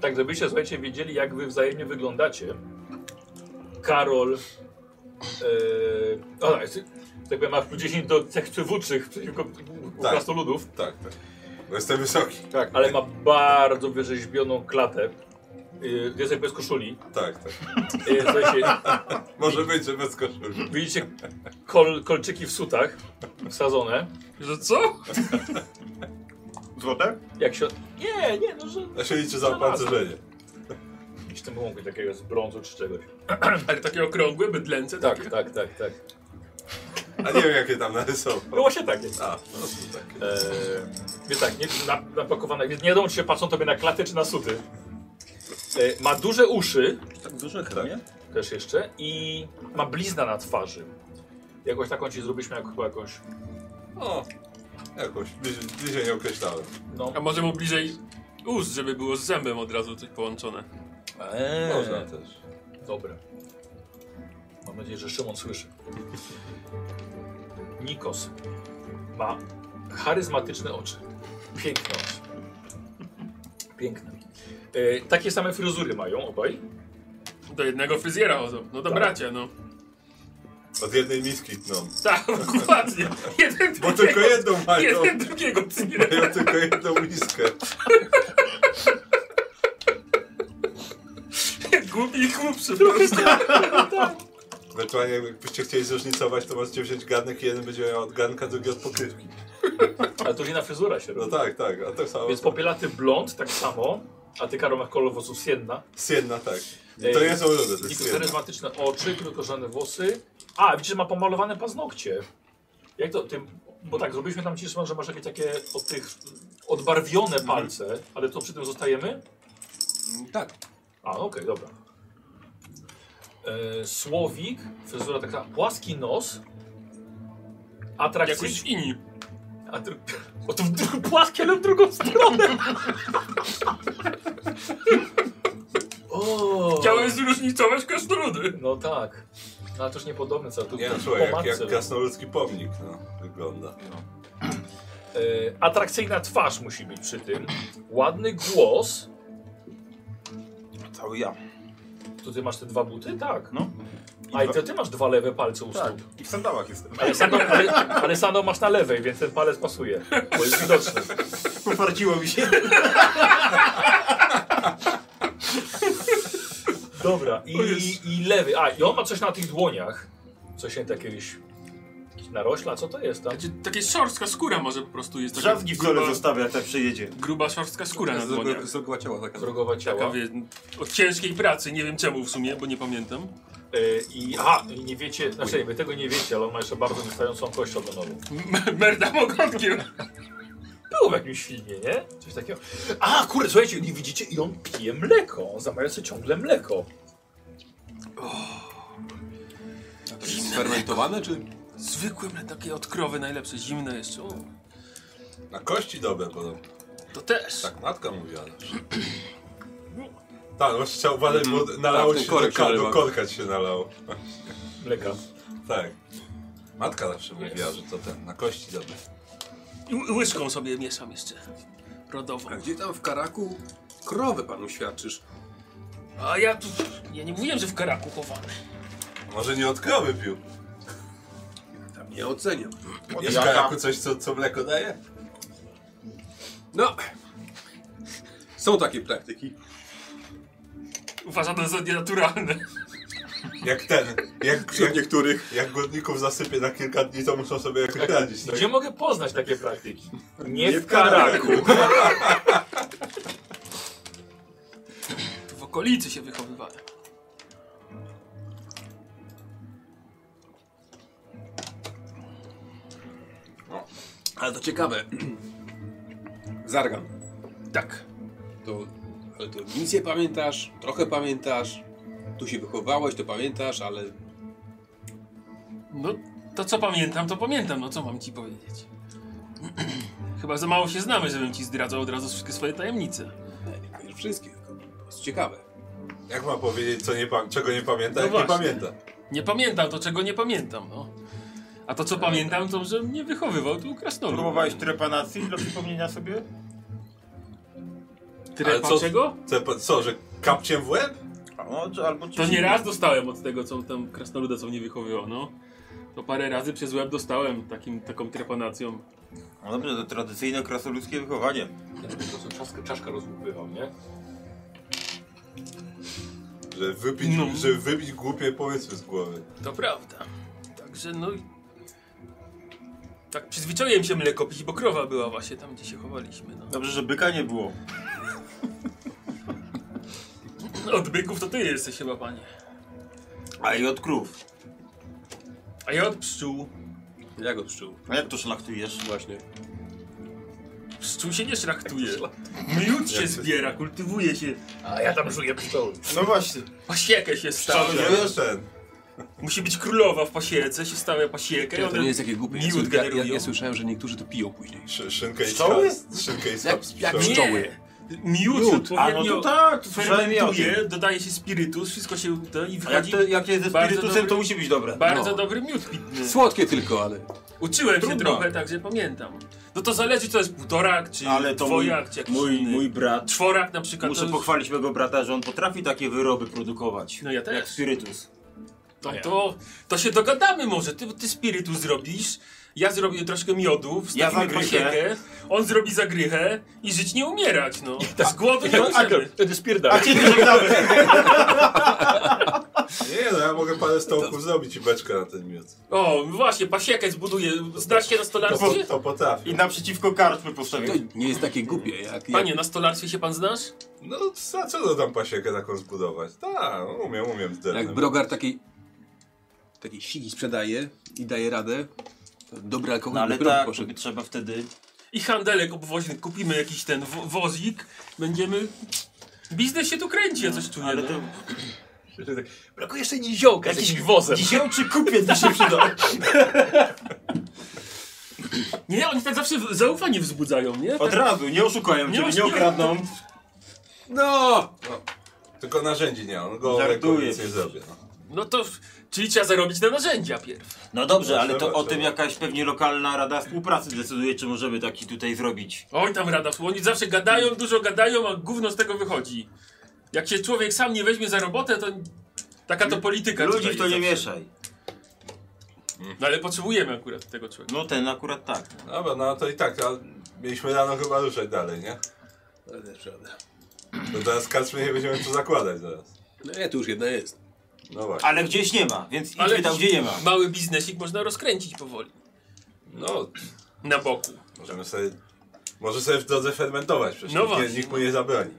[SPEAKER 1] Tak, żebyście, słuchajcie, wiedzieli, jak wy wzajemnie wyglądacie. Karol. Yy, o, tak, tak powiem, masz plus 10 do cech przywódczych przeciwko
[SPEAKER 4] Tak.
[SPEAKER 1] tak. krasnoludów.
[SPEAKER 4] Tak, tak. Bo jestem wysoki.
[SPEAKER 1] Tak, ale ma bardzo wyrzeźbioną klatę. Yy, jest jak bez koszuli.
[SPEAKER 4] Tak, tak.
[SPEAKER 1] Yy, słuchajcie,
[SPEAKER 4] Może być, że bez koszuli.
[SPEAKER 1] widzicie kol, kolczyki w sutach wsadzone.
[SPEAKER 5] Że co?
[SPEAKER 2] Złote?
[SPEAKER 1] Jak się. Nie, nie, no że.
[SPEAKER 4] A się liczy za
[SPEAKER 1] Żelazne.
[SPEAKER 4] opancerzenie.
[SPEAKER 1] w tym wąku, takiego z brązu czy czegoś.
[SPEAKER 5] Ale takie okrągłe, bydlęce takie.
[SPEAKER 1] Tak, tak, tak, tak.
[SPEAKER 4] A nie wiem, jakie tam narysował.
[SPEAKER 1] Było się takie.
[SPEAKER 4] A, no to tak.
[SPEAKER 1] Eee, więc tak, nie, na, napakowane, więc nie wiadomo czy się patrzą tobie na klatę czy na suty. Eee, ma duże uszy,
[SPEAKER 2] Tak duże chyba, nie?
[SPEAKER 1] też jeszcze i ma bliznę na twarzy. Jakąś taką ci zrobiliśmy jak, chyba jakąś.
[SPEAKER 4] O, jakoś. Bliżej, bliżej nie określałem.
[SPEAKER 1] No.
[SPEAKER 5] A może mu bliżej ust, żeby było z zębem od razu coś połączone.
[SPEAKER 1] Eee,
[SPEAKER 4] Można też.
[SPEAKER 1] Dobre. Mam nadzieję, że Szymon słyszy. Nikos ma charyzmatyczne oczy. Piękne oczy. Piękne. E, takie same fryzury mają obaj.
[SPEAKER 5] Do jednego fryzjera chodzą. No do
[SPEAKER 1] Tak.
[SPEAKER 5] bracia, no.
[SPEAKER 4] Od jednej miski tną.
[SPEAKER 5] Tak, dokładnie. Jeden
[SPEAKER 4] Bo tylko no.
[SPEAKER 5] drugiego,
[SPEAKER 4] jedną mają.
[SPEAKER 5] jeden drugiego tnie.
[SPEAKER 4] Mają tylko jedną miskę.
[SPEAKER 5] Głupi i głupszy po prostu.
[SPEAKER 4] Ewentualnie jakbyście chcieli zróżnicować, to możecie wziąć garnek i jeden będzie miał od garnka, drugi od pokrywki.
[SPEAKER 1] Ale to już inna fryzura się
[SPEAKER 4] No
[SPEAKER 1] robi.
[SPEAKER 4] tak, tak, a to samo.
[SPEAKER 1] Więc popielaty blond tak samo. A ty Karol masz kolor włosów sienna.
[SPEAKER 4] Sienna, tak.
[SPEAKER 1] Ej,
[SPEAKER 4] To nie są rudy, to jest
[SPEAKER 1] Nikos
[SPEAKER 4] sienna.
[SPEAKER 1] charyzmatyczne oczy, krótkożone włosy. A, widzisz, że ma pomalowane paznokcie. Jak to, ty, bo tak, zrobiliśmy tam ciszę, że masz jakieś takie od tych odbarwione
[SPEAKER 5] Mhm.
[SPEAKER 1] palce, ale to przy tym zostajemy?
[SPEAKER 3] Tak.
[SPEAKER 1] A, okej, dobra. E, słowik, fryzura taka, płaski nos, atrakcyjny...
[SPEAKER 5] Jakoś inni.
[SPEAKER 1] A dru... O to w dru... płaskie, ale w drugą stronę. o.
[SPEAKER 5] Chciałem zróżnicować krasnoludy.
[SPEAKER 1] No tak. No, ale to już niepodobne co tu
[SPEAKER 4] Nie
[SPEAKER 1] po
[SPEAKER 4] no, słuchaj, jak,
[SPEAKER 1] matce
[SPEAKER 4] jak
[SPEAKER 1] było.
[SPEAKER 4] krasnoludzki pomnik, no, wygląda.
[SPEAKER 1] E, Atrakcyjna twarz musi być przy tym. Ładny głos.
[SPEAKER 2] To ja.
[SPEAKER 1] To ty masz te dwa buty? Tak.
[SPEAKER 2] No.
[SPEAKER 1] A i to ty masz dwa lewe palce u
[SPEAKER 5] Tak.
[SPEAKER 1] stóp.
[SPEAKER 2] I w sandałach jestem.
[SPEAKER 1] Ale, sando, ale, ale sando masz na lewej, więc ten palec pasuje. Bo jest widoczny.
[SPEAKER 2] Poparciło mi się.
[SPEAKER 1] Dobra, i,
[SPEAKER 5] O Jezu.
[SPEAKER 1] i lewy. A, i on ma coś na tych dłoniach. Coś się jakiegoś... jakieś Narośla, co to jest tam?
[SPEAKER 5] Znaczy, takie szorstka skóra może po prostu jest. Taka
[SPEAKER 2] Żadni w dole zostawia, jak tak przejedzie.
[SPEAKER 5] gruba szorstka skóra na dłoniach.
[SPEAKER 3] Zrobiła- Zrobiła ciała taka.
[SPEAKER 1] Wrogowa
[SPEAKER 5] Taka,
[SPEAKER 1] ciała.
[SPEAKER 5] wie, od ciężkiej pracy, nie wiem czemu w sumie, bo nie pamiętam.
[SPEAKER 1] E, I, aha, i nie wiecie, znaczy nie, wy tego nie wiecie, ale on ma jeszcze bardzo wystającą kość ogonową.
[SPEAKER 5] M- Merda ogonkiem.
[SPEAKER 1] Było w jakimś filmie, nie? Coś takiego. A, kurde, słuchajcie, nie widzicie? I on pije mleko. On zamawia sobie ciągle mleko.
[SPEAKER 3] Takie Sfermentowane czy?
[SPEAKER 5] Zwykłe, mle- takie od krowy najlepsze, zimne jeszcze. O,
[SPEAKER 4] Na kości dobre podobno.
[SPEAKER 5] to też.
[SPEAKER 4] Tak matka mówiła. zawsze. Tak, no chciał uważać, bo nalało
[SPEAKER 3] Tak, ten
[SPEAKER 4] się
[SPEAKER 3] korek
[SPEAKER 4] do, ka-
[SPEAKER 3] się
[SPEAKER 4] do
[SPEAKER 3] nalewa.
[SPEAKER 4] korka ci się nalało.
[SPEAKER 1] Mleka.
[SPEAKER 4] Tak. Matka zawsze mówiła, że to ten, na kości dobre.
[SPEAKER 5] I ł- łyżką sobie mieszam jeszcze. Rodową.
[SPEAKER 3] A gdzie tam w Karaku krowę panu świadczysz?
[SPEAKER 5] A ja tu... Ja nie mówiłem, że w karaku chowany.
[SPEAKER 4] Może nie od krowy pił.
[SPEAKER 3] Tam nie oceniam.
[SPEAKER 4] Jest w karaku coś, co, co mleko daje?
[SPEAKER 3] No. Są takie praktyki.
[SPEAKER 5] Uważam to za nienaturalne.
[SPEAKER 4] Jak ten, jak,
[SPEAKER 3] Wśród
[SPEAKER 4] jak,
[SPEAKER 3] niektórych.
[SPEAKER 4] jak głodników zasypie na kilka dni, to muszą sobie jakoś radzić. Tak?
[SPEAKER 1] Gdzie mogę poznać takie praktyki? Nie,
[SPEAKER 4] Nie
[SPEAKER 1] w
[SPEAKER 4] w
[SPEAKER 1] Karaku.
[SPEAKER 5] Tu w okolicy się wychowywałem.
[SPEAKER 3] Ale to ciekawe. Zargan. Tak. To, ale to nic nie pamiętasz, trochę pamiętasz. Tu się wychowałeś, to pamiętasz, ale
[SPEAKER 5] No, to co pamiętam, to pamiętam. No, co mam ci powiedzieć? Chyba za mało się znamy, żebym ci zdradzał od razu wszystkie swoje tajemnice.
[SPEAKER 3] nie, nie pamiętasz wszystkie. tylko To jest ciekawe.
[SPEAKER 4] Jak ma powiedzieć, co nie pa- czego nie pamięta,
[SPEAKER 5] No
[SPEAKER 4] jak nie
[SPEAKER 5] właśnie.
[SPEAKER 4] pamięta?
[SPEAKER 5] Nie pamiętam to, czego nie pamiętam, no. A to, co pamiętam, to, że mnie wychowywał tu krasnolud.
[SPEAKER 2] Próbowałeś trepanacji dla przypomnienia sobie?
[SPEAKER 5] Trepa
[SPEAKER 4] Ale co-
[SPEAKER 5] czego?
[SPEAKER 4] Co, co, że kapciem w łeb?
[SPEAKER 2] A, No, czy, albo ci
[SPEAKER 5] To nie raz dostałem od tego, co tam krasnoluda, co mnie wychowywał, no. To parę razy przez łeb dostałem takim, taką trepanacją.
[SPEAKER 2] No dobrze, to tradycyjne krasoludzkie wychowanie.
[SPEAKER 1] To są czaszkę, czaszkę rozłupywał, nie?
[SPEAKER 4] Że wybić,
[SPEAKER 5] No.
[SPEAKER 4] że wybić głupie pomysły z głowy.
[SPEAKER 5] To prawda. Także no... i- Tak przyzwyczaiłem się mleko pić, bo krowa była właśnie tam, gdzie się chowaliśmy, no.
[SPEAKER 2] Dobrze, że byka nie było.
[SPEAKER 5] Od byków to ty jesteś chyba, panie.
[SPEAKER 2] A i od krów.
[SPEAKER 5] A ja od pszczół.
[SPEAKER 3] Jak od pszczół?
[SPEAKER 2] A jak to szlachtujesz?
[SPEAKER 3] Właśnie.
[SPEAKER 5] Pszczół się nie szrachtuje. Miód się zbiera, kultywuje się.
[SPEAKER 1] A ja tam żuję pszczoły.
[SPEAKER 2] No właśnie.
[SPEAKER 5] Pasiekę się
[SPEAKER 3] Tak.
[SPEAKER 4] Cały
[SPEAKER 5] stawia.
[SPEAKER 4] jeden.
[SPEAKER 5] Musi być królowa w pasiece, się stawia pasiekę.
[SPEAKER 3] To,
[SPEAKER 5] one
[SPEAKER 3] nie jest takie głupie. Ja,
[SPEAKER 5] Miód
[SPEAKER 3] ja, ja,
[SPEAKER 5] generują.
[SPEAKER 3] ja słyszałem, że niektórzy to piją później.
[SPEAKER 4] Szy- Szynkę i
[SPEAKER 2] Pszczoły?
[SPEAKER 4] skab- Szynkę i skab
[SPEAKER 3] Jak,
[SPEAKER 4] z
[SPEAKER 3] jak
[SPEAKER 4] pszczoły.
[SPEAKER 3] pszczoły.
[SPEAKER 5] Miód,
[SPEAKER 3] Miód.
[SPEAKER 2] A no
[SPEAKER 5] odpowiednio
[SPEAKER 2] to tak, to słyszałem ja o tym.
[SPEAKER 5] fermentuje, dodaje się spirytus, wszystko się uda i
[SPEAKER 2] A jak,
[SPEAKER 5] wychodzi
[SPEAKER 2] to, jak jest ze
[SPEAKER 5] Bardzo
[SPEAKER 2] spirytusem,
[SPEAKER 5] dobry-
[SPEAKER 2] to musi być dobre.
[SPEAKER 5] bardzo
[SPEAKER 3] no.
[SPEAKER 5] dobry miód pitny.
[SPEAKER 3] Słodkie tylko, ale...
[SPEAKER 5] Uczyłem się
[SPEAKER 2] Trudno.
[SPEAKER 5] trochę, także pamiętam. No to zależy, czy to jest półtorak, czy
[SPEAKER 2] Ale to mój,
[SPEAKER 5] dwojak, czy jakiś
[SPEAKER 2] mój,
[SPEAKER 5] inny.
[SPEAKER 2] mój brat.
[SPEAKER 5] czworak na przykład.
[SPEAKER 2] Muszę
[SPEAKER 5] to,
[SPEAKER 2] pochwalić mego brata, że on potrafi takie wyroby produkować.
[SPEAKER 5] No ja też.
[SPEAKER 2] Jak spirytus.
[SPEAKER 5] to, to, to się dogadamy może, ty, ty spirytus zrobisz, ja zrobię troszkę miodu,
[SPEAKER 2] Ja
[SPEAKER 5] wstawimy
[SPEAKER 2] zagrychę.
[SPEAKER 5] pasiekę, on zrobi zagrychę i żyć nie umierać, no.
[SPEAKER 2] tak.
[SPEAKER 5] Z głodu nie umrzemy.
[SPEAKER 1] wtedy spierdala.
[SPEAKER 4] Nie no, ja mogę parę stołków zrobić i beczkę na ten miód.
[SPEAKER 5] O, właśnie, pasiekę zbuduję, znasz się na
[SPEAKER 4] To, po,
[SPEAKER 5] stolarstwie?
[SPEAKER 4] to potrafię.
[SPEAKER 2] I naprzeciwko karczmy
[SPEAKER 3] To
[SPEAKER 2] postawił.
[SPEAKER 3] nie jest takie głupie, jak... jak...
[SPEAKER 5] Panie, na stolarstwie się pan znasz?
[SPEAKER 4] No, za co to tam pasiekę taką zbudować? Tak, umiem, umiem. z dernem.
[SPEAKER 3] Jak Brogar takiej takiej sigi sprzedaje i daje radę, to dobry alkohol
[SPEAKER 2] No ale
[SPEAKER 3] dopiero
[SPEAKER 2] tak,
[SPEAKER 3] poszedł.
[SPEAKER 2] trzeba wtedy...
[SPEAKER 5] I handelek obwoźny, kupimy jakiś ten wo wozik, będziemy... Biznes się tu kręci, ja coś czuję.
[SPEAKER 2] Ale
[SPEAKER 5] no. tak,
[SPEAKER 2] to...
[SPEAKER 1] Brakuje jeszcze niziołka z jakimś wozem.
[SPEAKER 2] Dzisiaj czy kupiec mi się przyda?
[SPEAKER 5] Nie, oni tak zawsze w- zaufanie wzbudzają, nie?
[SPEAKER 2] Od
[SPEAKER 5] Tak,
[SPEAKER 2] razu, nie oszukają cię,
[SPEAKER 5] Nie
[SPEAKER 2] nie okradną.
[SPEAKER 3] No!
[SPEAKER 4] Tylko narzędzi nie, on go
[SPEAKER 2] Żartuję.
[SPEAKER 4] lekko nic nie zrobię. No.
[SPEAKER 5] no to, czyli trzeba zarobić na narzędzia pierw.
[SPEAKER 2] No dobrze,
[SPEAKER 4] Trzeba,
[SPEAKER 2] ale to o
[SPEAKER 4] trzeba.
[SPEAKER 2] tym jakaś pewnie lokalna rada współpracy decyduje, czy możemy taki tutaj zrobić.
[SPEAKER 5] Oj, tam rada, oni zawsze gadają, dużo gadają, a gówno z tego wychodzi. Jak się człowiek sam nie weźmie za robotę, to taka to polityka.
[SPEAKER 2] Ludzi
[SPEAKER 5] tutaj
[SPEAKER 2] w to nie
[SPEAKER 5] zawsze.
[SPEAKER 2] mieszaj.
[SPEAKER 5] No ale potrzebujemy akurat tego człowieka.
[SPEAKER 2] No ten akurat tak.
[SPEAKER 4] Dobra, no to i tak, a mieliśmy rano chyba ruszać dalej, nie?
[SPEAKER 3] Ale też prawda.
[SPEAKER 4] No teraz kaczmy nie będziemy tu zakładać zaraz.
[SPEAKER 3] No nie, to już jedna jest.
[SPEAKER 4] No właśnie.
[SPEAKER 2] Ale gdzieś nie ma, więc idźmy tam, gdzie nie ma.
[SPEAKER 5] mały biznesik można rozkręcić powoli.
[SPEAKER 4] No,
[SPEAKER 5] Na boku.
[SPEAKER 4] możemy sobie... Może sobie w drodze fermentować, przecież
[SPEAKER 5] No
[SPEAKER 4] nikt, nie,
[SPEAKER 5] właśnie.
[SPEAKER 4] nikt mu nie zabroni.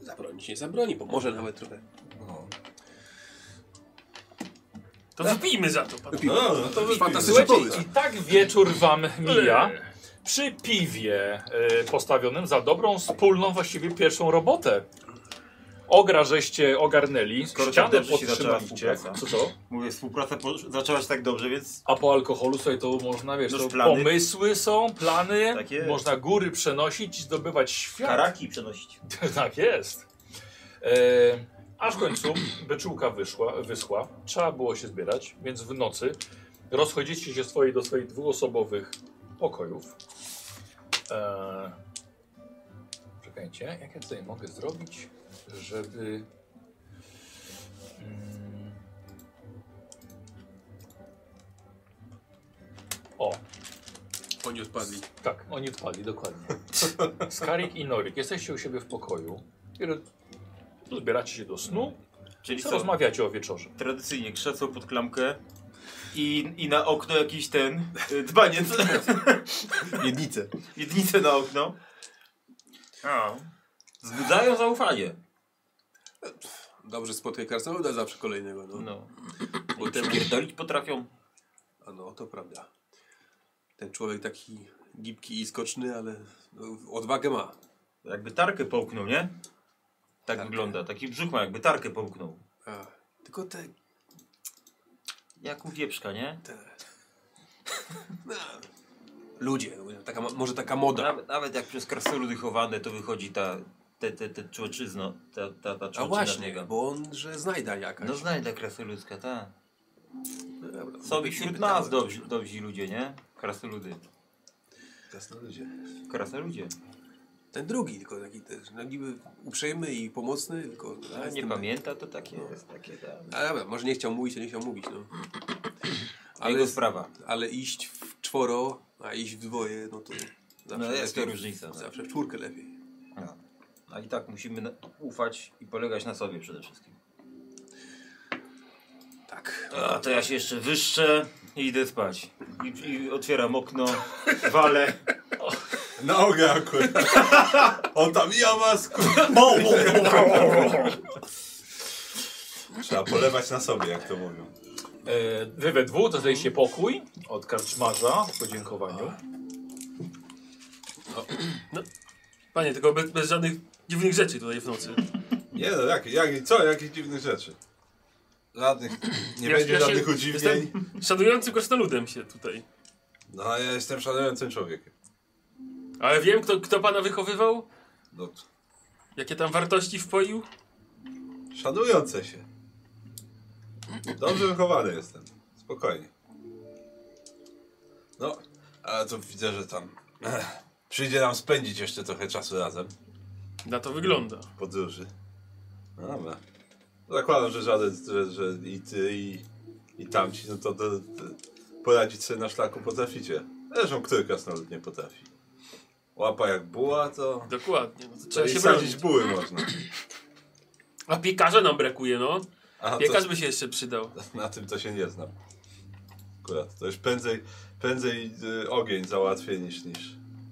[SPEAKER 3] Zabronić nie zabroni, bo może nawet trochę.
[SPEAKER 5] To
[SPEAKER 2] Tak.
[SPEAKER 5] wypijmy za to, panowie.
[SPEAKER 4] No, no to wypijmy.
[SPEAKER 3] Fantastyczny
[SPEAKER 1] Słuchajcie,
[SPEAKER 3] pomysł.
[SPEAKER 1] i tak wieczór wam mija przy piwie y, postawionym za dobrą, wspólną, właściwie pierwszą robotę. Ogra żeście ogarnęli,
[SPEAKER 2] Skoro tak
[SPEAKER 1] ścianę
[SPEAKER 2] dobrze się zaczęła
[SPEAKER 1] podtrzymaliście.
[SPEAKER 2] współpraca.
[SPEAKER 1] Co to?
[SPEAKER 2] Mówię, współpraca po, zaczęła się tak dobrze, więc
[SPEAKER 1] A po alkoholu sobie to można, wiesz,
[SPEAKER 2] Noż
[SPEAKER 1] to
[SPEAKER 2] plany.
[SPEAKER 1] pomysły są, plany,
[SPEAKER 2] Tak jest.
[SPEAKER 1] można góry przenosić, zdobywać świat.
[SPEAKER 2] karaki przenosić.
[SPEAKER 1] tak jest. E, aż w końcu beczułka wyszła, wyschła, trzeba było się zbierać, więc w nocy rozchodzicie się swoje do swoich dwuosobowych pokojów. E, czekajcie, jak ja tutaj mogę zrobić, żeby... Mm, o,
[SPEAKER 3] Oni odpadli.
[SPEAKER 1] tak, oni odpali, dokładnie. Skarik i Norik, jesteście u siebie w pokoju. i ro- Zbieracie się do snu,
[SPEAKER 2] Czyli
[SPEAKER 1] co
[SPEAKER 2] co?
[SPEAKER 1] rozmawiacie o wieczorze.
[SPEAKER 2] Tradycyjnie krzesło pod klamkę i, i na okno jakiś ten y, dzbaniec.
[SPEAKER 3] Jednice.
[SPEAKER 2] Jednicę na okno.
[SPEAKER 5] A.
[SPEAKER 2] Zbudzają zaufanie.
[SPEAKER 3] Dobrze spotkaj Karsnoluda zawsze kolejnego, no.
[SPEAKER 2] No. Bo te pierdolić potrafią.
[SPEAKER 3] A no, to prawda. Ten człowiek taki gibki i skoczny, ale no, odwagę ma.
[SPEAKER 2] Jakby tarkę połknął, nie? Tak
[SPEAKER 3] Tarkę.
[SPEAKER 2] wygląda. Taki brzuch ma, jakby tarkę połknął.
[SPEAKER 3] A, tylko te...
[SPEAKER 2] Jak u wieprzka, nie?
[SPEAKER 3] te... No, ludzie, no, taka, mo- może taka moda.
[SPEAKER 2] Nawet, nawet jak przez krasnoludy chowane, to wychodzi ta, te, te, te człoczyzno, ta, ta, ta
[SPEAKER 3] A
[SPEAKER 2] człoczyna z
[SPEAKER 3] właśnie,
[SPEAKER 2] niego.
[SPEAKER 3] bo on, że znajda jakaś.
[SPEAKER 2] No znajdę krasnoludzka, tak.
[SPEAKER 3] No dobra,
[SPEAKER 2] Są
[SPEAKER 3] nie
[SPEAKER 2] wśród
[SPEAKER 3] pytałem.
[SPEAKER 2] nas dobrzy, dobrzy ludzie, nie? Krasnoludy.
[SPEAKER 3] Krasnoludzie.
[SPEAKER 2] Krasnoludzie.
[SPEAKER 3] Ten drugi, tylko taki też, no niby uprzejmy i pomocny, tylko... no,
[SPEAKER 2] A nie
[SPEAKER 3] jestem- No.
[SPEAKER 2] pamięta, to takie jest, takie tak. tam.
[SPEAKER 3] A dobra, może nie chciał mówić, to nie chciał mówić, no.
[SPEAKER 2] Ale
[SPEAKER 3] Ale,
[SPEAKER 2] Jego sprawa.
[SPEAKER 3] ale iść w czworo, a iść w dwoje, no to zawsze
[SPEAKER 2] No jest to
[SPEAKER 3] lepiej.
[SPEAKER 2] różnica.
[SPEAKER 3] Zawsze w czwórkę lepiej.
[SPEAKER 2] No. A i tak musimy na- ufać i polegać na sobie przede wszystkim.
[SPEAKER 3] Tak.
[SPEAKER 2] A, to ja się jeszcze wyższę i idę spać. I, i otwieram okno, walę,
[SPEAKER 4] Na ogę akurat. On tam ja was kur- Trzeba polewać na sobie, jak to mówią.
[SPEAKER 1] E, Wy we dwóch dostaliście
[SPEAKER 4] Mhm.
[SPEAKER 1] pokój od karczmarza w podziękowaniu.
[SPEAKER 4] Tak.
[SPEAKER 5] Panie, tylko bez, bez żadnych dziwnych rzeczy tutaj w nocy.
[SPEAKER 4] Nie no, jak, jak, co? Jakich dziwnych rzeczy? Żadnych, nie
[SPEAKER 5] Ja-
[SPEAKER 4] będzie
[SPEAKER 5] ja się-
[SPEAKER 4] żadnych udziwnień.
[SPEAKER 5] jestem- Szanującym krasnoludem się tutaj.
[SPEAKER 4] No, ja jestem szanującym człowiekiem.
[SPEAKER 5] Ale wiem, kto, kto pana wychowywał,
[SPEAKER 4] No,
[SPEAKER 5] jakie tam wartości wpoił.
[SPEAKER 4] szanujące się. Dobrze wychowany jestem. Spokojnie. No, ale to widzę, że tam... Ech, przyjdzie nam spędzić jeszcze trochę czasu razem.
[SPEAKER 5] Na to wygląda.
[SPEAKER 4] podróży. No dobra. Zakładam, że żaden, że, że i ty, i, i tamci, no to, to, to poradzić sobie na szlaku potraficie. Zresztą który krasnolud nie potrafi. Łapa jak buła, to,
[SPEAKER 5] Dokładnie. No to
[SPEAKER 4] to
[SPEAKER 5] trzeba
[SPEAKER 4] i
[SPEAKER 5] się
[SPEAKER 4] sadzić
[SPEAKER 5] bronić.
[SPEAKER 4] buły można.
[SPEAKER 5] A piekarza nam brakuje, no.
[SPEAKER 4] A to,
[SPEAKER 5] Piekarz by się jeszcze przydał.
[SPEAKER 4] na tym to się nie znam. Akurat, to już prędzej, prędzej y, ogień załatwię niż, niż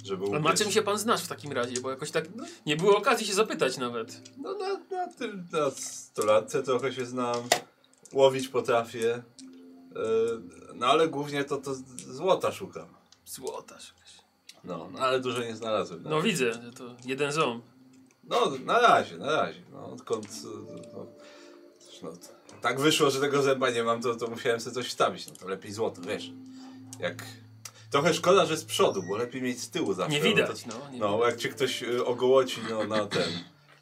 [SPEAKER 4] żeby
[SPEAKER 5] A
[SPEAKER 4] upiec.
[SPEAKER 5] na czym się pan znasz w takim razie? Bo jakoś tak nie było okazji się zapytać nawet.
[SPEAKER 4] No na, na tym, na stolatce trochę się znam, łowić potrafię, yy, no ale głównie to, to z- złota szukam.
[SPEAKER 5] Złotaż.
[SPEAKER 4] No, no ale dużo nie znalazłem.
[SPEAKER 5] No widzę, że to jeden ząb.
[SPEAKER 4] No, na razie, na razie. No, odkąd... y, No, no, t- tak wyszło, że tego zęba nie mam, to, to musiałem sobie coś wstawić. No to lepiej złoto, wiesz. Jak... Trochę szkoda, że z przodu, bo lepiej mieć z tyłu zawsze.
[SPEAKER 5] Nie
[SPEAKER 4] bo to-
[SPEAKER 5] widać, no. Nie
[SPEAKER 4] No, jak cię ktoś y, ogołoci no, na ten,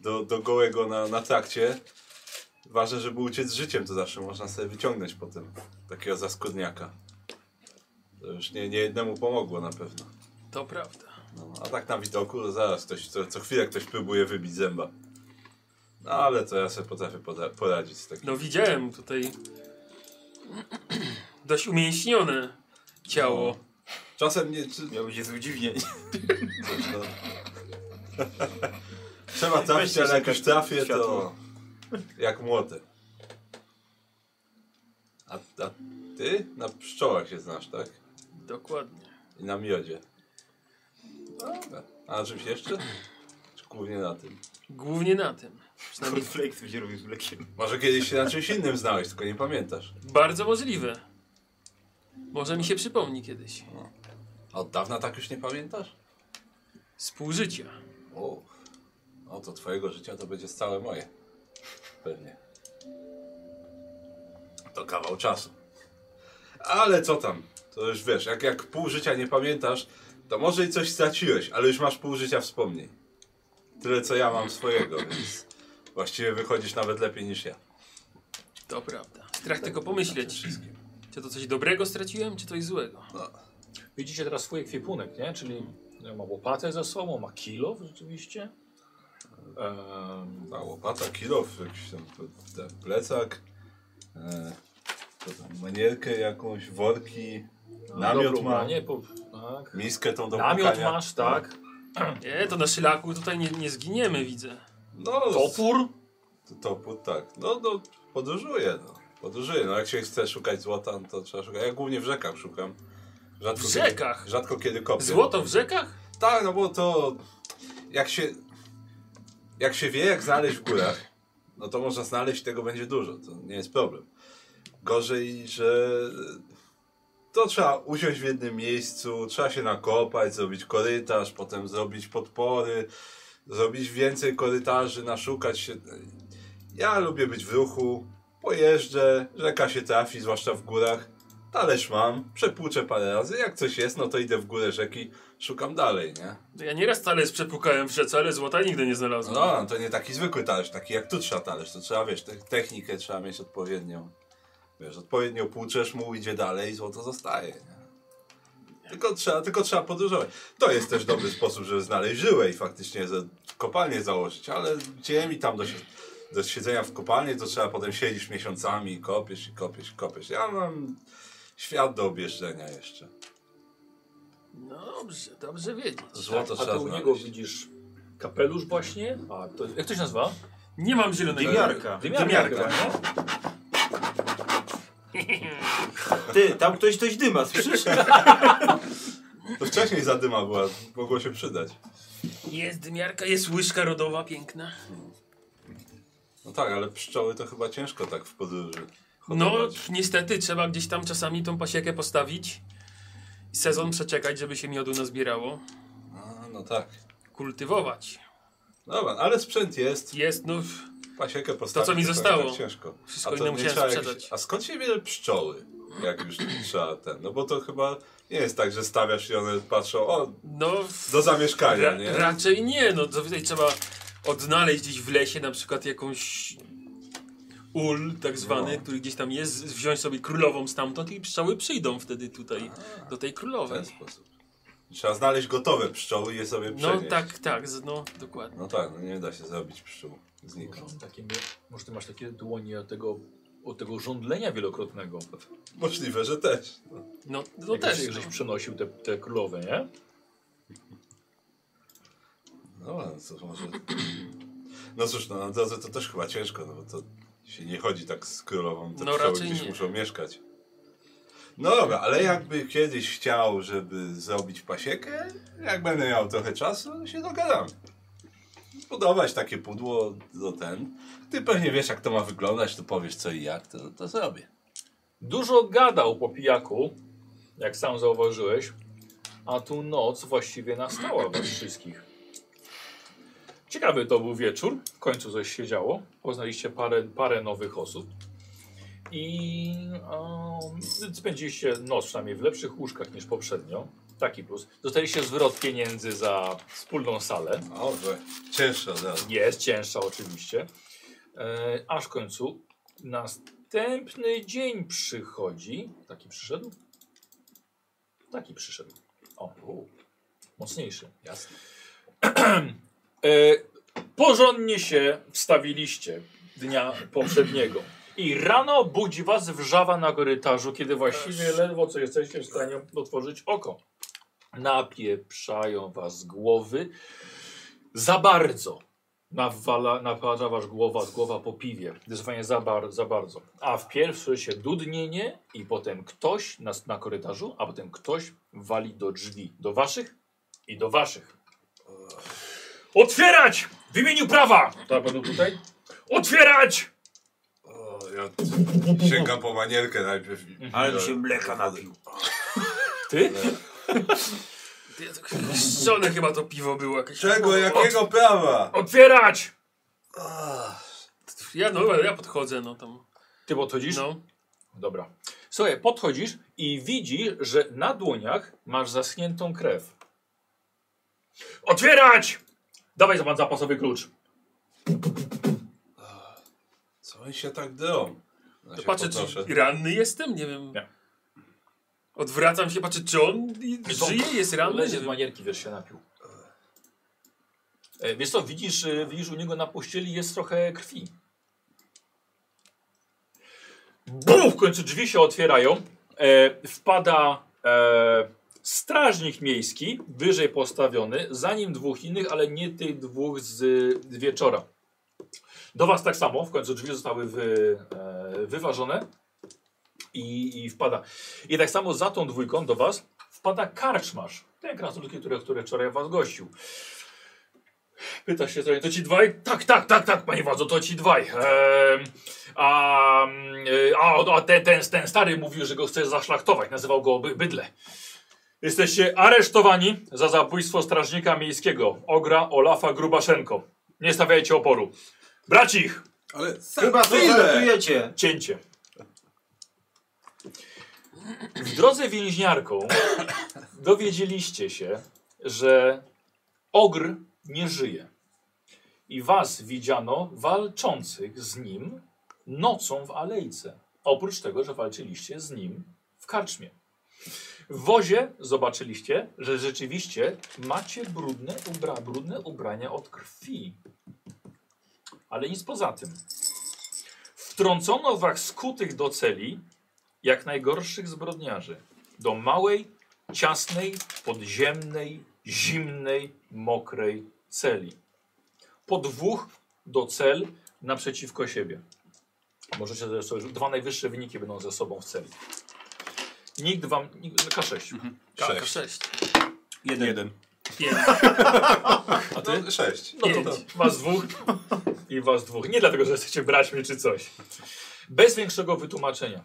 [SPEAKER 4] do, do gołego na, na trakcie, ważne, żeby uciec z życiem, to zawsze można sobie wyciągnąć potem takiego zaskudniaka. To już nie, nie jednemu pomogło na pewno.
[SPEAKER 5] To prawda.
[SPEAKER 4] No, a tak na widoku, to zaraz ktoś, co, co chwilę ktoś próbuje wybić zęba. No ale to ja sobie potrafię poda- poradzić z takim.
[SPEAKER 5] No widziałem tutaj dość umięśnione ciało.
[SPEAKER 4] Czasem nie... Czy,
[SPEAKER 2] Miał być zły dziwnie.
[SPEAKER 4] no. Trzeba trafić,
[SPEAKER 2] Weźcie
[SPEAKER 4] ale jak
[SPEAKER 2] sobie
[SPEAKER 4] już trafię, to
[SPEAKER 2] światło.
[SPEAKER 4] jak młoty. A, a ty na pszczołach się znasz, tak?
[SPEAKER 5] Dokładnie.
[SPEAKER 4] I na miodzie. Dobra. A na czymś jeszcze? Czy głównie na tym?
[SPEAKER 5] Głównie na tym.
[SPEAKER 3] No
[SPEAKER 5] Przynajmniej
[SPEAKER 2] Konflikt będzie robił z mlekiem.
[SPEAKER 4] Może kiedyś się na czymś innym znałeś, tylko nie pamiętasz.
[SPEAKER 5] bardzo możliwe. Może mi się przypomni kiedyś.
[SPEAKER 4] A od dawna tak już nie pamiętasz?
[SPEAKER 5] Współżycia.
[SPEAKER 4] O, no to twojego życia to będzie całe moje. Pewnie. To kawał czasu. Ale co tam? To już wiesz, jak, jak pół życia nie pamiętasz, to może i coś straciłeś, ale już masz pół życia wspomnień. Tyle co ja mam swojego, więc właściwie wychodzisz nawet lepiej niż ja.
[SPEAKER 5] To prawda. Strach tylko
[SPEAKER 4] Na tym
[SPEAKER 5] pomyśleć.
[SPEAKER 4] wszystkim.
[SPEAKER 5] Czy to coś dobrego straciłem, czy coś złego?
[SPEAKER 1] Widzicie teraz swój ekwipunek, nie? Czyli e, ma łopatę ze sobą, ma kilo rzeczywiście. Ehm,
[SPEAKER 4] Ta łopata, kilof, jakiś tam p- ten plecak, e, co tam, manierkę jakąś, worki, namiot
[SPEAKER 1] No, dobrą
[SPEAKER 4] ma.
[SPEAKER 1] bronię, po, tak.
[SPEAKER 4] Miskę tą do
[SPEAKER 1] Namiot
[SPEAKER 4] płukania.
[SPEAKER 1] masz, tak.
[SPEAKER 5] Nie, to na szlaku tutaj nie, nie zginiemy, widzę.
[SPEAKER 4] No,
[SPEAKER 1] Topór.
[SPEAKER 4] to- Topór, tak. No, no, podróżuję, no. Podróżuję, no jak się chce szukać złota, no to trzeba szukać. Ja głównie w rzekach szukam. Rzadko
[SPEAKER 5] W rzekach?
[SPEAKER 4] Kiedy, rzadko kiedy kopię.
[SPEAKER 5] Złoto w rzekach?
[SPEAKER 4] Tak, no bo to jak się jak się wie, jak znaleźć w górach, no to można znaleźć, tego będzie dużo, to nie jest problem. Gorzej, że to trzeba usiąść w jednym miejscu, trzeba się nakopać, zrobić korytarz, potem zrobić podpory, zrobić więcej korytarzy, naszukać się. Ja lubię być w ruchu, pojeżdżę, rzeka się trafi, zwłaszcza w górach. Talerz mam, przepłuczę parę razy, jak coś jest, no to idę w górę rzeki, szukam dalej, nie?
[SPEAKER 5] No Ja nieraz talerz przepłukałem w rzece, ale złota nigdy nie znalazłem.
[SPEAKER 4] No, no, to nie taki zwykły talerz, taki jak tu trzeba talerz, to trzeba, wiesz, te, technikę trzeba mieć odpowiednią. Wiesz, odpowiednio płuczesz mu, idzie dalej i złoto zostaje, nie? Tylko trzeba, tylko trzeba podróżować. To jest też dobry sposób, żeby znaleźć żyłę i faktycznie ze, kopalnię założyć, ale gdzie mi tam do, si- do siedzenia w kopalni, to trzeba potem siedzisz miesiącami i kopiesz i kopiesz i kopiesz. Ja mam świat do objeżdżenia jeszcze.
[SPEAKER 5] No dobrze, dobrze wiedzieć.
[SPEAKER 4] Złoto
[SPEAKER 1] a
[SPEAKER 4] No trzeba
[SPEAKER 1] tu u niego
[SPEAKER 4] znaleźć.
[SPEAKER 1] widzisz kapelusz właśnie. A to, jak to się nazywa?
[SPEAKER 5] Nie mam zielonego.
[SPEAKER 2] Dymiarka.
[SPEAKER 1] Dymiarka.
[SPEAKER 2] Ty, tam ktoś coś dyma, słyszysz?
[SPEAKER 4] To Wcześniej zadyma była, mogło się przydać.
[SPEAKER 5] Jest dymiarka, jest łyżka rodowa piękna.
[SPEAKER 4] No tak, ale pszczoły to chyba ciężko tak w podróży.
[SPEAKER 5] No,
[SPEAKER 4] hodować.
[SPEAKER 5] niestety trzeba gdzieś tam czasami tą pasiekę postawić. i Sezon przeczekać, żeby się miodu nazbierało.
[SPEAKER 4] A, no tak.
[SPEAKER 5] Kultywować.
[SPEAKER 4] Dobra, ale sprzęt jest,
[SPEAKER 5] Jest, no, w-
[SPEAKER 4] pasiekę postawić.
[SPEAKER 5] mi
[SPEAKER 4] tak-
[SPEAKER 5] zostało.
[SPEAKER 4] Tak ciężko.
[SPEAKER 5] Wszystko
[SPEAKER 4] A to
[SPEAKER 5] inne
[SPEAKER 4] nie
[SPEAKER 5] musiałem
[SPEAKER 4] trzeba
[SPEAKER 5] sprzedać.
[SPEAKER 4] a skąd się bierze pszczoły? Jak już trzeba ten, no bo to chyba nie jest tak, że stawiasz i one patrzą, o,
[SPEAKER 5] no w-
[SPEAKER 4] do zamieszkania,
[SPEAKER 5] ra,
[SPEAKER 4] nie?
[SPEAKER 5] raczej nie. No, to tutaj trzeba odnaleźć gdzieś w lesie na przykład jakąś ul tak zwany,
[SPEAKER 4] No.
[SPEAKER 5] który gdzieś tam jest, wziąć sobie królową stamtąd i pszczoły przyjdą wtedy tutaj, do tej
[SPEAKER 4] W
[SPEAKER 5] królowej.
[SPEAKER 4] ten sposób. Trzeba znaleźć gotowe pszczoły i je sobie
[SPEAKER 5] No
[SPEAKER 4] przenieść.
[SPEAKER 5] tak, tak, z- no dokładnie.
[SPEAKER 4] No tak, no nie da się zrobić pszczół. Znika.
[SPEAKER 1] Może, takie, może ty masz takie dłonie od tego, od tego żądlenia wielokrotnego.
[SPEAKER 4] Możliwe, że też. No.
[SPEAKER 5] No, no
[SPEAKER 1] No
[SPEAKER 5] też.
[SPEAKER 1] też. Żeś
[SPEAKER 5] no.
[SPEAKER 1] przenosił te, te królowe, nie?
[SPEAKER 4] No ale co może. No cóż, no na drodze to też chyba ciężko, no bo to się nie chodzi tak z królową, te
[SPEAKER 5] No,
[SPEAKER 4] no, pszczoły
[SPEAKER 5] raczej
[SPEAKER 4] gdzieś
[SPEAKER 5] nie.
[SPEAKER 4] muszą mieszkać. No dobra, ale jakby kiedyś chciał, żeby zrobić pasiekę, jak będę miał trochę czasu, to się dogadam. Zbudować takie pudło do ten. Ty pewnie wiesz, jak to ma wyglądać, to powiesz co i jak, to, to zrobię.
[SPEAKER 1] Dużo gadał po pijaku, jak sam zauważyłeś, a tu noc właściwie nastała was wszystkich. Ciekawy to był wieczór, w końcu coś się działo, poznaliście parę, parę nowych osób i um, spędziliście noc przynajmniej w lepszych łóżkach niż poprzednio, taki plus. Dostaliście zwrot pieniędzy za wspólną salę.
[SPEAKER 4] O, we- cięższe od razu.
[SPEAKER 1] Jest cięższa oczywiście. E, aż w końcu następny dzień przychodzi. Taki przyszedł? Taki przyszedł. O, u, mocniejszy.
[SPEAKER 4] Jasne.
[SPEAKER 1] E, porządnie się wstawiliście dnia poprzedniego. I rano budzi was wrzawa na korytarzu, kiedy właściwie ledwo co jesteście w stanie otworzyć oko. Napieprzają was z głowy. Za bardzo nawala, napada wasz głowa z głowa po piwie. Zdecydowanie za, bar, za bardzo. A w pierwszy się dudnienie i potem ktoś na, na korytarzu, a potem ktoś wali do drzwi. Do waszych i do waszych. Otwierać! W imieniu prawa! Tak, będą tutaj? Otwierać!
[SPEAKER 4] O, ja sięgam po manierkę najpierw.
[SPEAKER 2] Ale mi się mleka napił.
[SPEAKER 1] Ty?
[SPEAKER 5] Ja to- Szczone chyba to piwo było jakieś.
[SPEAKER 4] Czego? Jakiego prawa?
[SPEAKER 1] Otwierać!
[SPEAKER 5] Ja, no, ja podchodzę, no tam.
[SPEAKER 1] Ty podchodzisz?
[SPEAKER 5] No.
[SPEAKER 1] Dobra. Słuchaj, podchodzisz i widzisz, że na dłoniach masz zaschniętą krew. Otwierać! Dawaj za pan zapasowy klucz.
[SPEAKER 4] Co oni się tak drą? Ja
[SPEAKER 5] To
[SPEAKER 4] się
[SPEAKER 5] patrzę,
[SPEAKER 4] podnoszę.
[SPEAKER 5] czy ranny jestem, nie wiem.
[SPEAKER 1] Nie.
[SPEAKER 5] Odwracam się, patrzę, czy on i- żyje, jest ranny.
[SPEAKER 1] Leży
[SPEAKER 5] Nie
[SPEAKER 1] z
[SPEAKER 5] wiem.
[SPEAKER 1] manierki, wiesz, się napił. E, Wiesz co, widzisz, e, widzisz u niego na pościeli jest trochę krwi. Bum! W końcu drzwi się otwierają. E, wpada e, strażnik miejski, wyżej postawiony, za nim dwóch innych, ale nie tych dwóch z z wieczora. Do was tak samo, w końcu drzwi zostały wy, e, wyważone i, i wpada. I tak samo za tą dwójką do was wpada karczmarz. Ten krasnoludki, który, który wczoraj was gościł. Pyta się trochę, to ci dwaj? Tak, tak, tak, tak, panie władzo, to ci dwaj. Em, a mm, a, a ten, ten, ten stary mówił, że go chce zaszlachtować, nazywał go by, bydle. Jesteście aresztowani za zabójstwo strażnika miejskiego, Ogra Olafa Grubaszenko. Nie stawiajcie oporu. Brać ich!
[SPEAKER 3] Ale
[SPEAKER 2] Chyba to zaratujecie.
[SPEAKER 1] Cięcie. W drodze więźniarką dowiedzieliście się, że ogr nie żyje. I was widziano walczących z nim nocą w alejce. Oprócz tego, że walczyliście z nim w karczmie. W wozie zobaczyliście, że rzeczywiście macie brudne, ubra brudne ubrania od krwi. Ale nic poza tym. Wtrącono wach skutych do celi, jak najgorszych zbrodniarzy, do małej, ciasnej, podziemnej, zimnej, mokrej celi. Po dwóch do cel naprzeciwko siebie. Możecie zresztą, że dwa najwyższe wyniki będą ze sobą w celi. Nikt wam, nikt, K6.
[SPEAKER 5] K-
[SPEAKER 4] Sześć.
[SPEAKER 5] K6.
[SPEAKER 2] Jeden.
[SPEAKER 4] Jeden.
[SPEAKER 5] Pięć.
[SPEAKER 4] A ty? Sześć.
[SPEAKER 1] No to, to was dwóch i was dwóch. Nie dlatego, że jesteście braćmi czy coś. Bez większego wytłumaczenia.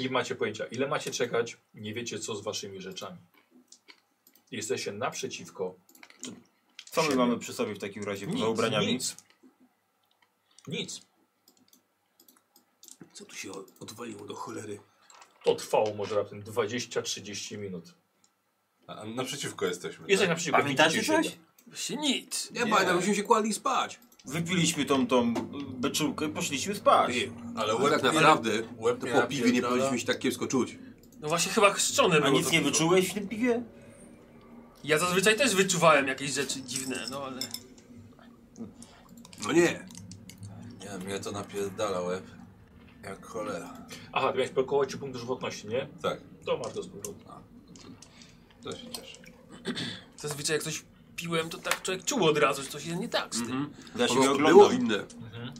[SPEAKER 1] Nie macie pojęcia, ile macie czekać, nie wiecie co z waszymi rzeczami. Jesteście naprzeciwko
[SPEAKER 2] Co my
[SPEAKER 1] Siedem.
[SPEAKER 2] mamy przy sobie w takim razie poza ubraniami?
[SPEAKER 1] Nic. Nic.
[SPEAKER 3] Co tu się odwaliło do cholery?
[SPEAKER 1] To trwało może raptem 20-30 minut.
[SPEAKER 4] A naprzeciwko jesteśmy.
[SPEAKER 1] Jesteś
[SPEAKER 4] tak?
[SPEAKER 1] na przykład.
[SPEAKER 2] Pamiętacie
[SPEAKER 1] widzicie
[SPEAKER 2] coś?
[SPEAKER 1] siebie.
[SPEAKER 5] Właśnie nic.
[SPEAKER 3] Nie,
[SPEAKER 2] Nie.
[SPEAKER 3] pamiętam, myśmy się kłali spać.
[SPEAKER 2] Wypiliśmy tą, tą beczułkę i poszliśmy spać.
[SPEAKER 3] Nie,
[SPEAKER 4] Ale
[SPEAKER 3] ale
[SPEAKER 4] łeb
[SPEAKER 3] tak
[SPEAKER 4] mnie-
[SPEAKER 3] naprawdę
[SPEAKER 4] łeb
[SPEAKER 3] to
[SPEAKER 4] mnie
[SPEAKER 3] po piwie nie
[SPEAKER 4] napierdala.
[SPEAKER 3] powinniśmy się tak kiepsko czuć.
[SPEAKER 5] No właśnie chyba chrzczone
[SPEAKER 2] A
[SPEAKER 5] było.
[SPEAKER 2] nic
[SPEAKER 5] to
[SPEAKER 2] nie
[SPEAKER 5] piwo.
[SPEAKER 2] wyczułeś w tym piwie?
[SPEAKER 5] Ja zazwyczaj też wyczuwałem jakieś rzeczy dziwne, no ale...
[SPEAKER 3] No nie.
[SPEAKER 4] Nie, mnie to napierdala łeb. Jak cholera.
[SPEAKER 1] Aha, miałeś około ci punkt żywotności, nie?
[SPEAKER 4] Tak,
[SPEAKER 1] To masz do powrotu.
[SPEAKER 4] to się cieszę.
[SPEAKER 5] Zazwyczaj jak coś piłem, to tak człowiek czuł od razu, że coś jest nie tak z tym.
[SPEAKER 2] Ja
[SPEAKER 3] Po
[SPEAKER 2] się
[SPEAKER 3] prostu
[SPEAKER 2] nie
[SPEAKER 3] było
[SPEAKER 2] oglądam.
[SPEAKER 3] inne. Mhm.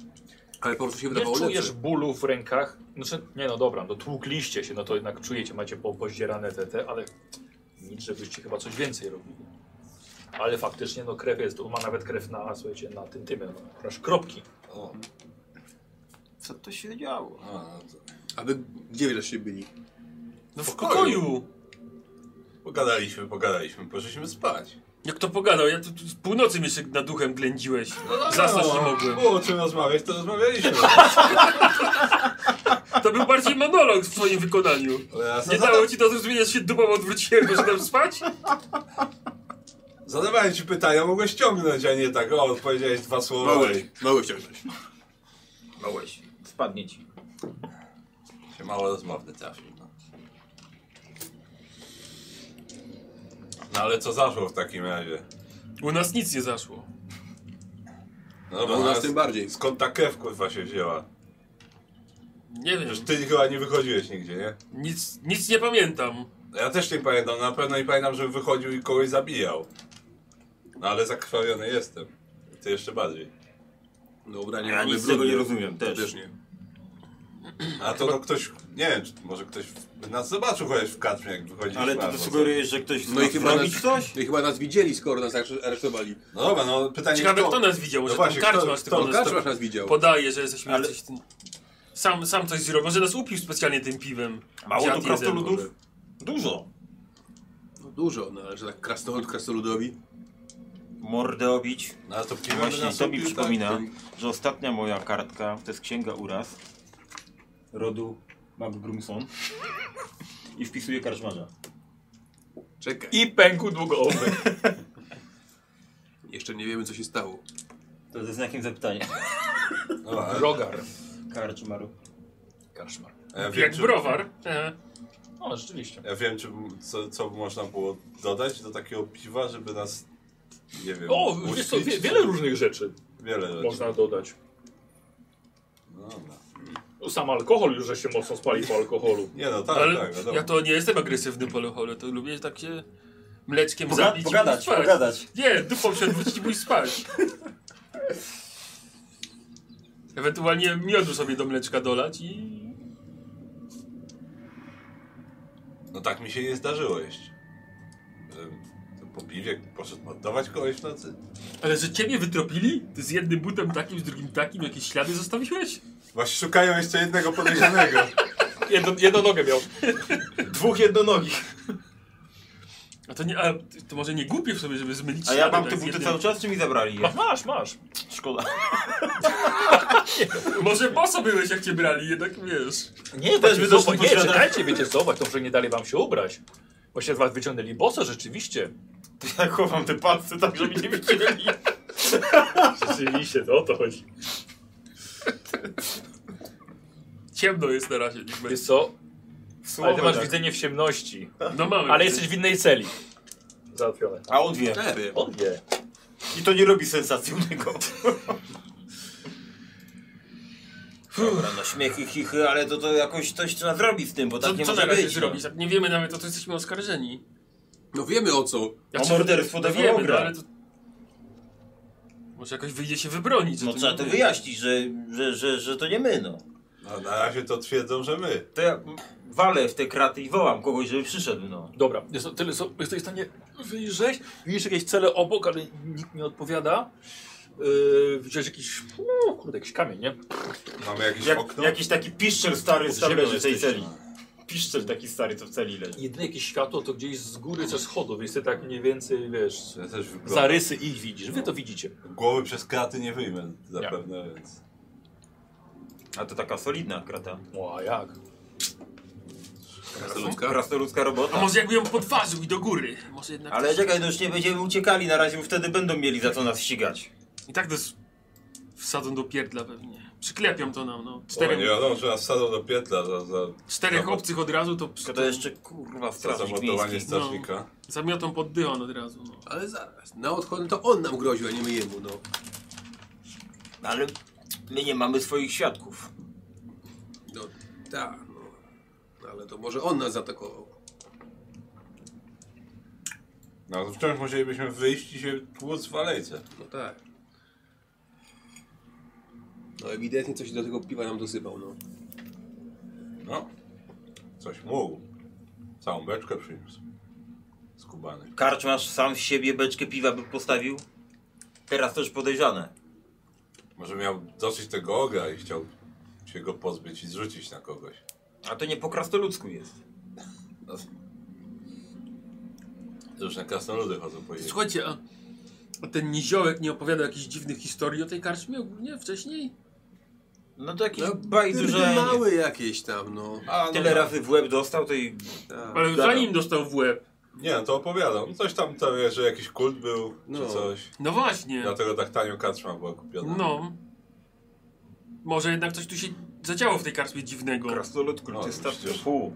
[SPEAKER 3] Ale po prostu się
[SPEAKER 1] Nie
[SPEAKER 3] wydawało
[SPEAKER 1] czujesz
[SPEAKER 3] lepsze.
[SPEAKER 1] bólu w rękach. Znaczy, nie no dobra, no tłukliście się, no to jednak czujecie, macie po- pozdzierane te, te, ale nic, żebyście chyba coś więcej robili. Ale faktycznie, no krew jest, ma nawet krew na, słuchajcie, na tym tymie, no, aż kropki.
[SPEAKER 4] O,
[SPEAKER 2] Co to się działo?
[SPEAKER 4] a, no to.
[SPEAKER 3] A wy gdzie wy się byli?
[SPEAKER 5] No w
[SPEAKER 4] Pokoju.
[SPEAKER 5] pokoju!
[SPEAKER 4] Pogadaliśmy, pogadaliśmy, poszliśmy spać.
[SPEAKER 5] Jak to pogadał, ja tu, tu z północy mi się nad duchem ględziłeś. Zasnąć nie mogłem.
[SPEAKER 4] No, Było o czym rozmawiać, to rozmawialiśmy.
[SPEAKER 5] To był bardziej monolog w twoim wykonaniu.
[SPEAKER 4] Ale ja
[SPEAKER 5] Nie
[SPEAKER 4] zada
[SPEAKER 5] dało ci do zrozumienia, że się dupą odwróciłem, bo tam spać?
[SPEAKER 4] zadawałem ci pytania, mogłeś ciągnąć, a nie tak, o, powiedziałeś dwa słowa.
[SPEAKER 3] Mogłeś, mogłeś ciągnąć.
[SPEAKER 2] Małeś. No Spadnie ci.
[SPEAKER 4] Się mało rozmowny trafił. No. no ale co zaszło w takim razie?
[SPEAKER 5] U nas nic nie zaszło.
[SPEAKER 4] No
[SPEAKER 3] No
[SPEAKER 4] dobra,
[SPEAKER 3] u nas
[SPEAKER 4] ale
[SPEAKER 3] tym bardziej.
[SPEAKER 4] Skąd ta krew kurwa się wzięła?
[SPEAKER 5] Nie wiem,
[SPEAKER 4] Przecież ty chyba nie wychodziłeś nigdzie, nie?
[SPEAKER 5] nic, nic nie pamiętam.
[SPEAKER 4] Ja też nie pamiętam, na pewno nie pamiętam, żebym wychodził i kogoś zabijał. No ale zakrwawiony jestem. Ty jeszcze bardziej.
[SPEAKER 3] No ubranie
[SPEAKER 2] Ja
[SPEAKER 3] mamy
[SPEAKER 2] nic
[SPEAKER 3] brudne.
[SPEAKER 2] tego nie rozumiem
[SPEAKER 3] Ja
[SPEAKER 2] też.
[SPEAKER 3] też nie.
[SPEAKER 4] A to no ktoś, nie wiem, czy może ktoś by nas zobaczył chociaż w katrze, jak wychodziliśmy.
[SPEAKER 2] Ale ty
[SPEAKER 4] albo
[SPEAKER 2] to
[SPEAKER 4] co.
[SPEAKER 2] sugerujesz, że ktoś
[SPEAKER 3] No i chyba nas,
[SPEAKER 2] zrobić coś?
[SPEAKER 3] no i chyba nas widzieli, skoro nas aresz- aresztowali.
[SPEAKER 4] No dobra, no pytanie
[SPEAKER 5] Ciekawe kto nas widział, może
[SPEAKER 4] No
[SPEAKER 5] tam
[SPEAKER 4] właśnie, kto-
[SPEAKER 5] karczmasz
[SPEAKER 4] kto-
[SPEAKER 3] No
[SPEAKER 5] tylko nas
[SPEAKER 3] Kaczmarz nas widział.
[SPEAKER 5] podaje, że jesteśmy
[SPEAKER 2] Ale-
[SPEAKER 5] Ale... coś... Sam, sam coś zrobił, może nas upił specjalnie tym piwem.
[SPEAKER 2] Mało
[SPEAKER 5] Dziad
[SPEAKER 2] tu
[SPEAKER 5] jeden
[SPEAKER 2] krasnoludów?
[SPEAKER 5] może.
[SPEAKER 2] Dużo.
[SPEAKER 3] No dużo, no ale że tak krasnolud krasnoludowi.
[SPEAKER 2] Mordę obić.
[SPEAKER 4] No to piwo
[SPEAKER 2] Właśnie
[SPEAKER 4] nas
[SPEAKER 2] to mi
[SPEAKER 4] upił,
[SPEAKER 2] przypomina,
[SPEAKER 4] tak?
[SPEAKER 2] że ostatnia moja kartka to jest księga uraz rodu McGrumson i wpisuję karczmarza.
[SPEAKER 3] Czekaj,
[SPEAKER 1] I pękł długo owy.
[SPEAKER 3] jeszcze nie wiemy co się stało.
[SPEAKER 2] To ze znakiem zapytania.
[SPEAKER 4] No, ale-
[SPEAKER 1] Rogar.
[SPEAKER 2] Karczmaru.
[SPEAKER 1] Karszmar.
[SPEAKER 4] a ja wiem,
[SPEAKER 5] Jak
[SPEAKER 4] czy-
[SPEAKER 5] browar.
[SPEAKER 2] Tak,
[SPEAKER 5] E.
[SPEAKER 1] No, rzeczywiście.
[SPEAKER 4] Ja wiem, czy, co, co można było dodać do takiego piwa, żeby nas, nie wiem,
[SPEAKER 1] O, wiesz co, wie,
[SPEAKER 4] uśpić,
[SPEAKER 1] wiele
[SPEAKER 4] czy-
[SPEAKER 1] różnych rzeczy
[SPEAKER 4] wiele rzeczy.
[SPEAKER 1] można dodać.
[SPEAKER 4] No, dobra.
[SPEAKER 1] Sam alkohol już, że się mocno spali po alkoholu.
[SPEAKER 4] Nie no, tak,
[SPEAKER 5] Ale
[SPEAKER 4] tak, wiadomo.
[SPEAKER 5] ja to nie jestem agresywny po alkoholu, to lubię tak się mleczkiem
[SPEAKER 2] Poga
[SPEAKER 5] zabić i pójść
[SPEAKER 2] pogadać,
[SPEAKER 5] spać.
[SPEAKER 2] pogadać.
[SPEAKER 5] Nie, dupą się odwrócić i pójść spać. Ewentualnie miodu sobie do mleczka dolać i...
[SPEAKER 4] No tak mi się nie zdarzyło jeść. Em, to Po piwie poszedł mordować kogoś w nocy?
[SPEAKER 5] Ale że ciebie wytropili? Ty z jednym butem takim, z drugim takim, jakieś ślady zostawiłeś?
[SPEAKER 4] Właśnie szukają jeszcze jednego podejrzanego.
[SPEAKER 1] Jedno, jedną nogę miał.
[SPEAKER 4] Dwóch jednonogich.
[SPEAKER 5] A to nie, a to może nie głupie w sobie, żeby zmylić
[SPEAKER 2] A ja
[SPEAKER 5] ślady,
[SPEAKER 2] mam
[SPEAKER 5] tak
[SPEAKER 2] te
[SPEAKER 5] z
[SPEAKER 2] buty
[SPEAKER 5] jednym-
[SPEAKER 2] cały czas, czy mi zabrali
[SPEAKER 1] Masz,
[SPEAKER 2] je?
[SPEAKER 1] masz, masz.
[SPEAKER 2] Szkoda.
[SPEAKER 5] Może boso byłeś jak cię brali, jednak wiesz.
[SPEAKER 1] Nie,
[SPEAKER 2] Też by doszło
[SPEAKER 1] zobacz, nie,
[SPEAKER 2] poświadczenie.
[SPEAKER 1] czekajcie, wiecie co, to że nie dali wam się ubrać. Właśnie was wyciągnęli boso, rzeczywiście.
[SPEAKER 2] Ja chowam te palce tak, żeby nie widzieli.
[SPEAKER 1] Rzeczywiście, to o to chodzi.
[SPEAKER 5] Ciemno jest na razie, niech
[SPEAKER 1] Wiesz
[SPEAKER 5] będzie.
[SPEAKER 1] co, ale ty
[SPEAKER 2] Słowem,
[SPEAKER 1] masz
[SPEAKER 2] tak.
[SPEAKER 1] widzenie w ciemności,
[SPEAKER 5] No mamy.
[SPEAKER 1] ale jesteś w innej celi. Załatwione.
[SPEAKER 2] A on wie.
[SPEAKER 3] Nie wiem.
[SPEAKER 1] On wie.
[SPEAKER 2] I to nie robi sensacji u niego. Dobra, no śmiechy, chichy, ale to, to jakoś coś trzeba zrobić z tym, bo tak
[SPEAKER 5] Co,
[SPEAKER 2] nie
[SPEAKER 5] co na
[SPEAKER 2] może
[SPEAKER 5] razie
[SPEAKER 2] być. no.
[SPEAKER 5] zrobić? Jak nie wiemy nawet o to, jesteśmy oskarżeni.
[SPEAKER 3] No wiemy o co.
[SPEAKER 5] Ja
[SPEAKER 2] O
[SPEAKER 5] ci-
[SPEAKER 2] morderstwo
[SPEAKER 5] no
[SPEAKER 2] do
[SPEAKER 5] wiemy,
[SPEAKER 2] Wologra.
[SPEAKER 5] no ale to... Może jakoś wyjdzie się wybronić. że
[SPEAKER 2] No trzeba to
[SPEAKER 5] nie-
[SPEAKER 2] wyjaśnić, że, że, że, że to nie my, no.
[SPEAKER 4] No na razie to twierdzą, że my.
[SPEAKER 2] To ja walę w te kraty i wołam kogoś, żeby przyszedł, no.
[SPEAKER 1] Dobra, jest, tyle co jesteś w stanie wyjrzeć. Widzisz jakieś cele obok, ale nikt nie odpowiada. Yy, widziałeś jakiś, no, kurde, jakiś kamień, nie?
[SPEAKER 4] Mamy jakieś
[SPEAKER 2] Jak,
[SPEAKER 4] okno?
[SPEAKER 2] Jakiś taki piszczel stary z
[SPEAKER 1] Ziemią
[SPEAKER 2] tej
[SPEAKER 1] jesteście.
[SPEAKER 2] celi. Piszczel taki stary, co w celi leży.
[SPEAKER 1] Jedyne jakieś światło to gdzieś z góry ze schodów, więc ty tak mniej więcej, wiesz,
[SPEAKER 4] Ja też wyglądam.
[SPEAKER 1] zarysy ich widzisz. Wy to widzicie.
[SPEAKER 4] Głowy przez kraty nie wyjmę zapewne, więc...
[SPEAKER 2] A to taka solidna krata.
[SPEAKER 1] O, a jak?
[SPEAKER 4] Krasnoludka?
[SPEAKER 2] Krasnoludzka
[SPEAKER 5] A
[SPEAKER 2] robota.
[SPEAKER 5] może jakby ją podważył i do góry. Może jednak...
[SPEAKER 2] Ale czekaj, no już nie będziemy uciekali na razie, bo wtedy będą mieli za co nas ścigać.
[SPEAKER 5] I tak też wsadzą do pierdla pewnie. Przyklepią to nam, no.
[SPEAKER 4] O, nie
[SPEAKER 5] Czterech,
[SPEAKER 4] wiadomo, że nas wsadzą do pietla za, za,
[SPEAKER 5] czterech
[SPEAKER 4] Dobra.
[SPEAKER 5] obcych od razu to...
[SPEAKER 2] No To, to jeszcze kurwa
[SPEAKER 4] za
[SPEAKER 2] strażnik
[SPEAKER 4] zamordowanie
[SPEAKER 2] miejski.
[SPEAKER 4] strażnika.
[SPEAKER 5] No. Zamiotą pod dywan od razu, no.
[SPEAKER 3] Ale zaraz, na odchodem to on nam groził, a nie my jemu, no.
[SPEAKER 2] Ale my nie mamy swoich świadków.
[SPEAKER 3] No, tak, no. Ale to może on nas zaatakował.
[SPEAKER 4] No to wciąż musielibyśmy wyjść i się tłuc w alejce.
[SPEAKER 3] No tak. No ewidentnie coś do tego piwa nam dosypał, no.
[SPEAKER 4] No. Coś mógł. Całą beczkę przyniósł. Z Kubany.
[SPEAKER 2] Karczmasz sam z siebie beczkę piwa by postawił? Teraz też podejrzane.
[SPEAKER 4] Może miał dosyć tego ogra i chciał się go pozbyć i zrzucić na kogoś.
[SPEAKER 2] A to nie po krasnoludzku jest.
[SPEAKER 4] No. Różne krasnoludy chodzą po jej.
[SPEAKER 5] Słuchajcie, a, a ten niziołek nie opowiada jakichś dziwnych historii o tej karczmie ogólnie wcześniej?
[SPEAKER 2] No to jakiś
[SPEAKER 3] no
[SPEAKER 2] bajdu, że...
[SPEAKER 3] małe jakieś tam, no.
[SPEAKER 4] A,
[SPEAKER 2] Tyle razy w łeb dostał, to i...
[SPEAKER 3] Tak.
[SPEAKER 5] Ale
[SPEAKER 2] Gadam.
[SPEAKER 5] zanim dostał w łeb.
[SPEAKER 4] Nie, no to opowiadam. Coś tam, to wie, że jakiś kult był,
[SPEAKER 3] No.
[SPEAKER 4] czy coś.
[SPEAKER 5] No właśnie.
[SPEAKER 4] Dlatego tak tanio karczma była kupiona.
[SPEAKER 5] No. Może jednak coś tu się zadziało w tej karczmie dziwnego.
[SPEAKER 2] Krasnolud
[SPEAKER 4] No,
[SPEAKER 2] króty
[SPEAKER 4] myślę, że-
[SPEAKER 2] starczy pół.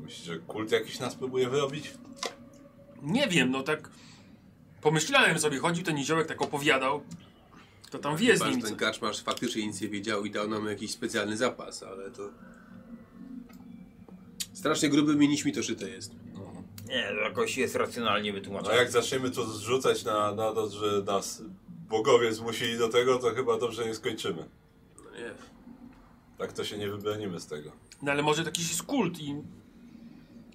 [SPEAKER 4] Myślisz, że kult jakiś nas próbuje wyrobić?
[SPEAKER 5] Nie wiem, no tak pomyślałem sobie, chodził ten niziołek, tak opowiadał. To tam wie z
[SPEAKER 3] Pan,
[SPEAKER 5] nim.
[SPEAKER 3] ten
[SPEAKER 5] co-
[SPEAKER 3] karczmarz faktycznie nic nie wiedział i dał nam jakiś specjalny zapas, ale to... Strasznie grubymi nićmi to szyte jest.
[SPEAKER 2] Nie, to jakoś jest racjonalnie
[SPEAKER 4] No
[SPEAKER 2] wytłumaczone.
[SPEAKER 4] jak zaczniemy to zrzucać na, na to, że nas bogowie zmusili do tego, to chyba dobrze nie skończymy.
[SPEAKER 3] No nie.
[SPEAKER 4] Tak to się nie wybronimy z tego.
[SPEAKER 5] No ale może to jakiś jest kult i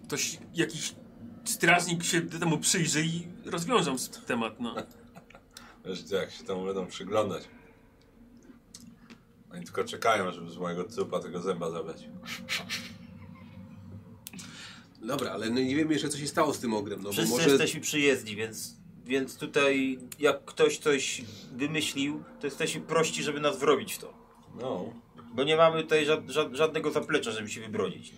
[SPEAKER 5] ktoś, jakiś strażnik się temu przyjrzy i rozwiążą s- temat, no.
[SPEAKER 4] Wiesz, jak się temu będą przyglądać. Oni tylko czekają, żeby z mojego trupa tego zęba zabrać.
[SPEAKER 3] Dobra, ale no nie wiemy jeszcze co się stało z tym ogrem, no
[SPEAKER 2] Wszyscy
[SPEAKER 3] bo może...
[SPEAKER 2] jesteśmy przyjezdni, więc, więc tutaj jak ktoś coś wymyślił, to jesteśmy prości, żeby nas wrobić w to.
[SPEAKER 4] No,
[SPEAKER 2] Bo nie mamy tutaj ża- ża- żadnego zaplecza, żeby się wybronić.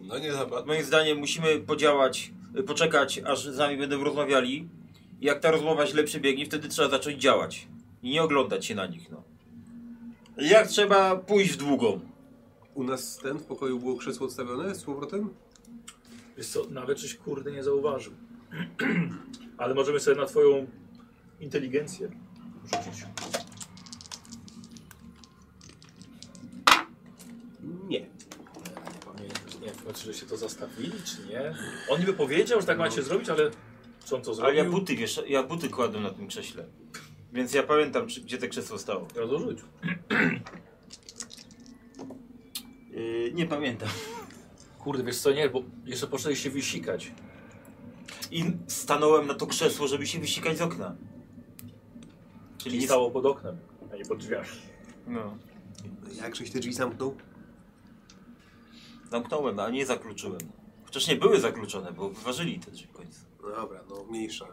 [SPEAKER 4] no nie za bardzo.
[SPEAKER 2] Moim zdaniem musimy podziałać, y, poczekać, aż z nami będą rozmawiali. I jak ta rozmowa źle przebiegnie, wtedy trzeba zacząć działać. I nie oglądać się na nich, no. I Jak trzeba pójść w długą.
[SPEAKER 3] U nas ten w pokoju było krzesło odstawione z powrotem?
[SPEAKER 1] Wiesz co, nawet żeś kurde nie zauważył. Ale możemy sobie na twoją inteligencję rzucić.
[SPEAKER 3] Nie.
[SPEAKER 1] Nie, nie wiem, czy się to zastawili, czy nie. On niby powiedział, że tak macie zrobić, ale co on to
[SPEAKER 2] Ale
[SPEAKER 1] zrobił?
[SPEAKER 2] ja buty, wiesz, ja buty kładłem na tym krześle. Więc ja pamiętam, czy, gdzie to krzesło stało.
[SPEAKER 1] Ja to rzuć.
[SPEAKER 2] Yy, nie pamiętam.
[SPEAKER 1] Kurde, wiesz co, nie, bo jeszcze poczęli się wysikać.
[SPEAKER 2] I stanąłem na to krzesło, żeby się wysikać z okna. Czyli
[SPEAKER 1] Czyli
[SPEAKER 2] nie...
[SPEAKER 1] stało pod oknem, a nie pod drzwiami.
[SPEAKER 2] No.
[SPEAKER 3] Jakżeś te drzwi zamknął?
[SPEAKER 2] Zamknąłem, ale nie zakluczyłem. Chociaż nie były zakluczone, bo wyważyli te drzwi w końcu.
[SPEAKER 3] Dobra, no mniejsza.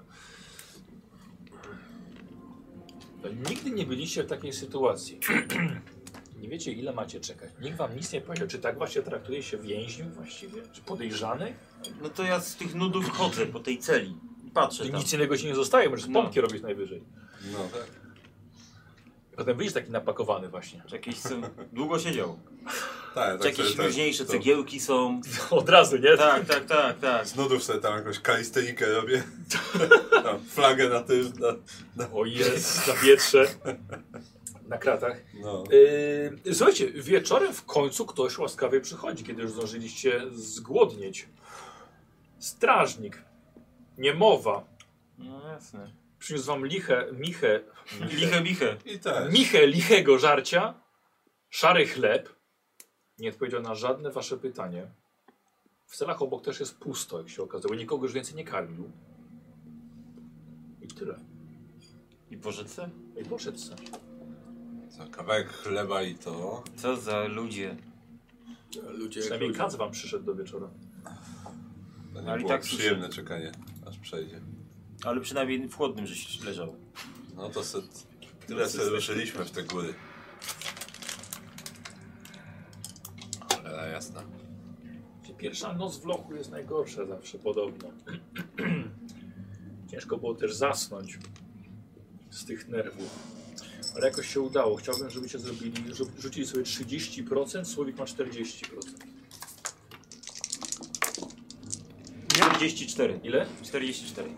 [SPEAKER 1] No, Nigdy nie byliście w takiej sytuacji. nie wiecie, ile macie czekać. Nikt wam nic nie powiedział, czy tak właśnie traktuje się więźniów właściwie, czy podejrzanych?
[SPEAKER 2] No to ja z tych nudów chodzę po tej celi. i Patrzę
[SPEAKER 1] Czy
[SPEAKER 2] tam.
[SPEAKER 1] nic innego ci nie zostaje, możesz
[SPEAKER 2] Tak. No.
[SPEAKER 1] pompki robić najwyżej.
[SPEAKER 4] No tak.
[SPEAKER 1] Potem wyjdziesz taki napakowany właśnie.
[SPEAKER 2] Czy jakieś są... Długo siedział. Czy
[SPEAKER 4] Tak, tak
[SPEAKER 2] jakieś
[SPEAKER 4] sobie tak-
[SPEAKER 2] luźniejsze
[SPEAKER 4] to-
[SPEAKER 2] cegiełki są.
[SPEAKER 1] Od razu, nie?
[SPEAKER 2] Tak, tak, tak, tak.
[SPEAKER 4] Z nudów sobie tam jakąś kalistenikę robię. tam flagę na tym. Na,
[SPEAKER 1] O jest, na wietrze. Na kratach.
[SPEAKER 4] no.
[SPEAKER 1] Yy, słuchajcie, wieczorem w końcu ktoś łaskawie przychodzi, kiedy już zdążyliście zgłodnieć. Strażnik, niemowa,
[SPEAKER 2] No jasne.
[SPEAKER 1] przyniósł wam lichę, michę,
[SPEAKER 2] Liche, miche.
[SPEAKER 4] I tak.
[SPEAKER 1] michę lichego żarcia, szary chleb, Nie odpowiedział na żadne wasze pytanie. W celach obok też jest pusto, jak się okazało. Nikogo już więcej nie karmił. I tyle.
[SPEAKER 2] I pożyce?
[SPEAKER 1] I poszedł se.
[SPEAKER 4] Za kawałek chleba i to.
[SPEAKER 2] Co za ludzie.
[SPEAKER 3] Ludzie jak
[SPEAKER 1] Przynajmniej
[SPEAKER 3] ludzie.
[SPEAKER 1] kac wam przyszedł do wieczora.
[SPEAKER 4] To nie
[SPEAKER 2] Ale i
[SPEAKER 4] było
[SPEAKER 2] tak
[SPEAKER 4] przyjemne czekanie, aż przejdzie.
[SPEAKER 2] Ale przynajmniej w chłodnym żeś leżał.
[SPEAKER 4] No to se, tyle se ruszyliśmy w te góry. Cholera jasna.
[SPEAKER 1] Pierwsza noc w lochu jest najgorsza zawsze, podobno. Ciężko było też zasnąć z tych nerwów. Ale jakoś się udało. Chciałbym, żebyście zrobili, żu- rzucili sobie 30%, Słowik ma 40%.
[SPEAKER 2] 44.
[SPEAKER 1] Ile?
[SPEAKER 2] 44.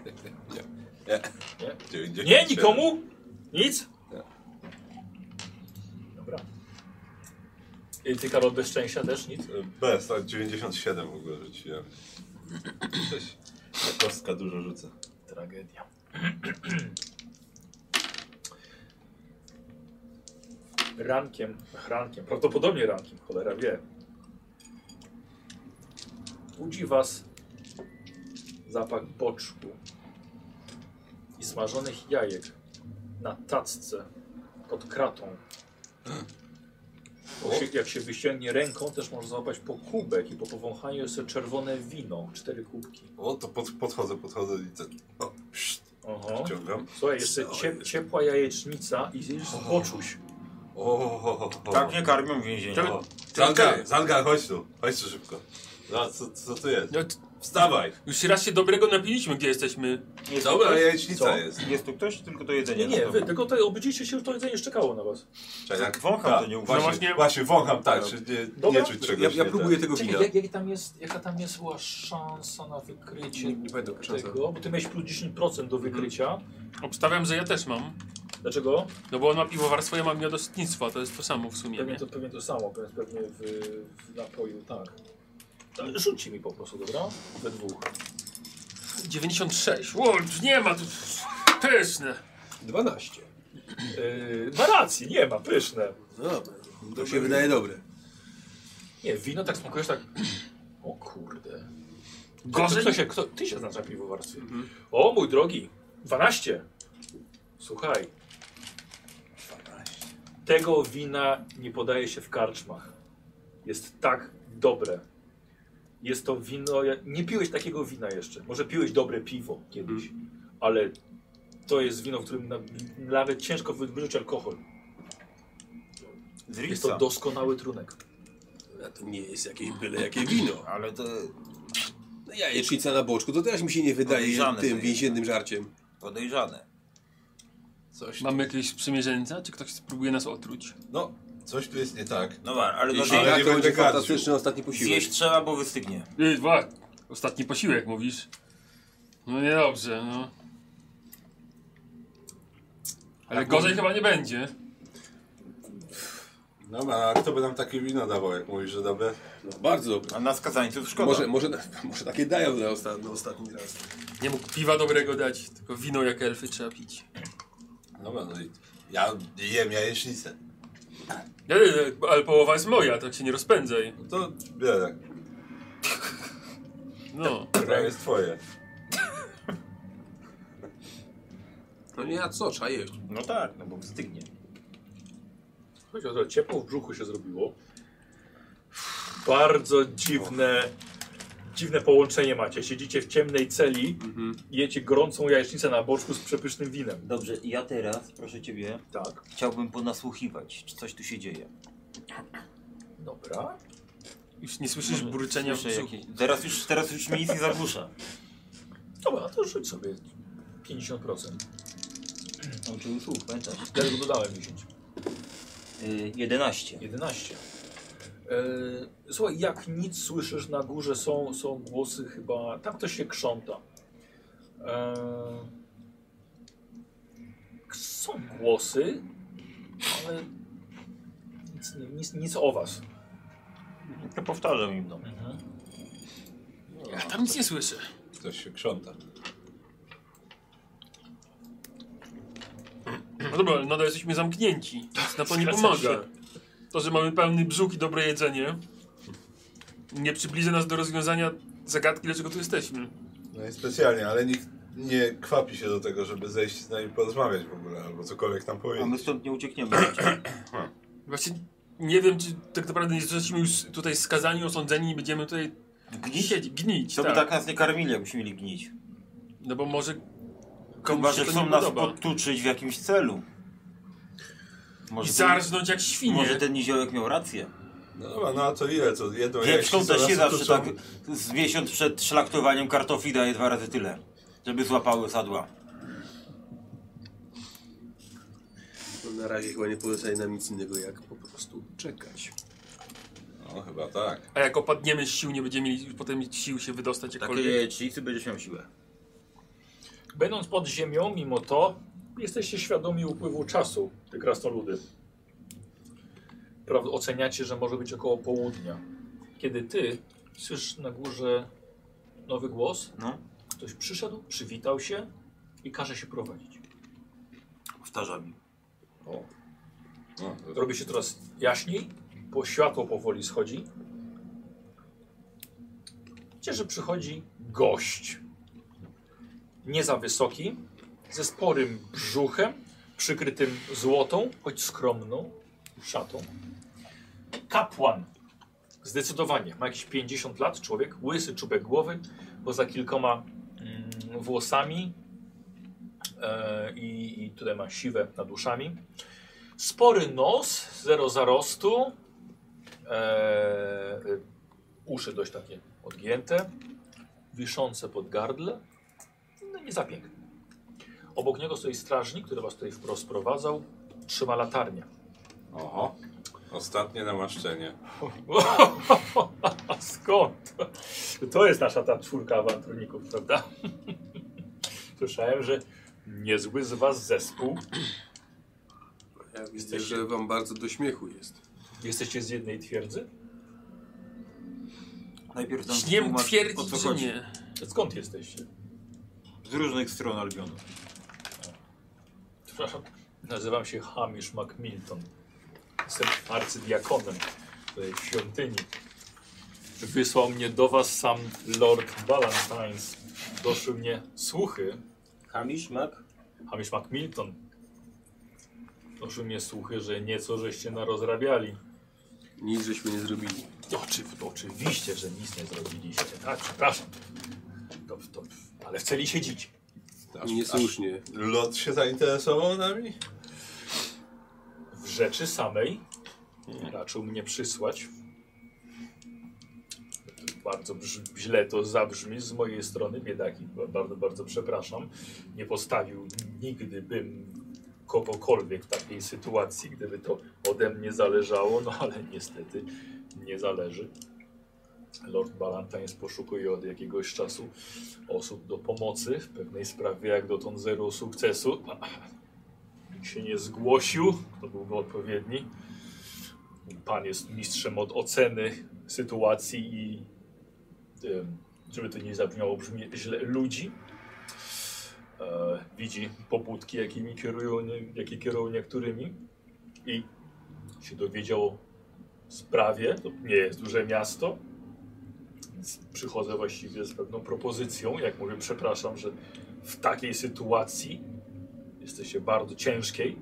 [SPEAKER 4] Dziewięćdziesiąt
[SPEAKER 1] Nie,
[SPEAKER 4] siedem.
[SPEAKER 1] nikomu? Nic? Dobra. I ty, Karol, bez szczęścia też nic?
[SPEAKER 4] Bez, tak 97 w ogóle rzuciłem. Coś. Ta kostka dużo rzuca.
[SPEAKER 1] Tragedia. Rankiem, ach, rankiem, prawdopodobnie rankiem, cholera wie. Budzi was zapach boczku i smażonych jajek na tacce pod kratą. Jak się, jak się wyściągnie ręką, też można złapać po kubek i po powąchaniu jest to czerwone wino, cztery kubki.
[SPEAKER 4] O, to pod, podchodzę, podchodzę i ten. O, pszt,
[SPEAKER 1] Oho.
[SPEAKER 4] wciągam.
[SPEAKER 1] Słuchaj, jeszcze
[SPEAKER 4] Co
[SPEAKER 1] ciep,
[SPEAKER 4] jest?
[SPEAKER 1] ciepła jajecznica i zjesz poczuć.
[SPEAKER 4] O, ho, ho, ho.
[SPEAKER 2] Tak nie karmią w więzieniu.
[SPEAKER 5] Czego-
[SPEAKER 4] O. Zangar, Zangar, chodź tu, chodź tu szybko. No, co, co tu jest?
[SPEAKER 5] No, t-
[SPEAKER 4] Wstawaj!
[SPEAKER 5] już raz się dobrego napiliśmy, gdzie jesteśmy.
[SPEAKER 2] Jest tu
[SPEAKER 4] Dobra,
[SPEAKER 2] ktoś?
[SPEAKER 4] jajecznica
[SPEAKER 1] Co?
[SPEAKER 4] jest.
[SPEAKER 2] Jest tu ktoś, czy tylko to jedzenie.
[SPEAKER 1] Nie, nie,
[SPEAKER 2] na
[SPEAKER 1] wy
[SPEAKER 2] stole?
[SPEAKER 1] tylko to obudziliście się, już to jedzenie czekało na was.
[SPEAKER 4] Czekaj, jak
[SPEAKER 2] Wącham
[SPEAKER 4] tak,
[SPEAKER 2] to nie uważam.
[SPEAKER 4] właśnie,
[SPEAKER 5] właśnie-
[SPEAKER 4] właśnie... wącham, tak,
[SPEAKER 3] Dobra.
[SPEAKER 4] czy nie,
[SPEAKER 1] Dobra.
[SPEAKER 4] nie czuć
[SPEAKER 3] Ja,
[SPEAKER 4] czegoś.
[SPEAKER 3] ja
[SPEAKER 4] nie tak.
[SPEAKER 3] próbuję tego
[SPEAKER 1] Czekaj,
[SPEAKER 3] wina.
[SPEAKER 1] jak, jak tam jest, jaka tam jest była szansa na wykrycie
[SPEAKER 3] Nie, nie Mhm. pamiętam szansa.
[SPEAKER 1] tego? Bo ty miałeś plus 10% do wykrycia.
[SPEAKER 5] Obstawiam, że ja też mam.
[SPEAKER 1] Dlaczego?
[SPEAKER 5] No bo on ma piwowarstwo, ja mam miodosytnictwo, a to jest to samo w sumie.
[SPEAKER 1] Pewnie
[SPEAKER 5] Nie?
[SPEAKER 1] to, pewnie to samo, pe- pewnie w, w napoju, tak. Ale Rzućcie mi po prostu, dobra? We dwóch.
[SPEAKER 5] 96. Ło, nie ma tu. Pyszne.
[SPEAKER 3] 12.
[SPEAKER 1] Yy, ma rację, nie ma, pyszne.
[SPEAKER 3] Dobra. To się wydaje dobre.
[SPEAKER 1] Nie, wino tak smakujesz tak... O kurde. Kto,
[SPEAKER 5] Gorzej.
[SPEAKER 1] kto się, kto, ty się znasz na piwowarstwie. O mój drogi, 12. Słuchaj. Tego wina nie podaje się w karczmach. Jest tak dobre. Jest to wino. ja- Nie piłeś takiego wina jeszcze. Może piłeś dobre piwo kiedyś, ale to jest wino, w którym na, nawet ciężko wyczuć alkohol.
[SPEAKER 2] Z
[SPEAKER 1] Jest
[SPEAKER 2] Ritza.
[SPEAKER 1] to doskonały trunek.
[SPEAKER 3] A to nie jest jakieś byle jakie wino.
[SPEAKER 2] Ale to
[SPEAKER 3] No Jajecznica na boczku, to też mi się nie wydaje
[SPEAKER 2] Podejrzane to
[SPEAKER 3] tym
[SPEAKER 2] jest.
[SPEAKER 3] więziennym żarciem.
[SPEAKER 2] podejrzane.
[SPEAKER 4] Coś,
[SPEAKER 5] Mamy jakieś sprzymierzeńca? Czy ktoś spróbuje nas otruć?
[SPEAKER 4] no, coś tu jest nie tak.
[SPEAKER 2] No wa- ale no,
[SPEAKER 4] Jeśli-
[SPEAKER 2] ale
[SPEAKER 4] nie
[SPEAKER 3] Ale to
[SPEAKER 4] będę
[SPEAKER 3] będzie
[SPEAKER 4] gadził.
[SPEAKER 3] fantastyczny ostatni posiłek.
[SPEAKER 2] zjeść trzeba, bo wystygnie.
[SPEAKER 5] Ej, dwa. Ostatni posiłek, mówisz? No niedobrze, no. Ale gorzej chyba nie będzie.
[SPEAKER 4] No a kto by nam takie wino dawał, jak mówisz, że dobre?
[SPEAKER 3] No, bardzo dobre.
[SPEAKER 2] A nas kazańców szkoda.
[SPEAKER 3] Może, może, może takie dają na osta- na ostatni raz.
[SPEAKER 5] Nie mógł piwa dobrego dać, tylko wino jak elfy trzeba pić.
[SPEAKER 4] Dobra, no i ja jem jajecznicę.
[SPEAKER 5] Nie, nie, nie, ale połowa jest moja, tak się nie rozpędzaj.
[SPEAKER 4] No to biorę,
[SPEAKER 5] No.
[SPEAKER 4] która jest twoje.
[SPEAKER 3] No nie, a co, trzeba jeść.
[SPEAKER 2] No tak, no bo wystygnie.
[SPEAKER 1] Słuchajcie, to ciepło w brzuchu się zrobiło. Bardzo dziwne, dziwne połączenie macie. Siedzicie w ciemnej celi, jecie gorącą jajecznicę na boczku z przepysznym winem.
[SPEAKER 2] Dobrze, ja teraz, proszę ciebie,
[SPEAKER 1] Tak,
[SPEAKER 2] chciałbym ponasłuchiwać, czy coś tu się dzieje.
[SPEAKER 1] dobra.
[SPEAKER 5] Już nie słyszysz
[SPEAKER 2] Może
[SPEAKER 5] burczenia w
[SPEAKER 2] słyszę
[SPEAKER 5] brzuchu.
[SPEAKER 2] jakieś- Teraz już, teraz już mi nic nie zagłusza.
[SPEAKER 1] Dobra, to rzuć sobie 50%.
[SPEAKER 2] No to już słuch, pamiętasz?
[SPEAKER 1] Dlatego dodałem 10.
[SPEAKER 2] Y, 11.
[SPEAKER 1] 11. Yy, słuchaj, jak nic słyszysz na górze, są, są głosy chyba. Tam ktoś się krząta. E, Yy, są głosy, ale nic, nie- nic, nic o was.
[SPEAKER 2] To powtarzam im, no.
[SPEAKER 5] Ja tam nic nie słyszę.
[SPEAKER 4] Ktoś się krząta.
[SPEAKER 5] No dobra, ale nadal jesteśmy zamknięci. Więc na to nie
[SPEAKER 1] Zgadza
[SPEAKER 5] pomaga.
[SPEAKER 1] się.
[SPEAKER 5] To, że mamy pełny brzuch i dobre jedzenie, nie przybliża nas do rozwiązania zagadki, dlaczego tu jesteśmy.
[SPEAKER 6] No i specjalnie, ale nikt nie kwapi się do tego, żeby zejść z nami porozmawiać w ogóle, albo cokolwiek tam
[SPEAKER 2] A my
[SPEAKER 6] powiedzieć.
[SPEAKER 2] stąd nie uciekniemy.
[SPEAKER 5] Właśnie nie wiem, czy tak naprawdę nie jesteśmy już tutaj skazani, osądzeni i będziemy tutaj gnić. gnić
[SPEAKER 2] To by
[SPEAKER 5] tak.
[SPEAKER 2] tak nas nie karmili, jakbyśmy mieli gnić.
[SPEAKER 5] No bo może
[SPEAKER 2] Chyba,
[SPEAKER 5] komuś się
[SPEAKER 2] że
[SPEAKER 5] to
[SPEAKER 2] chcą
[SPEAKER 5] nie
[SPEAKER 2] nas
[SPEAKER 5] podoba.
[SPEAKER 2] podtuczyć w jakimś celu.
[SPEAKER 5] I
[SPEAKER 2] Może ten,
[SPEAKER 5] zarżnąć jak świnie.
[SPEAKER 2] może ten niziołek miał rację.
[SPEAKER 6] No dobra, no a to ile? Co, jedną
[SPEAKER 2] Wieprzką
[SPEAKER 6] jaźń
[SPEAKER 2] też się
[SPEAKER 6] zaraz
[SPEAKER 2] zawsze tak
[SPEAKER 6] tuczą?
[SPEAKER 2] z miesiąc przed szlaktowaniem kartofli daje dwa razy tyle, żeby złapały sadła.
[SPEAKER 3] No, na razie chyba nie pozostaje nam nic innego, jak po prostu czekać.
[SPEAKER 4] No chyba tak.
[SPEAKER 5] A jak opadniemy z sił, nie będziemy mieli potem sił się wydostać
[SPEAKER 2] Takie
[SPEAKER 5] jakkolwiek.
[SPEAKER 2] jajecznicy będziesz miał siłę.
[SPEAKER 1] Będąc pod ziemią, mimo to jesteście świadomi upływu czasu, te krasnoludy. Prawda, oceniacie, że może być około południa. Kiedy ty słyszysz na górze nowy głos,
[SPEAKER 2] No,
[SPEAKER 1] ktoś przyszedł, przywitał się i każe się prowadzić.
[SPEAKER 2] powtarza mi.
[SPEAKER 4] No, to-
[SPEAKER 1] Robi się teraz jaśniej, bo światło powoli schodzi. Widzicie, że przychodzi gość. Nie za wysoki, ze sporym brzuchem, przykrytym złotą, choć skromną szatą. Kapłan. Zdecydowanie. Ma jakieś 50 lat człowiek, łysy czubek głowy, poza kilkoma mm, włosami e, i, i tutaj ma siwe nad uszami. Spory nos, zero zarostu. Eee, y, uszy dość takie odgięte. Wiszące pod gardle. No nie za piękne. Obok niego stoi strażnik, który was tutaj wprost prowadzał. Trzyma latarnię.
[SPEAKER 4] Oho. Ostatnie namaszczenie.
[SPEAKER 1] A skąd? To jest nasza ta czwórka awanturników, prawda? Słyszałem, że niezły z was zespół.
[SPEAKER 3] Ja widzę, że wam bardzo do śmiechu jest.
[SPEAKER 1] Jesteście z jednej twierdzy?
[SPEAKER 2] Najpierw tam
[SPEAKER 5] Śniem
[SPEAKER 2] tłumacz, o co
[SPEAKER 5] twierdzić, że
[SPEAKER 2] chodzi.
[SPEAKER 5] nie.
[SPEAKER 1] Skąd jesteście?
[SPEAKER 2] Z różnych stron Albionu.
[SPEAKER 1] Przepraszam, nazywam się Hamish Macmilton. Jestem arcydiakonem tutaj w świątyni. Wysłał mnie do was sam Lord Valentines. Doszły mnie słuchy,
[SPEAKER 2] Hamisz, mak?
[SPEAKER 1] Hamish Macmilton. Doszły mnie słuchy, że nieco żeście narozrabiali.
[SPEAKER 3] Nic żeśmy nie zrobili.
[SPEAKER 1] Oczy, No, oczywiście, że nic nie zrobiliście. Tak, przepraszam. To, to, ale w celi siedzicie.
[SPEAKER 4] Aż-
[SPEAKER 3] Niesłusznie.
[SPEAKER 4] aż Lot się zainteresował nami?
[SPEAKER 1] w rzeczy samej raczył mnie przysłać. Bardzo brz- źle to zabrzmi z mojej strony, biedaki, ba- bardzo, bardzo przepraszam. Nie postawił nigdy bym kogokolwiek w takiej sytuacji, gdyby to ode mnie zależało, no ale niestety nie zależy. Lord Ballantyne poszukuje od jakiegoś czasu osób do pomocy w pewnej sprawie, jak dotąd zero sukcesu. Nikt się nie zgłosił, to byłby odpowiedni. Pan jest mistrzem od oceny sytuacji i em, żeby to nie zabrzmiało brzmi, źle, ludzi. E, widzi pobudki, jakimi kierują, nie- jakie kierują niektórymi i się dowiedział o sprawie. To nie jest duże miasto, więc przychodzę właściwie z pewną propozycją. Jak mówię, przepraszam, że w takiej sytuacji jesteście bardzo ciężkiej.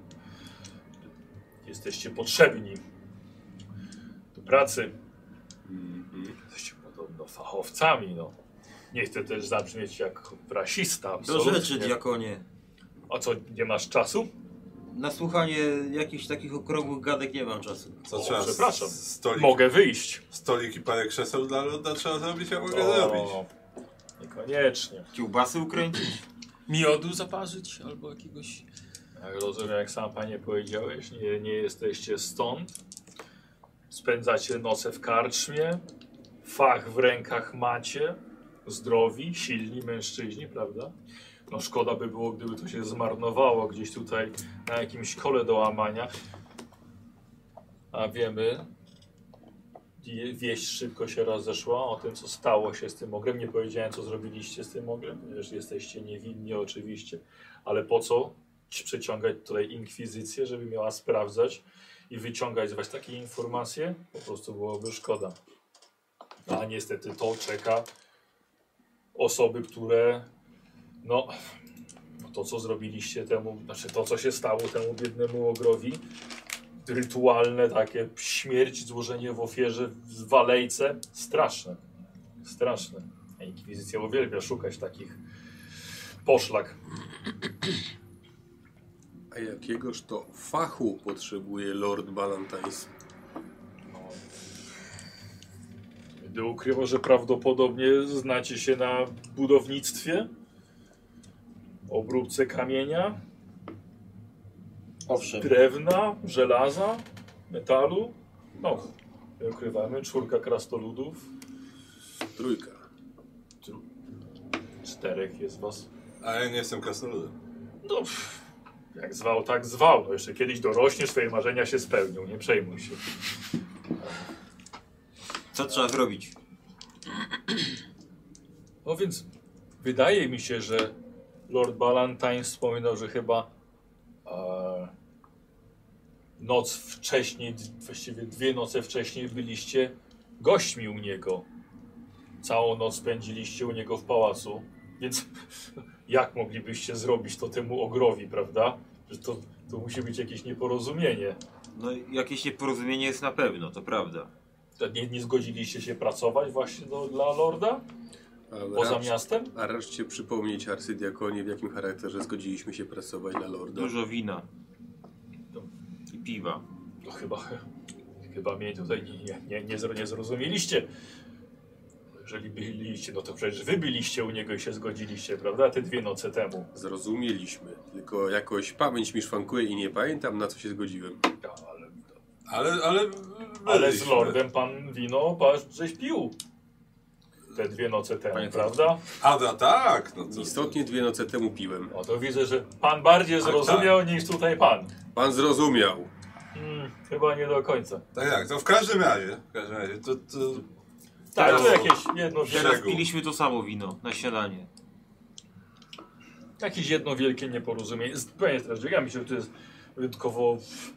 [SPEAKER 1] Jesteście potrzebni do pracy. Jesteście podobno fachowcami, no. Nie chcę też zabrzmieć jak rasista.
[SPEAKER 2] Do
[SPEAKER 1] Absolutnie.
[SPEAKER 2] rzeczy, diakonie.
[SPEAKER 1] A co, nie masz czasu?
[SPEAKER 2] Na słuchanie jakichś takich okrągłych gadek nie mam czasu.
[SPEAKER 4] Co
[SPEAKER 1] O,
[SPEAKER 4] trzeba? s-
[SPEAKER 1] przepraszam.
[SPEAKER 4] Stolik,
[SPEAKER 1] Mogę wyjść.
[SPEAKER 4] stolik i parę krzeseł dla Loda trzeba zrobić, a mogę zrobić.
[SPEAKER 1] No, Niekoniecznie.
[SPEAKER 2] Kiełbasy ukręcić?
[SPEAKER 5] Miodu zaparzyć albo jakiegoś...
[SPEAKER 1] Jak rozumiem, jak sam panie powiedziałeś, nie, nie jesteście stąd. Spędzacie noce w karczmie. Fach w rękach macie. Zdrowi, silni mężczyźni, prawda? No szkoda by było, gdyby to się zmarnowało gdzieś tutaj na jakimś kole do łamania. A wiemy, je- wieść szybko się rozeszła o tym, co stało się z tym ogrem. Nie powiedziałem, co zrobiliście z tym ogrem, ponieważ jesteście niewinni oczywiście. Ale po co ci przeciągać tutaj inkwizycję, żeby miała sprawdzać, i wyciągać z was takie informacje, po prostu byłoby szkoda. No, a niestety to czeka osoby, które no, no to co zrobiliście temu, znaczy to co się stało temu biednemu ogrowi, rytualne takie śmierć, złożenie w ofierze, w walejce, straszne, straszne. A Inkwizycja uwielbia szukać takich poszlak.
[SPEAKER 3] A jakiegoż to fachu potrzebuje Lord Balantais?
[SPEAKER 1] No. Będę ukrywał, że prawdopodobnie znacie się na budownictwie, obróbce kamienia,
[SPEAKER 2] Owszem.
[SPEAKER 1] drewna, żelaza, metalu. No, nie ukrywamy, czwórka krastoludów,
[SPEAKER 3] Trójka.
[SPEAKER 1] czterech jest was.
[SPEAKER 6] A ja nie jestem krasnoludem.
[SPEAKER 1] No, pff, jak zwał, tak zwał. No, jeszcze kiedyś dorośniesz, twoje marzenia się spełnią, nie przejmuj się.
[SPEAKER 2] Co trzeba zrobić?
[SPEAKER 1] No więc wydaje mi się, że Lord Ballantyne wspominał, że chyba e, noc wcześniej, d- właściwie dwie noce wcześniej byliście gośćmi u niego. Całą noc spędziliście u niego w pałacu, więc jak moglibyście zrobić to temu ogrowi, prawda? Że to, to musi być jakieś nieporozumienie.
[SPEAKER 2] No jakieś nieporozumienie jest na pewno, to prawda.
[SPEAKER 1] To Nie, nie zgodziliście się pracować właśnie do, dla Lorda poza miastem?
[SPEAKER 3] A raszcie przypomnieć arcydiakonie, w jakim charakterze zgodziliśmy się pracować dla Lorda.
[SPEAKER 2] Dużo wina. I piwa.
[SPEAKER 1] No chyba, chyba mnie tutaj nie, nie, nie, nie, zro- nie zrozumieliście. Jeżeli byliście, no to przecież wy byliście u niego i się zgodziliście, prawda? Te dwie noce temu.
[SPEAKER 3] Zrozumieliśmy, tylko jakoś pamięć mi szwankuje i nie pamiętam na co się zgodziłem.
[SPEAKER 1] Ja, ale,
[SPEAKER 6] Ale, ale...
[SPEAKER 1] ale z
[SPEAKER 6] byliśmy.
[SPEAKER 1] lordem pan wino pan żeś pił. Te dwie noce temu,
[SPEAKER 2] Panie
[SPEAKER 1] prawda?
[SPEAKER 6] A, no tak, no to...
[SPEAKER 3] Istotnie dwie noce temu piłem.
[SPEAKER 1] No to widzę, że pan bardziej zrozumiał niż tutaj pan.
[SPEAKER 3] Pan zrozumiał.
[SPEAKER 1] Hmm, chyba nie do końca.
[SPEAKER 6] Tak, tak, to w każdym razie, w każdym razie, to... to...
[SPEAKER 1] Tak,
[SPEAKER 6] Teraz-
[SPEAKER 1] to jakieś jedno
[SPEAKER 2] Teraz
[SPEAKER 6] Szczegół.
[SPEAKER 2] piliśmy to samo wino na śniadanie.
[SPEAKER 1] Jakieś jedno wielkie nieporozumienie. Zupełnie strażnik. Ja myślę, że to jest wyjątkowo w-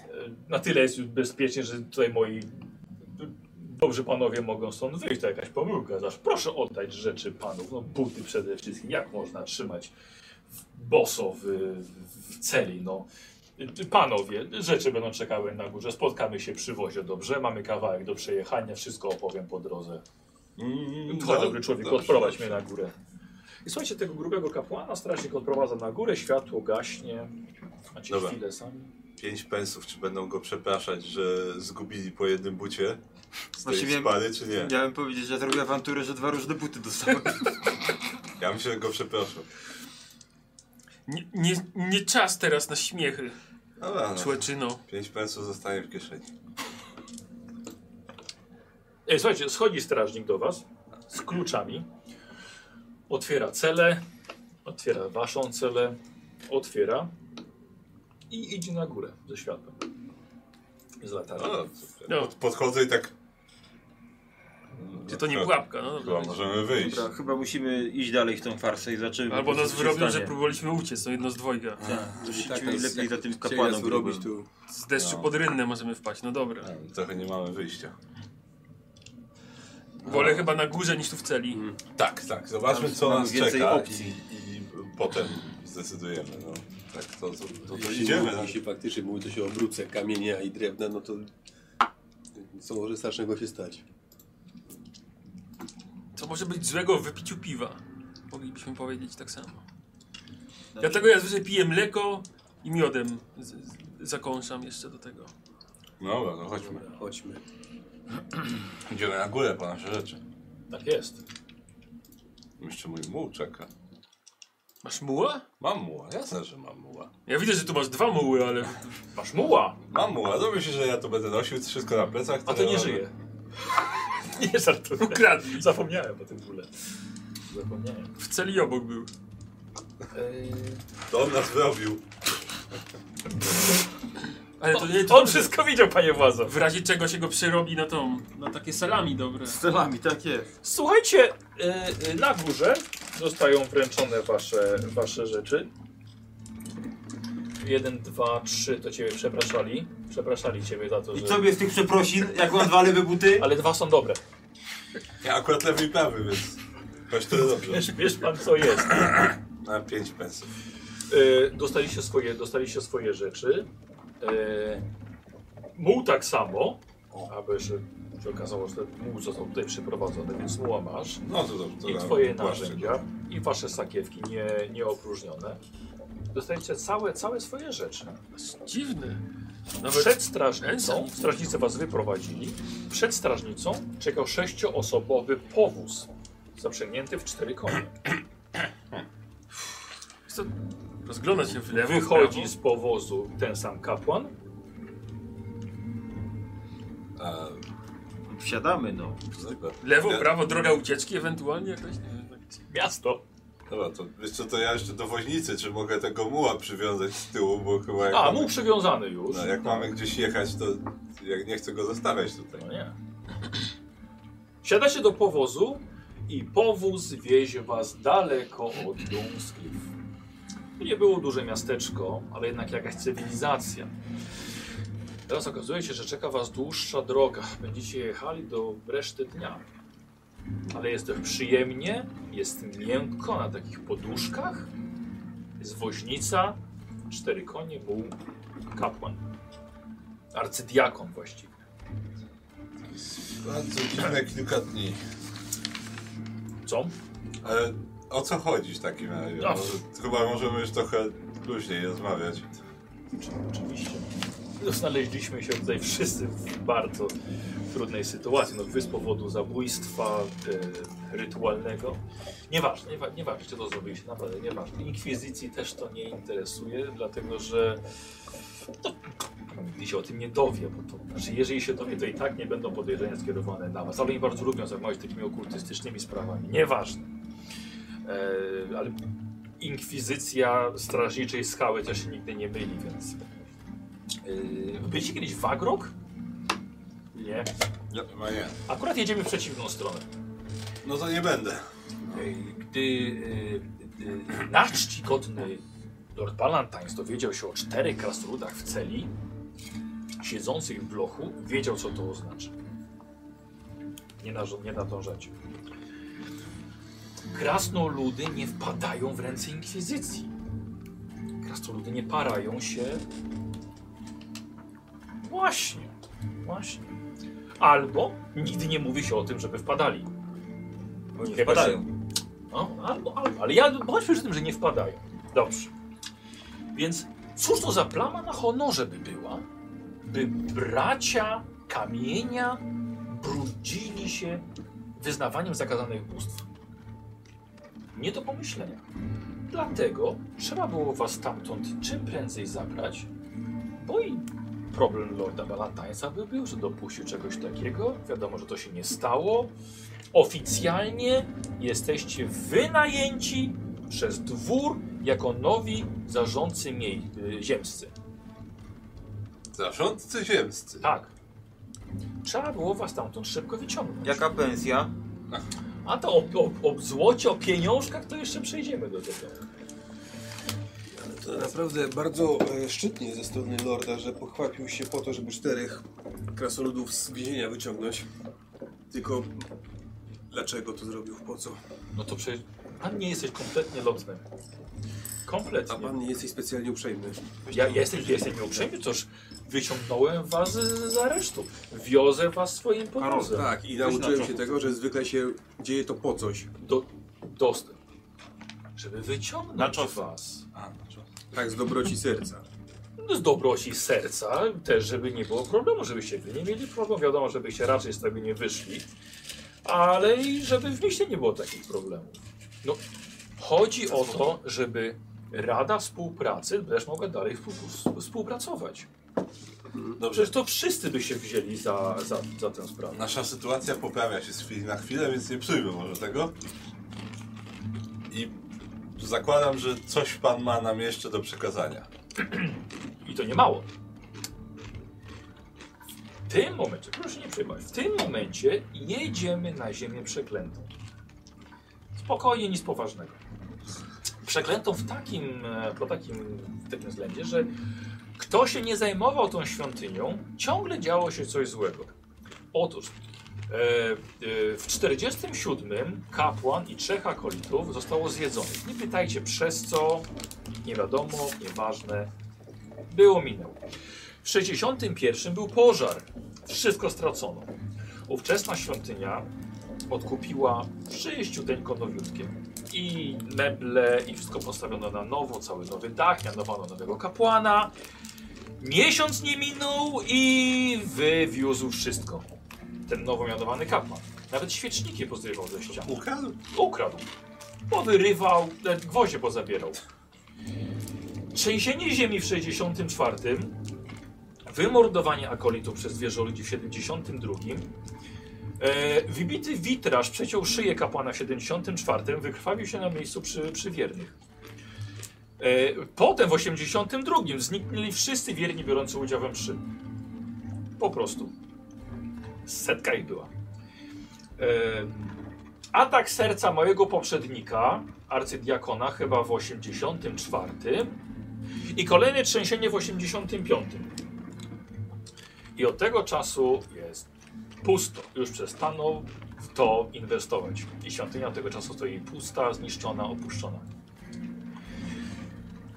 [SPEAKER 1] e, na tyle jest już bezpiecznie, że tutaj moi dobrzy panowie mogą stąd wyjść. To jakaś pomyłka. Zaś proszę oddać rzeczy panów. No, buty przede wszystkim. Jak można trzymać w- boso w, w celi? No. Y, Panowie, rzeczy będą czekały na górze. Spotkamy się przy wozie, dobrze? Mamy kawałek do przejechania, wszystko opowiem po drodze.
[SPEAKER 6] Mm,
[SPEAKER 1] Chodź,
[SPEAKER 6] no,
[SPEAKER 1] dobry człowieku,
[SPEAKER 6] dobrze,
[SPEAKER 1] odprowadź
[SPEAKER 6] dobrze.
[SPEAKER 1] mnie na górę. I słuchajcie, tego grubego kapłana strażnik odprowadza na górę, światło gaśnie. Macie
[SPEAKER 6] Dobra.
[SPEAKER 1] chwilę sami.
[SPEAKER 6] Pięć pensów, czy będą go przepraszać, że zgubili po jednym bucie z tej
[SPEAKER 2] Właściwie-
[SPEAKER 6] spary, czy nie?
[SPEAKER 2] Miałem powiedzieć, że zrobię awanturę, że dwa różne buty dostałem.
[SPEAKER 6] Ja myślę, że go przepraszam.
[SPEAKER 5] Nie, nie, nie czas teraz na śmiechy,
[SPEAKER 6] Dobra, no.
[SPEAKER 5] człeczyno.
[SPEAKER 6] pięć pensów zostanie w kieszeni.
[SPEAKER 1] Ej, E, słuchajcie, schodzi strażnik do was z kluczami. Otwiera celę, otwiera waszą celę, otwiera i idzie na górę ze światłem. Z latarką.
[SPEAKER 6] No,
[SPEAKER 5] No.
[SPEAKER 6] pod, podchodzę i tak...
[SPEAKER 5] Czy to nie pułapka? No,
[SPEAKER 6] Chyba
[SPEAKER 5] dobra.
[SPEAKER 6] możemy wyjść.
[SPEAKER 2] Dobra, chyba musimy iść dalej w tą farsę i zobaczymy.
[SPEAKER 5] Albo
[SPEAKER 2] po
[SPEAKER 5] nas
[SPEAKER 2] prostu, co
[SPEAKER 5] wyrobią,
[SPEAKER 2] się
[SPEAKER 5] że
[SPEAKER 2] stanie.
[SPEAKER 5] próbowaliśmy uciec, to jedno z dwojga.
[SPEAKER 2] To się
[SPEAKER 3] Tak,
[SPEAKER 2] lepiej
[SPEAKER 3] nas- jak
[SPEAKER 2] za tym
[SPEAKER 3] chcieli
[SPEAKER 2] kapłanom
[SPEAKER 3] nas urobić
[SPEAKER 2] grubym.
[SPEAKER 3] tu.
[SPEAKER 5] Z deszczu
[SPEAKER 6] No.
[SPEAKER 5] pod rynnę możemy wpaść, no dobra.
[SPEAKER 4] Tak.
[SPEAKER 6] Trochę nie mamy wyjścia.
[SPEAKER 5] Wolę chyba na górze niż tu w celi.
[SPEAKER 6] Tak, tak. Zobaczmy,
[SPEAKER 2] Tam
[SPEAKER 6] co
[SPEAKER 2] mamy
[SPEAKER 6] nas
[SPEAKER 2] więcej
[SPEAKER 6] czeka
[SPEAKER 2] opcji.
[SPEAKER 6] I, i potem zdecydujemy. No. Tak, to, to, to, to
[SPEAKER 3] Jeśli
[SPEAKER 6] idziemy.
[SPEAKER 3] mówi-
[SPEAKER 6] tak.
[SPEAKER 3] Jeśli faktycznie mówi coś o obróbce kamienia i drewna, no to co może strasznego się stać?
[SPEAKER 5] Co może być złego w wypiciu piwa? Moglibyśmy powiedzieć tak samo. Dlatego ja zwykle piję mleko i miodem z, z, zakąszam jeszcze do tego.
[SPEAKER 6] No dobra, no chodźmy.
[SPEAKER 3] Chodźmy.
[SPEAKER 6] Idziemy na górę po nasze rzeczy.
[SPEAKER 1] Tak jest.
[SPEAKER 6] Jeszcze mój muł czeka.
[SPEAKER 5] Masz muła?
[SPEAKER 6] Mam muła, jasne, że mam muła.
[SPEAKER 5] Ja widzę, że tu masz dwa muły, ale
[SPEAKER 1] Masz muła,
[SPEAKER 6] Mam muła, to myślę, że ja to będę nosił wszystko na plecach.
[SPEAKER 1] a to
[SPEAKER 6] ja
[SPEAKER 1] nie
[SPEAKER 6] mam-
[SPEAKER 1] żyje. nie żartuję.
[SPEAKER 5] ukradli.
[SPEAKER 1] Zapomniałem o tym bóle. Zapomniałem.
[SPEAKER 5] W celi obok był.
[SPEAKER 6] To on nas zrobił.
[SPEAKER 5] Ale to nie
[SPEAKER 1] On
[SPEAKER 5] to
[SPEAKER 1] wszystko widział, panie władzo.
[SPEAKER 5] W razie czego się go przerobi na tą, na takie salami dobre.
[SPEAKER 2] Z celami, tak jest.
[SPEAKER 1] Słuchajcie, y, y, na górze zostają wręczone wasze, wasze rzeczy. Jeden, dwa, trzy, to ciebie przepraszali. Przepraszali ciebie za to,
[SPEAKER 2] I
[SPEAKER 1] że...
[SPEAKER 2] co mnie z tych przeprosin, jak mam dwa lewe buty?
[SPEAKER 1] Ale dwa są dobre.
[SPEAKER 6] Ja akurat lewy i prawy, więc choć tyle dobrze.
[SPEAKER 1] Wiesz, wiesz pan co jest.
[SPEAKER 6] Na 5 pensów.
[SPEAKER 1] E, dostaliście, swoje, dostaliście swoje rzeczy. E, muł tak samo. Aby jeszcze się okazało, że ten muł został tutaj przeprowadzony, więc muła masz.
[SPEAKER 6] No to dobrze. To
[SPEAKER 1] I
[SPEAKER 6] dam
[SPEAKER 1] twoje
[SPEAKER 6] płaszczyk.
[SPEAKER 1] narzędzia, i wasze sakiewki nie, nieopróżnione. Dostajecie całe, całe swoje rzeczy.
[SPEAKER 5] Dziwne.
[SPEAKER 1] Przed
[SPEAKER 5] Nawet
[SPEAKER 1] strażnicą, strażnicy was wyprowadzili, przed strażnicą czekał sześcioosobowy powóz zaprzęgnięty w cztery konie.
[SPEAKER 5] co, rozgląda się w lewo, w
[SPEAKER 1] Wychodzi
[SPEAKER 5] prawo.
[SPEAKER 1] z powozu ten sam kapłan,
[SPEAKER 6] A,
[SPEAKER 2] Wsiadamy, no.
[SPEAKER 6] super.
[SPEAKER 5] Lewo,
[SPEAKER 6] Ja-
[SPEAKER 5] prawo, droga ucieczki ewentualnie jakaś? Nie wiem, tak-
[SPEAKER 1] miasto.
[SPEAKER 6] Dobra, to wiesz co, to ja jeszcze do woźnicy, czy mogę tego muła przywiązać z tyłu, bo chyba jak,
[SPEAKER 1] A,
[SPEAKER 6] mamy,
[SPEAKER 1] muł przywiązany już.
[SPEAKER 6] no, jak mamy gdzieś jechać, to jak nie chcę go zostawiać tutaj.
[SPEAKER 1] No nie. Siadacie do powozu i powóz wiezie was daleko od Dumskliw. To nie było duże miasteczko, ale jednak jakaś cywilizacja. Teraz okazuje się, że czeka was dłuższa droga. Będziecie jechali do reszty dnia. Ale jest też przyjemnie, jest miękko na takich poduszkach. Jest woźnica, cztery konie, muł, kapłan. Arcydiakon właściwie.
[SPEAKER 6] Bardzo dziwne kilka dni.
[SPEAKER 1] Co?
[SPEAKER 6] Ale o co chodzi w takim razie?
[SPEAKER 1] No.
[SPEAKER 6] Może, chyba możemy już trochę luźniej rozmawiać.
[SPEAKER 1] Oczywiście. No, Znaleźliśmy się tutaj wszyscy w bardzo trudnej sytuacji. No, wy z powodu zabójstwa e, rytualnego. Nieważne, niewa- nieważne, czy to zrobiliście, naprawdę nieważne. Inkwizycji też to nie interesuje, dlatego że no, nigdy się o tym nie dowie. Bo to, znaczy, jeżeli się dowie, to i tak nie będą podejrzenia skierowane na was. Ale oni bardzo lubią zajmować się takimi okultystycznymi sprawami. Nieważne. E, ale inkwizycja strażniczej skały też się nigdy nie myli, więc... Yy, byliście kiedyś w Agrok? Nie.
[SPEAKER 6] No, Chyba nie.
[SPEAKER 1] Akurat jedziemy w przeciwną stronę.
[SPEAKER 6] No to nie będę.
[SPEAKER 1] Yy, Gdy yy, yy, nasz czcigodny Lord Palantines dowiedział się o czterech krasnoludach w celi, siedzących w blochu, wiedział co to oznacza. Nie, na, nie nadążacie. Krasnoludy nie wpadają w ręce inkwizycji. Krasnoludy nie parają się. Właśnie, właśnie. Albo nigdy nie mówi się o tym, żeby wpadali.
[SPEAKER 2] Bo nie
[SPEAKER 1] Chyba
[SPEAKER 2] wpadają.
[SPEAKER 1] No, albo, albo, ale ja chodźmy przy tym, że nie wpadają. Dobrze. Więc cóż to za plama na honorze by była, by bracia kamienia brudzili się wyznawaniem zakazanych bóstw? Nie do pomyślenia. Dlatego trzeba było was stamtąd czym prędzej zabrać, bo i problem Lorda Balantańca by był, że dopuścił czegoś takiego. Wiadomo, że to się nie stało. Oficjalnie jesteście wynajęci przez dwór jako nowi zarządcy miej, y, ziemscy.
[SPEAKER 6] Zarządcy ziemscy.
[SPEAKER 1] Tak. Trzeba było was stamtąd szybko wyciągnąć.
[SPEAKER 2] Jaka pensja?
[SPEAKER 1] A to o, o, o złocie, o pieniążkach to jeszcze przejdziemy do tego.
[SPEAKER 3] To naprawdę bardzo e, szczytnie ze strony Lorda, że pochwapił się po to, żeby czterech krasoludów z więzienia wyciągnąć. Tylko dlaczego to zrobił? Po co?
[SPEAKER 1] No to przecież pan nie jesteś kompletnie lotny. Kompletnie.
[SPEAKER 3] A pan nie jesteś specjalnie uprzejmy.
[SPEAKER 1] Ja jestem, jestem nieuprzejmy, toż wyciągnąłem was z, z aresztu. Wiozę was swoim powozem.
[SPEAKER 3] Tak, i
[SPEAKER 2] na
[SPEAKER 3] nauczyłem
[SPEAKER 2] co?
[SPEAKER 3] się tego, że zwykle się dzieje to po coś.
[SPEAKER 2] tak.
[SPEAKER 1] Do, dostęp. Żeby
[SPEAKER 2] Na
[SPEAKER 1] wyciągnąć
[SPEAKER 2] czos.
[SPEAKER 1] was.
[SPEAKER 3] Tak, z dobroci serca.
[SPEAKER 1] No, z dobroci serca, też żeby nie było problemu, żebyście wy nie mieli problemu, wiadomo, żebyście raczej z tego nie wyszli, ale i żeby w mieście nie było takich problemów. No, chodzi o to, żeby Rada Współpracy też mogła dalej współ- współpracować. No
[SPEAKER 6] Dobrze.
[SPEAKER 1] Przecież to wszyscy by się wzięli za, za, za tę sprawę.
[SPEAKER 6] Nasza sytuacja poprawia się z chwili na chwilę, więc nie psujmy może tego. I zakładam, że coś pan ma nam jeszcze do przekazania.
[SPEAKER 1] I to nie mało. W tym momencie, proszę się nie przejmować, w tym momencie jedziemy na ziemię przeklętą. Spokojnie, nic poważnego. Przeklętą w takim, e, po takim, w takim względzie, że Kto się nie zajmował tą świątynią, ciągle działo się coś złego. Otóż e, e, w 47 kapłan i trzech akolitów zostało zjedzonych. Nie pytajcie przez co, nie wiadomo, nieważne. Było minęło. W 61 był pożar. Wszystko stracono. Ówczesna świątynia odkupiła w sześciuteńko nowiutkiem. I meble, i wszystko postawiono na nowo, cały nowy dach, mianowano nowego kapłana. Miesiąc nie minął i wywiózł wszystko. Ten nowo mianowany kapłan. Nawet świeczniki pozrywał ze ścian.
[SPEAKER 6] Ukradł?
[SPEAKER 1] Ukradł. Powyrywał, nawet gwoździe pozabierał. Trzęsienie ziemi w 64, wymordowanie akolitów przez wieżoludzi w 72, e, wybity witraż przeciął szyję kapłana w 74, wykrwawił się na miejscu przy, przy wiernych. E, potem w 82 zniknęli wszyscy wierni biorący udział we mszy. Po prostu. Setka ich była. E, Atak serca mojego poprzednika, arcydiakona, chyba w 84 i kolejne trzęsienie w 85. I od tego czasu jest pusto. Już przestano w to inwestować. I świątynia od tego czasu stoi pusta, zniszczona, opuszczona.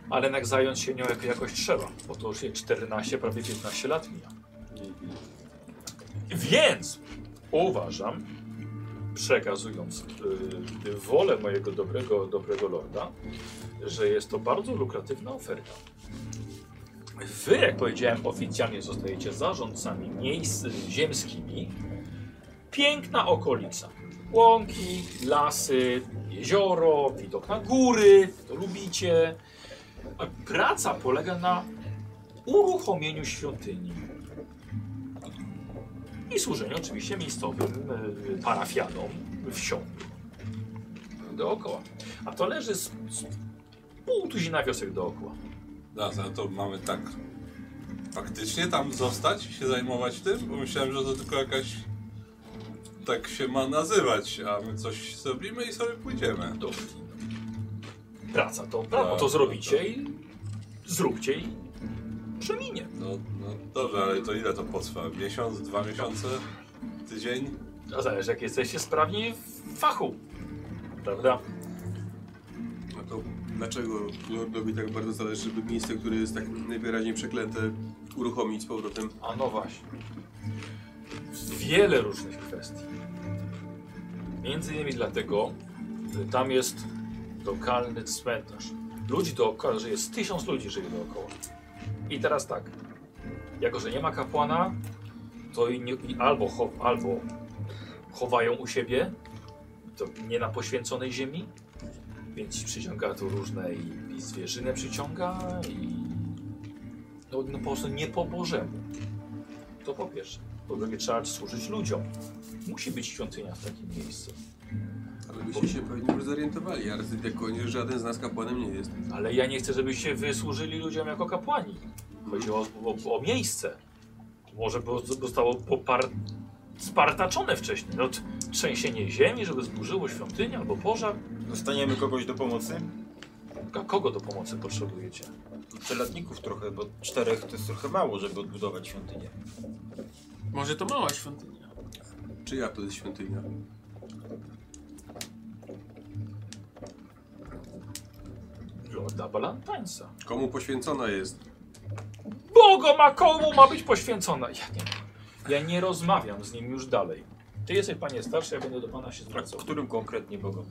[SPEAKER 1] Ale jednak zająć się nią jak- jakoś trzeba, bo to już jej 14, prawie 15 lat mija. Więc uważam, przekazując y, wolę mojego dobrego, dobrego lorda, że jest to bardzo lukratywna oferta. Wy, jak powiedziałem, oficjalnie zostajecie zarządcami miejsc ziemskimi. Piękna okolica. Łąki, lasy, jezioro, widok na góry, to lubicie. A Praca polega na uruchomieniu świątyni i służenie oczywiście miejscowym e, parafianom wsią dookoła. A to leży z, z pół tuzina wiosek dookoła.
[SPEAKER 6] No, za to mamy tak faktycznie tam zostać i się zajmować tym, bo myślałem, że to tylko jakaś tak się ma nazywać, a my coś zrobimy i sobie pójdziemy.
[SPEAKER 1] Dobrze. Praca to, prawo
[SPEAKER 6] Tak,
[SPEAKER 1] to
[SPEAKER 6] tak,
[SPEAKER 1] zrobicie
[SPEAKER 6] tak.
[SPEAKER 1] i zróbcie i przeminie.
[SPEAKER 6] No, no dobrze, ale to ile to potrwa? Miesiąc, dwa miesiące? Tydzień?
[SPEAKER 1] A zależy jak jesteście sprawni w fachu. Prawda?
[SPEAKER 3] A to dlaczego Lordowi tak bardzo zależy, żeby miejsce, które jest tak najwyraźniej przeklęte, uruchomić z powrotem?
[SPEAKER 1] A no właśnie. Wiele różnych kwestii. Między innymi dlatego, że tam jest lokalny cmentarz. Ludzi dookoła, że jest tysiąc ludzi żyje dookoła. I teraz tak. Jako, że nie ma kapłana, to i nie, i albo, cho, albo chowają u siebie, to nie na poświęconej ziemi, więc przyciąga tu różne i, i zwierzynę przyciąga i no, no po prostu nie po Bożemu. To po pierwsze. Po drugie, trzeba służyć ludziom. Musi być świątynia w takim miejscu.
[SPEAKER 3] Ale byście się pewnie już zorientowali, arcydiakonie, że żaden z nas kapłanem nie jest.
[SPEAKER 1] Ale ja nie chcę, żebyście wysłużyli ludziom jako kapłani. Chodzi o, o, o miejsce. Może bo zostało popar... spartaczone wcześniej. No, t- trzęsienie ziemi, żeby zburzyło świątynię albo pożar.
[SPEAKER 2] Dostaniemy kogoś do pomocy?
[SPEAKER 1] A kogo do pomocy potrzebujecie?
[SPEAKER 2] Przelatników trochę, bo czterech to jest trochę mało, żeby odbudować świątynię.
[SPEAKER 5] Może to mała świątynia.
[SPEAKER 3] Czyja to jest świątynia?
[SPEAKER 1] Lorda Balantańca.
[SPEAKER 3] Komu poświęcona jest?
[SPEAKER 1] Bogo ma komu ma być poświęcona. Ja nie, ja nie rozmawiam z nim już dalej. Ty jesteś panie starszy, ja będę do pana się
[SPEAKER 2] A
[SPEAKER 1] zwracał.
[SPEAKER 2] którym konkretnie bogom?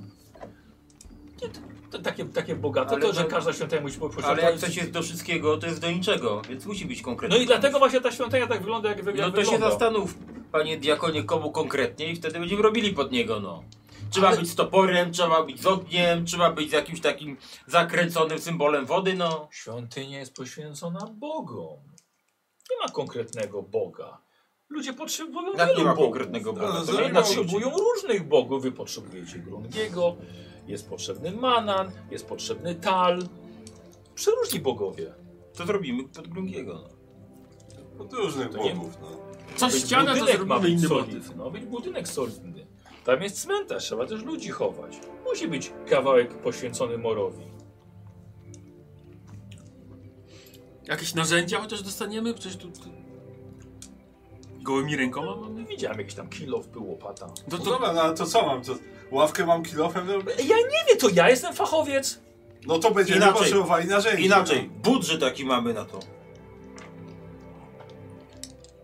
[SPEAKER 1] Nie, to, to takie, takie bogate,
[SPEAKER 2] Ale
[SPEAKER 1] to, że
[SPEAKER 2] to-
[SPEAKER 1] każda świątynia musi być
[SPEAKER 2] Ale jak
[SPEAKER 1] poświęcona.
[SPEAKER 2] coś jest do wszystkiego, to jest do niczego, więc musi być
[SPEAKER 1] No
[SPEAKER 2] konkretnie.
[SPEAKER 1] i dlatego właśnie ta świątynia tak wygląda, jak, wy- jak
[SPEAKER 2] No to się
[SPEAKER 1] wygląda.
[SPEAKER 2] zastanów, panie diakonie, komu konkretnie i wtedy będziemy robili pod niego, no. Trzeba
[SPEAKER 1] Ale-
[SPEAKER 2] być z toporem, trzeba być z ogniem, trzeba być z jakimś takim zakręconym symbolem wody, no.
[SPEAKER 1] Świątynia jest poświęcona bogom. Nie ma konkretnego boga. Ludzie potrzebują
[SPEAKER 2] Jak Tak nie
[SPEAKER 1] wielu
[SPEAKER 2] ma
[SPEAKER 1] bogów.
[SPEAKER 2] konkretnego boga,
[SPEAKER 6] No,
[SPEAKER 2] to
[SPEAKER 1] Ludzie
[SPEAKER 6] zrobią
[SPEAKER 2] wielu ludzi.
[SPEAKER 1] potrzebują różnych bogów. Wy potrzebujecie Grungiego, jest potrzebny Manan, jest potrzebny Tal. Przeróżni bogowie.
[SPEAKER 2] To zrobimy pod Grungiego, no.
[SPEAKER 6] Od różnych
[SPEAKER 1] To nie-
[SPEAKER 6] bogów, no.
[SPEAKER 5] Co
[SPEAKER 1] Być
[SPEAKER 5] ściana, to
[SPEAKER 1] budynek ma
[SPEAKER 5] zrobimy
[SPEAKER 1] być
[SPEAKER 5] inny motyw.
[SPEAKER 1] solidny. No, być budynek solidny. Tam jest cmentarz, trzeba też ludzi chować. Musi być kawałek poświęcony morowi.
[SPEAKER 5] Jakieś narzędzia chociaż dostaniemy? Przecież tu, tu... Gołymi rękoma mamy?
[SPEAKER 1] No Widziałem jakiś tam kilof, był łopata.
[SPEAKER 5] To,
[SPEAKER 4] No
[SPEAKER 5] to...
[SPEAKER 4] dobra, no ale to co mam? To ławkę mam kilofem? No,
[SPEAKER 1] Ja nie wiem, to ja jestem fachowiec.
[SPEAKER 4] no to będziemy
[SPEAKER 2] Inaczej.
[SPEAKER 4] potrzebowali narzędzi.
[SPEAKER 2] Inaczej, budżet jaki mamy na to.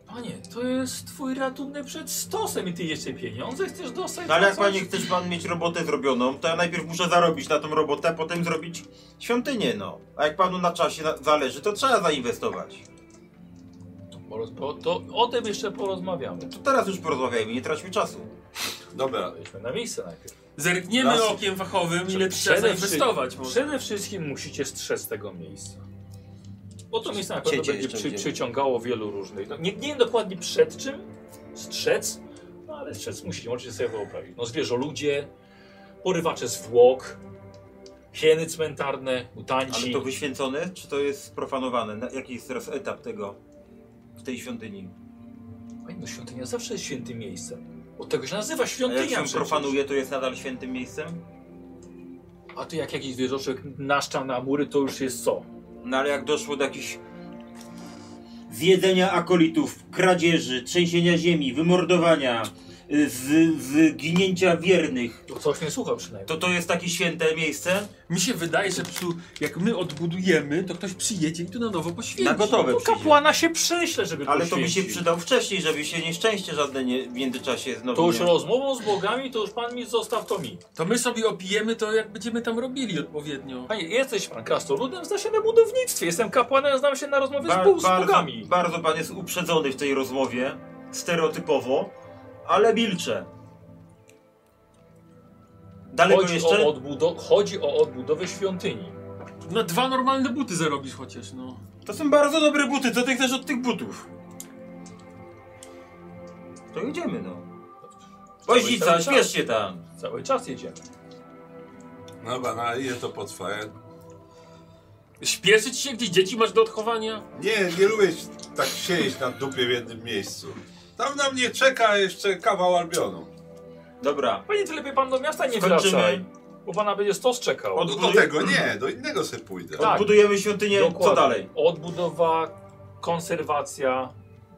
[SPEAKER 1] Panie, to jest twój ratunek przed stosem i ty jeszcze pieniądze chcesz dostać?
[SPEAKER 2] No ale
[SPEAKER 1] za
[SPEAKER 2] jak
[SPEAKER 1] coś?
[SPEAKER 2] panie chcesz pan mieć robotę zrobioną, to ja najpierw muszę zarobić na tą robotę, a potem zrobić świątynię, no. A jak panu na czasie na- zależy, to trzeba zainwestować.
[SPEAKER 1] Poroz- Po, to o tym jeszcze porozmawiamy.
[SPEAKER 2] To teraz już porozmawiajmy, nie traćmy czasu.
[SPEAKER 4] Dobra,
[SPEAKER 1] Wejdźmy na miejsce najpierw. No.
[SPEAKER 5] Zerkniemy
[SPEAKER 4] Raz.
[SPEAKER 5] okiem fachowym, ile trzeba
[SPEAKER 1] Przede
[SPEAKER 5] zainwestować
[SPEAKER 1] wszy-
[SPEAKER 5] może.
[SPEAKER 1] Przede wszystkim musicie strzec tego miejsca. Bo to miejsce na pewno
[SPEAKER 2] Siecie
[SPEAKER 1] będzie
[SPEAKER 2] jeszcze
[SPEAKER 1] przy,
[SPEAKER 2] gdzieś.
[SPEAKER 1] przyciągało wielu różnych. No, nie, nie wiem dokładnie przed czym strzec, no ale strzec musicie, możecie sobie wyobrazić. No zwierzoludzie, porywacze zwłok, hieny cmentarne,
[SPEAKER 2] Ale
[SPEAKER 1] mutanci.
[SPEAKER 2] to wyświęcone, czy to jest sprofanowane? Na- Jaki jest teraz etap tego w tej świątyni?
[SPEAKER 1] Panie, no świątynia zawsze jest świętym miejscem. Od tego się nazywa
[SPEAKER 2] A jak
[SPEAKER 1] świątynia
[SPEAKER 2] się
[SPEAKER 1] przecież.
[SPEAKER 2] profanuje, to jest nadal świętym miejscem?
[SPEAKER 1] A to jak jakiś zwierzoczek naszcza na mury, to już jest co?
[SPEAKER 2] No ale jak doszło do jakichś zjedzenia akolitów, kradzieży, trzęsienia ziemi, wymordowania, y, z- zginięcia wiernych,
[SPEAKER 1] To coś nie słucha przynajmniej.
[SPEAKER 2] to to jest takie święte miejsce?
[SPEAKER 5] Mi się wydaje, że tu, jak my odbudujemy, to ktoś przyjedzie i tu na nowo poświęci.
[SPEAKER 2] Na gotowe
[SPEAKER 1] no To
[SPEAKER 2] przyjdzie.
[SPEAKER 1] kapłana się prześle, żeby
[SPEAKER 2] Ale to by się
[SPEAKER 1] poświęcił.
[SPEAKER 2] przydał wcześniej, żeby się nieszczęście żadne nie, w międzyczasie znowu
[SPEAKER 1] To już
[SPEAKER 2] nie...
[SPEAKER 1] rozmową z bogami, to już pan mi zostaw to mi.
[SPEAKER 5] To my sobie opijemy to, jak będziemy tam robili odpowiednio.
[SPEAKER 1] Panie, jesteś pan krasnoludem, zna się na budownictwie. Jestem kapłanem, znam się na rozmowie z,
[SPEAKER 2] Ba-
[SPEAKER 1] bóg, z
[SPEAKER 2] bardzo,
[SPEAKER 1] bogami.
[SPEAKER 2] bardzo pan jest uprzedzony w tej rozmowie, stereotypowo, ale milczę. Daleko
[SPEAKER 1] Chodzi
[SPEAKER 2] jeszcze?
[SPEAKER 1] o, odbudo- chodzi o odbudowę świątyni.
[SPEAKER 5] Na dwa normalne buty zarobisz chociaż, no.
[SPEAKER 2] To są bardzo dobre buty, co ty chcesz od tych butów? To idziemy, no. Woźnica,
[SPEAKER 1] Cały- cały
[SPEAKER 2] śpiesz się tam.
[SPEAKER 1] Cały czas jedziemy.
[SPEAKER 4] no dobra, no ale ile to potrwa? Ja
[SPEAKER 5] Śpieszyć się, gdzie dzieci masz do odchowania?
[SPEAKER 4] Nie, nie lubię się tak siedzieć na dupie w jednym miejscu. Tam na mnie czeka jeszcze kawał Albionu.
[SPEAKER 2] Dobra.
[SPEAKER 1] Panie, to lepiej pan do miasta nie
[SPEAKER 2] Skończymy.
[SPEAKER 1] wracaj. Bo pana będzie stos czekał.
[SPEAKER 2] Od-
[SPEAKER 4] No do tego nie, do innego se pójdę.
[SPEAKER 1] Tak.
[SPEAKER 2] Budujemy świątynię, co dalej?
[SPEAKER 1] Odbudowa, konserwacja,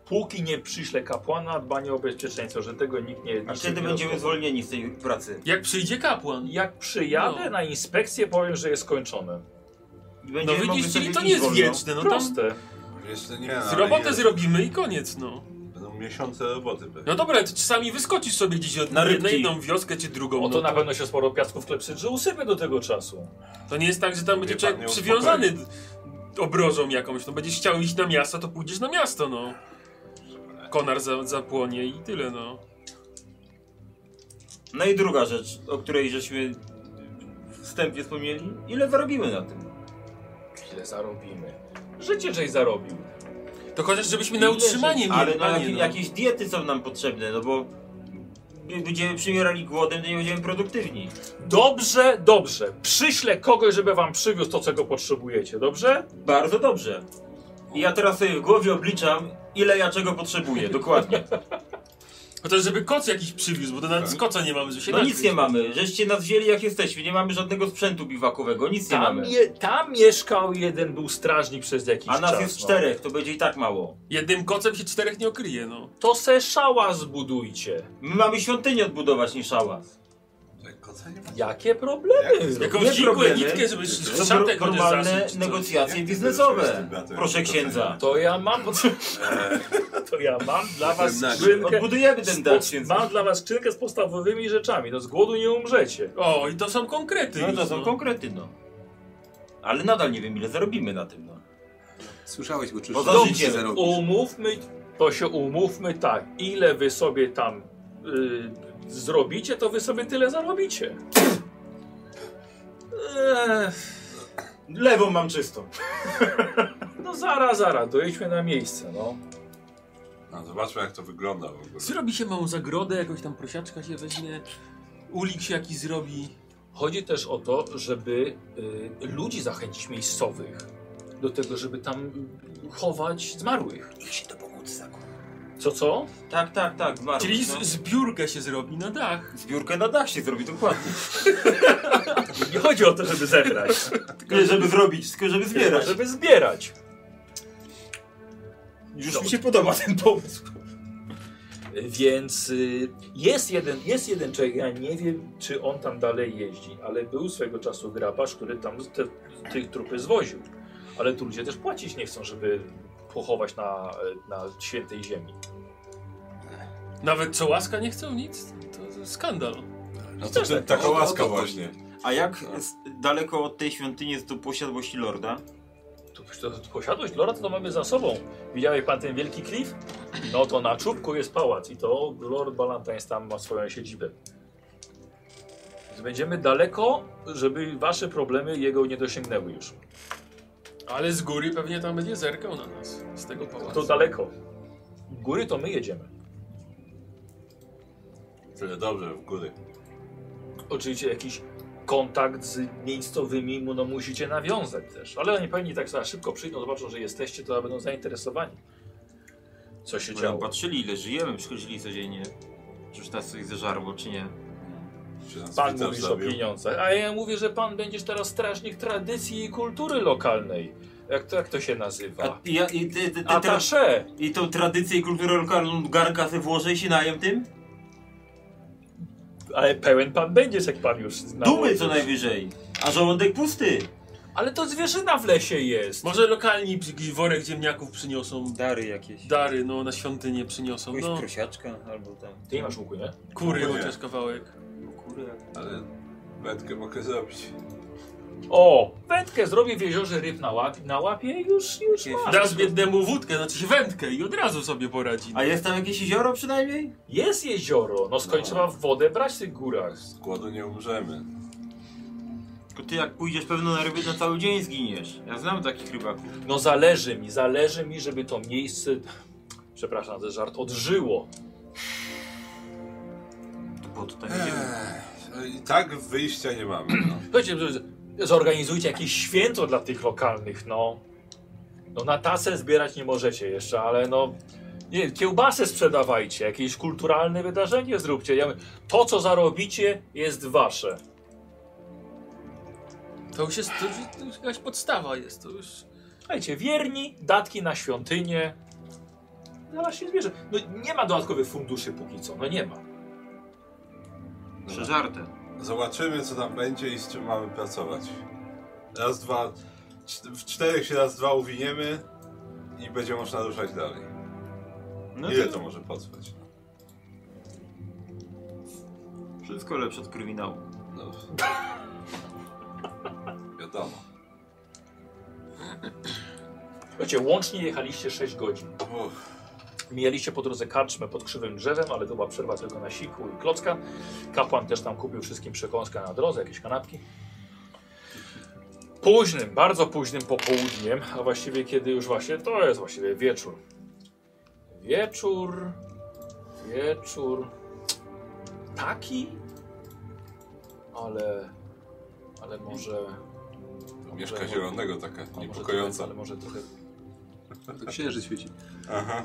[SPEAKER 1] póki nie przyśle kapłana, dbanie o bezpieczeństwo, że tego nikt nie...
[SPEAKER 2] A
[SPEAKER 1] niczym
[SPEAKER 2] wtedy
[SPEAKER 1] nie
[SPEAKER 2] będziemy
[SPEAKER 1] rozpocznie.
[SPEAKER 2] zwolnieni z tej pracy.
[SPEAKER 5] Jak przyjdzie kapłan.
[SPEAKER 1] Jak przyjadę
[SPEAKER 5] No.
[SPEAKER 1] na inspekcję, powiem, że jest skończone.
[SPEAKER 2] I
[SPEAKER 5] No
[SPEAKER 2] Będziemy mogli
[SPEAKER 5] widzisz, czyli
[SPEAKER 2] sobie
[SPEAKER 5] to nie
[SPEAKER 2] iść
[SPEAKER 5] jest
[SPEAKER 2] wolno.
[SPEAKER 5] wieczne, no tam
[SPEAKER 1] Proste.
[SPEAKER 4] Jeszcze nie, no,
[SPEAKER 5] z
[SPEAKER 4] ale
[SPEAKER 5] robotę
[SPEAKER 4] je-
[SPEAKER 5] zrobimy i koniec, no.
[SPEAKER 4] Będą miesiące roboty pewnie.
[SPEAKER 5] No dobra, to czasami wyskoczysz sobie gdzieś od
[SPEAKER 2] Na
[SPEAKER 5] na,
[SPEAKER 2] rybki.
[SPEAKER 5] na jedną wioskę czy drugą.
[SPEAKER 1] O
[SPEAKER 5] No
[SPEAKER 1] to
[SPEAKER 5] to,
[SPEAKER 1] na pewno się sporo piasku w klepsydrze usypie do tego czasu.
[SPEAKER 5] to nie jest tak, że tam będzie
[SPEAKER 4] Mnie pan
[SPEAKER 5] człowiek
[SPEAKER 4] nie
[SPEAKER 5] przywiązany d- obrożą jakąś. No będziesz chciał iść na miasto, to pójdziesz na miasto, no. Konar za- zapłonie i tyle, no.
[SPEAKER 2] No i druga rzecz, o której żeśmy wstępnie wspomnieli. Ile zarobimy na tym?
[SPEAKER 1] Ile zarobimy? Życie żeś zarobił.
[SPEAKER 5] To chociaż żebyśmy na
[SPEAKER 1] Ile
[SPEAKER 5] utrzymanie mieli,
[SPEAKER 2] Ale no,
[SPEAKER 5] panie,
[SPEAKER 2] jak,
[SPEAKER 5] no.
[SPEAKER 2] jakieś diety są nam potrzebne, no bo będziemy przymierali głodem, to nie będziemy produktywni.
[SPEAKER 1] Dobrze, dobrze. Przyślę kogoś, żeby wam przywiózł to, czego potrzebujecie, dobrze?
[SPEAKER 2] Bardzo dobrze. I ja teraz sobie w głowie obliczam, ile ja czego potrzebuję, dokładnie.
[SPEAKER 5] Chociaż żeby koc jakiś przywiózł, bo to nawet z koca nie mamy, że się tak
[SPEAKER 2] No nic
[SPEAKER 5] naćpić.
[SPEAKER 2] nie mamy, żeście nas wzięli jak jesteśmy, nie mamy żadnego sprzętu biwakowego, nic nie
[SPEAKER 1] Tam,
[SPEAKER 2] mamy.
[SPEAKER 1] je, tam mieszkał jeden, był strażnik przez jakiś
[SPEAKER 2] A
[SPEAKER 1] czas.
[SPEAKER 2] nas jest
[SPEAKER 1] no.
[SPEAKER 2] czterech, to będzie i tak mało.
[SPEAKER 5] Jednym kocem się czterech nie okryje, no.
[SPEAKER 1] To se szała zbudujcie.
[SPEAKER 2] My mamy świątynię odbudować niż szałas.
[SPEAKER 4] Tak, kota nie ma.
[SPEAKER 1] jakie problemy?
[SPEAKER 5] Jakąś
[SPEAKER 2] Nie
[SPEAKER 5] dziką
[SPEAKER 2] problemy.
[SPEAKER 5] elitkę, żeby
[SPEAKER 2] To są
[SPEAKER 5] szatek chociaż
[SPEAKER 2] normalne
[SPEAKER 5] zaszyć, czy coś.
[SPEAKER 2] negocjacje
[SPEAKER 4] Jak ty wyszłeś z
[SPEAKER 2] biznesowe.
[SPEAKER 4] tym bratem?
[SPEAKER 2] Proszę księdza.
[SPEAKER 1] To ja mam... To ja mam dla was
[SPEAKER 4] Nagle.
[SPEAKER 1] skrzynkę...
[SPEAKER 2] Odbudujemy ten dach
[SPEAKER 1] z- Mam
[SPEAKER 2] księdza.
[SPEAKER 1] dla was skrzynkę z podstawowymi rzeczami. No z głodu nie umrzecie.
[SPEAKER 5] O, i to są konkrety
[SPEAKER 2] No
[SPEAKER 5] już,
[SPEAKER 2] to są konkrety, no. Ale nadal nie wiem ile zarobimy na tym, no.
[SPEAKER 3] Słyszałeś go, czy
[SPEAKER 2] Bo
[SPEAKER 3] już
[SPEAKER 2] za
[SPEAKER 3] dobrze
[SPEAKER 2] życie.
[SPEAKER 3] zarobisz.
[SPEAKER 1] Umówmy, to się umówmy tak, ile wy sobie tam y, zrobicie, to wy sobie tyle zarobicie. Eee,
[SPEAKER 2] Lewą mam czystą.
[SPEAKER 1] no zaraz, zaraz, dojedźmy na miejsce, no.
[SPEAKER 4] No, zobaczmy jak to wygląda w ogóle.
[SPEAKER 5] Zrobi się małą zagrodę, jakąś tam prosiaczka się weźmie, ulik się jakiś zrobi.
[SPEAKER 1] Chodzi też o to, żeby y, ludzi zachęcić miejscowych do tego, żeby tam y, chować zmarłych.
[SPEAKER 2] Niech się to pomóc zakup.
[SPEAKER 1] Co, co?
[SPEAKER 2] Tak, tak, tak, zmarł.
[SPEAKER 5] Czyli
[SPEAKER 2] no.
[SPEAKER 5] z, zbiórkę się zrobi na dach.
[SPEAKER 2] Zbiórkę na dach się zrobi, dokładnie.
[SPEAKER 1] Nie chodzi o to, żeby zebrać,
[SPEAKER 2] Nie żeby zrobić, tylko żeby
[SPEAKER 1] tylko
[SPEAKER 2] zbierać.
[SPEAKER 1] żeby zbierać.
[SPEAKER 7] Już
[SPEAKER 1] Dobrze.
[SPEAKER 7] mi się podoba ten pomysł.
[SPEAKER 1] Więc y, jest jeden, jest jeden człowiek, ja nie wiem, czy on tam dalej jeździ, ale był swego czasu grabarz, który tam z te, tych trupy zwoził. Ale tu ludzie też płacić nie chcą, żeby pochować na, na świętej ziemi.
[SPEAKER 5] Nawet co łaska nie chcą nic? To skandal.
[SPEAKER 4] No to ten, taka
[SPEAKER 2] tak. O, o,
[SPEAKER 4] łaska
[SPEAKER 2] to-
[SPEAKER 4] właśnie.
[SPEAKER 2] A jak z, daleko od tej świątyni jest do posiadłości lorda?
[SPEAKER 1] Tu, tu, tu posiadłość Lora to mamy za sobą. Widziałeś pan ten wielki klif? No to na czubku jest pałac i to Lord Ballantynes tam ma swoją siedzibę. Więc będziemy daleko, żeby wasze problemy jego nie dosięgnęły już.
[SPEAKER 5] Ale z góry pewnie tam będzie zerkał na nas. Z tego
[SPEAKER 1] To
[SPEAKER 5] pałacu.
[SPEAKER 1] daleko. Góry to my jedziemy.
[SPEAKER 4] Tyle dobrze, w góry.
[SPEAKER 1] Oczywiście jakiś kontakt z miejscowymi mu no, musicie nawiązać też. Ale oni pewnie tak za szybko przyjdą, zobaczą, że jesteście, to będą zainteresowani. Co się
[SPEAKER 2] Będą
[SPEAKER 1] działo?
[SPEAKER 2] patrzyli ile żyjemy, przychodzili codziennie. Czyż nas coś zażarło, czy nie?
[SPEAKER 4] Czy nas
[SPEAKER 1] Pan
[SPEAKER 4] Peter
[SPEAKER 1] mówisz o
[SPEAKER 4] zabił?
[SPEAKER 1] pieniądzach, a ja mówię, że pan będziesz teraz strażnik tradycji i kultury lokalnej. Jak to, jak to się
[SPEAKER 2] A,
[SPEAKER 1] nazywa?
[SPEAKER 2] i, ja- i, ty, ty, ty, tra,
[SPEAKER 1] Atasze!
[SPEAKER 2] I tą tradycję i kulturę lokalną garnka ze włożę i się najem tym?
[SPEAKER 1] Ale pełen pan będziesz, jak pan już zna.
[SPEAKER 2] Dumy co najwyżej! A żołądek pusty!
[SPEAKER 1] Ale to zwierzyna w lesie jest.
[SPEAKER 5] Może lokalni jakiś worek ziemniaków przyniosą.
[SPEAKER 2] Dary jakieś.
[SPEAKER 5] Dary, no na świątynię przyniosą.
[SPEAKER 2] Jakieś No,
[SPEAKER 5] No,
[SPEAKER 2] prosiaczka albo tam.
[SPEAKER 1] Ty nie masz łuku, nie?
[SPEAKER 5] kury
[SPEAKER 4] Nie.
[SPEAKER 5] chociaż kawałek.
[SPEAKER 6] Ale wędkę mogę zrobić.
[SPEAKER 1] O! Wędkę zrobię w jeziorze ryb na, łap, na łapie i już, już
[SPEAKER 2] Jakieś-
[SPEAKER 1] masz.
[SPEAKER 5] Dasz biednemu wódkę, znaczy się wędkę i od razu sobie poradzi.
[SPEAKER 2] A jest tam jakieś jezioro przynajmniej?
[SPEAKER 1] Jest jezioro, no skąd
[SPEAKER 4] No.
[SPEAKER 1] trzeba wodę brać w tych górach.
[SPEAKER 4] Z głodu nie umrzemy.
[SPEAKER 2] Tylko ty jak pójdziesz pewno na ryby na cały dzień zginiesz. Ja znam takich rybaków.
[SPEAKER 1] No zależy mi, zależy mi, żeby to miejsce, przepraszam za żart, odżyło.
[SPEAKER 2] To po to tam
[SPEAKER 5] Eee.
[SPEAKER 2] jedziemy.
[SPEAKER 4] Ech, I tak wyjścia nie mamy. No.
[SPEAKER 1] Słuchajcie, z- zorganizujcie jakieś święto dla tych lokalnych, no. No na tasę zbierać nie możecie jeszcze, ale no... Nie wiem, kiełbasę sprzedawajcie, jakieś kulturalne wydarzenie zróbcie. Ja, mówię, to, co zarobicie, jest wasze.
[SPEAKER 5] To już jest, to już, to już jakaś podstawa jest, to już...
[SPEAKER 1] Słuchajcie, wierni, datki na świątynię. Zaraz się zbierze. No nie ma dodatkowych funduszy póki co, no nie ma.
[SPEAKER 2] Przeżarte.
[SPEAKER 4] Zobaczymy, co tam będzie i z czym mamy pracować. Raz, dwa. cz- W czterech się raz, dwa uwiniemy i będzie można ruszać dalej.
[SPEAKER 2] No
[SPEAKER 4] Ile
[SPEAKER 2] to
[SPEAKER 4] to może potrwać?
[SPEAKER 2] wszystko lepsze od kryminału.
[SPEAKER 4] No. Wiadomo.
[SPEAKER 1] Słuchajcie, łącznie jechaliście 6 godzin.
[SPEAKER 4] Uff,
[SPEAKER 1] Mijaliście po drodze karczmę pod krzywym drzewem, ale to była przerwa tylko na siku i klocka. Kapłan też tam kupił wszystkim przekąskę na drodze, jakieś kanapki. Późnym, bardzo późnym popołudniem, a właściwie kiedy już właśnie, to jest właściwie wieczór. Wieczór, wieczór, taki, ale, ale może...
[SPEAKER 4] mieszka zielonego taka
[SPEAKER 1] a może trochę-
[SPEAKER 4] niepokojąca.
[SPEAKER 1] Ale może trochę...
[SPEAKER 3] To księżyc świeci.
[SPEAKER 4] Aha,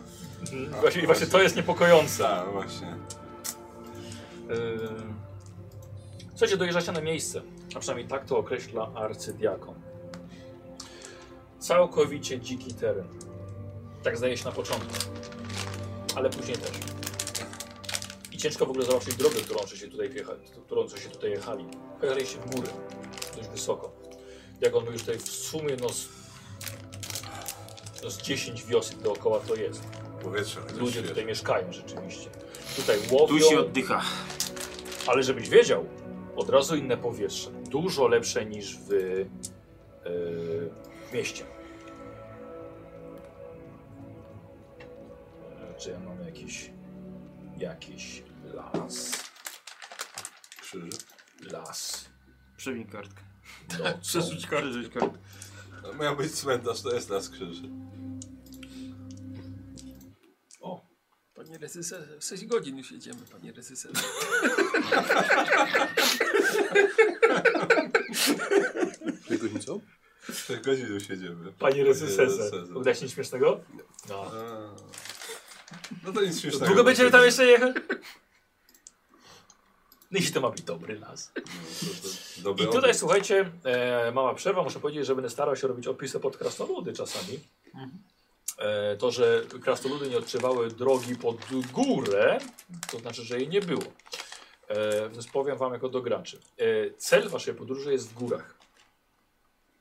[SPEAKER 1] Mhm. Właśnie, właśnie to jest niepokojące.
[SPEAKER 4] tak, właśnie.
[SPEAKER 1] Yy, Słuchajcie, dojeżdżacie na miejsce, a przynajmniej tak to określa arcydiakon. Całkowicie dziki teren. Tak zdaje się na początku, ale później też. I ciężko w ogóle zobaczyć drogę, którą się tutaj, wjecha, którą się tutaj jechali. Pojechaliście w góry, dość wysoko. Diakon mówi, że tutaj w sumie no z, no z 10 wiosek dookoła to jest.
[SPEAKER 4] Powietrze. chociaż
[SPEAKER 1] Ludzie
[SPEAKER 4] świeże.
[SPEAKER 1] tutaj mieszkają rzeczywiście. Tutaj łowią,
[SPEAKER 2] Tu się oddycha.
[SPEAKER 1] ale żebyś wiedział, od razu inne powietrze. Dużo lepsze niż w, yy, w mieście. E, Czy ja mam jakiś, jakiś las,
[SPEAKER 4] Krzyży.
[SPEAKER 1] las,
[SPEAKER 2] Przewin kartkę.
[SPEAKER 1] nocą.
[SPEAKER 2] Przerzuć kartkę. Przerzuć kartkę.
[SPEAKER 4] No, Miał być cmentarz, to jest las krzyży.
[SPEAKER 5] Panie reżyserze, 6 godzin już jedziemy, panie reżyserze.
[SPEAKER 3] Tej goźnicą?
[SPEAKER 4] 4 godziny już jedziemy.
[SPEAKER 1] Panie reżyserze,
[SPEAKER 4] reżyserze.
[SPEAKER 1] uda się nic śmiesznego? No.
[SPEAKER 4] A. No to nic śmiesznego.
[SPEAKER 1] Długo będziemy tam jeszcze jechać? No i to ma być dobry las.
[SPEAKER 4] Dobry
[SPEAKER 1] I tutaj, słuchajcie, e, mała przerwa. Muszę powiedzieć, że będę starał się robić opisy pod krasnoludy czasami. E, to, że krasnoludy nie odczuwały drogi pod górę, to znaczy, że jej nie było. E, więc powiem wam jako do graczy. E, cel waszej podróży jest w górach.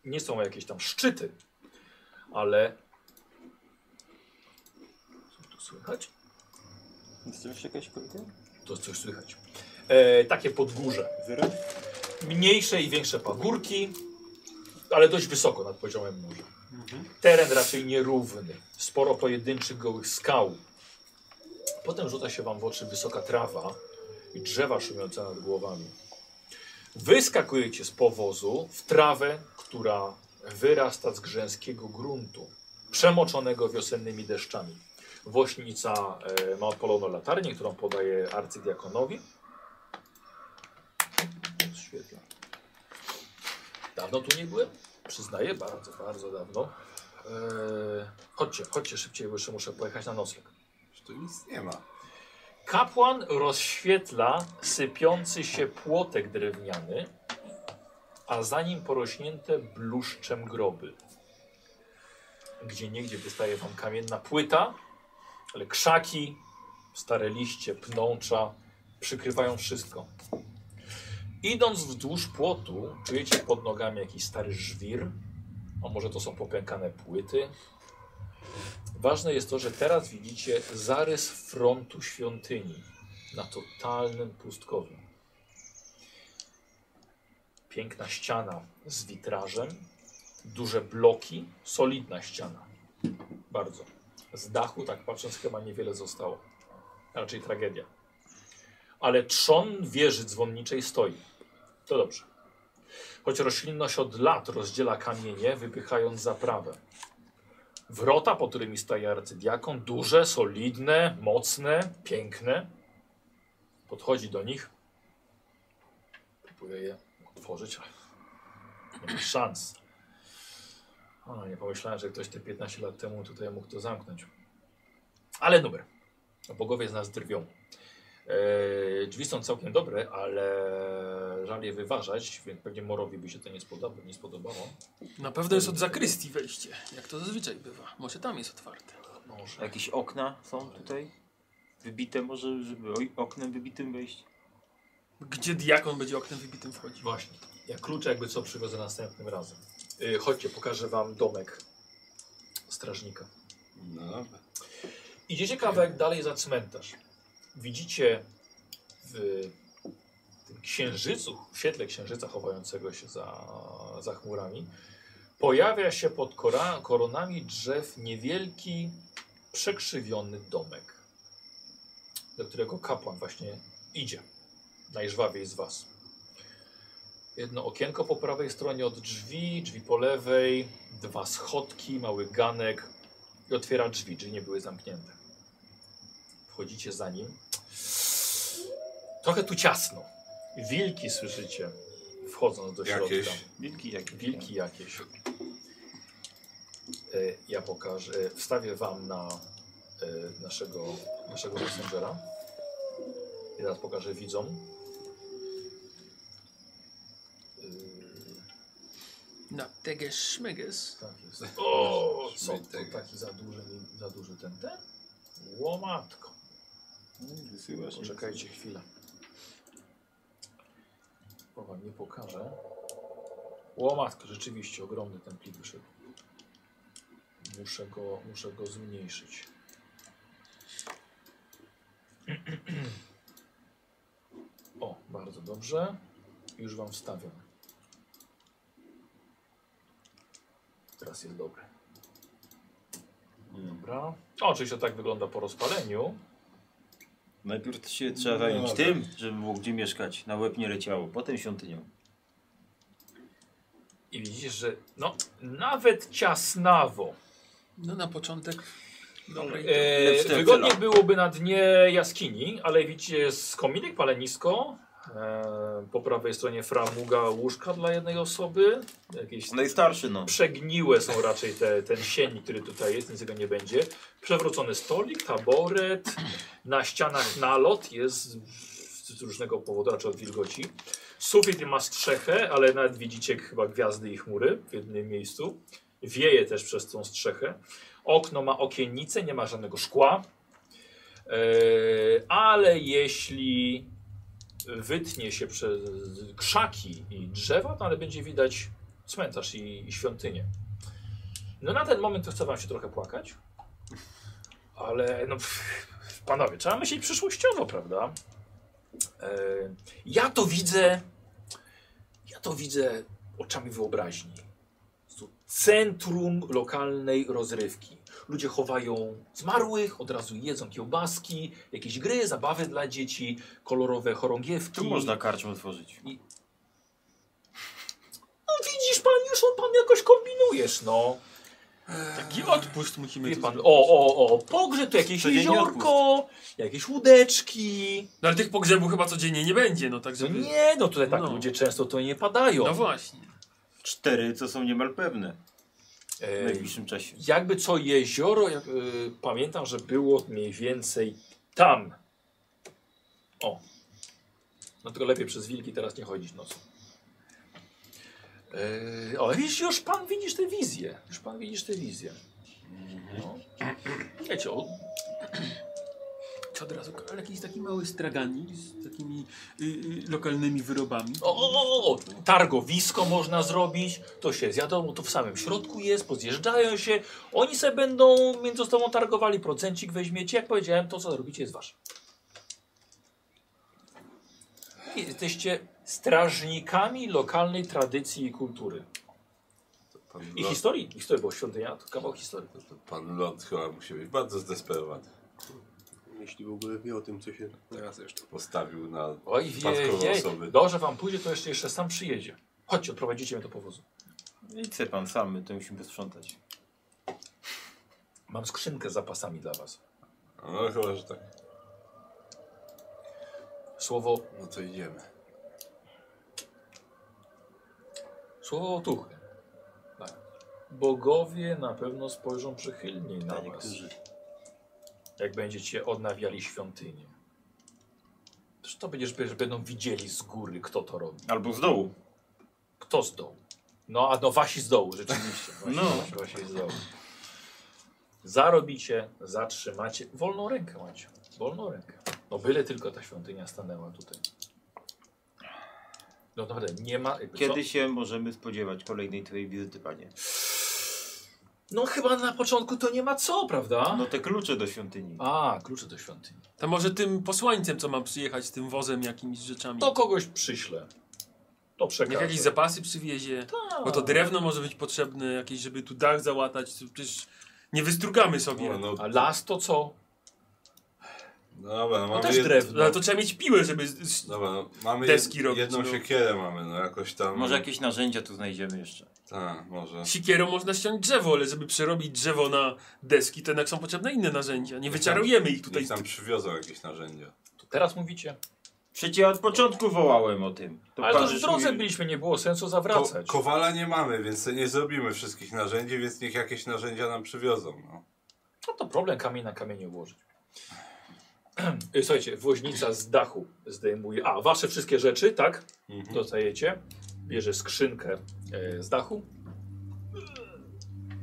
[SPEAKER 1] Nie są jakieś tam szczyty, ale... Co tu słychać?
[SPEAKER 2] Jest jeszcze jakaś kolejka?
[SPEAKER 1] To coś słychać. E, takie podgórze.
[SPEAKER 2] Zero?
[SPEAKER 1] Mniejsze i większe pagórki, ale dość wysoko nad poziomem morza. Teren raczej nierówny. Sporo pojedynczych gołych skał. Potem rzuca się wam w oczy wysoka trawa i drzewa szumiące nad głowami. Wyskakujecie z powozu w trawę, która wyrasta z grzęskiego gruntu, przemoczonego wiosennymi deszczami. Wośnica e, ma odpaloną latarnię, którą podaje arcydiakonowi. Świetla. Dawno tu nie byłem? Przyznaję, bardzo, bardzo dawno. E, chodźcie, chodźcie szybciej, bo jeszcze muszę pojechać na nocleg.
[SPEAKER 6] Tu nic nie ma.
[SPEAKER 1] Kapłan rozświetla sypiący się płotek drewniany, a za nim porośnięte bluszczem groby. Gdzie niegdzie wystaje wam kamienna płyta, ale krzaki, stare liście, pnącza przykrywają wszystko. Idąc wzdłuż płotu, czujecie pod nogami jakiś stary żwir, a może to są popękane płyty, Ważne jest to, że teraz widzicie zarys frontu świątyni na totalnym pustkowiu. Piękna ściana z witrażem, duże bloki, solidna ściana. Bardzo. Z dachu, tak patrząc, chyba niewiele zostało. Raczej tragedia. Ale trzon wieży dzwonniczej stoi. To dobrze. Choć roślinność od lat rozdziela kamienie, wypychając zaprawę. Wrota, po którymi staje arcydiakon, duże, solidne, mocne, piękne. Podchodzi do nich. Próbuje je otworzyć, ale nie ma szans. O, nie pomyślałem, że ktoś te 15 lat temu tutaj mógł to zamknąć. Ale numer. No, Bogowie z nas drwią. Eee, drzwi są całkiem dobre, ale żal je wyważać, więc pewnie Morowi by się to nie spodobało. Nie spodobało.
[SPEAKER 5] Na pewno jest od zakrystii wejście, jak to zazwyczaj bywa. Może tam jest otwarte.
[SPEAKER 2] A Jakieś okna są tutaj? Wybite może, żeby oj, oknem wybitym wejść?
[SPEAKER 5] Gdzie diakon będzie oknem wybitym wchodził?
[SPEAKER 1] Właśnie. Ja klucze jakby co przywiozę następnym razem. Yy, chodźcie, pokażę wam domek strażnika.
[SPEAKER 6] No dobra.
[SPEAKER 1] Idziecie kawałek dalej za cmentarz. Widzicie w tym księżycu, w świetle księżyca chowającego się za, za chmurami, pojawia się pod kora, koronami drzew niewielki, przekrzywiony domek, do którego kapłan właśnie idzie. Najżwawiej z was. Jedno okienko po prawej stronie od drzwi, drzwi po lewej, dwa schodki, mały ganek, i otwiera drzwi, drzwi nie były zamknięte. Wchodzicie za nim. Trochę tu ciasno. Wilki słyszycie, wchodząc do środka.
[SPEAKER 6] Jakieś.
[SPEAKER 2] Wilki jakieś.
[SPEAKER 1] Wilki jakieś. E, Ja pokażę, e, wstawię wam na e, naszego, naszego messengera. I teraz pokażę widzom. E,
[SPEAKER 5] Na teges szmeges.
[SPEAKER 1] Tak jest. O, co
[SPEAKER 6] Szmytek.
[SPEAKER 1] to taki za duży, za duży ten ten? Łomatko.
[SPEAKER 2] Wysyłasz.
[SPEAKER 1] Poczekajcie chwilę. Bo wam nie pokażę. Łomatko, rzeczywiście ogromny ten plik wyszedł. Muszę go, muszę go zmniejszyć. O, bardzo dobrze. Już wam wstawiam. Teraz jest dobry. Dobra. O, oczywiście tak wygląda po rozpaleniu.
[SPEAKER 2] Najpierw się trzeba
[SPEAKER 5] No,
[SPEAKER 2] zająć tym,
[SPEAKER 5] tak.
[SPEAKER 2] żeby było gdzie mieszkać. Na łeb nie leciało. Potem świątynią.
[SPEAKER 1] I widzisz, że no, nawet ciasnawo.
[SPEAKER 5] No na początek. Dobrej
[SPEAKER 1] E,
[SPEAKER 2] Lepsze
[SPEAKER 1] wygodniej
[SPEAKER 2] tyle.
[SPEAKER 1] byłoby na dnie jaskini, ale widzicie jest kominek palenisko. E, po prawej stronie framuga łóżka dla jednej osoby. Jakieś
[SPEAKER 2] Najstarszy no.
[SPEAKER 1] przegniłe są raczej te, ten sień, który tutaj jest, nic go nie będzie. Przewrócony stolik, taboret, na ścianach nalot jest z, z różnego powodu, raczej od wilgoci. Sufit ma strzechę, ale nawet widzicie chyba gwiazdy i chmury w jednym miejscu. Wieje też przez tą strzechę. Okno ma okiennice, nie ma żadnego szkła. E, ale jeśli wytnie się przez krzaki i drzewa, to ale będzie widać cmentarz i, i świątynię. No na ten moment to chcę wam się trochę płakać. Ale no, pff, panowie, trzeba myśleć przyszłościowo, prawda? E, ja to widzę. Ja to widzę oczami wyobraźni. Tu Centrum lokalnej rozrywki. Ludzie chowają zmarłych, od razu jedzą kiełbaski, jakieś gry, zabawy dla dzieci, kolorowe chorągiewki.
[SPEAKER 2] Tu można karczmę otworzyć.
[SPEAKER 1] No widzisz pan, już on pan jakoś kombinujesz, no.
[SPEAKER 5] Taki odpust musimy
[SPEAKER 1] Wie
[SPEAKER 5] tu
[SPEAKER 1] pan,
[SPEAKER 5] zrobić.
[SPEAKER 1] o, o, o, pogrzeb to jakieś
[SPEAKER 2] Codziennie
[SPEAKER 1] jeziorko, jakieś łódeczki.
[SPEAKER 5] No ale tych pogrzebów chyba codziennie nie będzie, no tak
[SPEAKER 1] No
[SPEAKER 5] żeby...
[SPEAKER 1] nie, no tutaj tak
[SPEAKER 5] No.
[SPEAKER 1] ludzie często to nie padają.
[SPEAKER 5] No właśnie.
[SPEAKER 2] Cztery, co są niemal pewne w
[SPEAKER 1] Ej,
[SPEAKER 2] najbliższym czasie.
[SPEAKER 1] E, jakby co jezioro, jak, y, pamiętam, że było mniej więcej tam. O. No tylko lepiej przez wilki teraz nie chodzić nocą. Yy, o, widzisz, już pan widzisz tę wizję. Już pan widzisz tę wizję. No. Wiecie, o,
[SPEAKER 5] Czy od razu, ale jakiś taki mały straganik z takimi y, y, lokalnymi wyrobami.
[SPEAKER 1] O, o, o, o, targowisko można zrobić, to się zjadą, to w samym środku jest, pozjeżdżają się, oni se będą między sobą targowali, procencik weźmiecie, jak powiedziałem, to co zrobicie jest wasze. I Jesteście strażnikami lokalnej tradycji i kultury.
[SPEAKER 6] Pan
[SPEAKER 1] I
[SPEAKER 6] Lot,
[SPEAKER 1] historii, historii, bo świątynia to kawał historii.
[SPEAKER 6] pan Lot chyba musi być bardzo zdesperowany.
[SPEAKER 3] Jeśli w ogóle wie o tym, co się teraz jeszcze.
[SPEAKER 6] Postawił na
[SPEAKER 1] Oj,
[SPEAKER 6] Spadkowe
[SPEAKER 1] wiej,
[SPEAKER 6] osoby.
[SPEAKER 1] dobrze wam pójdzie, to jeszcze, jeszcze sam przyjedzie. Chodźcie, odprowadzicie mnie do powozu.
[SPEAKER 2] No I chce pan sam, my to musimy sprzątać.
[SPEAKER 1] Mam skrzynkę z zapasami dla was.
[SPEAKER 6] No chyba, że tak.
[SPEAKER 1] Słowo
[SPEAKER 6] No to idziemy.
[SPEAKER 1] Słowo otuchy. Tak. Bogowie na pewno spojrzą przychylniej
[SPEAKER 2] Tak,
[SPEAKER 1] na was, jak będziecie odnawiali świątynię. Przecież to będziesz, że będą widzieli z góry, kto to robi.
[SPEAKER 2] Albo z dołu.
[SPEAKER 1] Kto z dołu? No, a no wasi z dołu, rzeczywiście. Wasi,
[SPEAKER 2] No.
[SPEAKER 1] wasi, wasi z dołu. Zarobicie, zatrzymacie. Wolną rękę macie. Wolną rękę. No byle tylko ta świątynia stanęła tutaj. No naprawdę, nie ma... jakby co?
[SPEAKER 2] Kiedy się możemy spodziewać kolejnej twojej wizyty, panie?
[SPEAKER 1] No chyba na początku to nie ma co, prawda?
[SPEAKER 2] No te klucze do świątyni.
[SPEAKER 1] A, klucze do świątyni.
[SPEAKER 5] To może tym posłańcem, co mam przyjechać, z tym wozem jakimiś z rzeczami.
[SPEAKER 1] To kogoś przyślę. To
[SPEAKER 5] Niech
[SPEAKER 1] przekażę.
[SPEAKER 5] jakieś zapasy przywiezie.
[SPEAKER 1] Tak.
[SPEAKER 5] Bo No to drewno może być potrzebne, jakieś, żeby tu dach załatać. Przecież nie wystrukamy sobie.
[SPEAKER 6] No, no,
[SPEAKER 1] A las to co?
[SPEAKER 6] dobra,
[SPEAKER 1] To
[SPEAKER 6] mamy
[SPEAKER 1] też
[SPEAKER 6] jed...
[SPEAKER 1] drewno.
[SPEAKER 5] No, Ale to trzeba mieć piłę, żeby. z- z-
[SPEAKER 6] Dobra, no, mamy
[SPEAKER 5] Deski
[SPEAKER 6] jed...
[SPEAKER 5] robić,
[SPEAKER 6] jedną
[SPEAKER 5] no.
[SPEAKER 6] siekierę mamy, no jakoś tam.
[SPEAKER 2] Może jakieś narzędzia tu znajdziemy jeszcze.
[SPEAKER 6] Tak, może.
[SPEAKER 5] Sikierą można ściąć drzewo, ale żeby przerobić drzewo na deski, to jednak są potrzebne inne narzędzia. Nie wyczarujemy ich
[SPEAKER 6] Tutaj
[SPEAKER 5] tutaj.
[SPEAKER 6] tam przywiozą jakieś narzędzia.
[SPEAKER 1] To teraz mówicie.
[SPEAKER 2] Przecież ja od początku wołałem o tym.
[SPEAKER 1] Ale to
[SPEAKER 2] pan
[SPEAKER 1] już w
[SPEAKER 2] żeś
[SPEAKER 1] drodze
[SPEAKER 2] mi-
[SPEAKER 1] byliśmy, nie było sensu
[SPEAKER 6] Ko
[SPEAKER 1] zawracać.
[SPEAKER 6] kowala nie mamy, więc nie zrobimy wszystkich narzędzi, więc niech jakieś narzędzia nam przywiozą. No.
[SPEAKER 1] No to problem kamień na kamienie ułożyć. Y, Słuchajcie, woźnica z dachu zdejmuje. A, wasze wszystkie rzeczy, tak?
[SPEAKER 6] Mhm.
[SPEAKER 1] Dostajecie. Bierze skrzynkę e, z dachu.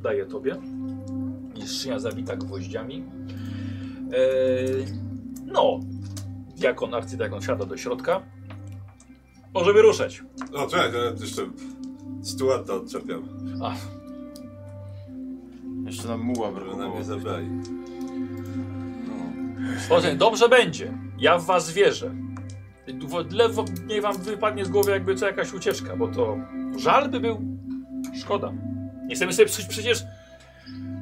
[SPEAKER 1] Daje tobie. Jest szyja zabita gwoździami. E, no, diakon, arcydiakon siada do środka. Możemy ruszać.
[SPEAKER 6] O, czekaj, to ja jeszcze Stuarta odczepiam,
[SPEAKER 2] Jeszcze nam muła
[SPEAKER 6] żeby nam
[SPEAKER 2] brakowało.
[SPEAKER 6] je zabrali. No.
[SPEAKER 1] Poza tym, dobrze będzie. Ja w was wierzę. W- Lewo nie wam wypadnie z głowy jakby co jakaś ucieczka, bo to żal by był. Szkoda. Nie chcemy sobie psuć przecież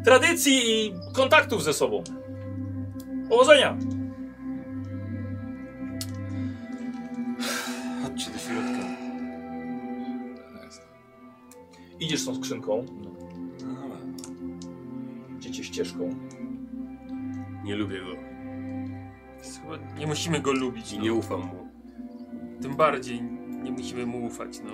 [SPEAKER 1] tradycji i kontaktów ze sobą. Powodzenia!
[SPEAKER 2] Chodźcie do środka.
[SPEAKER 1] Idziesz tą skrzynką,
[SPEAKER 6] No, dobra.
[SPEAKER 1] idziecie ścieżką.
[SPEAKER 3] Nie lubię go
[SPEAKER 5] Chyba Nie musimy go lubić.
[SPEAKER 3] i
[SPEAKER 5] No.
[SPEAKER 3] nie ufam mu.
[SPEAKER 5] Tym bardziej nie musimy mu ufać. No.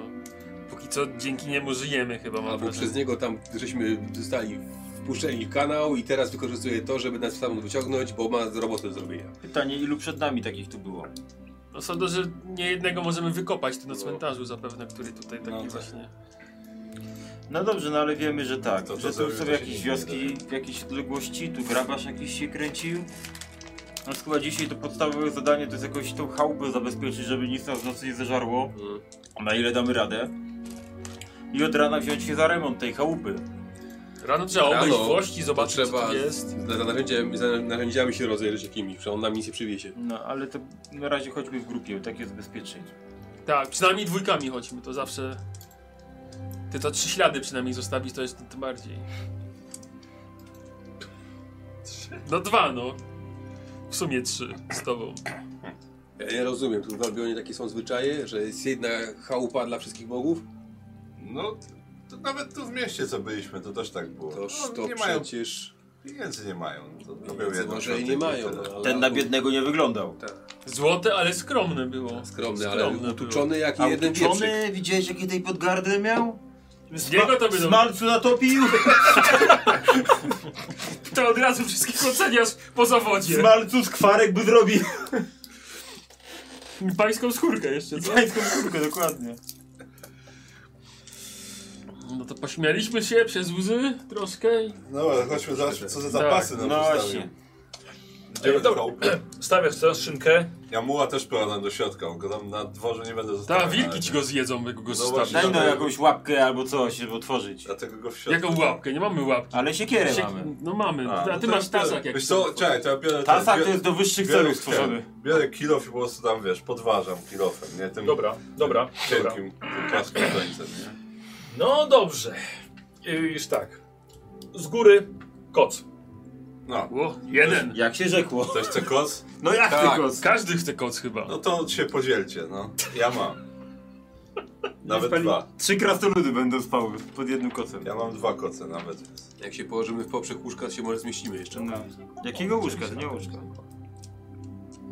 [SPEAKER 5] Póki co dzięki niemu żyjemy chyba. Mam
[SPEAKER 3] Albo przez
[SPEAKER 5] wrażenie.
[SPEAKER 3] niego tam żeśmy zostali wpuszczeni w kanał i teraz wykorzystuje to, żeby nas stamtąd wyciągnąć, bo ma robotę do zrobienia.
[SPEAKER 2] Pytanie, ilu przed nami takich tu było?
[SPEAKER 5] No sądzę, że nie jednego możemy wykopać tu na cmentarzu zapewne, który tutaj taki
[SPEAKER 6] No tak.
[SPEAKER 5] właśnie...
[SPEAKER 2] No dobrze, no ale wiemy, że tak.
[SPEAKER 4] To, to
[SPEAKER 2] że tu
[SPEAKER 4] zrobił,
[SPEAKER 2] są
[SPEAKER 4] to się
[SPEAKER 2] jakieś
[SPEAKER 4] nie
[SPEAKER 2] wioski w jakiejś odległości, tu grabarz jakiś się kręcił. No chyba dzisiaj to podstawowe zadanie to jest jakoś tą chałupę zabezpieczyć, żeby nic nas w nocy nie zeżarło. Na ile damy radę. I od rana wziąć się za remont tej chałupy.
[SPEAKER 5] Rano trzeba obejść
[SPEAKER 3] Rano
[SPEAKER 5] włości, zobaczyć co
[SPEAKER 3] trzeba-
[SPEAKER 5] tu jest.
[SPEAKER 3] Za za narzędziami, za narzędziami się rozejrzeć jakimiś, że on nam nic nie przywiezie.
[SPEAKER 2] No ale to na razie chodźmy w grupie, tak jest bezpieczniej.
[SPEAKER 5] Tak, przynajmniej dwójkami chodźmy, to zawsze... Ty to trzy ślady przynajmniej zostawić, to jest tym bardziej. No dwa, no. W sumie trzy z tobą.
[SPEAKER 3] Ja nie rozumiem, tu w Albionie takie są zwyczaje, że jest jedna chałupa dla wszystkich bogów?
[SPEAKER 4] No, to nawet tu w mieście co byliśmy, to też tak było.
[SPEAKER 3] Toż
[SPEAKER 4] no,
[SPEAKER 3] to
[SPEAKER 4] nie mają,
[SPEAKER 3] przecież...
[SPEAKER 4] pieniędzy nie mają. no To robią
[SPEAKER 3] Pieniędzy
[SPEAKER 4] jedną
[SPEAKER 3] Może i nie
[SPEAKER 4] świątynię
[SPEAKER 3] mają,
[SPEAKER 4] tyle.
[SPEAKER 3] no, ale
[SPEAKER 2] Ten na biednego nie wyglądał.
[SPEAKER 5] Złote, ale skromne było.
[SPEAKER 3] Skromny, ale
[SPEAKER 5] było.
[SPEAKER 3] utuczony jak
[SPEAKER 2] A
[SPEAKER 3] jeden pieprzyk.
[SPEAKER 2] uczony, widziałeś jakie tej podgardy miał?
[SPEAKER 5] Z niego to by-
[SPEAKER 2] Smalcu natopił!
[SPEAKER 5] To od razu wszystkich oceniasz po zawodzie.
[SPEAKER 2] Smalcu skwarek by zrobił!
[SPEAKER 5] Pańską skórkę jeszcze, co?
[SPEAKER 2] Pańską skórkę, dokładnie.
[SPEAKER 5] No to pośmialiśmy się przez łzy troszkę i...
[SPEAKER 4] No, ale chodźmy zobaczyć, co za zapasy nam
[SPEAKER 2] No
[SPEAKER 4] zostawił.
[SPEAKER 2] właśnie.
[SPEAKER 4] Idziemy do chałupy.
[SPEAKER 1] Stawiasz tę szynkę.
[SPEAKER 4] Ja muła też pojadam do środka, bo go tam na dworze nie będę zostawiał.
[SPEAKER 5] Ta,
[SPEAKER 4] na
[SPEAKER 5] wilki
[SPEAKER 4] razie.
[SPEAKER 5] ci go zjedzą, jak go
[SPEAKER 4] Tak. No
[SPEAKER 5] zostawisz.
[SPEAKER 4] właśnie.
[SPEAKER 2] Daj no jakąś łapkę albo coś, żeby otworzyć.
[SPEAKER 4] Dlatego go w środku...
[SPEAKER 5] Jaką łapkę? Nie mamy łapki.
[SPEAKER 2] Ale siekierę
[SPEAKER 5] Sie-
[SPEAKER 2] mamy.
[SPEAKER 5] No mamy,
[SPEAKER 4] A,
[SPEAKER 5] a
[SPEAKER 4] no
[SPEAKER 5] ty
[SPEAKER 4] to
[SPEAKER 5] masz
[SPEAKER 4] biorę-
[SPEAKER 5] tasak jak
[SPEAKER 4] Wiesz co, czekaj, to ja biorę... ten-
[SPEAKER 2] Tasak to
[SPEAKER 4] biorę-
[SPEAKER 2] jest do wyższych
[SPEAKER 4] biorę
[SPEAKER 2] celów
[SPEAKER 4] ten,
[SPEAKER 2] stworzony.
[SPEAKER 4] Biorę kilof i po prostu tam, wiesz, podważam kilofem, nie? Tym
[SPEAKER 1] Dobra, dobra, dobra.
[SPEAKER 4] cienkim, tym płaskim końcem, nie?
[SPEAKER 1] No dobrze. I Już tak. Z góry koc.
[SPEAKER 4] No.
[SPEAKER 5] O, jeden.
[SPEAKER 2] Jak się rzekło.
[SPEAKER 4] Ktoś chce koc?
[SPEAKER 2] No jak
[SPEAKER 3] Tak.
[SPEAKER 2] tylko.
[SPEAKER 5] Każdy chce koc chyba.
[SPEAKER 4] No to się podzielcie, no. Ja mam. Nawet dwa.
[SPEAKER 2] Trzy krasnoludy będą spały pod jednym kocem.
[SPEAKER 4] Ja mam dwa koce nawet.
[SPEAKER 3] Jak się położymy w poprzek łóżka, to się może zmieścimy jeszcze.
[SPEAKER 2] No. Jakiego łóżka? To nie łóżka.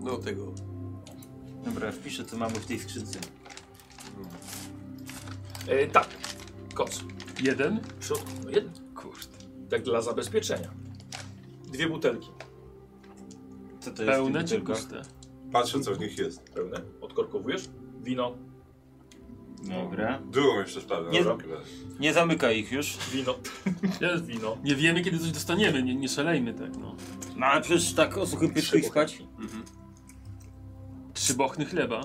[SPEAKER 3] No tego.
[SPEAKER 2] Dobra, wpiszę co mamy w tej skrzynce.
[SPEAKER 1] E, tak, koc.
[SPEAKER 5] Jeden.
[SPEAKER 1] W środku no jeden. Kurde. Tak dla zabezpieczenia. Dwie butelki
[SPEAKER 2] Co to jest?
[SPEAKER 5] Pełne czy
[SPEAKER 2] tylko?
[SPEAKER 5] puste?
[SPEAKER 4] Patrzę, co w nich jest.
[SPEAKER 1] pełne. Odkorkowujesz. Wino,
[SPEAKER 2] Dobra.
[SPEAKER 4] Drugą jeszcze sprawę. no,
[SPEAKER 2] Nie-
[SPEAKER 4] na rok weź.
[SPEAKER 2] Nie zamykaj ich już.
[SPEAKER 1] wino,
[SPEAKER 5] Ja-
[SPEAKER 1] wino.
[SPEAKER 5] Nie wiemy kiedy coś dostaniemy, nie, nie szalejmy tak no.
[SPEAKER 2] No ale przecież tak o suchym pysku i spać.
[SPEAKER 5] Trzy bochny chleba.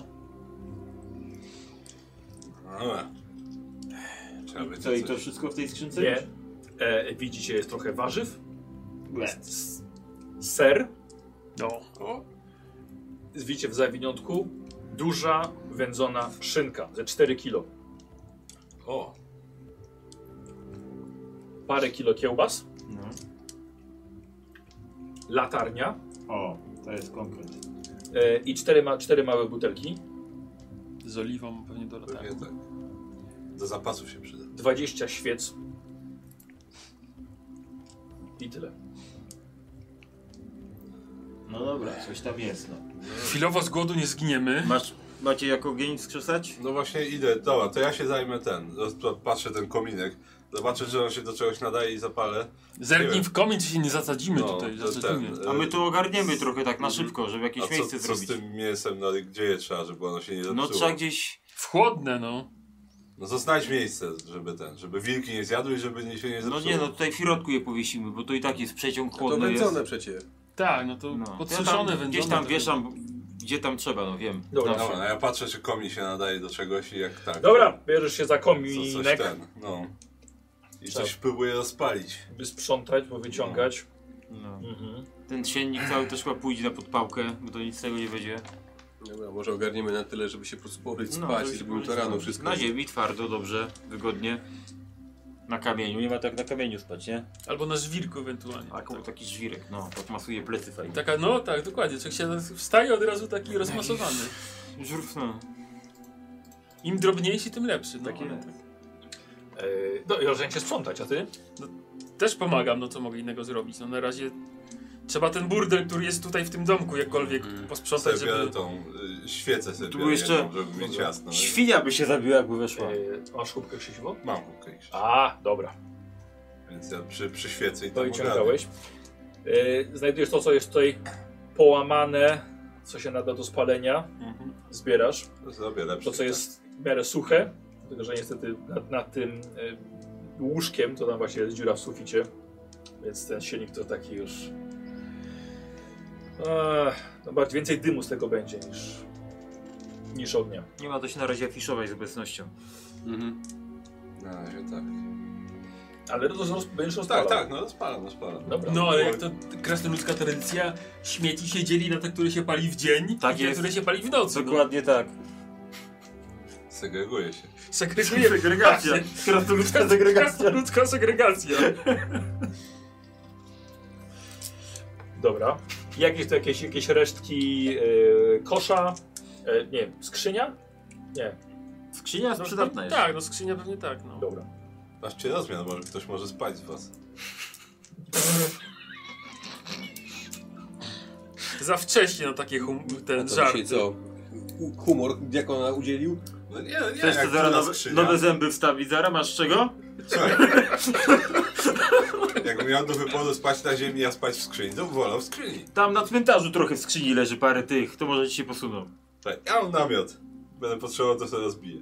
[SPEAKER 4] Dobra. No, Trzeba będzie
[SPEAKER 2] Co i to
[SPEAKER 4] coś-
[SPEAKER 2] wszystko w tej skrzynce?
[SPEAKER 1] Nie. E, widzicie, jest trochę warzyw. S- Ser.
[SPEAKER 5] No.
[SPEAKER 1] Widzicie w zawiniątku. Duża, wędzona szynka ze 4 kilo.
[SPEAKER 4] O,
[SPEAKER 1] Parę kilo kiełbas.
[SPEAKER 2] No.
[SPEAKER 1] Latarnia.
[SPEAKER 2] O, to jest konkret.
[SPEAKER 1] E, I cztery, ma, cztery małe butelki.
[SPEAKER 5] Z oliwą pewnie do
[SPEAKER 4] pewnie
[SPEAKER 5] latarni.
[SPEAKER 4] tak. Do zapasów się przyda.
[SPEAKER 1] 20 świec. I tyle.
[SPEAKER 2] No dobra, coś tam jest no.
[SPEAKER 5] Chwilowo z głodu nie zginiemy.
[SPEAKER 2] Masz, macie jak ogień skrzesać?
[SPEAKER 4] No właśnie idę, dobra, to ja się zajmę ten. Rozpa- Patrzę ten kominek. Zobaczę, że on się do czegoś nadaje i zapalę.
[SPEAKER 5] Zerknij w komin, czy się nie zasadzimy
[SPEAKER 4] No,
[SPEAKER 5] tutaj.
[SPEAKER 4] to
[SPEAKER 5] Zasadzimy.
[SPEAKER 4] ten,
[SPEAKER 2] A my tu ogarniemy trochę tak na szybko, żeby jakieś
[SPEAKER 4] A
[SPEAKER 2] miejsce
[SPEAKER 4] co, co z
[SPEAKER 2] zrobić.
[SPEAKER 4] tym mięsem, no, gdzie je trzeba, żeby ono się nie zepsuło?
[SPEAKER 2] No trzeba gdzieś...
[SPEAKER 5] W chłodne no.
[SPEAKER 4] No to znajdź miejsce, żeby ten, żeby wilki nie zjadły i żeby nie się nie
[SPEAKER 2] No
[SPEAKER 4] zepsuło.
[SPEAKER 2] nie no, tutaj w środku je powiesimy, bo to i tak jest przeciąg
[SPEAKER 3] To
[SPEAKER 2] chłodny jest.
[SPEAKER 3] wędzone przecież.
[SPEAKER 5] Tak, no to
[SPEAKER 2] No. Ja
[SPEAKER 5] podsuszone,
[SPEAKER 2] tam,
[SPEAKER 5] wędzone.
[SPEAKER 2] gdzieś tam
[SPEAKER 5] to-
[SPEAKER 2] wieszam, gdzie tam trzeba, no wiem.
[SPEAKER 1] Dobra.
[SPEAKER 4] Dobra, no ja patrzę, czy komin się nadaje do czegoś i jak tak.
[SPEAKER 1] Dobra, bierzesz się za
[SPEAKER 4] co,
[SPEAKER 1] kominek,
[SPEAKER 4] coś ten, no. I
[SPEAKER 1] Trzeba.
[SPEAKER 4] coś próbuję rozpalić.
[SPEAKER 1] by sprzątać, bo wyciągać.
[SPEAKER 2] No.
[SPEAKER 1] Mhm.
[SPEAKER 2] Ten siennik cały też chyba pójdzie na podpałkę, bo to nic z tego nie będzie.
[SPEAKER 3] Dobra, może ogarniemy na tyle, żeby się po prostu położyć
[SPEAKER 2] No,
[SPEAKER 3] spać
[SPEAKER 2] żeby
[SPEAKER 3] i
[SPEAKER 2] się
[SPEAKER 3] zrobimy to
[SPEAKER 2] położyć
[SPEAKER 3] rano
[SPEAKER 2] spać.
[SPEAKER 3] wszystko.
[SPEAKER 2] Na ziemi, twardo, dobrze, wygodnie. Na kamieniu, nie ma tak na kamieniu spać, nie?
[SPEAKER 5] Albo na żwirku ewentualnie.
[SPEAKER 2] A
[SPEAKER 5] Tak.
[SPEAKER 2] taki żwirek, no, podmasuje plecy fajnie.
[SPEAKER 5] Taka, no tak, dokładnie. Człowiek się wstaje od razu taki rozmasowany.
[SPEAKER 2] Żurf, no.
[SPEAKER 5] Im drobniejszy, tym lepszy. No,
[SPEAKER 2] Takie-
[SPEAKER 5] ale tak.
[SPEAKER 1] E, no i rozumiem się sprzątać, a ty? E,
[SPEAKER 5] Też pomagam, no co mogę innego zrobić. No na razie trzeba ten burdel, który jest tutaj w tym domku, jakkolwiek posprzątać,
[SPEAKER 4] Sobie
[SPEAKER 5] żeby...
[SPEAKER 4] biorę tą y, świecę sobie
[SPEAKER 2] Tu
[SPEAKER 4] biorę
[SPEAKER 2] jeszcze-
[SPEAKER 4] jedną, żeby mieć jasno. nie?
[SPEAKER 2] Świnia by się zabiła, jakby weszła.
[SPEAKER 1] E, masz kubkę Krzysiwo?
[SPEAKER 4] Mam kubkę jeszcze,
[SPEAKER 1] A, dobra.
[SPEAKER 4] więc ja przy, przy świecy i
[SPEAKER 1] To
[SPEAKER 4] tam
[SPEAKER 1] No i ciągnąłeś. E, znajdujesz to, co jest tutaj połamane, co się nada do spalenia.
[SPEAKER 5] Mhm.
[SPEAKER 1] Zbierasz.
[SPEAKER 4] ogarnę. Zrobię lepsze.
[SPEAKER 1] To, co jest w miarę suche, tylko że niestety nad, nad tym e, łóżkiem, to tam właśnie jest dziura w suficie, więc ten silnik to taki już... Ech, no bardziej więcej dymu z tego będzie niż, niż ognia.
[SPEAKER 2] Nie ma to się na razie afiszować z obecnością.
[SPEAKER 3] Mhm.
[SPEAKER 8] Na razie tak.
[SPEAKER 1] Ale roz, roz, będziesz
[SPEAKER 4] Tak,
[SPEAKER 1] rozpalał.
[SPEAKER 4] tak, no rozpalam, rozpalam.
[SPEAKER 1] Dobra.
[SPEAKER 5] No ale jak to krasnoludzka tradycja, śmieci się dzieli na te, które się pali w dzień
[SPEAKER 2] Tak
[SPEAKER 5] i te,
[SPEAKER 2] jest.
[SPEAKER 5] które się pali w nocy. no.
[SPEAKER 2] Dokładnie tak.
[SPEAKER 4] Segreguję się.
[SPEAKER 5] No. Segregujemy.
[SPEAKER 2] Segregacja. Krasnoludzka segregacja.
[SPEAKER 5] Krasnoludzka segregacja.
[SPEAKER 1] Dobra. Jakieś to jakieś, jakieś resztki yy, kosza, yy, nie wiem, skrzynia? Nie,
[SPEAKER 2] Skrzynia jest
[SPEAKER 5] No,
[SPEAKER 2] przydatna jest.
[SPEAKER 5] Tak, no skrzynia pewnie tak, no.
[SPEAKER 1] dobra.
[SPEAKER 4] Patrzcie rozmiar, może ktoś może spać z was.
[SPEAKER 5] Za wcześnie na takie hum,
[SPEAKER 3] A
[SPEAKER 5] ten
[SPEAKER 3] No to
[SPEAKER 5] żart.
[SPEAKER 3] dzisiaj co? U- Humor diakona udzielił?
[SPEAKER 4] No nie, nie,
[SPEAKER 2] Chcesz
[SPEAKER 4] jak
[SPEAKER 2] te zara
[SPEAKER 4] to na
[SPEAKER 2] nowe,
[SPEAKER 4] skrzynia.
[SPEAKER 2] nowe zęby wstawić? Zara, masz czego?
[SPEAKER 4] Słuchaj. Jakbym miał do wyboru spać na ziemi, a spać w skrzyni, to bym wolał w skrzyni.
[SPEAKER 2] Tam na cmentarzu trochę w skrzyni leży parę tych, to może ci się posuną.
[SPEAKER 4] Tak, ja mam namiot. Będę potrzebował, to sobie rozbiję.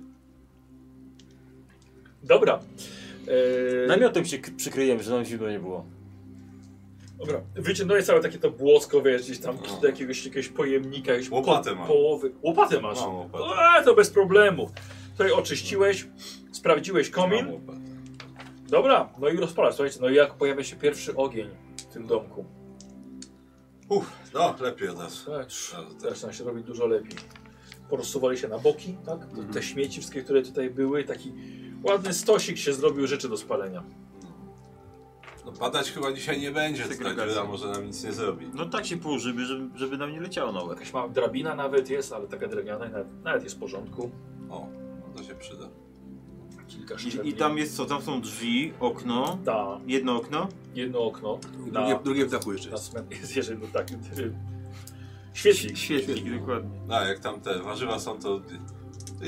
[SPEAKER 1] Dobra. Yy,
[SPEAKER 2] Namiotem się k- przykryjemy, że nam zimno nie było.
[SPEAKER 1] Dobra, wyciągnąłeś całe takie to błosko, wiesz, gdzieś tam
[SPEAKER 4] No.
[SPEAKER 1] do jakiegoś, jakiegoś pojemnika, jakieś
[SPEAKER 4] Łopatę
[SPEAKER 1] po-
[SPEAKER 4] mam.
[SPEAKER 1] połowy. Łopatę masz?
[SPEAKER 4] Mam
[SPEAKER 2] No,
[SPEAKER 4] łopatę.
[SPEAKER 1] A, to bez problemu. Tutaj oczyściłeś, sprawdziłeś
[SPEAKER 4] Mam
[SPEAKER 1] komin.
[SPEAKER 4] łopatę.
[SPEAKER 1] Dobra, no i rozpalasz, słuchajcie, no i jak pojawia się pierwszy ogień w tym domku.
[SPEAKER 4] Uff, no, lepiej od razu.
[SPEAKER 1] Tak,
[SPEAKER 4] Od razu.
[SPEAKER 1] zaczyna się robić dużo lepiej. Porozsuwali się na boki, tak?
[SPEAKER 2] Mhm.
[SPEAKER 1] Te śmieci wszystkie, które tutaj były, taki ładny stosik się zrobił rzeczy do spalenia.
[SPEAKER 4] No padać chyba dzisiaj nie będzie, ta
[SPEAKER 2] Segregacja.
[SPEAKER 4] dziura może nam nic nie zrobi.
[SPEAKER 2] No tak się położymy, żeby, żeby nam nie leciało na łeb.
[SPEAKER 1] Jakaś mała drabina nawet jest, ale taka drewniana nawet, nawet jest w porządku.
[SPEAKER 4] O, no to się przyda.
[SPEAKER 1] Kilka
[SPEAKER 2] I, I
[SPEAKER 1] szczelin.
[SPEAKER 2] tam jest co? Tam są drzwi, okno,
[SPEAKER 1] Ta,
[SPEAKER 2] jedno okno.
[SPEAKER 1] jedno okno.
[SPEAKER 3] Drugie,
[SPEAKER 1] Na,
[SPEAKER 3] drugie w dachu jeszcze
[SPEAKER 1] na
[SPEAKER 3] jest.
[SPEAKER 1] cmen- jest jeszcze jedno tak. Świetlik.
[SPEAKER 2] Świetlik, dokładnie.
[SPEAKER 4] No, a jak tam te warzywa są, to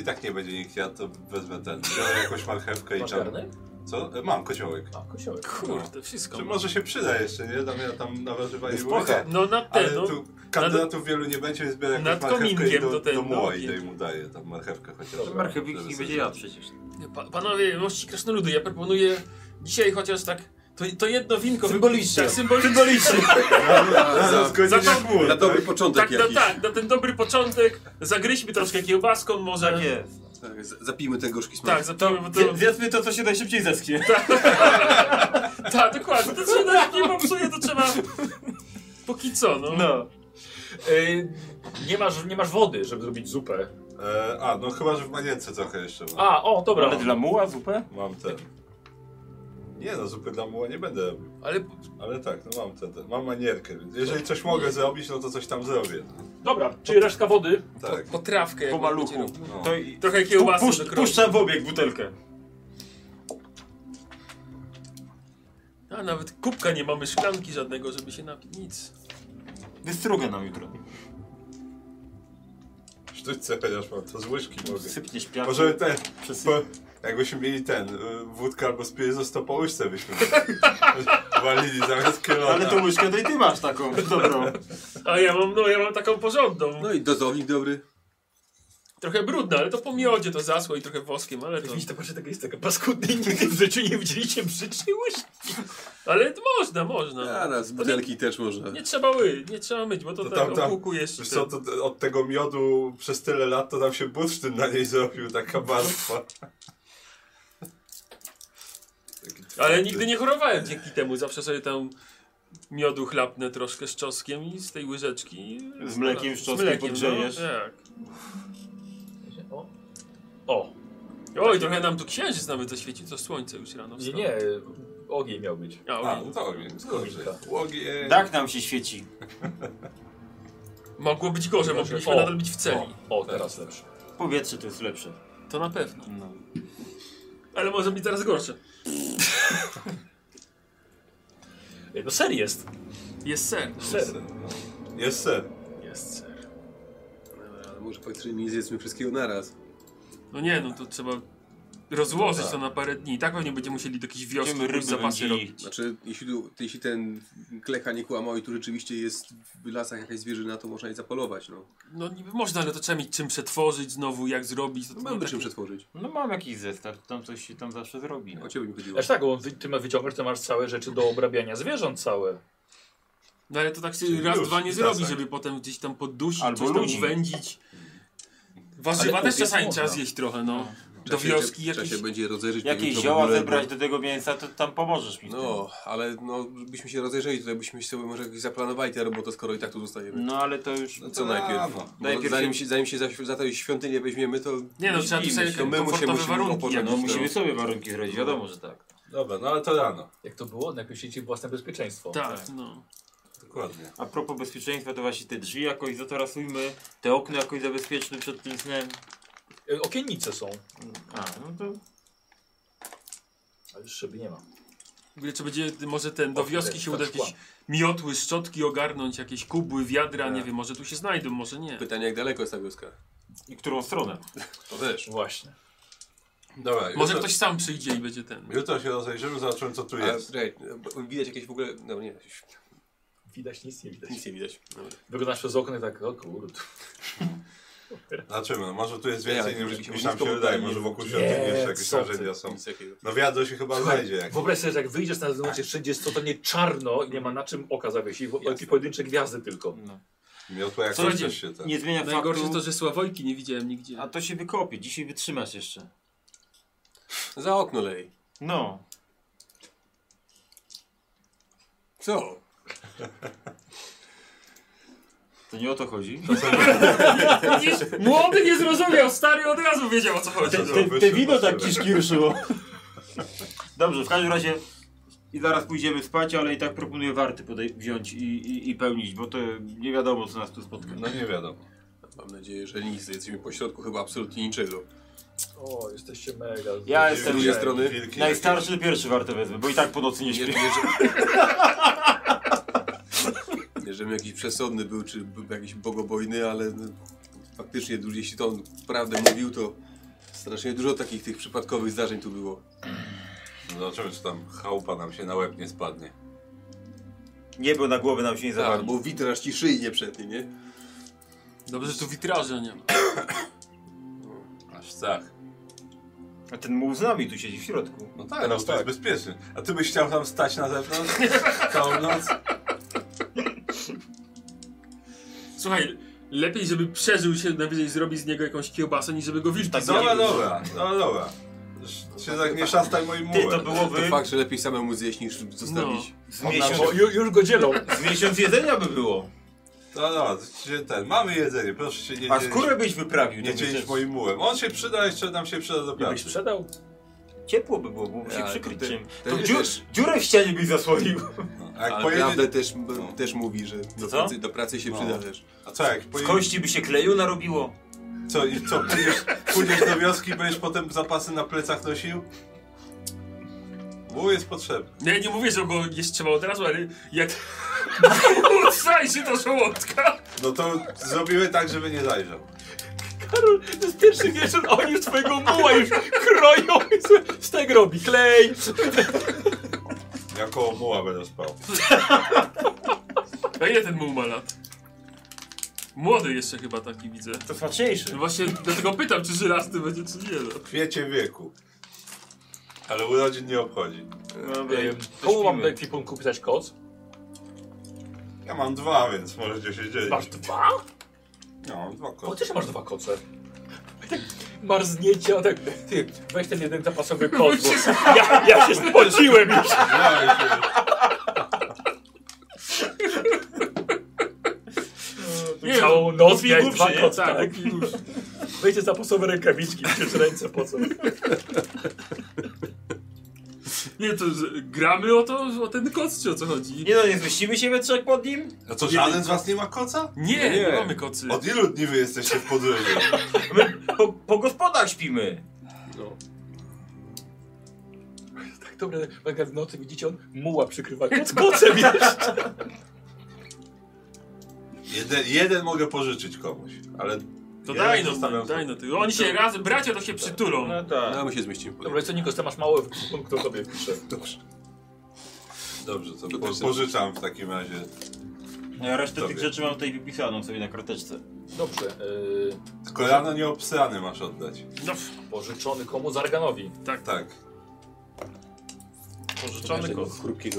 [SPEAKER 4] i tak nie będzie nikt jadł, to wezmę ten. Biorę jakąś marchewkę i
[SPEAKER 1] Masz
[SPEAKER 4] czarny.
[SPEAKER 1] garnek?
[SPEAKER 4] Co? E, Mam kociołek.
[SPEAKER 1] A, Tak, kosiołek.
[SPEAKER 5] Kurde, wszystko.
[SPEAKER 4] Czy może się przyda jeszcze, nie? Tam ja tam na warzywa nie
[SPEAKER 8] Jest
[SPEAKER 4] było.
[SPEAKER 8] pochę.
[SPEAKER 5] No na
[SPEAKER 4] Ale
[SPEAKER 5] ten, no.
[SPEAKER 4] tu kandydatów wielu nie będzie, więc biorę jakąś
[SPEAKER 5] nad
[SPEAKER 4] marchewkę i
[SPEAKER 5] kominkiem
[SPEAKER 4] do,
[SPEAKER 5] to ten,
[SPEAKER 4] do muła
[SPEAKER 5] no,
[SPEAKER 4] idę i mu daję tam marchewkę chociaż.
[SPEAKER 1] Dobra.
[SPEAKER 2] Marchewik nie będzie jadł przecież.
[SPEAKER 5] Pa, panowie, mości krasnoludy, ja proponuję dzisiaj chociaż tak, to, to jedno winko...
[SPEAKER 3] Symbolicznie.
[SPEAKER 5] Tak, symbolicznie.
[SPEAKER 3] Za,
[SPEAKER 4] Zgodzić
[SPEAKER 5] za to-
[SPEAKER 4] chmur,
[SPEAKER 3] na dobry
[SPEAKER 4] tak?
[SPEAKER 3] początek
[SPEAKER 5] tak, na,
[SPEAKER 3] jakiś.
[SPEAKER 5] tak, na ten dobry początek, zagryźmy troszkę kiełbaską może.
[SPEAKER 2] Tak jest.
[SPEAKER 3] Tak, z- Zapijmy te gorzki smak.
[SPEAKER 5] Tak, zapomnę, bo to...
[SPEAKER 2] Zjedzmy to, co się najszybciej zesknie.
[SPEAKER 5] Tak, dokładnie, to się nawet nie popsuje, to trzeba... Póki co, no.
[SPEAKER 2] No.
[SPEAKER 1] Y, nie, masz, nie masz wody, żeby zrobić zupę.
[SPEAKER 4] E, a, no chyba, że w manience trochę jeszcze mam.
[SPEAKER 1] A, o, dobra.
[SPEAKER 2] Ale dla muła zupę?
[SPEAKER 4] Mam ten. Nie no, zupy dla muła nie będę robił.
[SPEAKER 5] Ale
[SPEAKER 4] Ale tak, no mam ten, ten. Mam manierkę, więc jeżeli coś mogę zrobić, no to coś tam zrobię.
[SPEAKER 1] Dobra, czyli resztka wody.
[SPEAKER 4] Tak.
[SPEAKER 5] potrawkę
[SPEAKER 2] Po
[SPEAKER 5] jak
[SPEAKER 2] maluchu.
[SPEAKER 4] No.
[SPEAKER 2] To i...
[SPEAKER 5] Trochę kiełbasy
[SPEAKER 2] Pusz,
[SPEAKER 5] do kroju.
[SPEAKER 2] puszczam w obieg butelkę.
[SPEAKER 5] A nawet kubka nie mamy, szklanki żadnego, żeby się napić, nic.
[SPEAKER 2] Wystrugę nam jutro.
[SPEAKER 4] Sztućce chociaż mam, to z łyżki mogę.
[SPEAKER 2] Sypniesz piasek.
[SPEAKER 4] Może ten,
[SPEAKER 2] Przesyp-
[SPEAKER 4] po, jakbyśmy mieli ten, y, wódkę albo spirytus, to po łyżce byśmy walili zamiast kielona.
[SPEAKER 2] Ale tą łyżkę to i ty masz taką dobrą.
[SPEAKER 5] A ja mam, no ja mam taką porządną.
[SPEAKER 3] No i dozownik dobry.
[SPEAKER 5] Trochę brudna, ale to po miodzie to zasło i trochę woskiem, ale to...
[SPEAKER 1] Widzicie, to patrzę, taka jest taka paskudna i nigdy w życiu nie widzieliście brzydszej łyżki.
[SPEAKER 5] Ale to można, można.
[SPEAKER 3] A, z butelki też można.
[SPEAKER 5] Nie trzeba ły, nie trzeba myć, bo to,
[SPEAKER 4] To
[SPEAKER 5] tak
[SPEAKER 4] tam, tam.
[SPEAKER 5] okuku jeszcze.
[SPEAKER 4] Wiesz co, to, to od tego miodu przez tyle lat to tam się bursztyn na niej zrobił, taka warstwa. Taki
[SPEAKER 5] Ale
[SPEAKER 4] twardy.
[SPEAKER 2] Tak.
[SPEAKER 5] nigdy nie chorowałem dzięki temu, zawsze sobie tam miodu chlapnę troszkę z czosnkiem i z tej łyżeczki.
[SPEAKER 2] Z mlekiem, z czosnkiem podgrzejesz.
[SPEAKER 5] No, tak.
[SPEAKER 1] O. o,
[SPEAKER 5] Oj, trochę nam tu księżyc nawet zaświecił, to słońce już rano
[SPEAKER 1] nie,
[SPEAKER 5] wstało.
[SPEAKER 1] nie, ogień miał być.
[SPEAKER 5] A,
[SPEAKER 4] A,
[SPEAKER 2] Tak.
[SPEAKER 5] oj.
[SPEAKER 4] no to ogień, dobrze. Ogień.
[SPEAKER 2] Dach Tak nam się świeci.
[SPEAKER 5] Mogło być gorzej, mogliśmy
[SPEAKER 1] O,
[SPEAKER 5] nadal być w celi.
[SPEAKER 1] O, o teraz lepsze.
[SPEAKER 2] Powietrze to jest lepsze.
[SPEAKER 5] To na pewno.
[SPEAKER 2] No.
[SPEAKER 5] Ale może być teraz gorsze.
[SPEAKER 1] Ej, No ser jest.
[SPEAKER 5] Jest ser.
[SPEAKER 1] Ser.
[SPEAKER 4] No. Jest ser.
[SPEAKER 1] Jest ser.
[SPEAKER 3] Dobra, ale może faktycznie nie zjedzmy wszystkiego naraz.
[SPEAKER 5] No nie, no to trzeba rozłożyć to na parę dni. I tak pewnie będziemy musieli do jakiejś wioski
[SPEAKER 2] Będziemy
[SPEAKER 5] jakieś
[SPEAKER 2] ryby
[SPEAKER 5] zapasy
[SPEAKER 2] wędzili.
[SPEAKER 5] robić.
[SPEAKER 3] Znaczy, jeśli, tu, jeśli ten klecha nie kłamał i tu rzeczywiście jest w lasach jakaś zwierzyna, to można jej zapolować, no.
[SPEAKER 5] No niby można, ale to trzeba mieć czym przetworzyć znowu, jak zrobić. To, to
[SPEAKER 3] Mamy
[SPEAKER 5] tak-
[SPEAKER 3] czym przetworzyć.
[SPEAKER 2] No mam jakiś zestaw, tam coś się tam zawsze zrobi. No.
[SPEAKER 3] O ciebie mi chodziło.
[SPEAKER 1] Aż tak, bo wy, ty ma- wyciągasz, ty masz całe rzeczy do obrabiania zwierząt całe.
[SPEAKER 5] No ale to tak się
[SPEAKER 4] Czyli
[SPEAKER 5] raz,
[SPEAKER 4] już,
[SPEAKER 5] dwa nie
[SPEAKER 4] i
[SPEAKER 5] zrobi,
[SPEAKER 4] zasek.
[SPEAKER 5] żeby potem gdzieś tam poddusić,
[SPEAKER 2] Albo
[SPEAKER 5] coś tam
[SPEAKER 2] ludzi.
[SPEAKER 5] wędzić. Warzywa
[SPEAKER 1] Ale
[SPEAKER 5] też
[SPEAKER 1] kupić
[SPEAKER 5] czasami
[SPEAKER 1] można.
[SPEAKER 5] trzeba zjeść trochę, no. Do
[SPEAKER 3] Trzeba się-
[SPEAKER 5] wioski
[SPEAKER 3] trzeba
[SPEAKER 5] jakieś...
[SPEAKER 3] się będzie rozejrzeć. pewnie
[SPEAKER 2] Jakieś
[SPEAKER 3] to w
[SPEAKER 2] zioła
[SPEAKER 3] ogóle,
[SPEAKER 2] zebrać do tego mięsa, to tam pomożesz mi.
[SPEAKER 3] bo-
[SPEAKER 2] w tym.
[SPEAKER 3] No, ale no, byśmy się rozejrzeli, tutaj byśmy sobie może jakieś zaplanowali tę robotę, skoro i tak tu zostajemy.
[SPEAKER 2] No ale to już...
[SPEAKER 3] No co
[SPEAKER 4] A,
[SPEAKER 3] najpierw?
[SPEAKER 4] no.
[SPEAKER 3] Bo
[SPEAKER 2] Najpierw
[SPEAKER 3] zanim
[SPEAKER 2] się-
[SPEAKER 3] się, zanim się za, za tę świątynię weźmiemy, to...
[SPEAKER 5] Nie no, trzeba tu
[SPEAKER 3] widzimy
[SPEAKER 5] sobie
[SPEAKER 3] się. my musimy,
[SPEAKER 5] komfortowe
[SPEAKER 3] musimy
[SPEAKER 5] warunki.
[SPEAKER 3] opocząć.
[SPEAKER 5] jakieś.
[SPEAKER 2] No musimy sobie warunki zrobić, wiadomo, że tak.
[SPEAKER 4] Dobra, no ale to rano.
[SPEAKER 1] Jak to było? Najpierw sieci własne bezpieczeństwo.
[SPEAKER 5] Tak, no.
[SPEAKER 4] Dokładnie.
[SPEAKER 2] A propos bezpieczeństwa, to właśnie te drzwi jakoś zatarasujmy, te okna jakoś zabezpieczmy przed tym snem.
[SPEAKER 1] E, Okiennice są,
[SPEAKER 2] A, no to...
[SPEAKER 1] ale już szyby nie ma.
[SPEAKER 5] W ogóle czy będzie może ten, do
[SPEAKER 1] O,
[SPEAKER 5] wioski
[SPEAKER 1] ten,
[SPEAKER 5] się
[SPEAKER 1] tak
[SPEAKER 5] uda jakieś miotły, szczotki ogarnąć, jakieś kubły, wiadra, nie wiem, może tu się znajdą, może nie.
[SPEAKER 3] Pytanie, jak daleko jest ta wioska?
[SPEAKER 2] I którą stronę?
[SPEAKER 3] To też.
[SPEAKER 1] Właśnie.
[SPEAKER 4] Dobra,
[SPEAKER 5] Może
[SPEAKER 4] jutro,
[SPEAKER 5] ktoś sam przyjdzie i będzie ten.
[SPEAKER 4] jutro się rozejrzymy, zobaczymy co tu
[SPEAKER 3] A,
[SPEAKER 4] jest.
[SPEAKER 3] czekaj, bo widać jakieś w ogóle... No nie,
[SPEAKER 1] Widać nic nie widać.
[SPEAKER 3] nic nie widać. Dobra.
[SPEAKER 1] Wyglądasz przez okno i tak, o kurde.
[SPEAKER 4] Zobaczymy, no może tu jest
[SPEAKER 3] Nie,
[SPEAKER 4] więcej
[SPEAKER 3] ale
[SPEAKER 4] niż,
[SPEAKER 3] jak się
[SPEAKER 4] niż
[SPEAKER 3] blisko
[SPEAKER 4] nam się
[SPEAKER 3] było,
[SPEAKER 4] wydaje,
[SPEAKER 3] nie-
[SPEAKER 4] może wokół
[SPEAKER 1] nie,
[SPEAKER 4] świątyni jeszcze jakieś
[SPEAKER 1] co ty.
[SPEAKER 4] narzędzia są.
[SPEAKER 3] Nic jakiego.
[SPEAKER 4] No wiadro się chyba znajdzie jak.
[SPEAKER 1] Wyobraź sobie, że jak wyjdziesz na zewnątrz, wszędzie jest totalnie czarno i nie ma na czym oka zawiesić, bo jakieś pojedyncze gwiazdy tylko.
[SPEAKER 2] No.
[SPEAKER 4] Miotła jak
[SPEAKER 2] Co
[SPEAKER 4] coś
[SPEAKER 2] będzie?
[SPEAKER 4] też się ten.
[SPEAKER 2] Nie zmienia
[SPEAKER 5] Najgorsze
[SPEAKER 2] faktu,
[SPEAKER 5] to, że Sławojki nie widziałem nigdzie.
[SPEAKER 2] a to się wykopie, dzisiaj wytrzymasz jeszcze.
[SPEAKER 3] Za okno lej.
[SPEAKER 2] No,
[SPEAKER 3] Co?
[SPEAKER 2] to nie o to chodzi.
[SPEAKER 5] Widzisz? Młody nie zrozumiał, stary od razu wiedział o co chodzi.
[SPEAKER 4] Te-
[SPEAKER 5] No.
[SPEAKER 4] te- te wino tak
[SPEAKER 2] kiszki ruszyło. Dobrze, w każdym razie i zaraz pójdziemy spać, ale i tak proponuję warty podej- wziąć i, i, i pełnić, bo to nie wiadomo co nas tu spotka.
[SPEAKER 4] No nie wiadomo.
[SPEAKER 3] Mam nadzieję, że nic. Jesteśmy pośrodku chyba absolutnie niczego.
[SPEAKER 1] O, jesteście mega.
[SPEAKER 2] Ja jestem-
[SPEAKER 3] drugiej strony
[SPEAKER 4] Wilki,
[SPEAKER 2] Najstarszy pierwszy warto wezmę, bo i tak po nocy nie
[SPEAKER 3] Nie,
[SPEAKER 2] śpię.
[SPEAKER 3] nie, że... nie żebym jakiś przesądny był, czy był jakiś bogobojny, ale no, faktycznie, dużo- jeśli to on prawdę mówił, to strasznie dużo takich tych przypadkowych zdarzeń tu było.
[SPEAKER 4] No Zobaczymy, czy tam chałupa nam się na łeb nie spadnie.
[SPEAKER 2] Nie, bo na głowę nam się nie
[SPEAKER 3] Tak,
[SPEAKER 2] zawarło.
[SPEAKER 3] bo witraż ci szyjnie przednie, nie?
[SPEAKER 5] Dobrze, że tu witraża nie ma.
[SPEAKER 4] Aż tak.
[SPEAKER 3] Tak.
[SPEAKER 2] A ten muł z nami tu siedzi w środku.
[SPEAKER 4] No tak, no to jest bezpieczny. A ty byś chciał tam stać na zewnątrz całą noc?
[SPEAKER 5] Słuchaj, lepiej żeby przeżył się, najwyżej zrobić z niego jakąś kiełbasę, niż żeby go wilki tak
[SPEAKER 4] Dobra, dobra, no dobra. Już Się tak nie szastaj moim
[SPEAKER 2] Ty, to
[SPEAKER 4] mułem.
[SPEAKER 3] To
[SPEAKER 2] byłoby No.
[SPEAKER 3] fakt, że lepiej samemu zjeść niż zostawić.
[SPEAKER 2] z
[SPEAKER 1] Bo
[SPEAKER 2] miesiąc,
[SPEAKER 1] ju, już go dzielą.
[SPEAKER 2] z miesiąc jedzenia by było.
[SPEAKER 4] No dobra, się ten, mamy jedzenie, proszę się nie
[SPEAKER 2] A
[SPEAKER 4] dzielić-
[SPEAKER 2] skórę byś wyprawił,
[SPEAKER 4] Nie
[SPEAKER 2] nie
[SPEAKER 4] dzielić
[SPEAKER 2] wiesz,
[SPEAKER 4] moim mułem. On się przyda, jeszcze nam się przyda do
[SPEAKER 1] I byś
[SPEAKER 4] pracy.
[SPEAKER 1] sprzedał?
[SPEAKER 2] Ciepło by było, byłoby się
[SPEAKER 3] Ale
[SPEAKER 2] przykryć
[SPEAKER 3] ty-
[SPEAKER 2] czym.
[SPEAKER 3] ty
[SPEAKER 2] To
[SPEAKER 3] nie
[SPEAKER 2] dziur,
[SPEAKER 3] wiesz.
[SPEAKER 2] dziurę w ścianie byś zasłonił.
[SPEAKER 4] No, a
[SPEAKER 3] Ale
[SPEAKER 4] jak pojedzie...
[SPEAKER 3] prawdę Tak też, b- też mówi, że do
[SPEAKER 2] co?
[SPEAKER 3] pracy, do pracy się
[SPEAKER 4] No.
[SPEAKER 3] przyda też.
[SPEAKER 4] A co, jak
[SPEAKER 2] Z
[SPEAKER 4] pojedzie...
[SPEAKER 2] kości by się kleju narobiło.
[SPEAKER 4] Co, i co, pójdziesz, pójdziesz do wioski i będziesz potem zapasy na plecach nosił? Muł jest potrzebny.
[SPEAKER 5] Nie, nie mówię, że go jest trzeba od razu, ale jak... Utrzaj się do żołądka!
[SPEAKER 4] No to zrobimy tak, żeby nie zajrzał.
[SPEAKER 1] Karol, to jest pierwszy wieczór, oni już twojego muła już kroją i z tego robi klej.
[SPEAKER 4] Ja koło muła będę spał.
[SPEAKER 5] A ile ten muł ma lat? Młody jeszcze chyba taki widzę.
[SPEAKER 2] To smaczniejsze.
[SPEAKER 5] No właśnie dlatego pytam, czy żelazny będzie, czy nie. No.
[SPEAKER 4] W kwiecie wieku. Ale urodzin nie obchodzi.
[SPEAKER 2] Dobra,
[SPEAKER 1] Komu mam do ekwipunku pisać koc?
[SPEAKER 4] Ja mam dwa, więc możecie się dzielić.
[SPEAKER 1] Masz dwa?
[SPEAKER 4] Ja mam dwa koty.
[SPEAKER 1] Chociaż masz dwa koce. Marzniecie, a tak, ty, weź ten jeden zapasowy koc, bo ja, ja się spociłem już.
[SPEAKER 5] Nie,
[SPEAKER 1] Całą noc
[SPEAKER 5] no,
[SPEAKER 1] miałeś
[SPEAKER 5] biegł
[SPEAKER 1] dwa
[SPEAKER 5] przy, nie?
[SPEAKER 1] koce,
[SPEAKER 5] Tak,
[SPEAKER 1] tak? Weźcie zapasowe rękawiczki, przecież ręce po co?
[SPEAKER 5] Nie, to że gramy o to, o ten koc, czy o co chodzi?
[SPEAKER 2] Nie no, nie zmieścimy się we trzech pod nim?
[SPEAKER 4] A co, żaden z was nie ma koca?
[SPEAKER 5] Nie, nie,
[SPEAKER 3] Nie.
[SPEAKER 5] mamy kocy.
[SPEAKER 4] Od ilu dni wy jesteście w podróży?
[SPEAKER 2] My po, po gospodach śpimy.
[SPEAKER 1] Tak dobra, jak w nocy widzicie, on muła przykrywa koc kocem jeszcze.
[SPEAKER 4] Jeden, jeden mogę pożyczyć komuś, ale
[SPEAKER 5] To
[SPEAKER 9] Ja
[SPEAKER 5] daj no,
[SPEAKER 9] zostawiam
[SPEAKER 5] daj no. Ty. Oni się razem, bracia to się przytulą.
[SPEAKER 1] No tak.
[SPEAKER 3] No, my się zmieścimy.
[SPEAKER 1] Dobra, co Nikos, ty masz mało punktów, to tobie piszę.
[SPEAKER 3] Dobrze.
[SPEAKER 4] Dobrze, to
[SPEAKER 9] To
[SPEAKER 4] po,
[SPEAKER 9] też-
[SPEAKER 4] pożyczam w takim razie.
[SPEAKER 2] No, Ja resztę
[SPEAKER 4] Tobie.
[SPEAKER 2] tych rzeczy mam tutaj wypisaną sobie na karteczce.
[SPEAKER 1] Dobrze. Yy,
[SPEAKER 4] Kolano nieobsrane masz oddać.
[SPEAKER 5] No, pff,
[SPEAKER 1] pożyczony komu? Zarganowi.
[SPEAKER 4] Tak.
[SPEAKER 5] pożyczony
[SPEAKER 3] Tego
[SPEAKER 5] kot.
[SPEAKER 3] chrupkiego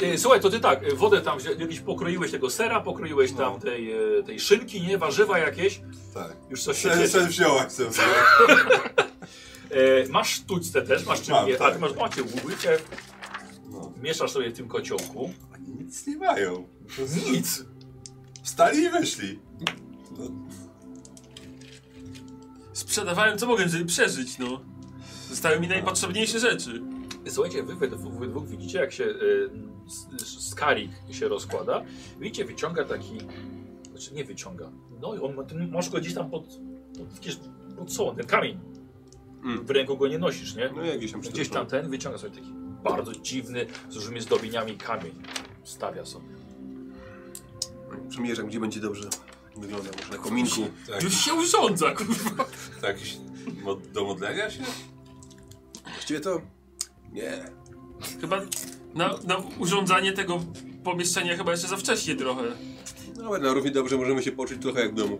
[SPEAKER 1] Yy, słuchaj, to ty tak, yy, wodę tam wzię- jakiś pokroiłeś tego sera, pokroiłeś
[SPEAKER 4] No.
[SPEAKER 1] tam tej, yy, tej szynki, nie? Warzywa jakieś.
[SPEAKER 4] Tak.
[SPEAKER 1] Już coś się
[SPEAKER 4] Sen,
[SPEAKER 1] dzieje.
[SPEAKER 4] sen wziąłaś sobie.
[SPEAKER 1] E, masz sztućce też, masz czym
[SPEAKER 4] Mam,
[SPEAKER 1] je, a
[SPEAKER 4] tak.
[SPEAKER 1] ty masz macie łubycie,
[SPEAKER 4] No.
[SPEAKER 1] mieszasz sobie w tym kociołku.
[SPEAKER 4] Oni nic nie mają.
[SPEAKER 1] Nic!
[SPEAKER 4] Wstali i wyszli.
[SPEAKER 5] Sprzedawałem co mogłem, żeby przeżyć, no. Zostały mi najpotrzebniejsze rzeczy.
[SPEAKER 1] Słuchajcie, wy we dwóch, wy dwóch widzicie, jak się e, s- s- skarik się rozkłada. Widzicie, wyciąga taki. Znaczy, nie wyciąga. No i on ma, ty masz go gdzieś tam pod. pod, jakieś- pod co? Ten kamień.
[SPEAKER 3] Mm.
[SPEAKER 1] W ręku go nie nosisz, nie?
[SPEAKER 3] No jak gdzieś tam
[SPEAKER 1] Gdzieś tam ten wyciąga sobie taki bardzo dziwny, z różnymi zdobieniami kamień. Stawia sobie.
[SPEAKER 3] no. Przymierzam, gdzie będzie dobrze wyglądał. Może na kominku.
[SPEAKER 4] Tak,
[SPEAKER 5] Już się urządza, kurwa.
[SPEAKER 4] tak jakieś mod- do modlenia się?
[SPEAKER 3] Właściwie to... Nie.
[SPEAKER 5] Chyba na, na urządzanie tego pomieszczenia chyba jeszcze za wcześnie trochę.
[SPEAKER 3] Nawet No, na równie dobrze możemy się poczuć trochę jak w domu.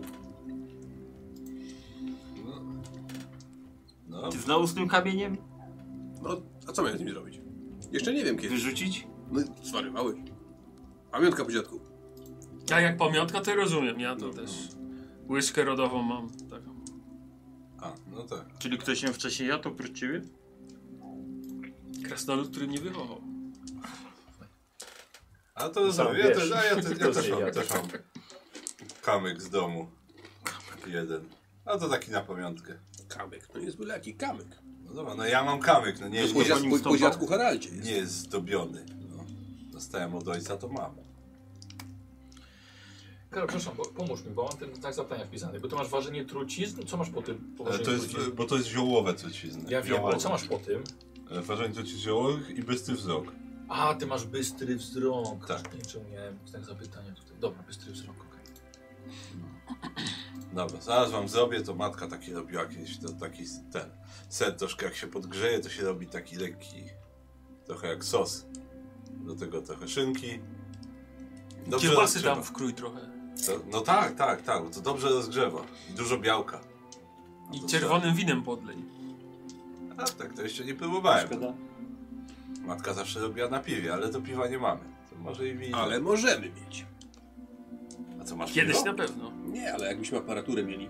[SPEAKER 4] No.
[SPEAKER 2] Ty znowu z tym kamieniem?
[SPEAKER 3] No, a co miałem z nim zrobić? Jeszcze nie wiem
[SPEAKER 4] Hmm.
[SPEAKER 3] kiedy.
[SPEAKER 2] Wyrzucić?
[SPEAKER 3] No, sorry, mały. Pamiątka po dziadku.
[SPEAKER 5] Ja Tak jak pamiątka to rozumiem,
[SPEAKER 4] No,
[SPEAKER 5] ja to też. Łyżkę rodową mam. Taką.
[SPEAKER 4] A, no tak.
[SPEAKER 2] Czyli ktoś się wcześniej jadł oprócz ciebie?
[SPEAKER 5] Krasnolud, który mnie wychował.
[SPEAKER 4] A to
[SPEAKER 1] Sam
[SPEAKER 4] zrobię. Ja,
[SPEAKER 1] No wiesz.
[SPEAKER 4] też- a ja, te, ja
[SPEAKER 1] Kto
[SPEAKER 4] też
[SPEAKER 1] zje
[SPEAKER 4] mam,
[SPEAKER 1] jak.
[SPEAKER 4] też mam kamyk z domu. Jeden. A to taki na pamiątkę.
[SPEAKER 3] Kamyk. No jest byle jaki kamyk.
[SPEAKER 4] No dobra, no ja mam kamyk, no nie jest,
[SPEAKER 3] Po,
[SPEAKER 2] po
[SPEAKER 3] dziad,
[SPEAKER 2] nim
[SPEAKER 3] po, po
[SPEAKER 2] stąpał.
[SPEAKER 3] dziadku Haraldzie jest.
[SPEAKER 4] nie jest zdobiony. No. Dostałem od ojca, to mam.
[SPEAKER 1] Karol, przepraszam, bo, pomóż mi, bo mam ten tak zapytania wpisany. Bo ty masz ważenie trucizn? Co masz po tym? Po
[SPEAKER 4] Ale
[SPEAKER 1] ważeniu
[SPEAKER 4] to jest, e,
[SPEAKER 1] trucizn?
[SPEAKER 4] bo to jest ziołowe trucizny.
[SPEAKER 1] Ja wiem,
[SPEAKER 4] Ziołowe.
[SPEAKER 1] ale co masz po tym?
[SPEAKER 4] E, Ważenie trucizn ziołowych i bysty wzrok.
[SPEAKER 1] A, ty masz bystry wzrok.
[SPEAKER 4] Tak.
[SPEAKER 1] Nie czemu miałem tak zapytania tutaj. Dobra, bystry wzrok, okej.
[SPEAKER 4] Dobra, zaraz wam zrobię, to matka taki robiła kiedyś, to taki ten sen troszkę jak się podgrzeje, to się robi taki lekki, trochę jak sos. Do tego trochę szynki. Dobrze
[SPEAKER 5] Kiełbasy
[SPEAKER 4] rozgrzewa.
[SPEAKER 5] tam wkrój trochę.
[SPEAKER 4] To, no tak, tak, tak, bo to dobrze rozgrzewa. Dużo białka.
[SPEAKER 5] I
[SPEAKER 4] No to
[SPEAKER 5] czerwonym winem podlej.
[SPEAKER 4] A tak, to jeszcze nie próbowałem.
[SPEAKER 2] Szkoda.
[SPEAKER 4] Matka zawsze robiła na piwie, ale do piwa nie mamy. To może i wino.
[SPEAKER 3] Ale możemy mieć.
[SPEAKER 4] A co masz
[SPEAKER 5] Kiedyś
[SPEAKER 4] piwo?
[SPEAKER 5] na pewno.
[SPEAKER 3] Nie, ale jakbyśmy aparaturę mieli.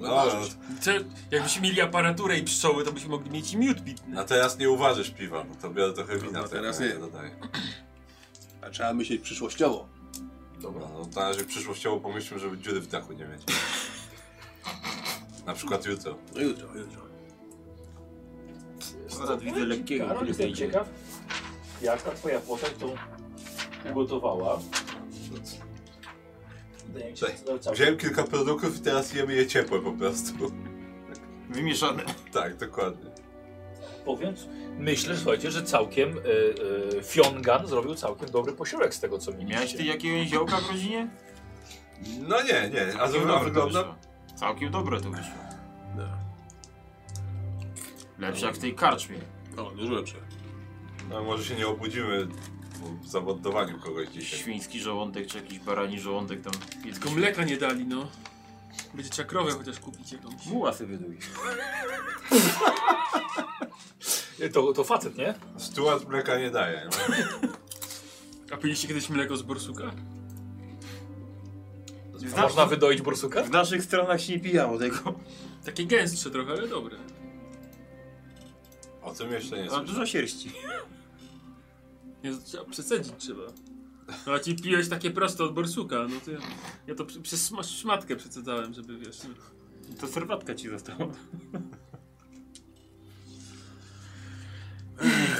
[SPEAKER 4] No, ale-
[SPEAKER 5] Co, jakbyśmy mieli aparaturę i pszczoły, to byśmy mogli mieć i miód bitny.
[SPEAKER 4] a teraz nie uważasz piwa, no to biorę trochę wina.
[SPEAKER 3] No,
[SPEAKER 4] tak
[SPEAKER 3] teraz
[SPEAKER 4] jak
[SPEAKER 3] nie.
[SPEAKER 4] Dodaję.
[SPEAKER 3] A trzeba myśleć przyszłościowo.
[SPEAKER 4] Dobra, no to na razie przyszłościowo pomyślmy, żeby dziury w dachu nie mieć. Na przykład jutro.
[SPEAKER 3] No jutro, jutro.
[SPEAKER 2] Akurat widzę lekkiego,
[SPEAKER 1] Karol,
[SPEAKER 2] który
[SPEAKER 1] jestem
[SPEAKER 2] wyjdzie.
[SPEAKER 1] ciekaw, jak ta twoja postać to ugotowała. Wydaje mi się,
[SPEAKER 4] Cześć.
[SPEAKER 1] że cały-
[SPEAKER 4] Wziąłem kilka produktów i teraz jemy je ciepłe po prostu.
[SPEAKER 2] Wymieszane.
[SPEAKER 4] Tak, dokładnie.
[SPEAKER 1] powiem, myślę, słuchajcie, że całkiem y, y, Fiongan zrobił całkiem dobry posiłek z tego, co mi
[SPEAKER 2] Miałeś ty jakiegoś ziołka w rodzinie?
[SPEAKER 4] No nie, nie, a
[SPEAKER 2] Całkiem
[SPEAKER 4] to
[SPEAKER 2] dobre to
[SPEAKER 4] wygląda...
[SPEAKER 2] wyszło. Całkiem dobre to wyszło. Lepsze jak w tej karczmie.
[SPEAKER 3] O, dużo lepsze.
[SPEAKER 4] No może się nie obudzimy w zamontowaniu kogoś dzisiaj.
[SPEAKER 2] Świński żołądek czy jakiś barani żołądek tam.
[SPEAKER 5] Tylko mleka nie dali, no. Będzie trzeba krowę chociaż kupić jakąś.
[SPEAKER 2] Muła sobie wyduj.
[SPEAKER 1] To, to facet, nie?
[SPEAKER 4] Stuart mleka nie daje. No.
[SPEAKER 5] A piliście kiedyś mleko z borsuka?
[SPEAKER 2] W,
[SPEAKER 1] A można wydoić borsuka?
[SPEAKER 2] w naszych stronach się nie pijało tego.
[SPEAKER 5] Takie gęstsze trochę, ale dobre.
[SPEAKER 4] O tym jeszcze nie
[SPEAKER 2] A
[SPEAKER 4] słyszę.
[SPEAKER 2] dużo sierści.
[SPEAKER 5] Jezu, trzeba przecedzić trzeba. No a ci piłeś takie proste od borsuka, no to ja, ja to przy- przez szma- szmatkę przecedzałem, żeby wiesz. no.
[SPEAKER 2] To serwatka ci została.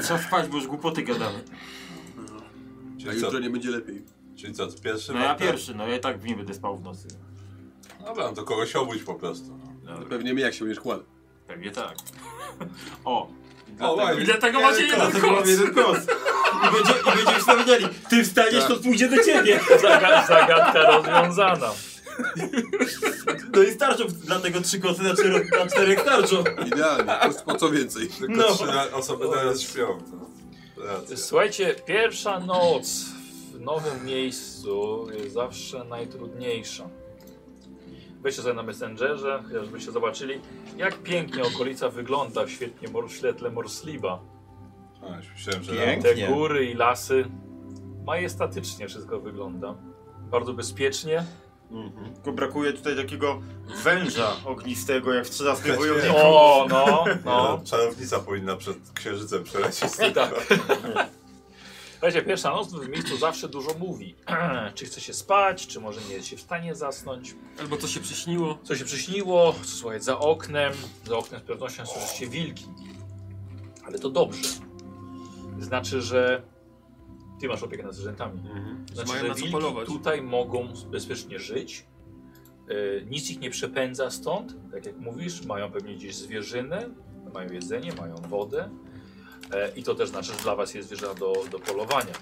[SPEAKER 2] Trzeba spać, bo już głupoty gadamy.
[SPEAKER 3] A
[SPEAKER 4] Czyli co,
[SPEAKER 3] jutro nie będzie lepiej.
[SPEAKER 4] czyli co ty pierwszy?
[SPEAKER 2] No ja
[SPEAKER 4] Marta?
[SPEAKER 2] pierwszy, no ja i tak w nie będę spał w nocy.
[SPEAKER 4] Dobra, no to kogoś obudź po prostu. No.
[SPEAKER 3] Pewnie mnie jak się będziesz kładł.
[SPEAKER 2] Pewnie tak. O!
[SPEAKER 4] O,
[SPEAKER 5] I
[SPEAKER 4] ładnie.
[SPEAKER 5] dlatego macie jeden
[SPEAKER 2] No, Dlatego mam
[SPEAKER 5] koc!
[SPEAKER 2] jeden kos. I, będzie, Tak. I będziemy się dowiedzieli. Ty wstaniesz, to pójdzie do ciebie.
[SPEAKER 1] Zaga- zagadka rozwiązana.
[SPEAKER 2] No i starczą dlatego trzy koty na, czter, na czterech tarczą.
[SPEAKER 4] Idealnie, po- po co więcej?
[SPEAKER 6] Tylko
[SPEAKER 2] No.
[SPEAKER 6] trzy ra- osoby teraz śpią. No. Racja.
[SPEAKER 1] Słuchajcie, pierwsza noc w nowym miejscu jest zawsze najtrudniejsza. Weźcie sobie na Messengerze, żebyście zobaczyli, jak pięknie okolica wygląda w świetnie mor świetle Morsliba.
[SPEAKER 6] A, już myślałem, że
[SPEAKER 2] Pięknie.
[SPEAKER 1] Te góry i lasy. Majestatycznie wszystko wygląda. Bardzo bezpiecznie.
[SPEAKER 2] Mhm. Tylko brakuje tutaj takiego węża ognistego, jak w trzydawkę
[SPEAKER 4] Właśnie.
[SPEAKER 2] wojowników.
[SPEAKER 1] O, no, no.
[SPEAKER 6] no. Czarownica powinna przed księżycem przelecieć.
[SPEAKER 1] Tak. Słuchajcie, pierwsza noc w miejscu zawsze dużo mówi. czy chce się spać, czy może nie jest się w stanie zasnąć.
[SPEAKER 5] Albo co się przyśniło.
[SPEAKER 1] Co się przyśniło, co słuchaj, za oknem. Za oknem z pewnością słyszycie wilki. Ale to dobrze. Znaczy, że ty masz opiekę nad zwierzętami.
[SPEAKER 6] Mhm.
[SPEAKER 1] Znaczy,
[SPEAKER 5] Mają
[SPEAKER 1] że
[SPEAKER 5] na co
[SPEAKER 1] wilki
[SPEAKER 5] polować.
[SPEAKER 1] tutaj mogą bezpiecznie żyć. E, nic ich nie przepędza stąd. Tak jak mówisz, mają pewnie gdzieś zwierzynę, mają jedzenie, mają wodę. E, I to też znaczy, że dla was jest zwierza do, do polowania.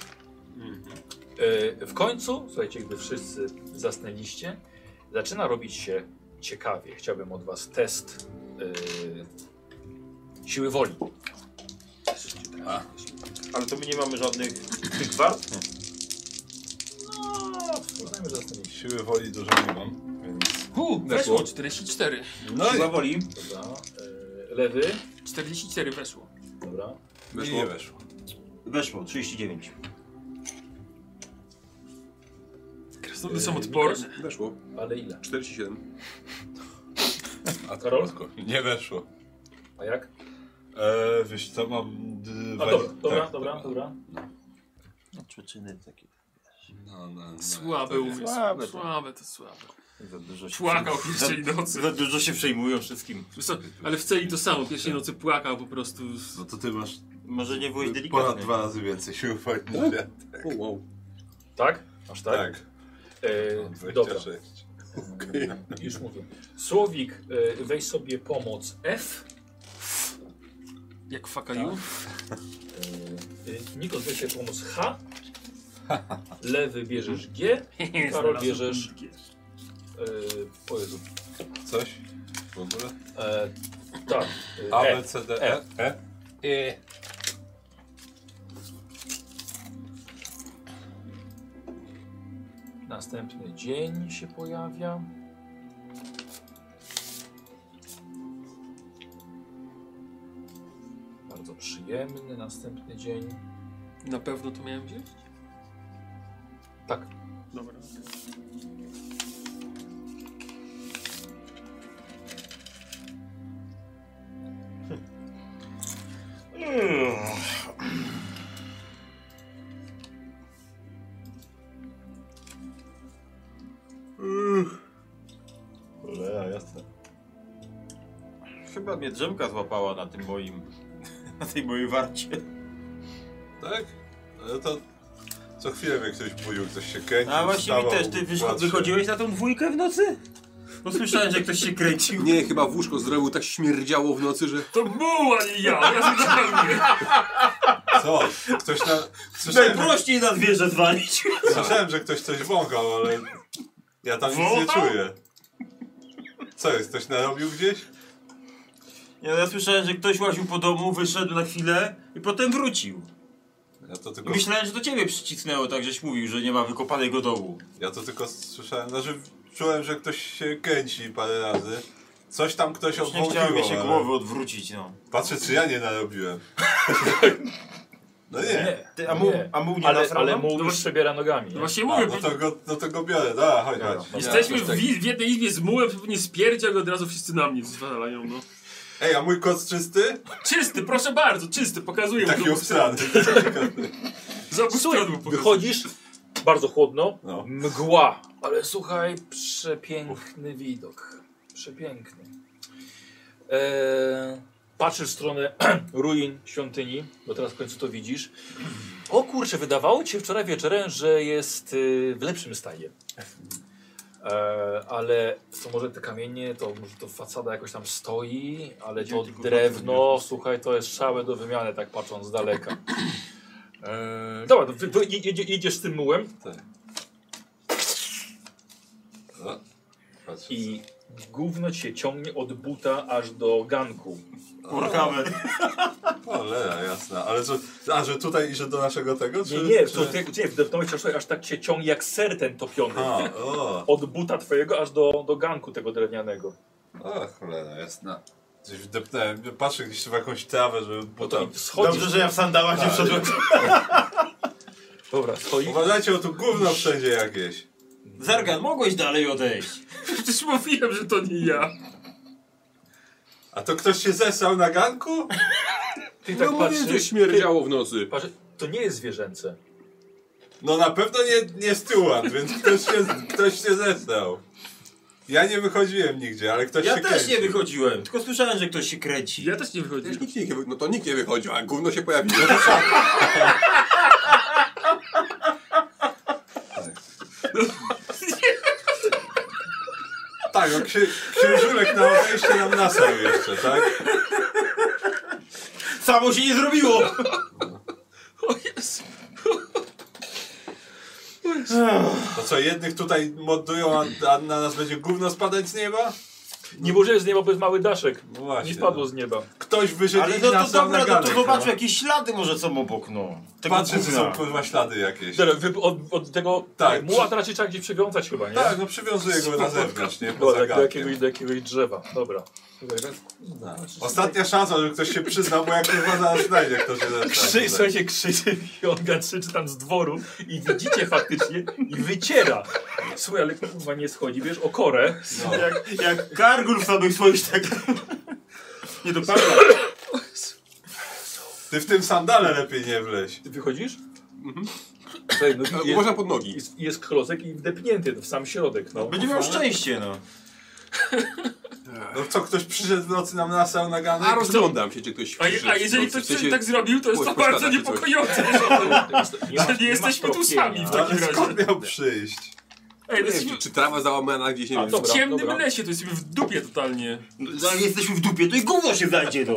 [SPEAKER 1] E, w końcu, słuchajcie, gdy wszyscy zasnęliście, zaczyna robić się ciekawie. Chciałbym od was test e, siły woli.
[SPEAKER 4] A.
[SPEAKER 2] Ale to my nie mamy żadnych tych
[SPEAKER 1] No, uznajmy, że zasnęliście.
[SPEAKER 4] Siły woli dużo nie mam, więc...
[SPEAKER 5] Hu, weszło 44.
[SPEAKER 4] No i...
[SPEAKER 2] Siła woli.
[SPEAKER 1] Dobra. E, lewy.
[SPEAKER 5] 44 weszło.
[SPEAKER 1] Dobra.
[SPEAKER 4] I
[SPEAKER 6] Weszło.
[SPEAKER 4] nie weszło.
[SPEAKER 2] Weszło, 39.
[SPEAKER 5] Krasnoludy są odporne.
[SPEAKER 4] Weszło.
[SPEAKER 1] Ale ile?
[SPEAKER 4] 47.
[SPEAKER 6] A
[SPEAKER 1] Karol?
[SPEAKER 6] Karolko? Nie weszło.
[SPEAKER 1] A jak?
[SPEAKER 6] E, wiesz co, mam...
[SPEAKER 1] A
[SPEAKER 6] dwa-
[SPEAKER 1] dobra, dobra,
[SPEAKER 6] tak,
[SPEAKER 1] dobra,
[SPEAKER 6] tak.
[SPEAKER 1] dobra.
[SPEAKER 2] No, Przyczyny takie.
[SPEAKER 6] No, no, no.
[SPEAKER 5] Słaby umysł.
[SPEAKER 2] Słabe
[SPEAKER 5] Słabe,
[SPEAKER 2] to.
[SPEAKER 5] to słabe.
[SPEAKER 2] Za dużo się
[SPEAKER 5] Płakał
[SPEAKER 2] przejmują.
[SPEAKER 5] pierwszej nocy.
[SPEAKER 2] Za dużo się przejmują wszystkim.
[SPEAKER 5] Wyso- Ale w celi to samo. Pierwszej nocy płakał po prostu.
[SPEAKER 6] No to ty masz
[SPEAKER 2] Może nie byłeś
[SPEAKER 6] ponad
[SPEAKER 2] delikatny.
[SPEAKER 6] dwa razy więcej siły woli niż ja.
[SPEAKER 3] O, wow.
[SPEAKER 1] Tak? Aż tak?
[SPEAKER 6] Tak,
[SPEAKER 1] E, dobra,
[SPEAKER 6] 26.
[SPEAKER 1] już mówię. Słowik, e, weź sobie pomoc F.
[SPEAKER 5] Jak fakaju.
[SPEAKER 1] E, Nikos, weź sobie pomoc H. Lewy bierzesz G. Y, Karol bierzesz... E, o Jezu.
[SPEAKER 6] Coś? W ogóle?
[SPEAKER 1] E, tak.
[SPEAKER 6] A,
[SPEAKER 1] E,
[SPEAKER 6] B, C, D,
[SPEAKER 1] E.
[SPEAKER 6] E? E?
[SPEAKER 1] E. Następny dzień się pojawia. Bardzo przyjemny następny dzień.
[SPEAKER 5] Na pewno to miałem gdzieś?
[SPEAKER 1] Tak.
[SPEAKER 5] Dobra.
[SPEAKER 6] Cholera, jasne.
[SPEAKER 2] Chyba mnie drzemka złapała na tym moim... Na tej mojej warcie.
[SPEAKER 6] Tak? Ale to co chwilę jak ktoś budził, ktoś się kręcił,
[SPEAKER 2] A właśnie mi
[SPEAKER 6] wstawał,
[SPEAKER 2] też, ty wysz...
[SPEAKER 6] patrzył.
[SPEAKER 2] wychodziłeś na tą dwójkę w nocy? No słyszałem, że ktoś się kręcił.
[SPEAKER 3] Nie, chyba w łóżko zrobił tak śmierdziało w nocy, że...
[SPEAKER 1] Tak
[SPEAKER 5] To była nie ja! Ja zupełnie.
[SPEAKER 6] Co? Ktoś na... Słyszałem, że-
[SPEAKER 2] Najprościej na zwierzę zwalić.
[SPEAKER 6] słyszałem, że ktoś coś wąchał, ale ja tam nic nie
[SPEAKER 2] Wąchał?
[SPEAKER 6] czuję. Co jest, ktoś narobił gdzieś?
[SPEAKER 2] Ja, no ja słyszałem, że ktoś łaził po domu, wyszedł na chwilę i potem wrócił.
[SPEAKER 6] Ja to
[SPEAKER 2] I
[SPEAKER 6] tylko,
[SPEAKER 2] myślałem, że do ciebie przycisnęło, tak żeś mówił, że nie ma wykopanego dołu.
[SPEAKER 6] ja to tylko słyszałem, znaczy czułem, że ktoś się kręci parę razy. Coś tam ktoś
[SPEAKER 2] Już nie chciałem mi się
[SPEAKER 6] ale
[SPEAKER 2] głowy odwrócić, no.
[SPEAKER 6] Patrzę, czy ja nie narobiłem. No nie.
[SPEAKER 2] Ty, a mu,
[SPEAKER 1] Nie.
[SPEAKER 2] a mu nie
[SPEAKER 1] Ale,
[SPEAKER 2] nasrał
[SPEAKER 1] ale
[SPEAKER 2] nam?
[SPEAKER 1] mu
[SPEAKER 5] No
[SPEAKER 1] już
[SPEAKER 5] właśnie-
[SPEAKER 1] przebiera nogami.
[SPEAKER 5] No
[SPEAKER 1] nie?
[SPEAKER 5] właśnie
[SPEAKER 6] A,
[SPEAKER 5] mówię,
[SPEAKER 6] no
[SPEAKER 5] bo-
[SPEAKER 6] to go, no to go biorę, da, chodź,
[SPEAKER 4] Dobra.
[SPEAKER 6] chodź.
[SPEAKER 5] jesteśmy
[SPEAKER 3] Jakoś
[SPEAKER 5] w,
[SPEAKER 3] tak.
[SPEAKER 5] w jednej izbie z mułem, pewnie spierdział i od razu wszyscy na mnie zwalają, no.
[SPEAKER 6] Ej, a mój koc czysty?
[SPEAKER 5] Czysty, proszę bardzo, czysty, pokazuję
[SPEAKER 4] Tak
[SPEAKER 6] Taki
[SPEAKER 5] mu.
[SPEAKER 6] obstrany.
[SPEAKER 5] Z
[SPEAKER 1] Słuchaj,
[SPEAKER 5] obu
[SPEAKER 1] no.
[SPEAKER 5] stron mu pokazuję.
[SPEAKER 1] wychodzisz, bardzo chłodno,
[SPEAKER 6] No.
[SPEAKER 1] mgła. Ale słuchaj, przepiękny widok. Przepiękny. Eee, patrzysz w stronę ruin świątyni, bo teraz w końcu to widzisz. O kurczę, wydawało ci się wczoraj wieczorem, że jest y, w lepszym stanie. Eee, ale to może te kamienie, to może to facada jakoś tam stoi, ale to
[SPEAKER 2] Idziemy tylko
[SPEAKER 1] drewno, słuchaj, to jest szałe do wymiany, tak patrząc z daleka. Eee, dobra, wy, wy, idzie, idziesz z tym mułem.
[SPEAKER 6] No. patrzę.
[SPEAKER 1] i gówno ci się ciągnie od buta aż do ganku.
[SPEAKER 2] Kurkamen.
[SPEAKER 4] Cholera, jasna. Ale że, a, że tutaj i że do naszego tego? Czy,
[SPEAKER 1] Nie, nie,
[SPEAKER 4] czy...
[SPEAKER 1] to, ty, nie w deptowej aż tak cię ciągnie jak ser ten topiony.
[SPEAKER 4] A, o,
[SPEAKER 1] Od buta twojego aż do, do ganku tego drewnianego.
[SPEAKER 4] o, cholera, jasna. Coś wdepnąłem, patrzę gdzieś w jakąś trawę, żeby
[SPEAKER 1] No to
[SPEAKER 4] potem...
[SPEAKER 1] i schodzisz.
[SPEAKER 2] Dobrze, że ja w sandałach
[SPEAKER 1] Tak.
[SPEAKER 2] nie wszedłem.
[SPEAKER 1] Dobra, stoi.
[SPEAKER 4] Uważajcie, bo tu gówno wszędzie jakieś.
[SPEAKER 2] Zergan, mogłeś dalej odejść.
[SPEAKER 5] Przecież mówiłem, że to nie ja.
[SPEAKER 4] A to ktoś się zesrał na ganku?
[SPEAKER 1] Ty tak
[SPEAKER 3] No mówię, że
[SPEAKER 1] patrzysz,
[SPEAKER 3] śmierdziało w nocy.
[SPEAKER 1] patrz, to nie jest zwierzęce.
[SPEAKER 4] No na pewno nie, nie steward, więc ktoś się, ktoś się zesrał. Ja nie wychodziłem nigdzie, ale ktoś
[SPEAKER 2] Ja
[SPEAKER 4] się
[SPEAKER 2] też
[SPEAKER 4] kręcił.
[SPEAKER 2] nie wychodziłem, tylko słyszałem, że ktoś się kręci.
[SPEAKER 5] Ja też nie wychodzę.
[SPEAKER 3] Też nikt nie, wy- no to nikt nie wychodził, a gówno się pojawiło.
[SPEAKER 4] Tak, no, ksi księżulek na obejście nam nasał jeszcze, tak?
[SPEAKER 2] Samo się nie zrobiło!
[SPEAKER 5] O Jezu.
[SPEAKER 4] To co, jednych tutaj modują, a, a na nas będzie gówno spadać z nieba?
[SPEAKER 1] Nie możesz z nieba bez mały daszek.
[SPEAKER 4] No właśnie.
[SPEAKER 1] Nie spadło
[SPEAKER 4] no.
[SPEAKER 1] z nieba.
[SPEAKER 4] Ktoś wyszedł
[SPEAKER 2] Ale
[SPEAKER 4] i
[SPEAKER 2] no to
[SPEAKER 4] nasał
[SPEAKER 2] dobra,
[SPEAKER 4] na
[SPEAKER 2] no to
[SPEAKER 4] ganek.
[SPEAKER 2] zobaczmy jakieś ślady może są obok, no. Tego
[SPEAKER 4] Patrzę, czy są
[SPEAKER 2] gówna.
[SPEAKER 4] kurwa ślady jakieś.
[SPEAKER 1] Dobra, wy, od, od tego
[SPEAKER 4] Tak,
[SPEAKER 1] tak, muła teraz się trzeba gdzieś przywiązać chyba, nie?
[SPEAKER 4] Tak, no przywiązuję go na zewnątrz, nie? Poza
[SPEAKER 1] Dobra, do
[SPEAKER 4] gankiem.
[SPEAKER 1] jakiegoś, do jakiegoś drzewa. Dobra.
[SPEAKER 4] No, Ostatnia szansa, żeby ktoś się przyznał, bo jak kurwa zaraz znajdzie, kto się
[SPEAKER 1] Krzy,
[SPEAKER 4] zesrał.
[SPEAKER 1] słuchajcie, krzyczy, Jonga krzyczy tam z dworu i widzicie faktycznie i wyciera. Słuchaj, ale kurwa nie schodzi, wiesz, o korę.
[SPEAKER 2] No. Jak, jak gargul w samych swoich tak. Nie dopadło.
[SPEAKER 4] Ty w tym sandale lepiej nie wleź.
[SPEAKER 1] Ty wychodzisz? Słuchaj, no,
[SPEAKER 3] A,
[SPEAKER 1] jest,
[SPEAKER 3] Uważam pod nogi.
[SPEAKER 1] jest, jest klocek i wdepnięty w sam środek, no.
[SPEAKER 2] Będzie miał szczęście, no.
[SPEAKER 4] No co, ktoś przyszedł w nocy nam nasał na
[SPEAKER 3] A
[SPEAKER 4] ganek?
[SPEAKER 3] rozglądam się, czy ktoś
[SPEAKER 5] A, je, a jeżeli ktoś coś tak zrobił, to jest to
[SPEAKER 3] Poś- pośladach
[SPEAKER 5] bardzo
[SPEAKER 3] czy coś.
[SPEAKER 5] niepokojące.
[SPEAKER 1] Nie, ma-
[SPEAKER 5] Że nie
[SPEAKER 1] ma
[SPEAKER 5] jesteśmy tu
[SPEAKER 1] stropienia.
[SPEAKER 5] sami w takim-
[SPEAKER 4] Ale skąd miał przyjść?
[SPEAKER 5] Ej, to jesteśmy
[SPEAKER 3] Czy, czy trawa załamana gdzieś, nie
[SPEAKER 1] A,
[SPEAKER 3] wiem.
[SPEAKER 1] dobra.
[SPEAKER 5] w ciemnym lesie, to jesteśmy w dupie totalnie.
[SPEAKER 2] Jak No, jesteśmy w dupie, to i gówno się znajdzie, no.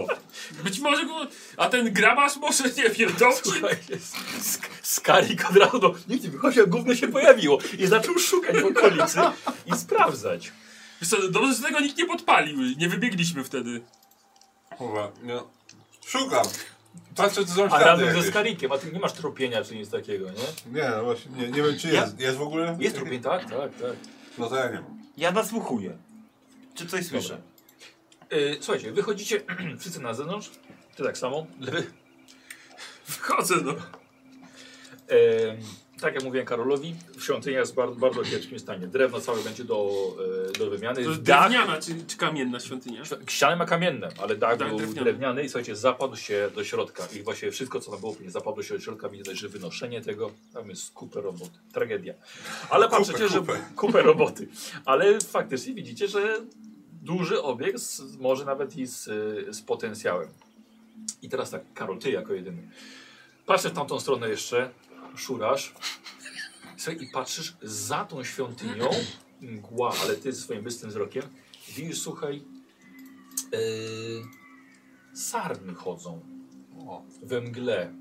[SPEAKER 5] Być może go... A ten grabarz może, nie wiem, dobrze?
[SPEAKER 1] Słuchajcie, sk- Skarik od razu do... Nikt nie wychodzi, a gówno się pojawiło. I zaczął szukać w okolicy i sprawdzać.
[SPEAKER 5] Wiesz co, dobrze, że tego nikt nie podpalił. Nie wybiegliśmy wtedy.
[SPEAKER 4] Kurwa, no. Szukam. Patrzę, czy są
[SPEAKER 1] A
[SPEAKER 4] ślady
[SPEAKER 1] razem ze
[SPEAKER 4] jakieś.
[SPEAKER 1] Skarikiem, a ty nie masz trupienia czy nic takiego, nie?
[SPEAKER 4] Nie, no właśnie, nie, nie wiem, czy
[SPEAKER 2] Ja-
[SPEAKER 4] jest. Jest w ogóle?
[SPEAKER 1] Jest trupień, tak, tak, tak.
[SPEAKER 4] No to ja nie mam.
[SPEAKER 2] Ja nasłuchuję. Czy coś słyszę?
[SPEAKER 1] Y, słuchajcie, wychodzicie wszyscy na zewnątrz, ty tak samo. Lewy.
[SPEAKER 5] Wchodzę, no.
[SPEAKER 1] Em, E, tak jak mówiłem Karolowi, świątynia jest w bardzo, bardzo kiepskim stanie. Drewno całe będzie do, e, do wymiany.
[SPEAKER 5] To jest
[SPEAKER 1] Dach-
[SPEAKER 5] drewniana czy, czy kamienna świątynia?
[SPEAKER 1] Ściany ma kamienne, ale dach
[SPEAKER 5] Dach
[SPEAKER 1] był
[SPEAKER 5] drewniany.
[SPEAKER 1] drewniany. i słuchajcie, zapadł się do środka. I właściwie wszystko, co tam było, nie zapadło się do środka, widać, że wynoszenie tego, tam jest kupę roboty. Tragedia. Ale
[SPEAKER 4] Kupę,
[SPEAKER 1] patrzycie, że
[SPEAKER 4] kupę.
[SPEAKER 1] kupę roboty. Ale faktycznie widzicie, że duży obiekt, z, może nawet i z, y, z potencjałem. I teraz tak, Karol, ty jako jedyny. Patrzę w tamtą stronę jeszcze, szurasz. Słuchaj, i patrzysz za tą świątynią, mgła, ale ty swoim bystrym wzrokiem, widzisz, słuchaj, yy, sarny chodzą we mgle,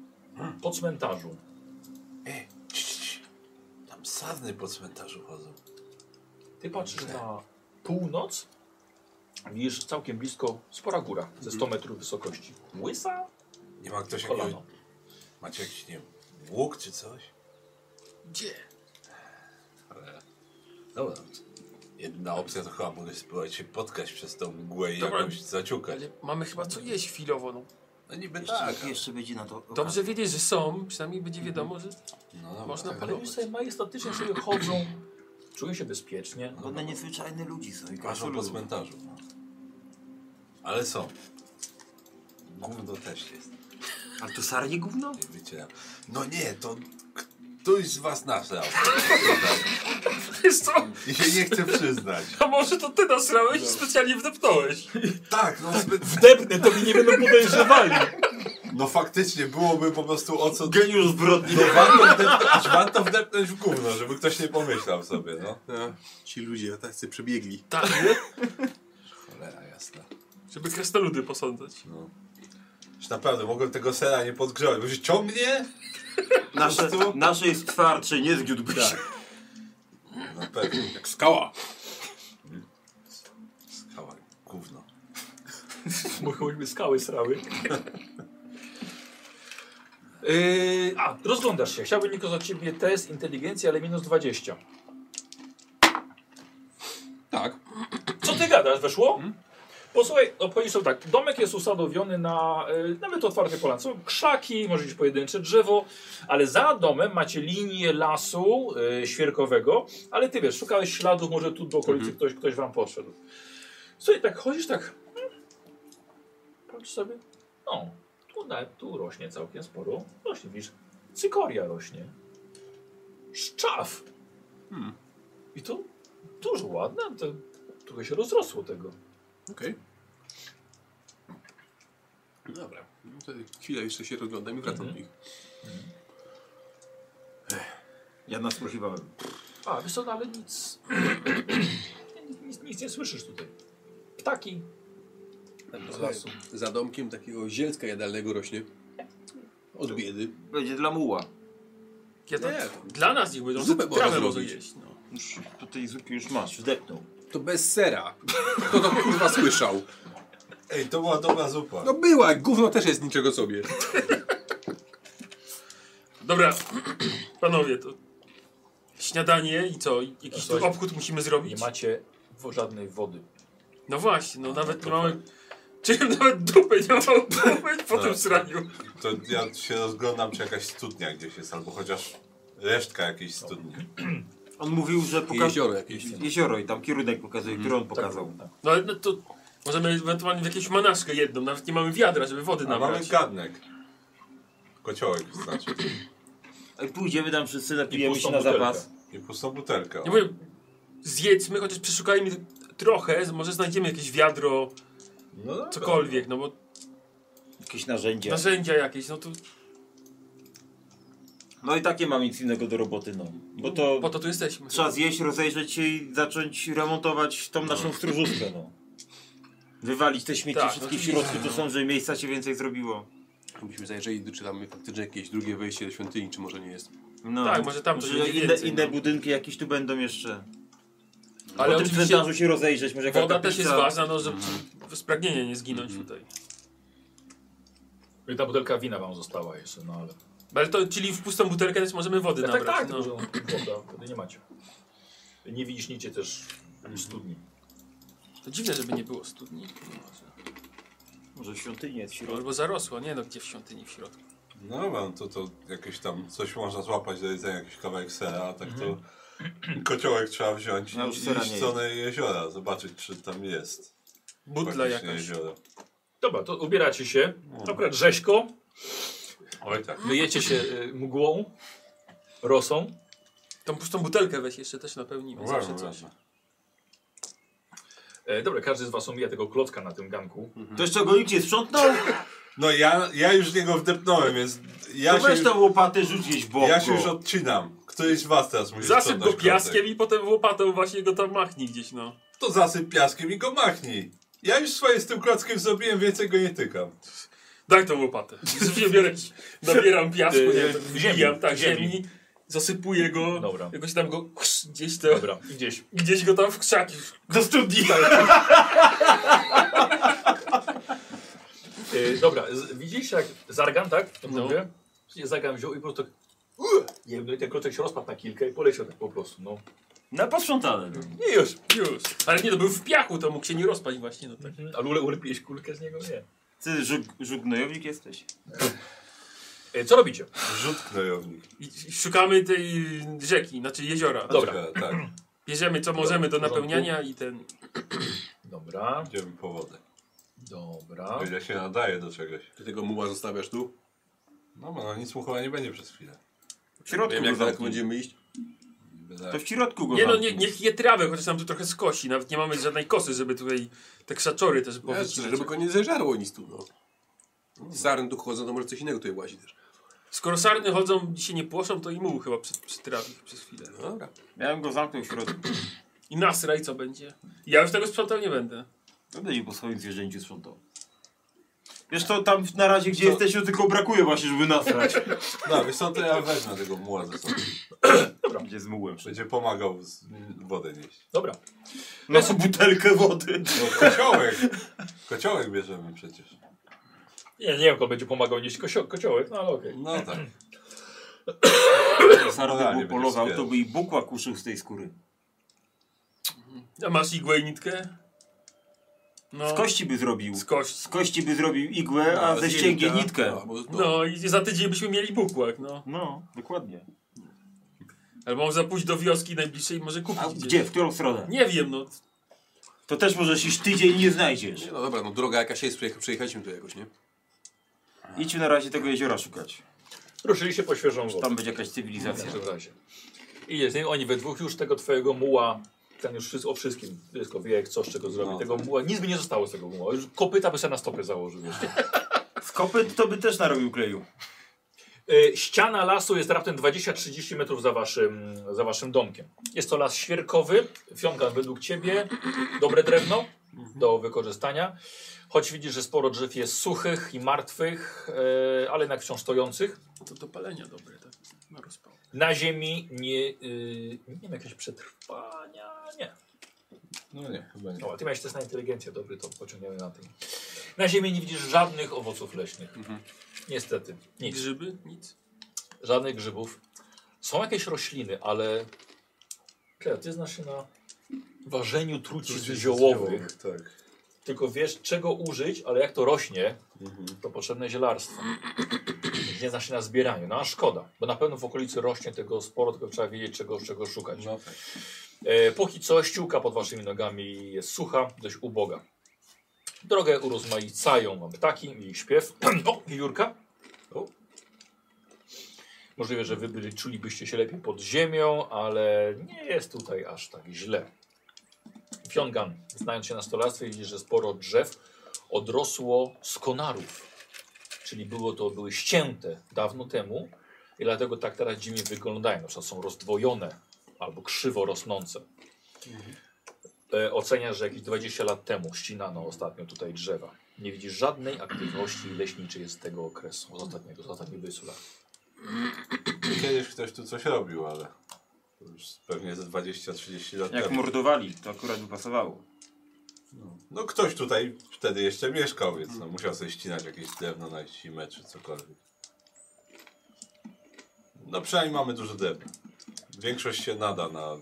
[SPEAKER 1] po cmentarzu.
[SPEAKER 4] Tam sarny po cmentarzu chodzą.
[SPEAKER 1] Ty patrzysz na północ, widzisz całkiem blisko spora góra, ze 100 metrów wysokości. Łysa?
[SPEAKER 4] Nie ma ktoś
[SPEAKER 1] Kolano.
[SPEAKER 4] jakiego... Macie jakiś, nie wiem, łuk czy coś?
[SPEAKER 1] Gdzie?
[SPEAKER 4] Dobra. Jedna opcja to chyba mogę spróbować się potkać przez tą mgłę i
[SPEAKER 5] Dobra.
[SPEAKER 4] jakoś zaciukać.
[SPEAKER 5] Ale mamy chyba co jeść chwilowo, no.
[SPEAKER 4] No niby tak. ale-
[SPEAKER 2] jeszcze będzie na to.
[SPEAKER 5] Dobrze wiedzieć, że są, przynajmniej będzie
[SPEAKER 3] Mhm.
[SPEAKER 5] wiadomo, że...
[SPEAKER 4] No, dobra,
[SPEAKER 5] Można
[SPEAKER 4] tak.
[SPEAKER 1] Ale już sobie majestatycznie sobie chodzą, czują się bezpiecznie.
[SPEAKER 2] Bo na niezwyczajne ludzi są.
[SPEAKER 4] Patrzą po cmentarzu. no. Ale są. Gówno też jest.
[SPEAKER 2] Ale to sarnie gówno?
[SPEAKER 4] Nie wycieram. No nie, to ktoś z was nasrał.
[SPEAKER 5] Wiesz co?
[SPEAKER 4] I się nie chce przyznać.
[SPEAKER 5] A może to ty nasrałeś i specjalnie wdepnąłeś?
[SPEAKER 4] Tak, no zbyt...
[SPEAKER 1] Depnę, to mi nie będą podejrzewali.
[SPEAKER 4] No faktycznie byłoby po prostu o co...
[SPEAKER 2] Geniusz zbrodni.
[SPEAKER 4] No warto wdepnąć, warto wdepnąć w gówno, żeby ktoś nie pomyślał sobie, no.
[SPEAKER 3] A, Ci ludzie, tacy przebiegli.
[SPEAKER 5] Tak, nie?
[SPEAKER 4] Cholera jasna.
[SPEAKER 5] Żeby krasnoludy posądzać.
[SPEAKER 4] Już naprawdę mogłem tego sera nie podgrzewać, bo się ciągnie?
[SPEAKER 2] Nasze,
[SPEAKER 4] prostu?
[SPEAKER 2] nasze jest twardsze, nie zgiódłby się.
[SPEAKER 4] Na pewno.
[SPEAKER 3] Jak skała.
[SPEAKER 1] Bo choćby skały srały. Yy, a, rozglądasz się. Chciałbym tylko za ciebie test inteligencji, ale minus 20.
[SPEAKER 4] Tak.
[SPEAKER 1] Co ty gadasz? Weszło? Posłuchaj, opowiedz sobie tak. Domek jest usadowiony na y, nawet otwarty polan. Są krzaki, może być pojedyncze drzewo, ale za domem macie linię lasu y, świerkowego, ale ty wiesz, szukałeś śladów, może tu do okolicy ktoś, ktoś wam podszedł. Słuchaj, tak chodzisz tak, hmm, patrz sobie, no, tu, na, tu rośnie całkiem sporo, rośnie, widzisz, cykoria rośnie, szczaw. I to dużo ładne, to trochę się rozrosło tego.
[SPEAKER 3] Okej. Dobra. No to chwilę jeszcze się rozglądam i wracam do nich.
[SPEAKER 2] Ja nas prosiwałem.
[SPEAKER 1] A, wiesz co, no ale nic, nic, nic nie słyszysz tutaj. Ptaki z lasu.
[SPEAKER 3] Za domkiem takiego zielska jadalnego rośnie. Od biedy.
[SPEAKER 2] Będzie dla muła.
[SPEAKER 5] Ja tam,
[SPEAKER 3] Nie.
[SPEAKER 5] Dla nas niech będą
[SPEAKER 3] Zupę
[SPEAKER 5] Zupę
[SPEAKER 3] można
[SPEAKER 5] trawę może
[SPEAKER 3] zrobić.
[SPEAKER 5] jeść. No.
[SPEAKER 2] Już do tej zupy już masz, wdepnął.
[SPEAKER 3] To bez sera. Kto to kurwa słyszał?
[SPEAKER 4] Ej, to była dobra zupa.
[SPEAKER 3] No była, gówno też jest niczego sobie.
[SPEAKER 5] Dobra, panowie, to śniadanie i co? I Jakiś tu
[SPEAKER 1] Słuchajcie,
[SPEAKER 5] obchód musimy
[SPEAKER 1] Nie
[SPEAKER 5] zrobić?
[SPEAKER 1] macie wo- żadnej wody.
[SPEAKER 5] No właśnie, no nawet nie mamy... Czym nawet dupy nie mamy umyć po
[SPEAKER 4] Tak.
[SPEAKER 5] tym sraniu.
[SPEAKER 4] To ja się rozglądam, czy jakaś studnia gdzieś jest, albo chociaż resztka jakiejś studni.
[SPEAKER 2] On mówił, że
[SPEAKER 3] I
[SPEAKER 2] pokazał.
[SPEAKER 3] Jezioro jakieś.
[SPEAKER 2] Jezioro i tam kierunek pokazuje, który on pokazał.
[SPEAKER 5] No ale no to możemy ewentualnie w jakąś manaszkę jedną, nawet nie mamy wiadra, żeby wody
[SPEAKER 4] A mamy
[SPEAKER 5] nabrać.
[SPEAKER 4] garnek. Kociołek znaczy.
[SPEAKER 2] Jak pójdziemy tam wszyscy, napijemy
[SPEAKER 1] pustą
[SPEAKER 2] się na
[SPEAKER 1] butelkę.
[SPEAKER 2] zapas.
[SPEAKER 4] I pustą butelkę.
[SPEAKER 5] Ja mówię, zjedzmy, chociaż przeszukajmy t- trochę, z- może znajdziemy jakieś wiadro,
[SPEAKER 4] No dobra.
[SPEAKER 5] cokolwiek, no bo
[SPEAKER 2] Jakieś narzędzia.
[SPEAKER 5] narzędzia jakieś, no to
[SPEAKER 2] No i takie mam nic innego do roboty, no. Bo to
[SPEAKER 5] po to tu jesteśmy.
[SPEAKER 2] trzeba zjeść, rozejrzeć się i zacząć remontować tą naszą stróżówkę, no. Wywalić te śmieci,
[SPEAKER 5] Tak,
[SPEAKER 2] wszystkie
[SPEAKER 5] oczywiście.
[SPEAKER 2] środki tu są, żeby miejsca się więcej zrobiło.
[SPEAKER 3] Musimy zajrzeć, czy tam faktycznie jakieś drugie wejście do świątyni, czy może nie jest.
[SPEAKER 2] No.
[SPEAKER 5] Tak, może tam coś będzie
[SPEAKER 2] inne,
[SPEAKER 5] więcej,
[SPEAKER 2] inne
[SPEAKER 5] no.
[SPEAKER 2] budynki jakieś tu będą jeszcze.
[SPEAKER 5] Ale
[SPEAKER 2] po tym
[SPEAKER 5] oczywiście
[SPEAKER 2] cmentarzu się rozejrzeć, może jakaś
[SPEAKER 5] woda też
[SPEAKER 2] kaplica.
[SPEAKER 5] jest ważna, no żeby z pragnienia nie zginąć tutaj.
[SPEAKER 1] Ta butelka wina wam została jeszcze, no ale...
[SPEAKER 5] Ale to, czyli w pustą butelkę też możemy wody
[SPEAKER 1] Tak, tak,
[SPEAKER 5] nabrać.
[SPEAKER 1] tak,
[SPEAKER 5] no.
[SPEAKER 1] no. woda, wtedy nie macie. Nie widzisz nic też w studni.
[SPEAKER 5] To dziwne, żeby nie było studni.
[SPEAKER 2] Może świątynia jest w
[SPEAKER 5] No,
[SPEAKER 2] środku.
[SPEAKER 5] Albo zarosła, nie no, gdzie w świątyni w środku.
[SPEAKER 4] No dobra, no to, to jakieś tam coś można złapać do jedzenia, jakiś kawałek sera, a tak to
[SPEAKER 5] Mhm.
[SPEAKER 4] kociołek trzeba wziąć
[SPEAKER 2] Ja
[SPEAKER 4] i
[SPEAKER 2] No, już sera
[SPEAKER 4] iść
[SPEAKER 2] nie
[SPEAKER 4] w stronę jeziora, zobaczyć czy tam jest
[SPEAKER 5] Butla
[SPEAKER 4] faktycznie
[SPEAKER 5] jakaś.
[SPEAKER 4] jezioro.
[SPEAKER 1] Dobra, to ubieracie się, akurat rzeźko,
[SPEAKER 4] Oj tak.
[SPEAKER 1] myjecie się y, mgłą, rosą.
[SPEAKER 5] Tą pustą butelkę weź jeszcze też napełnimy,
[SPEAKER 4] Ładno,
[SPEAKER 5] zawsze coś.
[SPEAKER 4] ładno.
[SPEAKER 1] E, dobra, każdy z was omija tego klocka na tym ganku.
[SPEAKER 2] To jeszcze go nikt nie sprzątnął?
[SPEAKER 4] No ja, ja już w niego wdepnąłem, więc ja
[SPEAKER 2] to
[SPEAKER 4] się
[SPEAKER 2] weź
[SPEAKER 4] już,
[SPEAKER 2] tą łopatę, rzuć gdzieś w bok.
[SPEAKER 4] ja się już odcinam. Któryś z was teraz musi
[SPEAKER 5] Zasyp
[SPEAKER 4] sprzątać
[SPEAKER 5] go piaskiem
[SPEAKER 4] klocek.
[SPEAKER 5] i potem łopatą właśnie go tam machnij gdzieś, no.
[SPEAKER 4] To zasyp piaskiem i go machnij. Ja już swoje z tym klockiem zrobiłem, więcej go nie tykam.
[SPEAKER 5] Daj tą łopatę. Sobie biorę, nabieram piasku,
[SPEAKER 1] Yy,
[SPEAKER 5] nie wiem,
[SPEAKER 1] ziemi,
[SPEAKER 5] wbijam, tak,
[SPEAKER 1] ziemi.
[SPEAKER 5] ziemi. zasypuję go,
[SPEAKER 1] Dobra.
[SPEAKER 5] jakoś tam go chsz, gdzieś to,
[SPEAKER 1] Dobra, i gdzieś.
[SPEAKER 5] gdzieś go tam w krzaki. Tak,
[SPEAKER 2] Do studni.
[SPEAKER 1] E, dobra, z, widzieliście jak Zargan, tak? To
[SPEAKER 5] No.
[SPEAKER 1] mówię? Zargan wziął i po prostu tak... Uuu! Jebnął i ten klocek się rozpadł na kilka i poleciał tak po prostu, no.
[SPEAKER 2] Na posprzątane. no.
[SPEAKER 5] Nie już, już. Ale nie, to był w piachu, to mógł się nie rozpaść właśnie, no tak.
[SPEAKER 1] A Lule ulepiłeś kulkę z niego? Nie.
[SPEAKER 2] Ty żuk, żuk gnojownik jesteś?
[SPEAKER 1] E, co robicie?
[SPEAKER 4] Rzut knojownik.
[SPEAKER 5] I, i szukamy tej rzeki, znaczy jeziora.
[SPEAKER 1] Dobra.
[SPEAKER 4] Czeka, tak,
[SPEAKER 5] Bierzemy co możemy do
[SPEAKER 1] w porządku.
[SPEAKER 5] napełniania i ten...
[SPEAKER 1] Dobra,
[SPEAKER 4] idziemy po wodę.
[SPEAKER 1] dobra.
[SPEAKER 4] O ile się nadaje do czegoś.
[SPEAKER 3] Ty tego muła zostawiasz tu?
[SPEAKER 4] No bo no, nic mu chyba nie będzie przez chwilę.
[SPEAKER 2] W środku
[SPEAKER 3] Wiem
[SPEAKER 2] go
[SPEAKER 3] jak daleko
[SPEAKER 2] zamknij.
[SPEAKER 3] będziemy iść.
[SPEAKER 2] To w środku go
[SPEAKER 5] Nie no,
[SPEAKER 2] zamknij.
[SPEAKER 5] nie, niech je trawę, chociaż nam tu trochę skosi. Nawet nie mamy żadnej kosy, żeby tutaj te krzaczory też
[SPEAKER 3] Ja,
[SPEAKER 5] powiedzieć.
[SPEAKER 3] żeby go nie zeżarło nic tu, no. Zarn tu chodzą, to może coś innego tutaj łazi też.
[SPEAKER 5] Skoro sarny chodzą i się nie płoszą, to i muł chyba przy- przytrawi przez chwilę.
[SPEAKER 3] No Dobra.
[SPEAKER 2] Ja bym go zamknął w środku.
[SPEAKER 5] I nasraj co będzie. Ja już tego sprzątał nie będę.
[SPEAKER 2] To będzie po swoim zwierzęciu sprzątał. Wiesz to tam na razie gdzie jesteś, to tylko brakuje właśnie, żeby nasrać.
[SPEAKER 4] No, wiesz co, to ja wezmę tego muła ze sobą.
[SPEAKER 1] Dobra,
[SPEAKER 2] Gdzie zmógłem przecież.
[SPEAKER 4] Będzie pomagał z, wodę nieść.
[SPEAKER 1] dobra.
[SPEAKER 2] No butelkę wody.
[SPEAKER 4] No, kociołek! kociołek bierzemy przecież.
[SPEAKER 1] Nie, nie wiem, kto będzie pomagał nieść kosio- kociołek, no ale okej.
[SPEAKER 4] No tak.
[SPEAKER 2] Sarny
[SPEAKER 4] Realnie
[SPEAKER 2] był polował,
[SPEAKER 4] będzie
[SPEAKER 2] to by i bukła kuszył z tej skóry.
[SPEAKER 5] A masz igłę i nitkę? No,
[SPEAKER 2] Z kości by zrobił.
[SPEAKER 5] Z kości.
[SPEAKER 2] Z kości by zrobił igłę, a ze ścięgien nitkę.
[SPEAKER 5] No i za tydzień byśmy mieli bukłak, no.
[SPEAKER 2] No, dokładnie.
[SPEAKER 5] Albo można pójść do wioski najbliższej i może kupić
[SPEAKER 2] A
[SPEAKER 5] gdzieś.
[SPEAKER 2] gdzie? W którą stronę?
[SPEAKER 5] Nie wiem, no.
[SPEAKER 2] To też możesz iść tydzień nie znajdziesz.
[SPEAKER 3] Nie, no dobra, no droga jakaś jest, przyjecha- przyjechaliśmy tu jakoś, nie?
[SPEAKER 2] Idźmy na razie tego jeziora szukać.
[SPEAKER 1] Ruszyli się po świeżą wodę.
[SPEAKER 2] Tam będzie jakaś cywilizacja.
[SPEAKER 1] W tym razie. I jest, nie? oni we dwóch już tego twojego muła, ten już wszystko, o wszystkim, tylko wie jak co z czego zrobi.
[SPEAKER 4] No,
[SPEAKER 1] tego muła, nic by nie zostało z tego muła. Już kopyta by sobie na stopę założył jeszcze.
[SPEAKER 2] Z kopyt to by też narobił kleju.
[SPEAKER 1] E, Ściana lasu jest raptem 20-30 metrów za waszym, za waszym domkiem. Jest to las świerkowy. Fiomka, według ciebie dobre drewno do wykorzystania. Choć widzisz, że sporo drzew jest suchych i martwych, e, ale jednak wciąż stojących.
[SPEAKER 5] To do palenia dobre, tak? Na rozpał.
[SPEAKER 1] Na ziemi nie, y, nie wiem, jakieś przetrwania. Nie.
[SPEAKER 4] No nie, chyba nie.
[SPEAKER 1] O, ty miałeś też na inteligencję, dobry, to pociągniemy na tym. Na ziemi nie widzisz żadnych owoców leśnych.
[SPEAKER 4] Mhm.
[SPEAKER 1] Niestety. Nic.
[SPEAKER 5] Grzyby? Nic.
[SPEAKER 1] Żadnych grzybów. Są jakieś rośliny, ale. Kleja, ty znasz się na ważeniu trucizn ziołowych.
[SPEAKER 4] Tak.
[SPEAKER 1] Tylko wiesz, czego użyć, ale jak to rośnie,
[SPEAKER 4] Mhm.
[SPEAKER 1] to potrzebne zielarstwo. Nie znasz się na zbieraniu. No a szkoda, bo na pewno w okolicy rośnie tego sporo, tylko trzeba wiedzieć, czego, czego szukać.
[SPEAKER 4] No tak.
[SPEAKER 1] E, póki co ściółka pod waszymi nogami jest sucha, dość uboga. Drogę urozmaicają wam ptaki i ich śpiew. o, Jurka. O. Możliwe, że wy byli, czulibyście się lepiej pod ziemią, ale nie jest tutaj aż tak źle. Fiongan, znając się na stolarstwie, widzi, że sporo drzew odrosło z konarów. Czyli było to, były ścięte dawno temu i dlatego tak teraz dziwnie wyglądają. Na przykład są rozdwojone albo krzywo rosnące. E, oceniasz, że jakieś 20 lat temu ścinano ostatnio tutaj drzewa. Nie widzisz żadnej aktywności leśniczej z tego okresu, z ostatniego, z ostatnich 20 lat.
[SPEAKER 4] Kiedyś ktoś tu coś robił, ale to już pewnie ze 20-30 lat
[SPEAKER 2] Jak
[SPEAKER 4] temu.
[SPEAKER 2] mordowali, to akurat by pasowało.
[SPEAKER 4] No ktoś tutaj wtedy jeszcze mieszkał, więc no, musiał sobie ścinać jakieś drewno na zimę czy cokolwiek. No przynajmniej mamy dużo drewna. Większość się nada na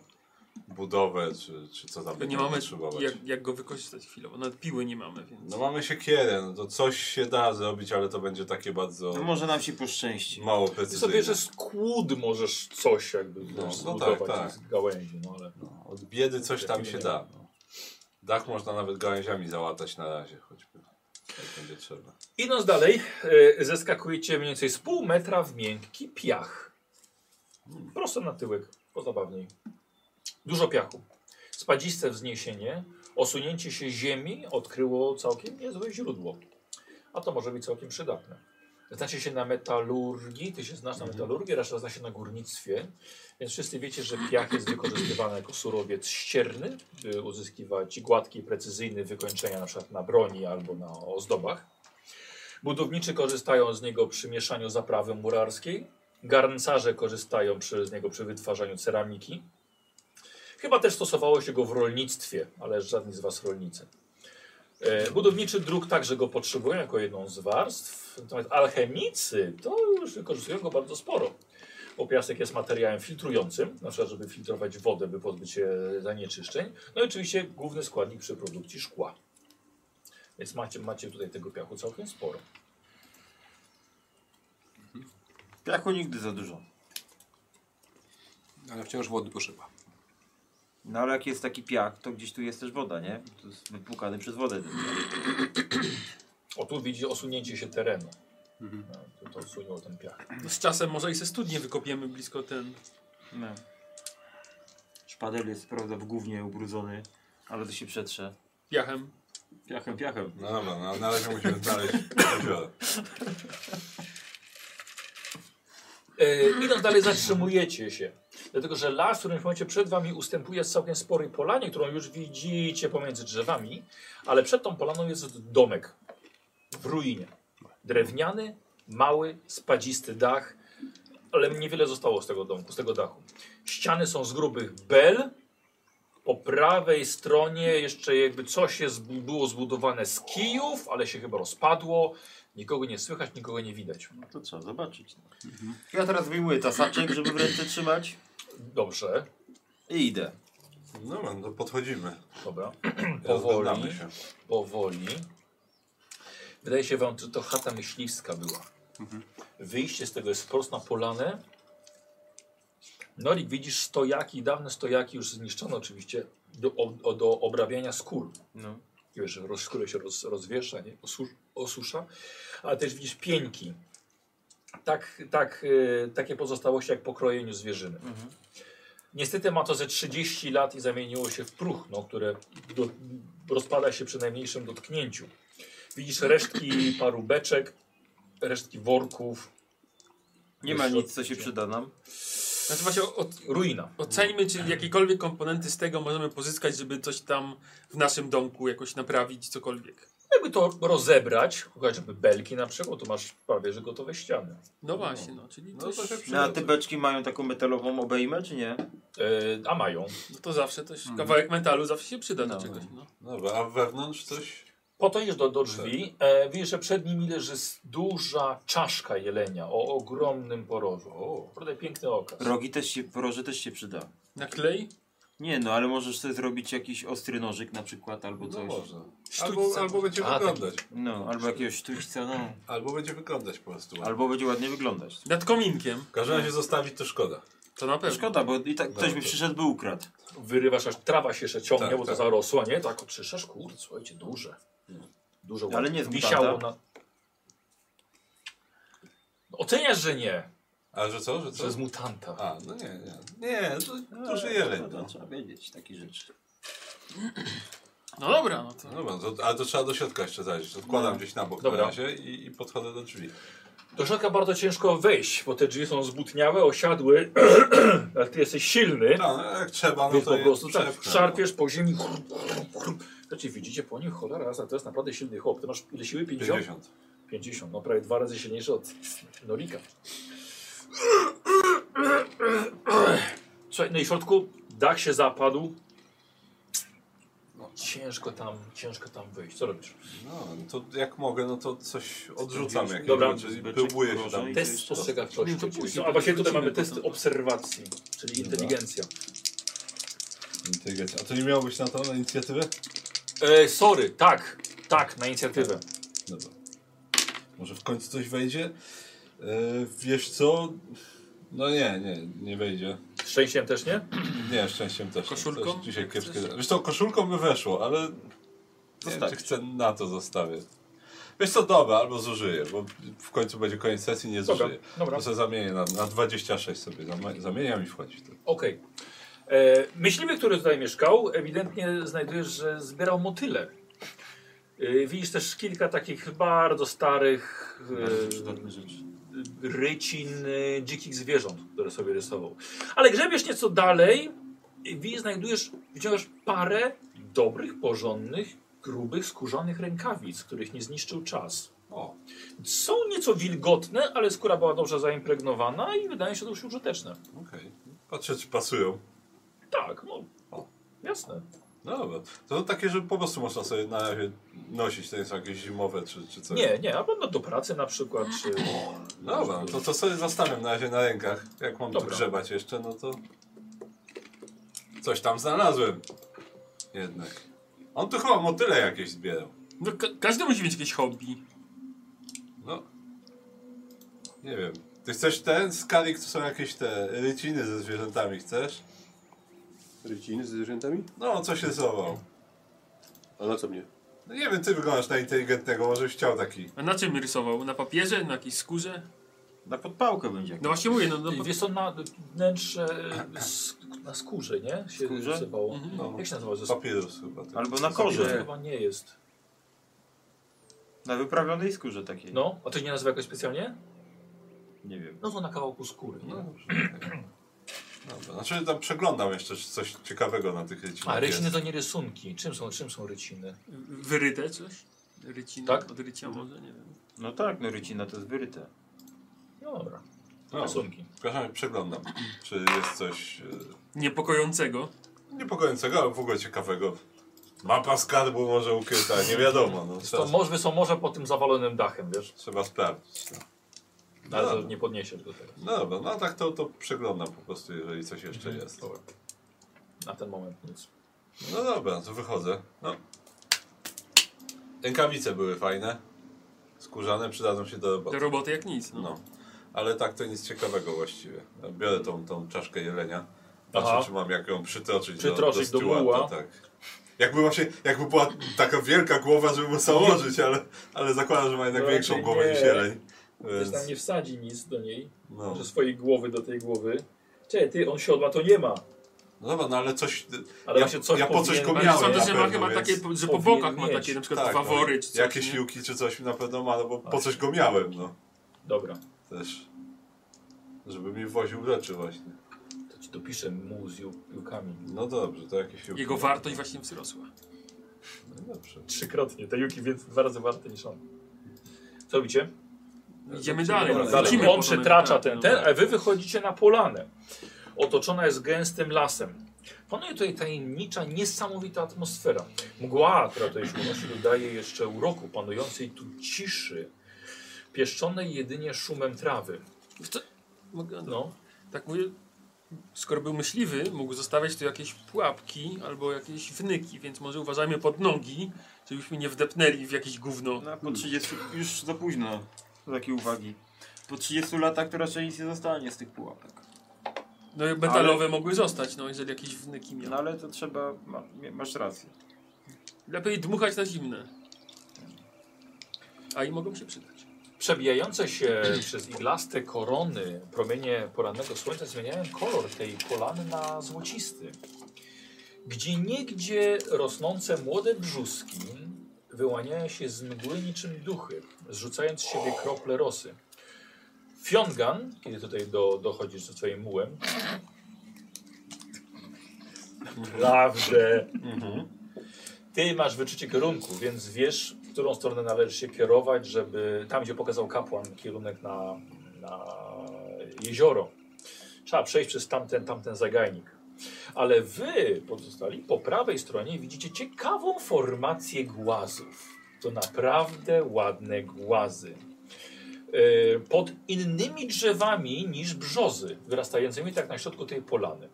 [SPEAKER 4] budowę czy, czy co tam
[SPEAKER 5] Tylko nie
[SPEAKER 4] będzie
[SPEAKER 5] mamy
[SPEAKER 4] potrzebować.
[SPEAKER 5] jak, jak go wykorzystać chwilowo. Nawet piły nie mamy, więc...
[SPEAKER 4] No mamy siekierę, no to coś się da zrobić, ale to będzie takie bardzo
[SPEAKER 2] No może nam się poszczęści.
[SPEAKER 4] mało
[SPEAKER 1] Ty
[SPEAKER 4] precyzyjne.
[SPEAKER 1] sobie, że z kłód możesz coś jakby
[SPEAKER 4] No,
[SPEAKER 1] no,
[SPEAKER 4] no
[SPEAKER 1] zbudować
[SPEAKER 4] tak, tak.
[SPEAKER 1] z gałęzi, no ale...
[SPEAKER 4] No, od biedy coś tam się da. No. Dach można nawet gałęziami załatać na razie, choćby. Jak będzie trzeba.
[SPEAKER 1] Idąc dalej, e, zeskakujecie mniej więcej z pół metra w miękki piach. Prosto na tyłek, pozabawniej. Dużo piachu. Spadziste wzniesienie, osunięcie się ziemi odkryło całkiem niezłe źródło. A to może być całkiem przydatne. Znacie się na metalurgii, ty się znasz na metalurgii, reszta zna się na górnictwie, więc wszyscy wiecie, że piach jest wykorzystywany jako surowiec ścierny, by uzyskiwać gładkie i precyzyjne wykończenia na przykład na broni albo na ozdobach. Budowniczy korzystają z niego przy mieszaniu zaprawy murarskiej. Garncarze korzystają przy, z niego przy wytwarzaniu ceramiki. Chyba też stosowało się go w rolnictwie, ale żadni z Was rolnicy. E, Budowniczy dróg także go potrzebują jako jedną z warstw. Natomiast alchemicy to już wykorzystują go bardzo sporo. Bo piasek jest materiałem filtrującym, na przykład żeby filtrować wodę, by pozbyć się zanieczyszczeń. No i oczywiście główny składnik przy produkcji szkła. Więc macie, macie tutaj tego piachu całkiem sporo.
[SPEAKER 2] Piachu nigdy za dużo.
[SPEAKER 3] Ale wciąż wody potrzeba.
[SPEAKER 2] No ale jak jest taki piach, to gdzieś tu jest też woda, nie? To jest wypłukany przez wodę. ten piach.
[SPEAKER 1] O tu widzi osunięcie się terenu. No, to, to osunęło ten piach.
[SPEAKER 5] No Z czasem może i se studnie wykopiemy blisko ten...
[SPEAKER 2] No. Szpadel jest prawda w gównie ubrudzony, ale to się przetrze.
[SPEAKER 5] Piachem.
[SPEAKER 2] Piachem, piachem.
[SPEAKER 4] No dobra, no, na razie musimy znaleźć jezioro.
[SPEAKER 1] E, idąc dalej zatrzymujecie się. Dlatego, że las, w którym momencie przed wami ustępuje z całkiem sporej polanie, którą już widzicie pomiędzy drzewami, ale przed tą polaną jest domek w ruinie. Drewniany, mały, spadzisty dach, ale niewiele zostało z tego domku, z tego dachu. Ściany są z grubych bel. Po prawej stronie jeszcze jakby coś jest, zbu- było zbudowane z kijów, ale się chyba rozpadło. Nikogo nie słychać, nikogo nie widać.
[SPEAKER 2] No to trzeba zobaczyć. Ja teraz wyjmuję tasaczek, żeby w ręce trzymać
[SPEAKER 1] Dobrze,
[SPEAKER 2] i idę.
[SPEAKER 10] No, no to podchodzimy.
[SPEAKER 1] dobra.
[SPEAKER 10] Rozglądamy
[SPEAKER 1] Powoli,
[SPEAKER 10] się.
[SPEAKER 1] powoli. Wydaje się wam, że to chata myśliwska była. Wyjście z tego jest wprost na polanę. Norik, widzisz stojaki, dawne stojaki już zniszczone oczywiście, do, o, o, do obrabiania skór.
[SPEAKER 2] No.
[SPEAKER 1] I Wiesz, roz, skóra się roz, rozwiesza, nie? Osu, osusza, ale też widzisz pięki. Tak, tak, y, takie pozostałości jak po krojeniu zwierzyny. Niestety ma to ze 30 lat i zamieniło się w próchno, które do, rozpada się przy najmniejszym dotknięciu. Widzisz resztki paru beczek, resztki worków,
[SPEAKER 2] Nie ma nic, co się przyda nam.
[SPEAKER 5] Znaczy właśnie od,
[SPEAKER 1] ruina.
[SPEAKER 5] oceńmy, czy jakiekolwiek komponenty z tego możemy pozyskać, żeby coś tam w naszym domku jakoś naprawić, cokolwiek.
[SPEAKER 1] Jakby to rozebrać, chociażby belki na przykład, to masz prawie że gotowe ściany.
[SPEAKER 5] No właśnie, no, czyli
[SPEAKER 4] No
[SPEAKER 5] coś,
[SPEAKER 4] to się
[SPEAKER 2] No, a
[SPEAKER 4] przyda.
[SPEAKER 2] te beczki mają taką metalową obejmę, czy nie?
[SPEAKER 1] Yy, a mają.
[SPEAKER 5] no to zawsze coś, kawałek metalu zawsze się przyda do czegoś, no.
[SPEAKER 4] Dobra, a wewnątrz coś?
[SPEAKER 1] Po to iż do, do drzwi. E, widzisz, że przed nimi leży s- duża czaszka jelenia o ogromnym porożu. O, naprawdę piękny okaz.
[SPEAKER 2] Rogi też się, poroże też się przyda.
[SPEAKER 5] Na klej?
[SPEAKER 2] Nie no, ale możesz sobie zrobić jakiś ostry nożyk na przykład, albo
[SPEAKER 4] No
[SPEAKER 2] coś.
[SPEAKER 4] można. Albo,
[SPEAKER 5] Sztućce.
[SPEAKER 4] albo będzie
[SPEAKER 1] A,
[SPEAKER 4] wyglądać.
[SPEAKER 2] No, albo jakiegoś sztućca, no.
[SPEAKER 4] Albo będzie wyglądać po prostu.
[SPEAKER 2] Albo będzie ładnie wyglądać.
[SPEAKER 5] Nad kominkiem,
[SPEAKER 4] W każdym razie zostawić to szkoda.
[SPEAKER 5] to na pewno.
[SPEAKER 2] Szkoda, bo i tak ktoś by
[SPEAKER 4] to-
[SPEAKER 2] przyszedł, by ukradł.
[SPEAKER 1] Wyrywasz, aż trawa się jeszcze ciągnie,
[SPEAKER 4] Tak,
[SPEAKER 1] bo
[SPEAKER 4] tak.
[SPEAKER 1] to zarosła, nie? Tak, otrzyszasz, kurde, słuchajcie, duże. Dużo
[SPEAKER 2] Ale nie jest
[SPEAKER 1] wisiało
[SPEAKER 2] mutanta.
[SPEAKER 1] na... No, Oceniasz, że nie,
[SPEAKER 4] A że co? Że co?
[SPEAKER 1] że z mutanta.
[SPEAKER 4] A, no nie, nie. Nie, to duży jeleń.
[SPEAKER 2] Trzeba,
[SPEAKER 4] No.
[SPEAKER 2] trzeba wiedzieć takie rzeczy.
[SPEAKER 5] No dobra, no to...
[SPEAKER 4] No Dobra, to, ale to trzeba do środka jeszcze zajrzeć. Odkładam gdzieś na bok
[SPEAKER 1] No. Dobra.
[SPEAKER 4] na razie i, i podchodzę do drzwi.
[SPEAKER 1] Do środka bardzo ciężko wejść, bo te drzwi są zbutniałe, osiadłe, ale ty jesteś silny.
[SPEAKER 4] No, no jak trzeba, no
[SPEAKER 1] Więc
[SPEAKER 4] to
[SPEAKER 1] po
[SPEAKER 4] je
[SPEAKER 1] prostu tak,
[SPEAKER 4] przepchnę. no.
[SPEAKER 1] szarpiesz po ziemi. chrup, chrup, chrup. Znaczy widzicie po nim, cholera jasna, to jest naprawdę silny chłop. Ty masz ile siły? 50? 50,
[SPEAKER 4] 50.
[SPEAKER 1] no prawie dwa razy silniejszy od Norika. Słuchaj, no i w środku dach się zapadł. No, ciężko tam, ciężko tam wyjść. Co robisz?
[SPEAKER 4] No, to jak mogę, no to coś odrzucam jakieś
[SPEAKER 1] Dobra.
[SPEAKER 4] rzeczy i próbuję się tam...
[SPEAKER 2] Dobra.
[SPEAKER 1] Test
[SPEAKER 5] Nie, to
[SPEAKER 1] spostrzegawczości. No,
[SPEAKER 5] później,
[SPEAKER 1] a właśnie
[SPEAKER 5] to No
[SPEAKER 1] tutaj
[SPEAKER 5] tak.
[SPEAKER 1] mamy
[SPEAKER 5] wrócimy
[SPEAKER 1] test
[SPEAKER 5] potem.
[SPEAKER 1] obserwacji, czyli inteligencja.
[SPEAKER 4] Inteligencja. A to nie miało być na to, na inicjatywę?
[SPEAKER 1] E, sorry, tak, tak, na inicjatywę.
[SPEAKER 4] Dobra. Może w końcu coś wejdzie? E, wiesz co? No nie, nie, nie wejdzie.
[SPEAKER 1] Szczęściem też nie?
[SPEAKER 4] Nie, szczęściem też. nie.
[SPEAKER 5] Koszulką?
[SPEAKER 4] Coś Dzisiaj kiepskie. Wiesz co, koszulką by weszło, ale nie wiem,
[SPEAKER 2] Zostawić.
[SPEAKER 4] czy chcę na to zostawię. Wiesz co, dobra, albo zużyję, bo w końcu będzie koniec sesji, nie
[SPEAKER 1] Dobra,
[SPEAKER 4] zużyję.
[SPEAKER 1] dobra.
[SPEAKER 4] To sobie zamienię na, na 26 sobie, zama- zamieniam i wchodzi w to.
[SPEAKER 1] Okej. E, Myśliwy, który tutaj mieszkał, ewidentnie znajdujesz, że zbierał motyle. E, Widzisz też kilka takich bardzo starych
[SPEAKER 2] Bardzo przydatne rzeczy.
[SPEAKER 1] e, rycin e, dzikich zwierząt, które sobie rysował. Ale grzebiesz nieco dalej i widzisz, znajdujesz, widziałeś parę dobrych, porządnych, grubych, skórzanych rękawic, których nie zniszczył czas.
[SPEAKER 4] O.
[SPEAKER 1] Są nieco wilgotne, ale skóra była dobrze zaimpregnowana i wydają się dość użyteczne.
[SPEAKER 4] Okej. Patrzę, czy pasują.
[SPEAKER 1] Tak, no.
[SPEAKER 4] O.
[SPEAKER 1] Jasne.
[SPEAKER 4] No dobra. To takie, że po prostu można sobie na razie nosić, to nie są jakieś zimowe czy, czy coś.
[SPEAKER 1] Nie, nie, albo no do pracy na przykład, czy...
[SPEAKER 4] Dobra, to, to sobie zostawiam na razie na rękach. Jak mam tu
[SPEAKER 1] Dobra.
[SPEAKER 4] grzebać jeszcze, no to... Coś tam znalazłem. Jednak. On tu chyba motyle jakieś zbierał.
[SPEAKER 5] No, ka każdy musi mieć jakieś hobby.
[SPEAKER 4] No. Nie wiem. Ty chcesz ten skalik, to są jakieś te ryciny ze zwierzętami, chcesz?
[SPEAKER 3] Ryciny z zwierzętami?
[SPEAKER 4] No, co się rysował?
[SPEAKER 3] A na co mnie?
[SPEAKER 4] No nie wiem, ty wyglądasz na inteligentnego, może byś chciał taki.
[SPEAKER 5] A na czym rysował? Na papierze? Na jakiejś skórze?
[SPEAKER 2] Na podpałkę będzie.
[SPEAKER 5] No właśnie mówię, no, no
[SPEAKER 1] No, wiesz co, na wnętrze, e, sk- na skórze, nie? Się
[SPEAKER 2] Skórze?
[SPEAKER 1] rysowało.
[SPEAKER 4] No,
[SPEAKER 1] Jak się nazywa? Ze skóry
[SPEAKER 4] papierus chyba. tak.
[SPEAKER 2] Albo na
[SPEAKER 1] to
[SPEAKER 2] korze.
[SPEAKER 1] chyba nie jest.
[SPEAKER 2] Na wyprawionej skórze takiej.
[SPEAKER 1] No, a to się nie nazywa jakoś specjalnie?
[SPEAKER 2] Nie wiem.
[SPEAKER 1] No to na kawałku skóry.
[SPEAKER 4] No
[SPEAKER 1] Nie?
[SPEAKER 4] dobrze. tak. Dobra, znaczy tam przeglądam jeszcze czy coś ciekawego na tych rycinach.
[SPEAKER 1] A ryciny
[SPEAKER 4] Tak jest.
[SPEAKER 1] to nie rysunki. Czym są, czym są ryciny?
[SPEAKER 5] wyryte coś? Rycina?
[SPEAKER 1] Tak?
[SPEAKER 5] Od rycia może, nie wiem.
[SPEAKER 2] No tak, no rycina to jest wyryte.
[SPEAKER 1] No dobra.
[SPEAKER 4] O,
[SPEAKER 1] rysunki.
[SPEAKER 4] przepraszam, przeglądam. Czy jest coś e,
[SPEAKER 5] Niepokojącego.
[SPEAKER 4] niepokojącego, ale w ogóle ciekawego? Mapa skarbu może ukryta, nie wiadomo. No,
[SPEAKER 1] To
[SPEAKER 4] trzeba,
[SPEAKER 1] możwy są może pod tym zawalonym dachem, wiesz?
[SPEAKER 4] trzeba sprawdzić.
[SPEAKER 1] Ale to
[SPEAKER 4] No.
[SPEAKER 1] nie podniesiesz do tego.
[SPEAKER 4] No dobra, no a tak to, to przeglądam po prostu, jeżeli coś jeszcze
[SPEAKER 1] Mhm.
[SPEAKER 4] jest.
[SPEAKER 1] Na ten moment nic.
[SPEAKER 4] No dobra, to wychodzę. No. Rękawice były fajne. Skórzane, przydadzą się do roboty.
[SPEAKER 5] Do roboty jak nic. No.
[SPEAKER 4] No. Ale tak to nic ciekawego właściwie. Biorę tą, tą czaszkę jelenia. Patrzę,
[SPEAKER 1] Aha.
[SPEAKER 4] czy mam jak ją przytoczyć,
[SPEAKER 1] Przytroczyć do
[SPEAKER 4] steward'a,
[SPEAKER 1] muła.
[SPEAKER 4] Tak. Jakby właśnie, jakby była taka wielka głowa, żeby mu założyć, ale, ale zakładam, że ma jednak
[SPEAKER 1] No
[SPEAKER 4] większą
[SPEAKER 1] raczej
[SPEAKER 4] głowę
[SPEAKER 1] nie.
[SPEAKER 4] niż jeleń.
[SPEAKER 1] Więc
[SPEAKER 4] Więc,
[SPEAKER 1] tam nie wsadzi nic do niej,
[SPEAKER 4] no.
[SPEAKER 1] ze swojej głowy do tej głowy. Czekaj, ty, on siodła to nie ma.
[SPEAKER 4] no dobra, no ale coś...
[SPEAKER 1] Ale
[SPEAKER 4] Ja-
[SPEAKER 1] właśnie coś
[SPEAKER 4] ja po coś
[SPEAKER 1] powinien-
[SPEAKER 4] go
[SPEAKER 5] Ale
[SPEAKER 4] miałem
[SPEAKER 5] sądzę, że
[SPEAKER 4] na
[SPEAKER 5] ma
[SPEAKER 4] pewno,
[SPEAKER 5] chyba
[SPEAKER 4] więc
[SPEAKER 5] takie, że po
[SPEAKER 1] powinien
[SPEAKER 5] bokach ma
[SPEAKER 1] mieć.
[SPEAKER 5] takie na przykład
[SPEAKER 4] Tak, no,
[SPEAKER 5] fawory czy coś.
[SPEAKER 4] jakieś
[SPEAKER 5] nie?
[SPEAKER 4] siłki czy coś na pewno ma, no bo po coś go miałem, no.
[SPEAKER 1] Dobra,
[SPEAKER 4] Też. Żeby mi woził rzeczy właśnie.
[SPEAKER 1] to ci dopiszę mu z ju- piłkami.
[SPEAKER 4] No dobrze, to jakieś siłki.
[SPEAKER 5] Jego wartość właśnie wzrosła.
[SPEAKER 4] No dobrze.
[SPEAKER 1] Trzykrotnie, te juki więc dwa razy warte niż on. Co robicie?
[SPEAKER 5] Idziemy dalej.
[SPEAKER 4] dalej.
[SPEAKER 5] wrócimy
[SPEAKER 4] Lecimy
[SPEAKER 1] Dalej.
[SPEAKER 5] po
[SPEAKER 1] On
[SPEAKER 5] moment,
[SPEAKER 1] przetracza
[SPEAKER 5] no, tak,
[SPEAKER 1] ten,
[SPEAKER 5] no.
[SPEAKER 1] ten, a wy wychodzicie na polanę. Otoczona jest gęstym lasem. Panuje tutaj tajemnicza, niesamowita atmosfera. Mgła, która tutaj się unosi, dodaje jeszcze uroku panującej tu ciszy, pieszczonej jedynie szumem trawy.
[SPEAKER 5] Co? Mogę-
[SPEAKER 1] No,
[SPEAKER 5] Tak mówię, skoro był myśliwy, mógł zostawiać tu jakieś pułapki albo jakieś wnyki, więc może uważajmy pod nogi, żebyśmy nie wdepnęli w jakieś gówno.
[SPEAKER 2] No, po 30, już za późno, takie uwagi. Po 30 latach to raczej nic nie zostanie z tych pułapek.
[SPEAKER 5] No i metalowe mogły zostać, no jeżeli jakieś wnyki miał.
[SPEAKER 2] No ale to trzeba, ma, mie- masz rację.
[SPEAKER 5] Lepiej dmuchać na zimne. A i mogą się przydać.
[SPEAKER 1] Przebijające się przez iglaste korony promienie porannego słońca zmieniają kolor tej polany na złocisty. Gdzie niegdzie rosnące młode brzuski wyłaniają się z mgły niczym duchy, zrzucając z siebie krople rosy. Fiongan, kiedy tutaj do, dochodzisz ze swoim mułem, naprawdę, ty masz wyczucie kierunku, więc wiesz, w którą stronę należy się kierować, żeby tam, gdzie pokazał kapłan, kierunek na, na jezioro. Trzeba przejść przez tamten, tamten zagajnik. Ale wy pozostali po prawej stronie widzicie ciekawą formację głazów. To naprawdę ładne głazy. Yy, Pod innymi drzewami niż brzozy, wyrastającymi tak na środku tej polany.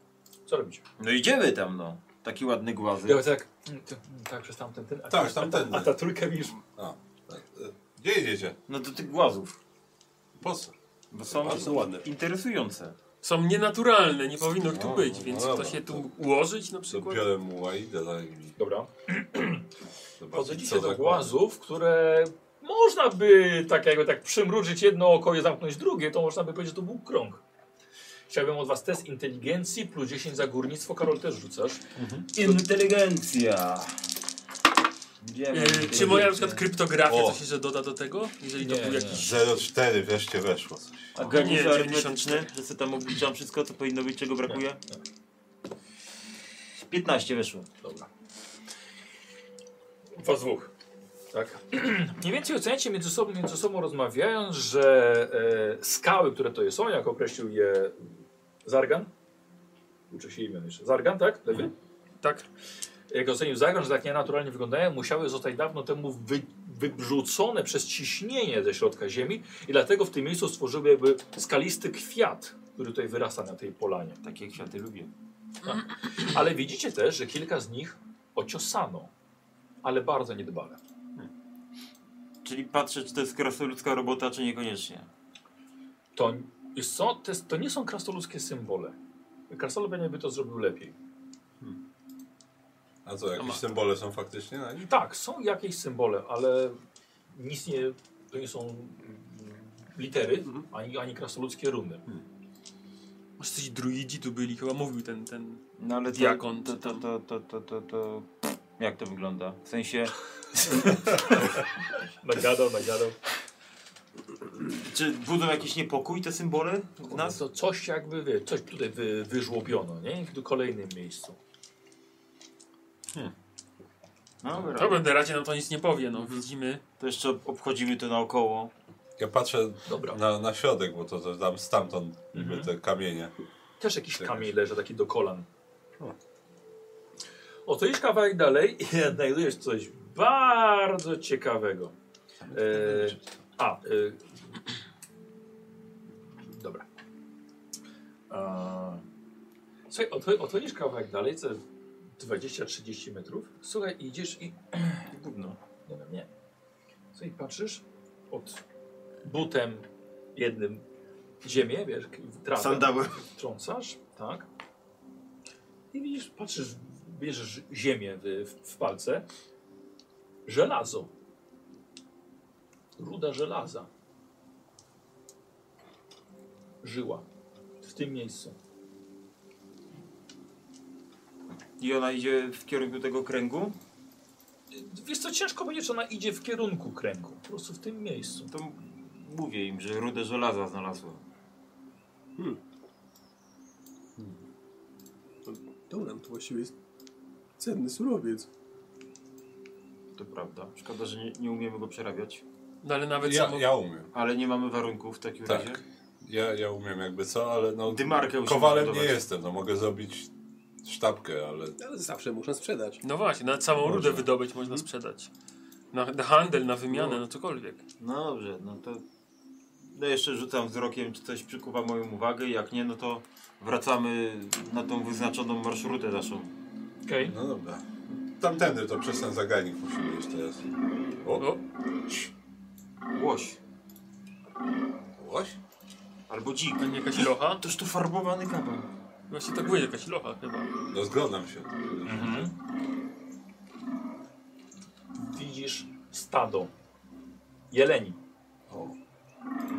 [SPEAKER 1] Co robicie?
[SPEAKER 2] No idziemy tam, no. Taki ładny głazy.
[SPEAKER 1] tak, tak przez tamten ten.
[SPEAKER 4] Tak, przez tamtędy.
[SPEAKER 1] A ta trójka widzisz.
[SPEAKER 4] Gdzie jedziecie?
[SPEAKER 2] No do tych głazów.
[SPEAKER 4] Po co?
[SPEAKER 2] Bo są
[SPEAKER 3] Bardzo ładne.
[SPEAKER 2] interesujące.
[SPEAKER 5] Są nienaturalne, nie powinno ich tu
[SPEAKER 4] No,
[SPEAKER 5] być,
[SPEAKER 4] no,
[SPEAKER 5] więc
[SPEAKER 4] no,
[SPEAKER 5] kto
[SPEAKER 4] no,
[SPEAKER 5] się
[SPEAKER 4] to-
[SPEAKER 5] tu ułożyć na
[SPEAKER 4] To
[SPEAKER 5] przykład?
[SPEAKER 4] biorę muła i idę za nimi.
[SPEAKER 1] Dobra.
[SPEAKER 4] Zobaczyć,
[SPEAKER 1] Podchodzicie
[SPEAKER 4] co
[SPEAKER 1] do
[SPEAKER 4] za
[SPEAKER 1] głazów, które można by tak jakby tak przymrużyć jedno oko i zamknąć drugie, to można by powiedzieć, że to był krąg. Chciałbym od was test inteligencji plus 10 za górnictwo. Karol też rzucasz.
[SPEAKER 2] Inteligencja. Idziemy.
[SPEAKER 5] Yy, czy moja na przykład kryptografia
[SPEAKER 4] O.
[SPEAKER 5] coś jeszcze doda do tego? Jeżeli
[SPEAKER 1] Nie,
[SPEAKER 5] to był
[SPEAKER 1] nie.
[SPEAKER 5] jakiś...
[SPEAKER 4] 0,4 wreszcie weszło coś.
[SPEAKER 2] A garnitur
[SPEAKER 5] Nie,
[SPEAKER 2] arytmetyczny, że sobie tam obliczam wszystko, co powinno być, czego brakuje? tak. 15 weszło.
[SPEAKER 1] Dobra. Was dwóch. Tak. Mniej więcej oceniacie między sobą, między sobą rozmawiając, że e, skały, które to są, jak określił je Zargan, uczy się imion jeszcze, Zargan, tak? Lewy?
[SPEAKER 5] Tak.
[SPEAKER 1] Jak ocenił Zargan, że tak nienaturalnie wyglądają, musiały zostać dawno temu wy, wybrzucone przez ciśnienie ze środka ziemi i dlatego w tym miejscu stworzyły jakby skalisty kwiat, który tutaj wyrasta na tej polanie.
[SPEAKER 2] Takie kwiaty lubię.
[SPEAKER 1] Ale widzicie też, że kilka z nich ociosano, ale bardzo niedbale.
[SPEAKER 2] Czyli patrzę, czy to jest krasnoludzka robota, czy niekoniecznie.
[SPEAKER 1] To, wiesz co, to, jest, to nie są krasnoludzkie symbole. Krasnolud pewnie by to zrobił lepiej.
[SPEAKER 4] A co, jakieś
[SPEAKER 5] ma-
[SPEAKER 4] symbole są faktycznie na
[SPEAKER 1] I
[SPEAKER 4] nich?
[SPEAKER 1] tak, są jakieś symbole, ale nic nie, to nie są mm, litery, ani, ani krasnoludzkie runy.
[SPEAKER 5] Może coś druidzi tu byli, chyba mówił ten, ten
[SPEAKER 2] No ale
[SPEAKER 5] to-
[SPEAKER 2] Diakon,
[SPEAKER 5] to-
[SPEAKER 2] to,
[SPEAKER 5] to-
[SPEAKER 2] to, to, to, to, to, to... Jak to wygląda? W sensie,
[SPEAKER 1] Nagadał, nagadał.
[SPEAKER 2] czy budzą jakiś niepokój te symbole w
[SPEAKER 1] Nas
[SPEAKER 2] nas?
[SPEAKER 1] to coś jakby, wie, coś tutaj wy, wyżłobiono, nie? W kolejnym miejscu.
[SPEAKER 2] No,
[SPEAKER 5] To będę raczej nam to nic nie powie, no widzimy.
[SPEAKER 2] to jeszcze obchodzimy to naokoło.
[SPEAKER 4] Ja patrzę
[SPEAKER 1] Dobra.
[SPEAKER 4] na, na środek, bo to, to tam stamtąd niby
[SPEAKER 1] Mhm.
[SPEAKER 4] te kamienie.
[SPEAKER 1] Też jakiś
[SPEAKER 4] Tak.
[SPEAKER 1] kamień leży, taki do kolan. Oto idziesz kawałek dalej i znajdujesz coś bardzo ciekawego. E, a, e, dobra. A, słuchaj, oto, oto idziesz kawałek dalej, co 20-30 metrów. Słuchaj, idziesz i...
[SPEAKER 2] Gówno.
[SPEAKER 1] Nie, no nie. Słuchaj, patrzysz od butem jednym ziemię, wiesz, k- trawę
[SPEAKER 2] Sandały.
[SPEAKER 1] trącasz, tak. I widzisz, patrzysz, bierzesz ziemię w, w, w palce. Żelazo. Ruda żelaza. Żyła. W tym miejscu.
[SPEAKER 2] I ona idzie w kierunku tego kręgu.
[SPEAKER 1] Y, Wiesz co, ciężko będzie, czy ona idzie w kierunku kręgu. Po prostu w tym miejscu.
[SPEAKER 2] To m- mówię im, że rudę żelaza znalazła.
[SPEAKER 3] To nam to właściwie jest cenny surowiec.
[SPEAKER 2] To prawda. Szkoda, że nie, nie umiemy go przerabiać.
[SPEAKER 5] No ale nawet
[SPEAKER 4] Ja,
[SPEAKER 5] samo...
[SPEAKER 4] ja umiem.
[SPEAKER 2] Ale nie mamy warunków w takim
[SPEAKER 4] Tak.
[SPEAKER 2] razie.
[SPEAKER 4] Ja, ja umiem jakby co, ale no
[SPEAKER 2] Dymarkę musimy
[SPEAKER 4] kowalem nie
[SPEAKER 2] zbudować.
[SPEAKER 4] jestem. No mogę zrobić sztabkę, ale
[SPEAKER 3] Ale zawsze można sprzedać.
[SPEAKER 5] No właśnie, nawet samą rudę
[SPEAKER 4] Można.
[SPEAKER 5] wydobyć
[SPEAKER 2] Mhm.
[SPEAKER 5] można sprzedać. Na, na handel, na wymianę, na cokolwiek.
[SPEAKER 2] No dobrze, no to... No jeszcze rzucam wzrokiem, czy coś przykuwa moją uwagę. Jak nie, no to wracamy na tą wyznaczoną marszrutę naszą.
[SPEAKER 5] Okej.
[SPEAKER 4] no dobra. Tamtędy to przez ten zagajnik musimy iść teraz. O,
[SPEAKER 5] O,
[SPEAKER 2] Łoś.
[SPEAKER 4] łoś?
[SPEAKER 2] Albo dzik.
[SPEAKER 5] a nie jakaś locha?
[SPEAKER 2] Toż to farbowany kaban.
[SPEAKER 5] Właśnie tak będzie jakaś locha chyba.
[SPEAKER 4] Rozglądam No, się.
[SPEAKER 1] Widzisz stado. Jeleni.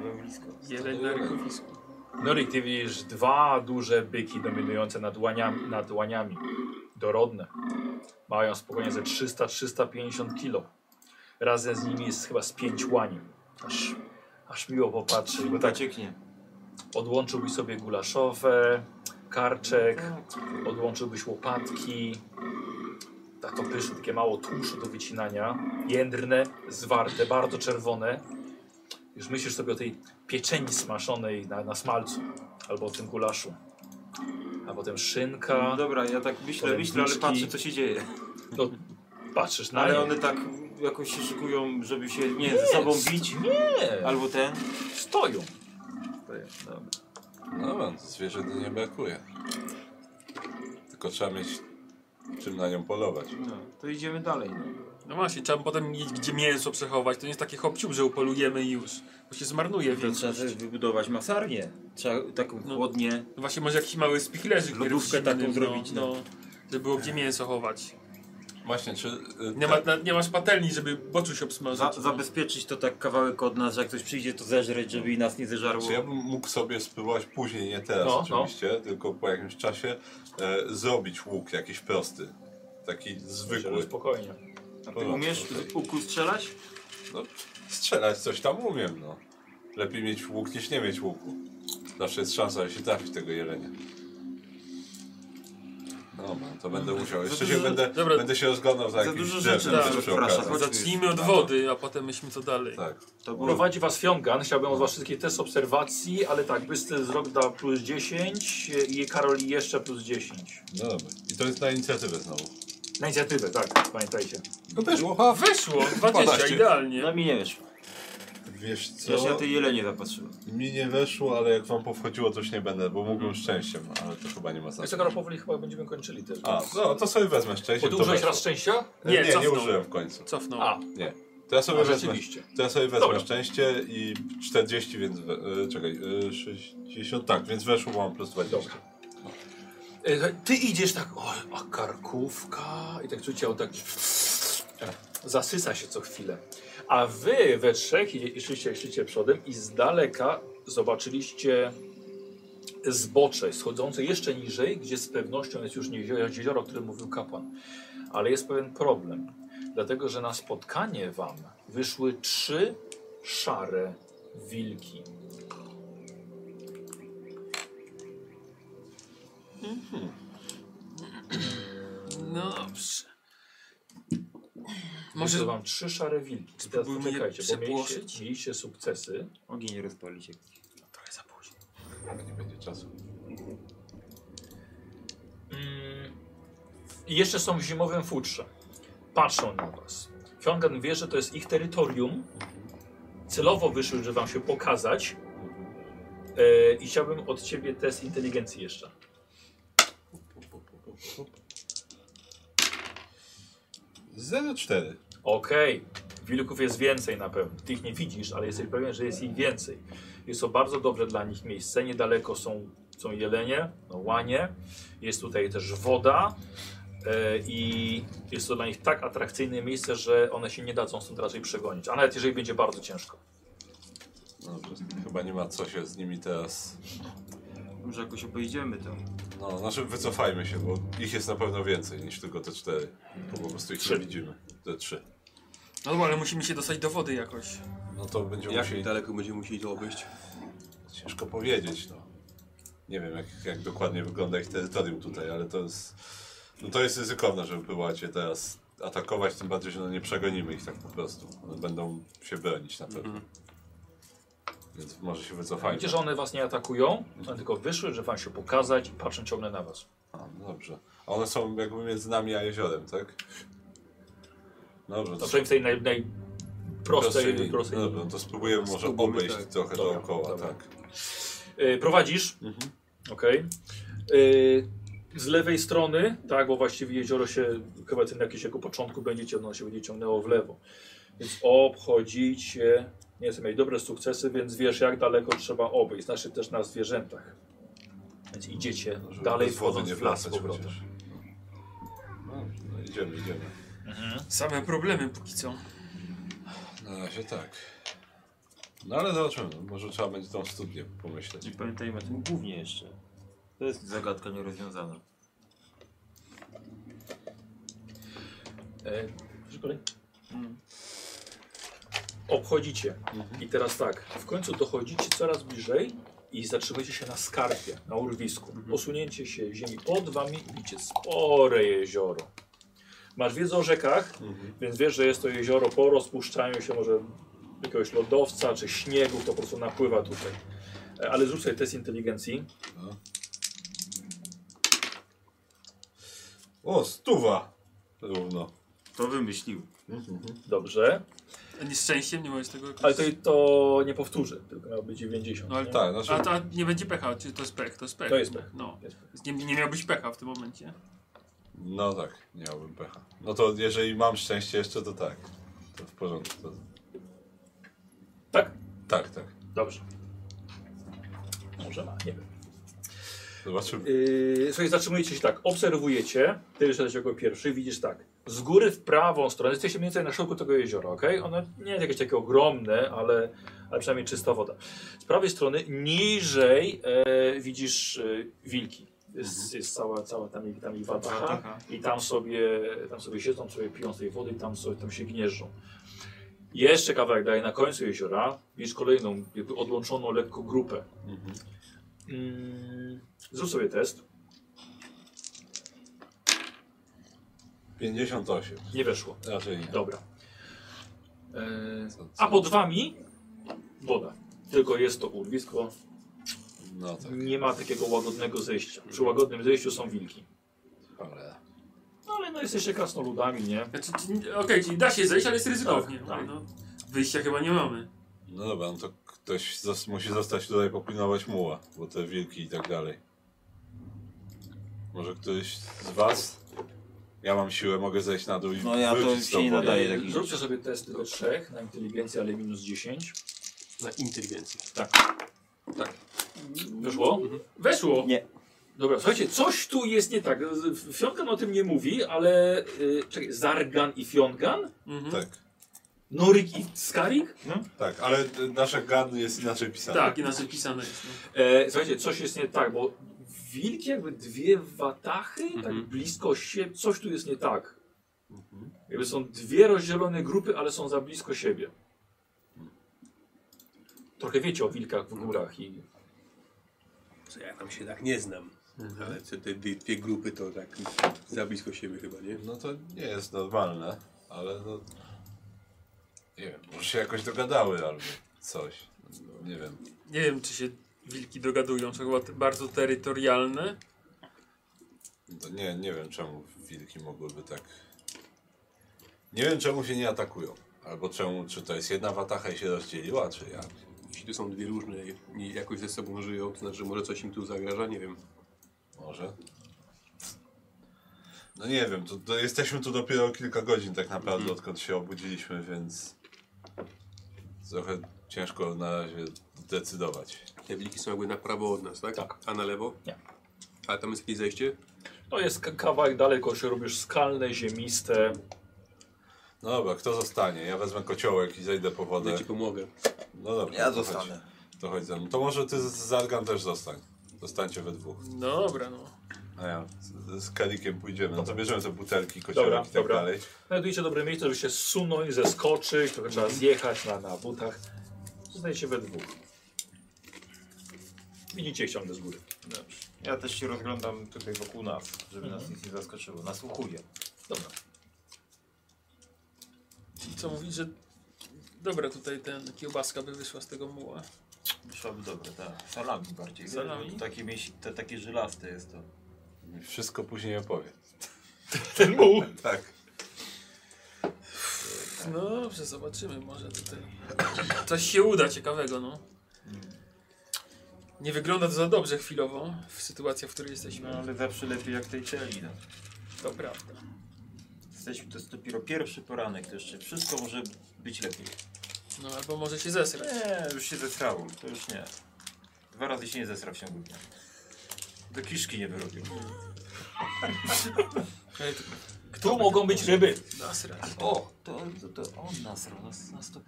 [SPEAKER 2] Byłem blisko.
[SPEAKER 5] Jeleń na rykowisku.
[SPEAKER 1] Norik, ty widzisz dwa duże byki dominujące nad łaniami, nad łaniami. Dorodne. Mają spokojnie ze 300-350 kilo. Razem z nimi jest chyba z pięć łani. Aż, aż miło popatrzeć, bo tak
[SPEAKER 2] Zacieknie.
[SPEAKER 1] odłączyłbyś sobie gulaszowe, karczek, odłączyłbyś łopatki. Tak to pyszne, takie mało tłuszczu do wycinania. Jędrne, zwarte, bardzo czerwone. Już myślisz sobie o tej pieczeni smażonej na, na smalcu. Albo o tym gulaszu. A potem szynka.
[SPEAKER 2] No dobra, ja tak myślę,
[SPEAKER 1] Potem
[SPEAKER 2] myślę, ale
[SPEAKER 1] bliczki.
[SPEAKER 2] patrzę co się dzieje.
[SPEAKER 1] No, patrzysz na
[SPEAKER 2] Ale
[SPEAKER 1] nie.
[SPEAKER 2] one tak jakoś się szykują, żeby się nie ze sobą
[SPEAKER 1] st-
[SPEAKER 2] bić.
[SPEAKER 1] Nie,
[SPEAKER 2] Albo ten.
[SPEAKER 1] stoją.
[SPEAKER 4] No wam zwierzę nie brakuje. Tylko trzeba mieć czym na nią polować.
[SPEAKER 2] No, to idziemy dalej.
[SPEAKER 5] No właśnie, trzeba by potem mieć gdzie mięso przechować. To nie jest takie hopciub, że upolujemy i już. Bo się zmarnuje
[SPEAKER 2] To
[SPEAKER 5] więc.
[SPEAKER 2] trzeba też wybudować masarnię. Trzeba taką
[SPEAKER 5] No.
[SPEAKER 2] chłodnię.
[SPEAKER 5] No właśnie może jakiś mały spichlerzyk
[SPEAKER 2] Lodówkę
[SPEAKER 5] pierścinny,
[SPEAKER 2] taką zrobić,
[SPEAKER 5] No,
[SPEAKER 2] no.
[SPEAKER 5] no, żeby było gdzie mięso chować.
[SPEAKER 4] Właśnie, czy... y,
[SPEAKER 5] Nie, ma, na, nie masz patelni, żeby boczuś obsmażyć.
[SPEAKER 2] Tak.
[SPEAKER 5] no.
[SPEAKER 2] Za, zabezpieczyć to tak kawałek od nas, że jak ktoś przyjdzie to zeżreć, żeby i nas nie zeżarło.
[SPEAKER 4] Czy ja bym mógł sobie spróbować później, nie teraz
[SPEAKER 1] No,
[SPEAKER 4] oczywiście, tylko po jakimś czasie, e, zrobić łuk jakiś prosty. Taki
[SPEAKER 1] Żeby
[SPEAKER 4] zwykły.
[SPEAKER 1] Spokojnie.
[SPEAKER 2] A ty umiesz z łuku strzelać?
[SPEAKER 4] No, strzelać coś tam umiem, no. Lepiej mieć łuk niż nie mieć łuku. Zawsze jest szansa, że się trafi tego jelenia. No, man, to będę musiał. Jeszcze się
[SPEAKER 2] dużo-
[SPEAKER 4] będę,
[SPEAKER 5] dobra.
[SPEAKER 4] będę się rozglądał za,
[SPEAKER 2] za
[SPEAKER 4] jakimś
[SPEAKER 2] dużo
[SPEAKER 4] drzewem,
[SPEAKER 2] rzeczy
[SPEAKER 4] też
[SPEAKER 5] nam
[SPEAKER 4] przy
[SPEAKER 2] rozprasza.
[SPEAKER 4] okazji.
[SPEAKER 5] Zacznijmy
[SPEAKER 2] Tak.
[SPEAKER 5] od wody, a potem myślmy co dalej.
[SPEAKER 4] Tak.
[SPEAKER 2] To było...
[SPEAKER 1] Prowadzi was Fiongan. Chciałbym od was wszystkich test obserwacji, ale tak, bysty wzrok da plus 10 i Karoli jeszcze plus 10.
[SPEAKER 4] No dobra. I to jest na inicjatywę znowu.
[SPEAKER 1] Na inicjatywę, tak, pamiętajcie.
[SPEAKER 4] No też łocha.
[SPEAKER 5] Wyszło! 20,
[SPEAKER 4] 12.
[SPEAKER 2] No
[SPEAKER 5] idealnie.
[SPEAKER 2] mi nie wiesz.
[SPEAKER 4] Wiesz co?
[SPEAKER 2] Ja się na te jelenie zapatrzyłem.
[SPEAKER 4] Mi nie weszło, ale jak wam powchodziło, coś nie będę, bo mógłbym szczęściem, ale to chyba nie ma
[SPEAKER 1] Wiesz,
[SPEAKER 4] sensu.
[SPEAKER 1] Karol, powoli chyba będziemy kończyli też.
[SPEAKER 4] A, no to sobie wezmę szczęście. to
[SPEAKER 1] Podłużyłeś
[SPEAKER 4] weszło.
[SPEAKER 1] raz szczęścia?
[SPEAKER 5] Nie,
[SPEAKER 4] nie, nie
[SPEAKER 5] cofnął.
[SPEAKER 4] użyłem w końcu.
[SPEAKER 5] Cofnął.
[SPEAKER 1] A,
[SPEAKER 4] Nie. To ja sobie
[SPEAKER 1] a
[SPEAKER 4] wezmę.
[SPEAKER 1] rzeczywiście.
[SPEAKER 4] To ja sobie wezmę
[SPEAKER 1] Dobra.
[SPEAKER 4] szczęście i 40, więc. We, e, czekaj, e, 60. Tak, więc weszło mam plus 20.
[SPEAKER 1] Dobra. E, słuchaj, Ty idziesz tak, o, a karkówka i tak czucie, o tak zasysa się co chwilę. A wy we trzech idzie- szliście, szliście przodem i z daleka zobaczyliście zbocze schodzące jeszcze niżej, gdzie z pewnością jest już nie jezioro, jezioro o którym mówił kapłan. Ale jest pewien problem, dlatego że na spotkanie wam wyszły trzy szare wilki.
[SPEAKER 5] No dobrze.
[SPEAKER 1] Może
[SPEAKER 5] Może...
[SPEAKER 1] wam trzy szare wilki. I Teraz
[SPEAKER 5] Spróbujmy je
[SPEAKER 1] poczekajcie, bo
[SPEAKER 5] przepłoszyć?
[SPEAKER 1] mieliście, mieliście sukcesy.
[SPEAKER 2] Ogień rozpali się.
[SPEAKER 5] Trochę za późno.
[SPEAKER 4] Nie będzie czasu.
[SPEAKER 1] Mm, I jeszcze są w zimowym futrze. Patrzą na was. Fiongan wie, że to jest ich terytorium. Celowo wyszły, żeby wam się pokazać.
[SPEAKER 5] Mhm.
[SPEAKER 1] E, I chciałbym od ciebie test inteligencji jeszcze.
[SPEAKER 4] Zero cztery.
[SPEAKER 1] Okej, wilków jest więcej na pewno. Ty ich nie widzisz, ale jesteś pewien, że jest ich więcej. Jest to bardzo dobre dla nich miejsce. Niedaleko są, są jelenie, no, łanie. Jest tutaj też woda. E, I jest to dla nich tak atrakcyjne miejsce, że one się nie dadzą stąd raczej przegonić. A nawet jeżeli będzie bardzo ciężko.
[SPEAKER 4] No, to chyba nie ma co się z nimi teraz.
[SPEAKER 2] Może jakoś obejdziemy tam.
[SPEAKER 4] No, znaczy wycofajmy się, bo ich jest na pewno więcej niż tylko te cztery. Bo po prostu ich
[SPEAKER 1] Trzy.
[SPEAKER 4] nie widzimy. Te trzy.
[SPEAKER 5] No dobra, ale musimy się dostać do wody jakoś.
[SPEAKER 4] No to będziemy
[SPEAKER 2] Jak
[SPEAKER 4] musieli.
[SPEAKER 3] Daleko będziemy musieli to obejść.
[SPEAKER 4] Ciężko powiedzieć, no. Nie wiem, jak, jak dokładnie wygląda ich terytorium tutaj, ale to jest... No to jest ryzykowne, żeby próbować je teraz atakować, tym bardziej, że no nie przegonimy ich tak po prostu. One będą się bronić na pewno. Więc może się wycofajmy.
[SPEAKER 1] Widzicie, Mhm. że one was nie atakują, one tylko wyszły, żeby wam się pokazać i patrzą ciągle na was.
[SPEAKER 4] A, no dobrze. A one są jakby między nami a jeziorem, tak? Dobrze,
[SPEAKER 1] No
[SPEAKER 4] to
[SPEAKER 1] przynajmniej w tej naj, najprostej
[SPEAKER 4] linii.
[SPEAKER 1] prostej
[SPEAKER 4] Dobra, no to spróbujemy może
[SPEAKER 3] Spróbujmy,
[SPEAKER 4] obejść
[SPEAKER 3] tak.
[SPEAKER 4] trochę
[SPEAKER 1] Dobra,
[SPEAKER 4] dookoła,
[SPEAKER 1] dobra.
[SPEAKER 4] tak.
[SPEAKER 1] E, prowadzisz.
[SPEAKER 4] Mhm.
[SPEAKER 1] Okej. E, Z lewej strony, tak, bo właściwie jezioro się chyba ten jakieś jako początku będzie ciągnął, ono się będzie ciągnęło w lewo. Więc obchodzicie. Nie jestem mieli dobre sukcesy, więc wiesz jak daleko trzeba obejść. Znaczy też na zwierzętach. Więc idziecie
[SPEAKER 4] Żeby
[SPEAKER 1] dalej
[SPEAKER 4] bez wody
[SPEAKER 1] wchodząc w las z
[SPEAKER 4] wracać
[SPEAKER 1] powrotem.
[SPEAKER 4] chociaż. No, no idziemy, idziemy.
[SPEAKER 5] Same problemy póki co.
[SPEAKER 4] Na razie tak. No ale zobaczymy, no, może trzeba będzie tą studnię pomyśleć.
[SPEAKER 2] I pamiętajmy o tym głównie jeszcze. To jest zagadka nierozwiązana.
[SPEAKER 1] E, proszę kolej. Obchodzicie.
[SPEAKER 5] Mhm.
[SPEAKER 1] I teraz tak, w końcu dochodzicie coraz bliżej i zatrzymujecie się na skarpie, na urwisku.
[SPEAKER 5] Mhm.
[SPEAKER 1] Posunięcie się ziemi pod wami, widzicie spore jezioro. Masz wiedzę o rzekach,
[SPEAKER 5] Mhm.
[SPEAKER 1] więc wiesz, że jest to jezioro po rozpuszczaniu się może jakiegoś lodowca czy śniegu, to po prostu napływa tutaj. E, Ale zrób sobie test inteligencji.
[SPEAKER 4] O, stuwa! Równo.
[SPEAKER 2] To wymyślił.
[SPEAKER 1] Dobrze.
[SPEAKER 5] A nieszczęściem nie możesz tego jakoś...
[SPEAKER 1] Ale to, to nie powtórzy, tylko miał być 90.
[SPEAKER 5] No ale
[SPEAKER 1] nie?
[SPEAKER 4] Tak, znaczy...
[SPEAKER 5] A to nie będzie pecha, czy to jest pech, to jest pech.
[SPEAKER 1] To jest pech.
[SPEAKER 5] No. Nie, nie miałbyś pecha w tym momencie.
[SPEAKER 4] No tak, nie miałbym pecha. No to jeżeli mam szczęście jeszcze, to tak. To w porządku. To...
[SPEAKER 1] Tak?
[SPEAKER 4] Tak, tak.
[SPEAKER 1] Dobrze. Może ma, nie wiem.
[SPEAKER 4] Zobaczymy.
[SPEAKER 1] Yy, słuchaj, zatrzymujecie się tak, obserwujecie, ty jesteś jako pierwszy, widzisz tak, z góry w prawą stronę, jesteście mniej więcej na środku tego jeziora, ok? Ono nie jest jakieś takie ogromne, ale, ale przynajmniej czysta woda. Z prawej strony niżej e, widzisz e, wilki. Jest, jest cała, cała tam, ich- tam ich watacha
[SPEAKER 2] watacha.
[SPEAKER 1] i tam sobie, tam sobie siedzą, sobie piją z tej wody i tam, sobie, tam się gnieżdżą. Jeszcze kawałek dalej na końcu jeziora widzisz kolejną, jakby odłączoną lekko grupę.
[SPEAKER 2] Mhm.
[SPEAKER 1] Mm, zrób sobie test.
[SPEAKER 4] 58.
[SPEAKER 1] Nie weszło.
[SPEAKER 4] Raczej nie.
[SPEAKER 1] Dobra. E,
[SPEAKER 4] Co- co-
[SPEAKER 1] a pod wami woda. Tylko jest to urwisko.
[SPEAKER 4] No tak,
[SPEAKER 1] Nie ma takiego łagodnego zejścia.
[SPEAKER 2] Mhm.
[SPEAKER 1] Przy łagodnym zejściu są wilki.
[SPEAKER 4] cholera.
[SPEAKER 1] No ale no jesteście krasnoludami, nie?
[SPEAKER 5] Znaczy, czy- Okej, czyli da się zejść, ale jest ryzykownie.
[SPEAKER 1] Tak,
[SPEAKER 5] no,
[SPEAKER 1] tak.
[SPEAKER 5] No, wyjścia chyba nie mamy.
[SPEAKER 4] No dobra, no to ktoś zos- musi zostać tutaj popilnować muła, bo te wilki i tak dalej. Może któryś z was? Ja mam siłę, mogę zejść na dół i
[SPEAKER 2] No ja to
[SPEAKER 4] wrócić z
[SPEAKER 2] się nie
[SPEAKER 4] tobą.
[SPEAKER 2] nadaje. Daję taki-
[SPEAKER 1] E, Zróbcie sobie test tylko trzech na inteligencję, ale minus 10.
[SPEAKER 3] Na inteligencję.
[SPEAKER 1] Wyszło?
[SPEAKER 5] Weszło!
[SPEAKER 2] Nie.
[SPEAKER 1] Dobra, słuchajcie, coś tu jest nie tak. Z- Fiongan o tym nie mówi, ale... y, czekaj, Zargan i Fiongan?
[SPEAKER 5] Mhm. Tak.
[SPEAKER 4] Tak,
[SPEAKER 1] Norik i Skarik?
[SPEAKER 4] tak, ale y, nasze gadny jest inaczej
[SPEAKER 1] Tak.
[SPEAKER 4] pisane.
[SPEAKER 5] inaczej pisane jest. No.
[SPEAKER 1] E, słuchajcie, coś jest nie tak, bo wilki jakby dwie watachy, tak blisko siebie, coś tu jest nie tak. Jakby są dwie rozdzielone grupy, ale są za blisko siebie. Trochę wiecie o wilkach w górach i
[SPEAKER 3] Co ja tam się tak nie znam. Ale te, te dwie dwie grupy to tak za blisko siebie chyba, nie?
[SPEAKER 4] No to nie jest normalne, ale no... Nie wiem, może się jakoś dogadały albo coś. No, Nie wiem.
[SPEAKER 5] Nie wiem, czy się wilki dogadują, są chyba te- bardzo terytorialne.
[SPEAKER 4] No nie, nie wiem czemu wilki mogłyby tak... Nie wiem czemu się nie atakują. Albo czemu, czy to jest jedna watacha i się rozdzieliła, czy jak.
[SPEAKER 3] Jeśli tu są dwie różne i jakoś ze sobą żyją, to znaczy, że może coś im tu zagraża, nie wiem.
[SPEAKER 4] Może. No nie wiem, to, to jesteśmy tu dopiero kilka godzin tak naprawdę,
[SPEAKER 2] Mhm.
[SPEAKER 4] odkąd się obudziliśmy, więc trochę ciężko na razie decydować.
[SPEAKER 3] Te wilki są jakby na prawo od nas, tak?
[SPEAKER 1] Tak.
[SPEAKER 3] A na lewo?
[SPEAKER 1] Nie.
[SPEAKER 3] A tam jest jakieś zejście?
[SPEAKER 1] To jest k- kawałek daleko, się robisz skalne, ziemiste.
[SPEAKER 4] No dobra, kto zostanie? Ja wezmę kociołek i zejdę po wodę.
[SPEAKER 3] Ja ci Znaczy pomogę.
[SPEAKER 4] No dobra.
[SPEAKER 2] Ja
[SPEAKER 4] to chodź.
[SPEAKER 2] zostanę.
[SPEAKER 4] To chodź ze mną. To może ty z Zargan też zostań. Zostańcie we dwóch.
[SPEAKER 5] No dobra, no.
[SPEAKER 4] A ja z, z Karikiem pójdziemy. No to bierzemy te butelki,
[SPEAKER 1] Dobra,
[SPEAKER 4] kociołek i tak
[SPEAKER 1] dobra.
[SPEAKER 4] dalej.
[SPEAKER 1] Znajdujcie dobre miejsce, żeby się zsunąć, zeskoczyć, trochę trzeba zjechać na, na butach. Zostajecie we dwóch. Widzicie, ściągnę z góry.
[SPEAKER 2] Dobrze. Ja też się rozglądam tutaj wokół nas, żeby nas nic nie zaskoczyło. Nasłuchuję.
[SPEAKER 1] Dobra.
[SPEAKER 5] Co mówić, że... Dobra, tutaj ten kiełbaska by wyszła z tego muła.
[SPEAKER 2] Szłaby dobre, tak. Salami bardziej.
[SPEAKER 5] Salami?
[SPEAKER 2] To Takie, mięsi- to takie żylaste jest to.
[SPEAKER 4] Wszystko później opowiem.
[SPEAKER 1] Ten muł.
[SPEAKER 4] Tak.
[SPEAKER 5] No dobrze, zobaczymy, może tutaj coś się uda ciekawego, no. Nie wygląda to za dobrze chwilowo, w sytuacji, w której
[SPEAKER 2] No
[SPEAKER 5] jesteśmy.
[SPEAKER 2] ale zawsze lepiej jak tej celi. No.
[SPEAKER 5] To prawda.
[SPEAKER 2] Jesteśmy, to jest dopiero pierwszy poranek, to jeszcze wszystko może być lepiej.
[SPEAKER 5] No albo może się zesrać.
[SPEAKER 2] Nie, już się zesrało, to już nie. Dwa razy się nie zesra w ciągu dnia. Do kiszki nie wyrobił.
[SPEAKER 5] Ej, to-
[SPEAKER 1] Tu mogą być ryby.
[SPEAKER 5] Nasrać.
[SPEAKER 2] O, to, to, to on nasrał nas na 100%.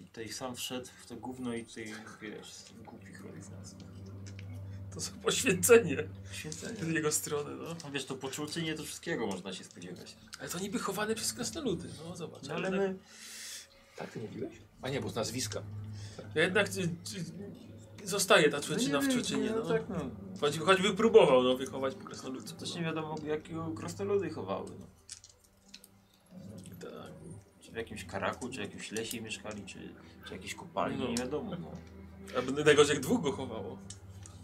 [SPEAKER 2] I tutaj sam wszedł w to gówno i tutaj, wiesz, głupich robi z nas.
[SPEAKER 5] To są poświęcenie
[SPEAKER 2] Święcenie.
[SPEAKER 5] z jego strony, no.
[SPEAKER 2] No wiesz, to poczucie to wszystkiego można się spodziewać.
[SPEAKER 5] Ale to niby chowane przez krasnoludy, no zobacz.
[SPEAKER 2] No, ale my...
[SPEAKER 1] Tak ty mówiłeś? A nie, bo z nazwiska.
[SPEAKER 5] Ja jednak y, y, zostaje ta
[SPEAKER 2] no
[SPEAKER 5] człoczyna
[SPEAKER 2] nie
[SPEAKER 5] w
[SPEAKER 2] wiem,
[SPEAKER 5] człoczynie,
[SPEAKER 2] no.
[SPEAKER 5] no.
[SPEAKER 2] tak, no.
[SPEAKER 5] Choćby, choćby próbował, no, wychować po krasnoludce.
[SPEAKER 2] Też
[SPEAKER 5] No.
[SPEAKER 2] nie wiadomo, jakiego krasnoludy chowały. No.
[SPEAKER 5] Tak.
[SPEAKER 2] Czy w jakimś karaku, czy w jakimś lesie mieszkali, czy, czy jakiejś kopalni,
[SPEAKER 5] No.
[SPEAKER 2] nie wiadomo. No.
[SPEAKER 5] Albo najgorzej jak dwóch go chowało.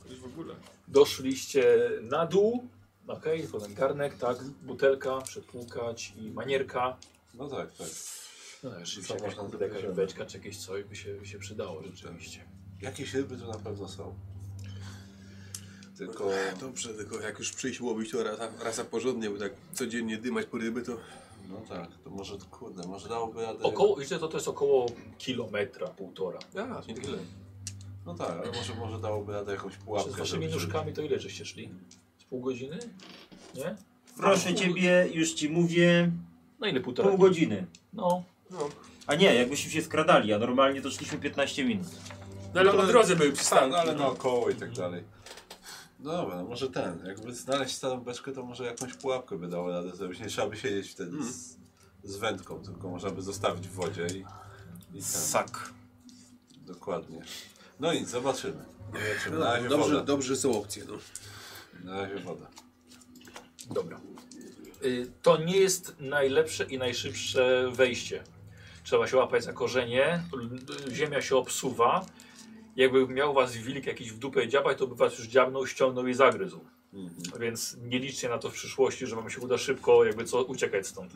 [SPEAKER 5] To już w ogóle.
[SPEAKER 1] Doszliście na dół. Okej, okay, potem garnek, tak, butelka, przepłukać i manierka.
[SPEAKER 4] No tak, tak.
[SPEAKER 1] No tak, rzeczywiście Tak.
[SPEAKER 4] Co
[SPEAKER 1] jakaś,
[SPEAKER 4] można
[SPEAKER 1] kurde, jakaś
[SPEAKER 4] zrobić?
[SPEAKER 1] rybeczka czy jakieś coś by się, by się przydało rzeczywiście.
[SPEAKER 4] Jakieś ryby tu na pewno są. Tylko...
[SPEAKER 3] Dobrze, tylko jak już przyjść łowić, to rasa, rasa porządnie, bo tak codziennie dymać po ryby, to
[SPEAKER 4] No tak, to może, kurde, może dałoby radę...
[SPEAKER 1] Około, wiecie, to, to jest około kilometra, półtora.
[SPEAKER 3] a, nie tyle.
[SPEAKER 4] No tak, ale może, może dałoby radę jakąś pułapkę.
[SPEAKER 1] Czy z waszymi
[SPEAKER 4] żeby-
[SPEAKER 1] nóżkami to ile żeście szli? Z pół godziny? Nie?
[SPEAKER 2] Proszę ciebie, już ci mówię,
[SPEAKER 1] No ile półtora?
[SPEAKER 2] pół godziny.
[SPEAKER 1] No,
[SPEAKER 2] A nie, jakbyśmy się skradali, a normalnie to szliśmy 15 minut.
[SPEAKER 5] No ale
[SPEAKER 4] No to-
[SPEAKER 5] po drodze były
[SPEAKER 4] Tak,
[SPEAKER 5] przystanki.
[SPEAKER 4] no, ale naokoło i tak dalej. No dobra, no może ten, jakby znaleźć starą beczkę, to może jakąś pułapkę by dało radę zrobić. Nie trzeba by siedzieć wtedy
[SPEAKER 1] Mm.
[SPEAKER 4] z, z wędką, tylko można by zostawić w wodzie i, i ten,
[SPEAKER 2] Sak.
[SPEAKER 4] dokładnie. No nic, zobaczymy. zobaczymy. Na razie
[SPEAKER 3] No, dobrze,
[SPEAKER 4] woda.
[SPEAKER 3] dobrze są opcje, no.
[SPEAKER 4] Na razie woda.
[SPEAKER 1] dobra. Y, To nie jest najlepsze i najszybsze wejście. Trzeba się łapać za korzenie, l- ziemia się obsuwa. Jakby miał was wilk jakiś w dupę dziabać, to by was już dziabnął, ściągnął i zagryzł.
[SPEAKER 5] Mhm.
[SPEAKER 1] Więc nie liczcie na to w przyszłości, że wam się uda szybko jakby co uciekać stąd.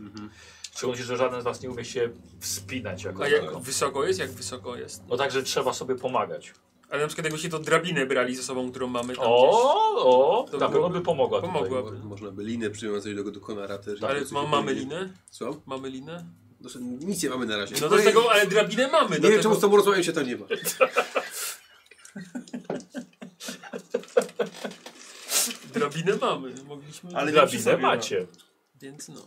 [SPEAKER 1] Szczególnie, że żaden z was nie umie się wspinać jako
[SPEAKER 5] Mhm. A
[SPEAKER 1] tako.
[SPEAKER 5] jak wysoko jest? Jak wysoko jest?
[SPEAKER 1] No także trzeba sobie pomagać.
[SPEAKER 5] Ale na przykład jakby się to drabinę brali ze sobą, którą mamy tam gdzieś.
[SPEAKER 1] O, o, na
[SPEAKER 5] To
[SPEAKER 1] pewno
[SPEAKER 5] byłoby-
[SPEAKER 1] by pomogła. tutaj.
[SPEAKER 5] Pomogłaby.
[SPEAKER 3] Mo- Można by linę przywiązać do, do konara też.
[SPEAKER 5] Tak. Ale
[SPEAKER 3] Coś
[SPEAKER 5] ma,
[SPEAKER 3] się
[SPEAKER 5] mamy
[SPEAKER 3] powinien-
[SPEAKER 5] linę?
[SPEAKER 3] Co?
[SPEAKER 5] Mamy linę?
[SPEAKER 3] No, nic nie mamy na razie.
[SPEAKER 5] No do tego, ale drabinę mamy. no
[SPEAKER 3] Nie
[SPEAKER 5] do
[SPEAKER 3] wiem,
[SPEAKER 5] tego.
[SPEAKER 3] czemu z tobą rozmawiam się tam nie ma.
[SPEAKER 5] Drabinę mamy. Mogliśmy...
[SPEAKER 2] Ale nie przy
[SPEAKER 1] Drabinę
[SPEAKER 2] sobie, no.
[SPEAKER 1] macie.
[SPEAKER 5] Więc no.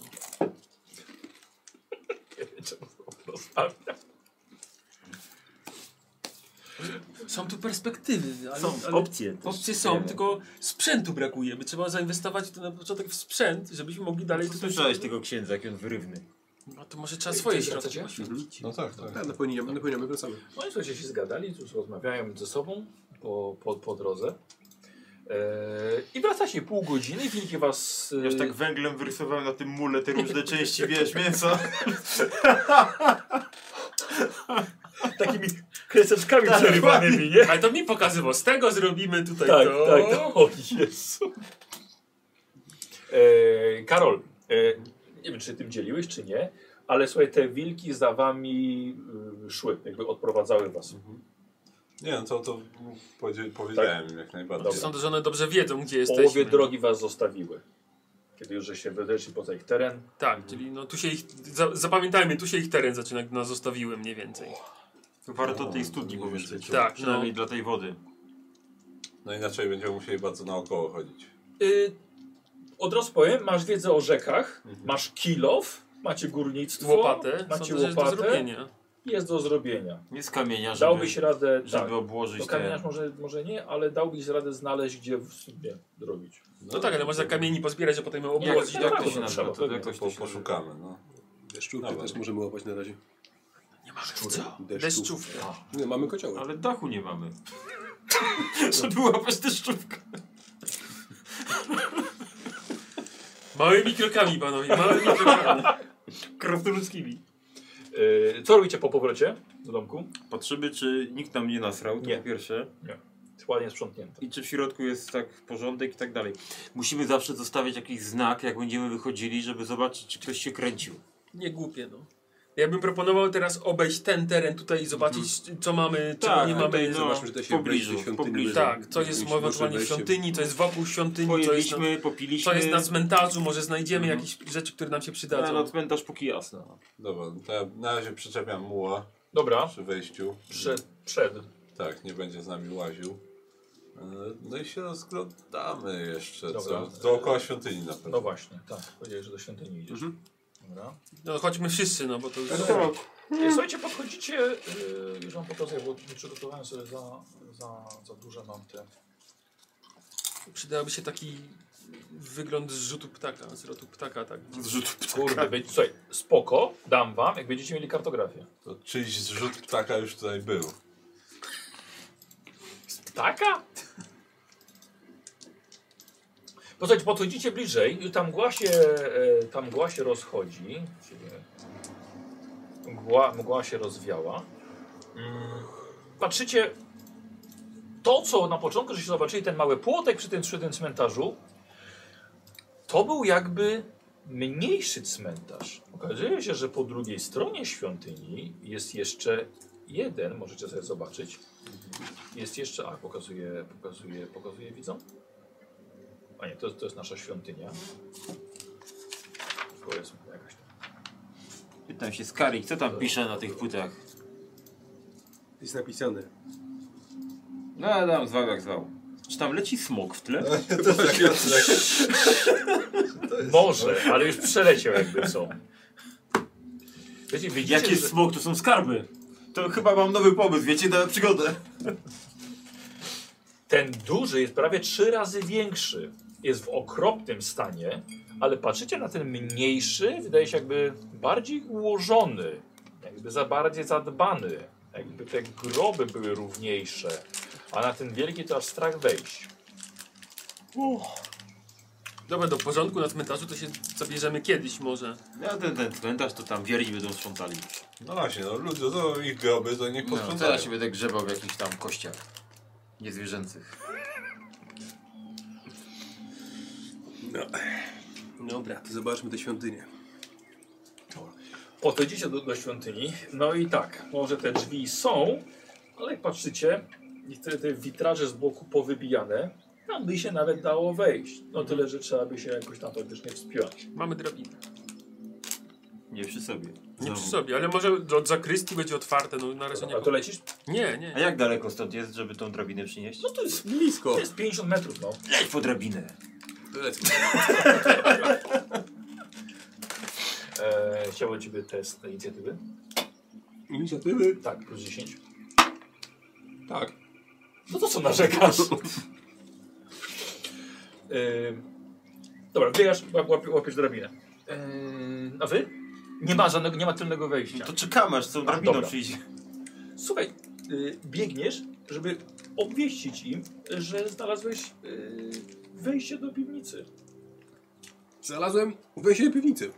[SPEAKER 5] Są tu perspektywy. Ale, ale
[SPEAKER 2] opcje.
[SPEAKER 5] Opcje są, tylko sprzętu brakuje. By trzeba zainwestować to na początek w sprzęt, żebyśmy mogli dalej
[SPEAKER 2] Co
[SPEAKER 5] tutaj...
[SPEAKER 2] słyszałeś tego księdza, jaki on wyrywny?
[SPEAKER 5] No to może trzeba swoje
[SPEAKER 1] Ty, a co
[SPEAKER 5] środki
[SPEAKER 1] cię?
[SPEAKER 5] poświęcić.
[SPEAKER 4] No tak, tak.
[SPEAKER 3] Tak, na poniedziałek, na poniedziałek wracamy.
[SPEAKER 1] No i słuchajcie, się zgadali, już rozmawiają między sobą po, po, po drodze. E, Eee, I wracacie pół godziny, wilki was...
[SPEAKER 2] Ja już
[SPEAKER 1] e,
[SPEAKER 2] tak węglem wyrysowałem na tym mule te różne części, wiesz, mięsa.
[SPEAKER 1] takimi kreseczkami przerywanymi, nie?
[SPEAKER 5] Ale to mi pokazywał, z tego zrobimy tutaj
[SPEAKER 1] Mhm. Tak,
[SPEAKER 5] to.
[SPEAKER 1] tak, to o Jezu. E, Karol, e, nie wiem czy tym dzieliłeś, czy nie, ale słuchaj, te wilki za wami y, szły, jakby odprowadzały was.
[SPEAKER 4] Nie no, to, to powiedzie- powiedziałem jak najbardziej.
[SPEAKER 5] Czy Sądzę, że one dobrze wiedzą, gdzie jesteśmy.
[SPEAKER 1] Połowie drogi was zostawiły. Kiedy już żeście wyszli poza ich teren,
[SPEAKER 5] Tak, czyli no tu się ich, za, zapamiętajmy, tu się ich teren zaczyna, nas zostawiły mniej więcej.
[SPEAKER 2] Warto tej studni powiedzieć.
[SPEAKER 5] Tak,
[SPEAKER 2] Przynajmniej
[SPEAKER 5] no.
[SPEAKER 2] dla tej wody.
[SPEAKER 4] No inaczej będziemy musieli bardzo naokoło chodzić.
[SPEAKER 1] Y, od razu powiem, masz wiedzę o rzekach, masz kilow, macie górnictwo,
[SPEAKER 5] Łopatę,
[SPEAKER 1] macie
[SPEAKER 5] Mhm. sądzę, że jest do
[SPEAKER 1] łopatę,
[SPEAKER 5] zrobienia.
[SPEAKER 1] jest do zrobienia.
[SPEAKER 2] Nie z kamienia, żeby,
[SPEAKER 1] Dałbyś radę,
[SPEAKER 2] żeby
[SPEAKER 1] tak,
[SPEAKER 2] obłożyć
[SPEAKER 1] do kamieniarz
[SPEAKER 2] te...
[SPEAKER 1] może, może nie, ale dałbyś radę znaleźć, gdzie w sumie drobić.
[SPEAKER 5] No tak, ale można kamieni pozbierać, a potem ją obłożyć.
[SPEAKER 1] tak,
[SPEAKER 2] Jak
[SPEAKER 1] tak,
[SPEAKER 2] to się
[SPEAKER 1] no,
[SPEAKER 2] nazywa? To
[SPEAKER 1] trzeba,
[SPEAKER 2] jakoś to
[SPEAKER 4] Po,
[SPEAKER 2] się
[SPEAKER 4] poszukamy, no.
[SPEAKER 3] Deszczówkę
[SPEAKER 4] Dobra.
[SPEAKER 3] też możemy łapać na razie.
[SPEAKER 5] Nie mamy w co.
[SPEAKER 3] Deszczówkę.
[SPEAKER 5] Deszczówka.
[SPEAKER 3] Nie, mamy kociołek.
[SPEAKER 2] Ale dachu nie mamy. żeby łapać deszczówkę.
[SPEAKER 5] Małymi krokami, panowie, małymi krokami.
[SPEAKER 2] Krasnoludzkimi.
[SPEAKER 1] Y, co robicie po powrocie do domku?
[SPEAKER 2] Patrzymy, czy nikt nam nie nasrał, to
[SPEAKER 1] Nie.
[SPEAKER 2] po pierwsze.
[SPEAKER 1] Ładnie sprzątnięte.
[SPEAKER 2] I czy w środku jest tak porządek i tak dalej. Musimy zawsze zostawiać jakiś znak, jak będziemy wychodzili, żeby zobaczyć, czy ktoś się kręcił.
[SPEAKER 5] Nie głupie, no. Ja bym proponował teraz obejść ten teren tutaj i zobaczyć, co mamy, czego
[SPEAKER 2] Tak,
[SPEAKER 5] nie
[SPEAKER 2] tutaj
[SPEAKER 5] mamy.
[SPEAKER 2] no,
[SPEAKER 3] Zobaczmy, że to się
[SPEAKER 2] w pobliżu,
[SPEAKER 3] wejście
[SPEAKER 2] w
[SPEAKER 3] świątyni
[SPEAKER 2] pobliżu.
[SPEAKER 3] leży.
[SPEAKER 5] tak, co jest
[SPEAKER 3] Jakimś
[SPEAKER 5] ewentualnie w
[SPEAKER 3] wejściem.
[SPEAKER 5] świątyni, co jest wokół świątyni, co jest na,
[SPEAKER 2] Pojedliśmy, popiliśmy.
[SPEAKER 5] co jest na cmentarzu, może znajdziemy
[SPEAKER 2] Mhm. No,
[SPEAKER 5] jakieś rzeczy, które nam się
[SPEAKER 2] na, na
[SPEAKER 5] przydadzą.
[SPEAKER 2] cmentarz póki jasno.
[SPEAKER 4] Dobra, no to ja na razie przyczepiam muła
[SPEAKER 1] Dobra,
[SPEAKER 4] przy wejściu.
[SPEAKER 1] przed, przed.
[SPEAKER 4] Tak, nie będzie z nami łaził. E, No i się rozglądamy jeszcze,
[SPEAKER 1] Dobra.
[SPEAKER 4] co? Dookoła świątyni na
[SPEAKER 1] No
[SPEAKER 4] pewno.
[SPEAKER 1] właśnie, tak. Powiedziałeś, że do świątyni idziesz.
[SPEAKER 5] Mhm.
[SPEAKER 1] Dobra.
[SPEAKER 5] No chodźmy wszyscy, no bo to już...
[SPEAKER 1] Y, Słuchajcie, podchodzicie, yy, już wam pokazuję, bo nie przygotowałem sobie za, za, za duże mam te...
[SPEAKER 5] Przydałaby się taki wygląd z rzutu ptaka, z rotu ptaka, tak.
[SPEAKER 1] Kurde, być, słuchaj, spoko, dam wam, jak będziecie mieli kartografię.
[SPEAKER 4] To czyjś zrzut ptaka już tutaj był.
[SPEAKER 1] Ptaka? Posłuchajcie, podchodzicie bliżej i tam mgła się, e, tam mgła się rozchodzi. Właściwie Mgła, mgła się rozwiała. Mm, Patrzycie, to co na początku, żeście zobaczyli, ten mały płotek przy tym, przy tym cmentarzu, to był jakby mniejszy cmentarz. Okazuje się, że po drugiej stronie świątyni jest jeszcze jeden, możecie sobie zobaczyć, jest jeszcze, a pokazuje, pokazuje, pokazuje widzą. A nie, to, to jest nasza świątynia. To jest jakaś tam.
[SPEAKER 2] Pytam się, Skari, co tam pisze na tych płytach?
[SPEAKER 3] Jest napisane.
[SPEAKER 2] No, a tam zwał jak zwał. Czy tam leci smok w tle?
[SPEAKER 1] Może, ale już przeleciał jakby co. Wiecie, widzicie,
[SPEAKER 2] Jak jest
[SPEAKER 1] że-
[SPEAKER 2] smok, to są skarby. To chyba mam nowy pomysł, wiecie, na przygodę.
[SPEAKER 1] Ten duży jest prawie trzy razy większy. Jest w okropnym stanie, ale patrzycie na ten mniejszy, wydaje się jakby bardziej ułożony, jakby za bardziej zadbany. Jakby te groby były równiejsze, a na ten wielki to aż strach wejść.
[SPEAKER 5] Dobra, do porządku na cmentarzu to się zabierzemy kiedyś może.
[SPEAKER 2] No, ten, ten cmentarz to tam wierni będą sprzątali.
[SPEAKER 4] No właśnie, no ludzie, no ich groby, to niech
[SPEAKER 2] No,
[SPEAKER 4] posprzątają.
[SPEAKER 2] teraz się będę grzebał w jakichś tam kościach niezwierzęcych.
[SPEAKER 5] Dobra.
[SPEAKER 3] To zobaczmy tę świątynię.
[SPEAKER 1] Podchodzicie do, do świątyni, no i tak, może te drzwi są, ale jak patrzycie, te, te witraże z boku powybijane, tam by się nawet dało wejść. No tyle, że trzeba by się jakoś tam faktycznie wspiąć.
[SPEAKER 5] Mamy drabinę.
[SPEAKER 2] Nie przy sobie.
[SPEAKER 5] Nie
[SPEAKER 2] Znowu.
[SPEAKER 5] przy sobie, ale może od zakrystii będzie otwarte, no na razie nie.
[SPEAKER 1] A to lecisz?
[SPEAKER 5] Nie,
[SPEAKER 2] A
[SPEAKER 5] nie.
[SPEAKER 2] jak daleko stąd jest, żeby tą drabinę przynieść?
[SPEAKER 1] No to jest,
[SPEAKER 3] Blisko.
[SPEAKER 1] to jest 50 metrów, no.
[SPEAKER 2] Leć po drabinę!
[SPEAKER 1] E, chciałbym ciebie test inicjatywy.
[SPEAKER 3] Inicjatywy.
[SPEAKER 1] Tak, plus 10.
[SPEAKER 3] Tak.
[SPEAKER 1] No to co narzekasz? Ym, dobra, wyjasz, łap, łap, łapiesz drabinę. Ym, a wy? Nie ma żadnego, nie ma tylnego wejścia.
[SPEAKER 2] No to czekamy, aż z tą drabiną
[SPEAKER 1] dobra.
[SPEAKER 2] przyjdzie.
[SPEAKER 1] Słuchaj, y, biegniesz, żeby obwieścić im, że znalazłeś yy, wejście do piwnicy.
[SPEAKER 3] Znalazłem wejście do piwnicy.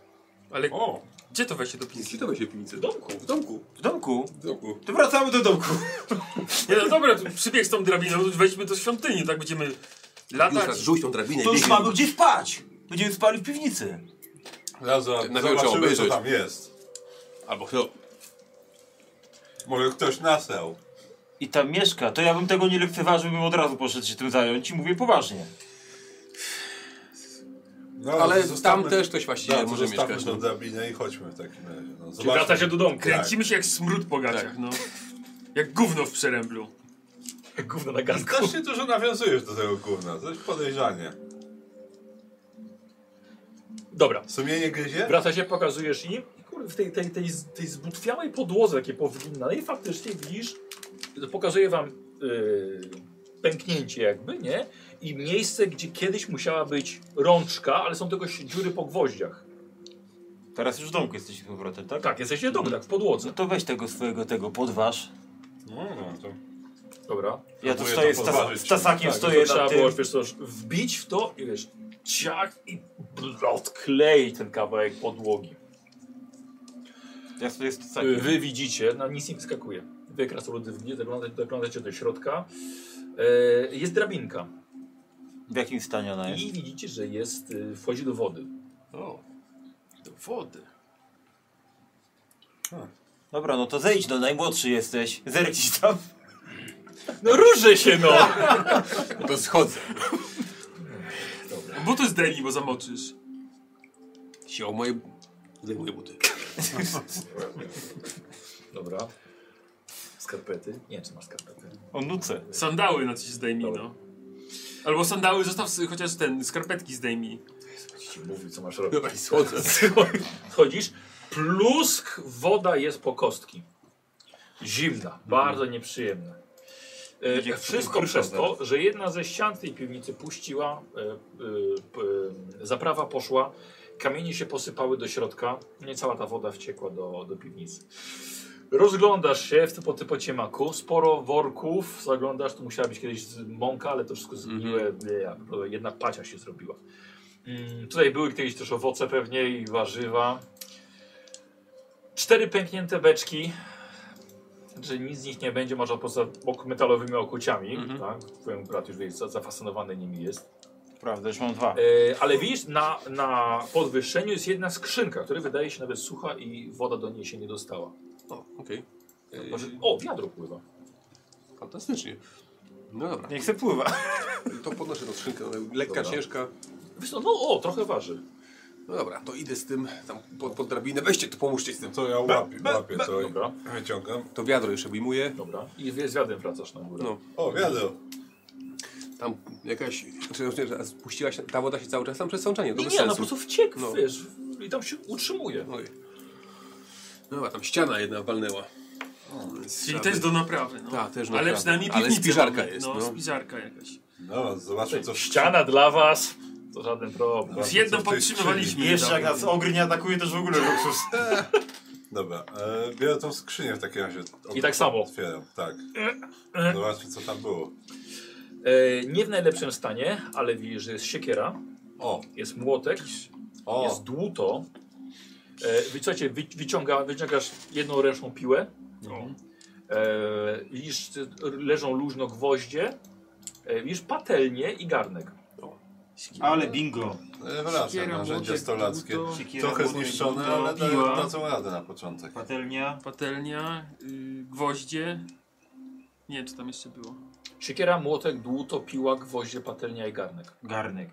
[SPEAKER 5] Ale
[SPEAKER 4] O!
[SPEAKER 5] gdzie to wejście do
[SPEAKER 3] Gdzie
[SPEAKER 5] piwnicy?
[SPEAKER 3] to wejście do piwnicy?
[SPEAKER 1] W domku.
[SPEAKER 3] W domku.
[SPEAKER 2] W domku?
[SPEAKER 3] W domku.
[SPEAKER 2] To wracamy do domku.
[SPEAKER 5] Nie no dobra, tu przybieg z tą drabiną, wejdźmy do świątyni, tak będziemy
[SPEAKER 3] Już
[SPEAKER 5] latać.
[SPEAKER 3] raz rzuć tą drabinę i
[SPEAKER 2] To już
[SPEAKER 3] biegnie.
[SPEAKER 2] mamy gdzie spać. Będziemy spali w piwnicy.
[SPEAKER 4] Zaraz
[SPEAKER 3] Na wieczór
[SPEAKER 4] zobaczymy, co
[SPEAKER 3] obejrzeć.
[SPEAKER 4] tam jest.
[SPEAKER 3] Albo kto?
[SPEAKER 4] Może ktoś naseł.
[SPEAKER 2] I tam mieszka. To ja bym tego nie lekceważył, bym od razu poszedł się tym zająć i mówię poważnie.
[SPEAKER 4] No,
[SPEAKER 3] Ale
[SPEAKER 4] zostawmy-
[SPEAKER 3] tam też ktoś właściwie
[SPEAKER 4] Tak,
[SPEAKER 3] może
[SPEAKER 4] zostawmy
[SPEAKER 3] mieszkać. no.
[SPEAKER 4] tą drabinę i chodźmy w takim razie. No,
[SPEAKER 1] Czyli wraca się do domku.
[SPEAKER 5] Kręcimy się jak smród po gaciach,
[SPEAKER 3] Tak.
[SPEAKER 5] no. Jak gówno w przeręblu.
[SPEAKER 1] Jak gówno na ganku.
[SPEAKER 4] Strasznie dużo nawiązujesz do tego gówna, coś podejrzanie.
[SPEAKER 1] Dobra.
[SPEAKER 4] Sumienie gryzie?
[SPEAKER 1] Wraca się, pokazujesz im. I kurde, w tej, tej, tej, z- tej zbutwiałej podłodze, jakie powinna. I faktycznie widzisz, pokazuje wam yy, pęknięcie jakby, nie? I miejsce, gdzie kiedyś musiała być rączka, ale są tylko ś- dziury po gwoździach.
[SPEAKER 2] Teraz już w domku jesteśmy z powrotem, tak?
[SPEAKER 1] Tak, jesteście w domu, tak, w podłodze.
[SPEAKER 2] No to weź tego swojego tego, podważ.
[SPEAKER 4] No, no, to...
[SPEAKER 1] Dobra.
[SPEAKER 2] Ja tu
[SPEAKER 4] Próbuję
[SPEAKER 2] stoję
[SPEAKER 4] to
[SPEAKER 2] z, tas
[SPEAKER 4] podważyć.
[SPEAKER 2] z tasakiem,
[SPEAKER 1] Tak,
[SPEAKER 2] stoję
[SPEAKER 1] to
[SPEAKER 2] na
[SPEAKER 1] trzeba
[SPEAKER 2] tym.
[SPEAKER 1] było, wiesz co, wbić w to i wiesz, ciach i odklei ten kawałek podłogi.
[SPEAKER 2] Ja stoję z
[SPEAKER 1] Y,
[SPEAKER 2] tasakiem.
[SPEAKER 1] Wy widzicie, no nic nie wyskakuje. Wy krasnoludy widzicie, zaglądacie, zaglądacie do środka. E, jest drabinka
[SPEAKER 2] W jakim stanie ona jest?
[SPEAKER 1] i widzicie, że jest, y, wchodzi do wody.
[SPEAKER 5] O, do wody.
[SPEAKER 2] Dobra, no to zejdź, no najmłodszy jesteś. Zerknij tam.
[SPEAKER 1] No róże się no!
[SPEAKER 3] No to schodzę.
[SPEAKER 5] Buty zdejmij, bo zamoczysz.
[SPEAKER 3] Sią moje... Zdejmuję buty.
[SPEAKER 1] Dobra. Skarpety? Nie wiem, czy masz skarpety.
[SPEAKER 2] O nuce.
[SPEAKER 5] Sandały na coś zdejmij,
[SPEAKER 1] Dobra.
[SPEAKER 5] no. Albo sandały zostaw sobie chociaż ten, skarpetki zdejmij.
[SPEAKER 1] Ci mówił, co masz robić.
[SPEAKER 3] Dobra, i schodzę.
[SPEAKER 1] Chodzisz, plusk, woda jest po kostki. Zimna, bardzo nieprzyjemna. E,
[SPEAKER 2] Będzie jak
[SPEAKER 1] wszystko
[SPEAKER 2] kurcza
[SPEAKER 1] przez to, że jedna ze ścian tej piwnicy puściła, e, e, p- e, zaprawa poszła, kamienie się posypały do środka, nie cała ta woda wciekła do, do piwnicy. Rozglądasz się w, po tym pociemaku, sporo worków, zaglądasz, tu musiała być kiedyś z- mąka, ale to wszystko zgniłe, mm. jedna pacia się zrobiła. Mm, tutaj były kiedyś też owoce pewnie i warzywa. Cztery pęknięte beczki. Że nic z nich nie będzie, można poza ok- metalowymi okuciami,
[SPEAKER 3] Mhm.
[SPEAKER 1] tak? Twoim brat już jest za- zafascynowany nimi jest.
[SPEAKER 2] Prawda, już mam
[SPEAKER 1] E,
[SPEAKER 2] dwa.
[SPEAKER 1] ale widzisz, na, na podwyższeniu jest jedna skrzynka, która wydaje się nawet sucha i woda do niej się nie dostała.
[SPEAKER 3] O, okej.
[SPEAKER 1] Może, o, wiadro pływa.
[SPEAKER 3] Fantastycznie. No dobra.
[SPEAKER 2] Niech se pływa.
[SPEAKER 3] To podnoszę tą skrzynkę. ale Lekka,
[SPEAKER 1] Dobra.
[SPEAKER 3] ciężka.
[SPEAKER 1] Wiesz, co, no o, trochę waży.
[SPEAKER 3] No dobra, to idę z tym tam pod, pod drabinę. Weźcie tu, pomóżcie z tym.
[SPEAKER 4] To ja łapię, łapię to i
[SPEAKER 1] Dobra,
[SPEAKER 4] wyciągam.
[SPEAKER 3] To wiadro jeszcze wyjmuję.
[SPEAKER 1] dobra. I z z wiadrem wracasz na górę.
[SPEAKER 3] No.
[SPEAKER 4] O, wiadomo.
[SPEAKER 3] Tam jakaś... znaczy, Czy, czy, czy, spuściła się, ta woda się cały czas tam przez sączenie. To
[SPEAKER 1] nie,
[SPEAKER 3] bez
[SPEAKER 1] nie, ona
[SPEAKER 3] sensu.
[SPEAKER 1] po prostu wciekł,
[SPEAKER 3] No.
[SPEAKER 1] wiesz, i tam się utrzymuje.
[SPEAKER 3] Oj. No dobra, tam ściana jedna walnęła. no
[SPEAKER 5] Czyli też do naprawy, no.
[SPEAKER 3] Tak, też do
[SPEAKER 5] Ale
[SPEAKER 3] naprawy.
[SPEAKER 5] przynajmniej
[SPEAKER 3] Ale
[SPEAKER 5] piwnicę
[SPEAKER 3] spiżarka
[SPEAKER 5] mamy,
[SPEAKER 3] jest,
[SPEAKER 5] No,
[SPEAKER 3] no.
[SPEAKER 5] spiżarka jakaś.
[SPEAKER 4] No, zobaczmy co...
[SPEAKER 1] Ściana dla was, to żaden problem.
[SPEAKER 4] Zobaczmy,
[SPEAKER 5] Z jedną
[SPEAKER 4] co w tej
[SPEAKER 5] podtrzymywaliśmy.
[SPEAKER 2] Jeszcze jak
[SPEAKER 5] niedawno. No.
[SPEAKER 2] nas ogry nie atakuje, to już w ogóle luksus.
[SPEAKER 4] skrzyni. Dobra, e, biorę tą skrzynię w takim razie.
[SPEAKER 1] I tak samo.
[SPEAKER 4] Otwieram, tak. Zobaczmy co tam było.
[SPEAKER 1] E, nie w najlepszym stanie, ale widzisz, że jest siekiera,
[SPEAKER 4] O,
[SPEAKER 1] jest młotek, jest
[SPEAKER 4] o,
[SPEAKER 1] dłuto. E, Widzicie, wy, wyciąga, wyciągasz jedną ręczną piłę. E, widzisz, ty- leżą luźno gwoździe. E, widzisz patelnię i garnek.
[SPEAKER 2] Ale bingo.
[SPEAKER 4] e, wracam,
[SPEAKER 5] Siekiera,
[SPEAKER 4] narzędzie
[SPEAKER 5] młotek,
[SPEAKER 4] stolackie.
[SPEAKER 5] dłuto.
[SPEAKER 2] Siekiera,
[SPEAKER 4] Trochę
[SPEAKER 2] młotek,
[SPEAKER 4] zniszczone,
[SPEAKER 2] dłuto,
[SPEAKER 4] ale dają
[SPEAKER 5] piła.
[SPEAKER 4] dadzą radę na początek.
[SPEAKER 2] Patelnia.
[SPEAKER 5] Patelnia, y, gwoździe. Nie wiem, co tam jeszcze było.
[SPEAKER 1] Siekiera, młotek, dłuto, piła, gwoździe, patelnia i garnek.
[SPEAKER 2] Garnek.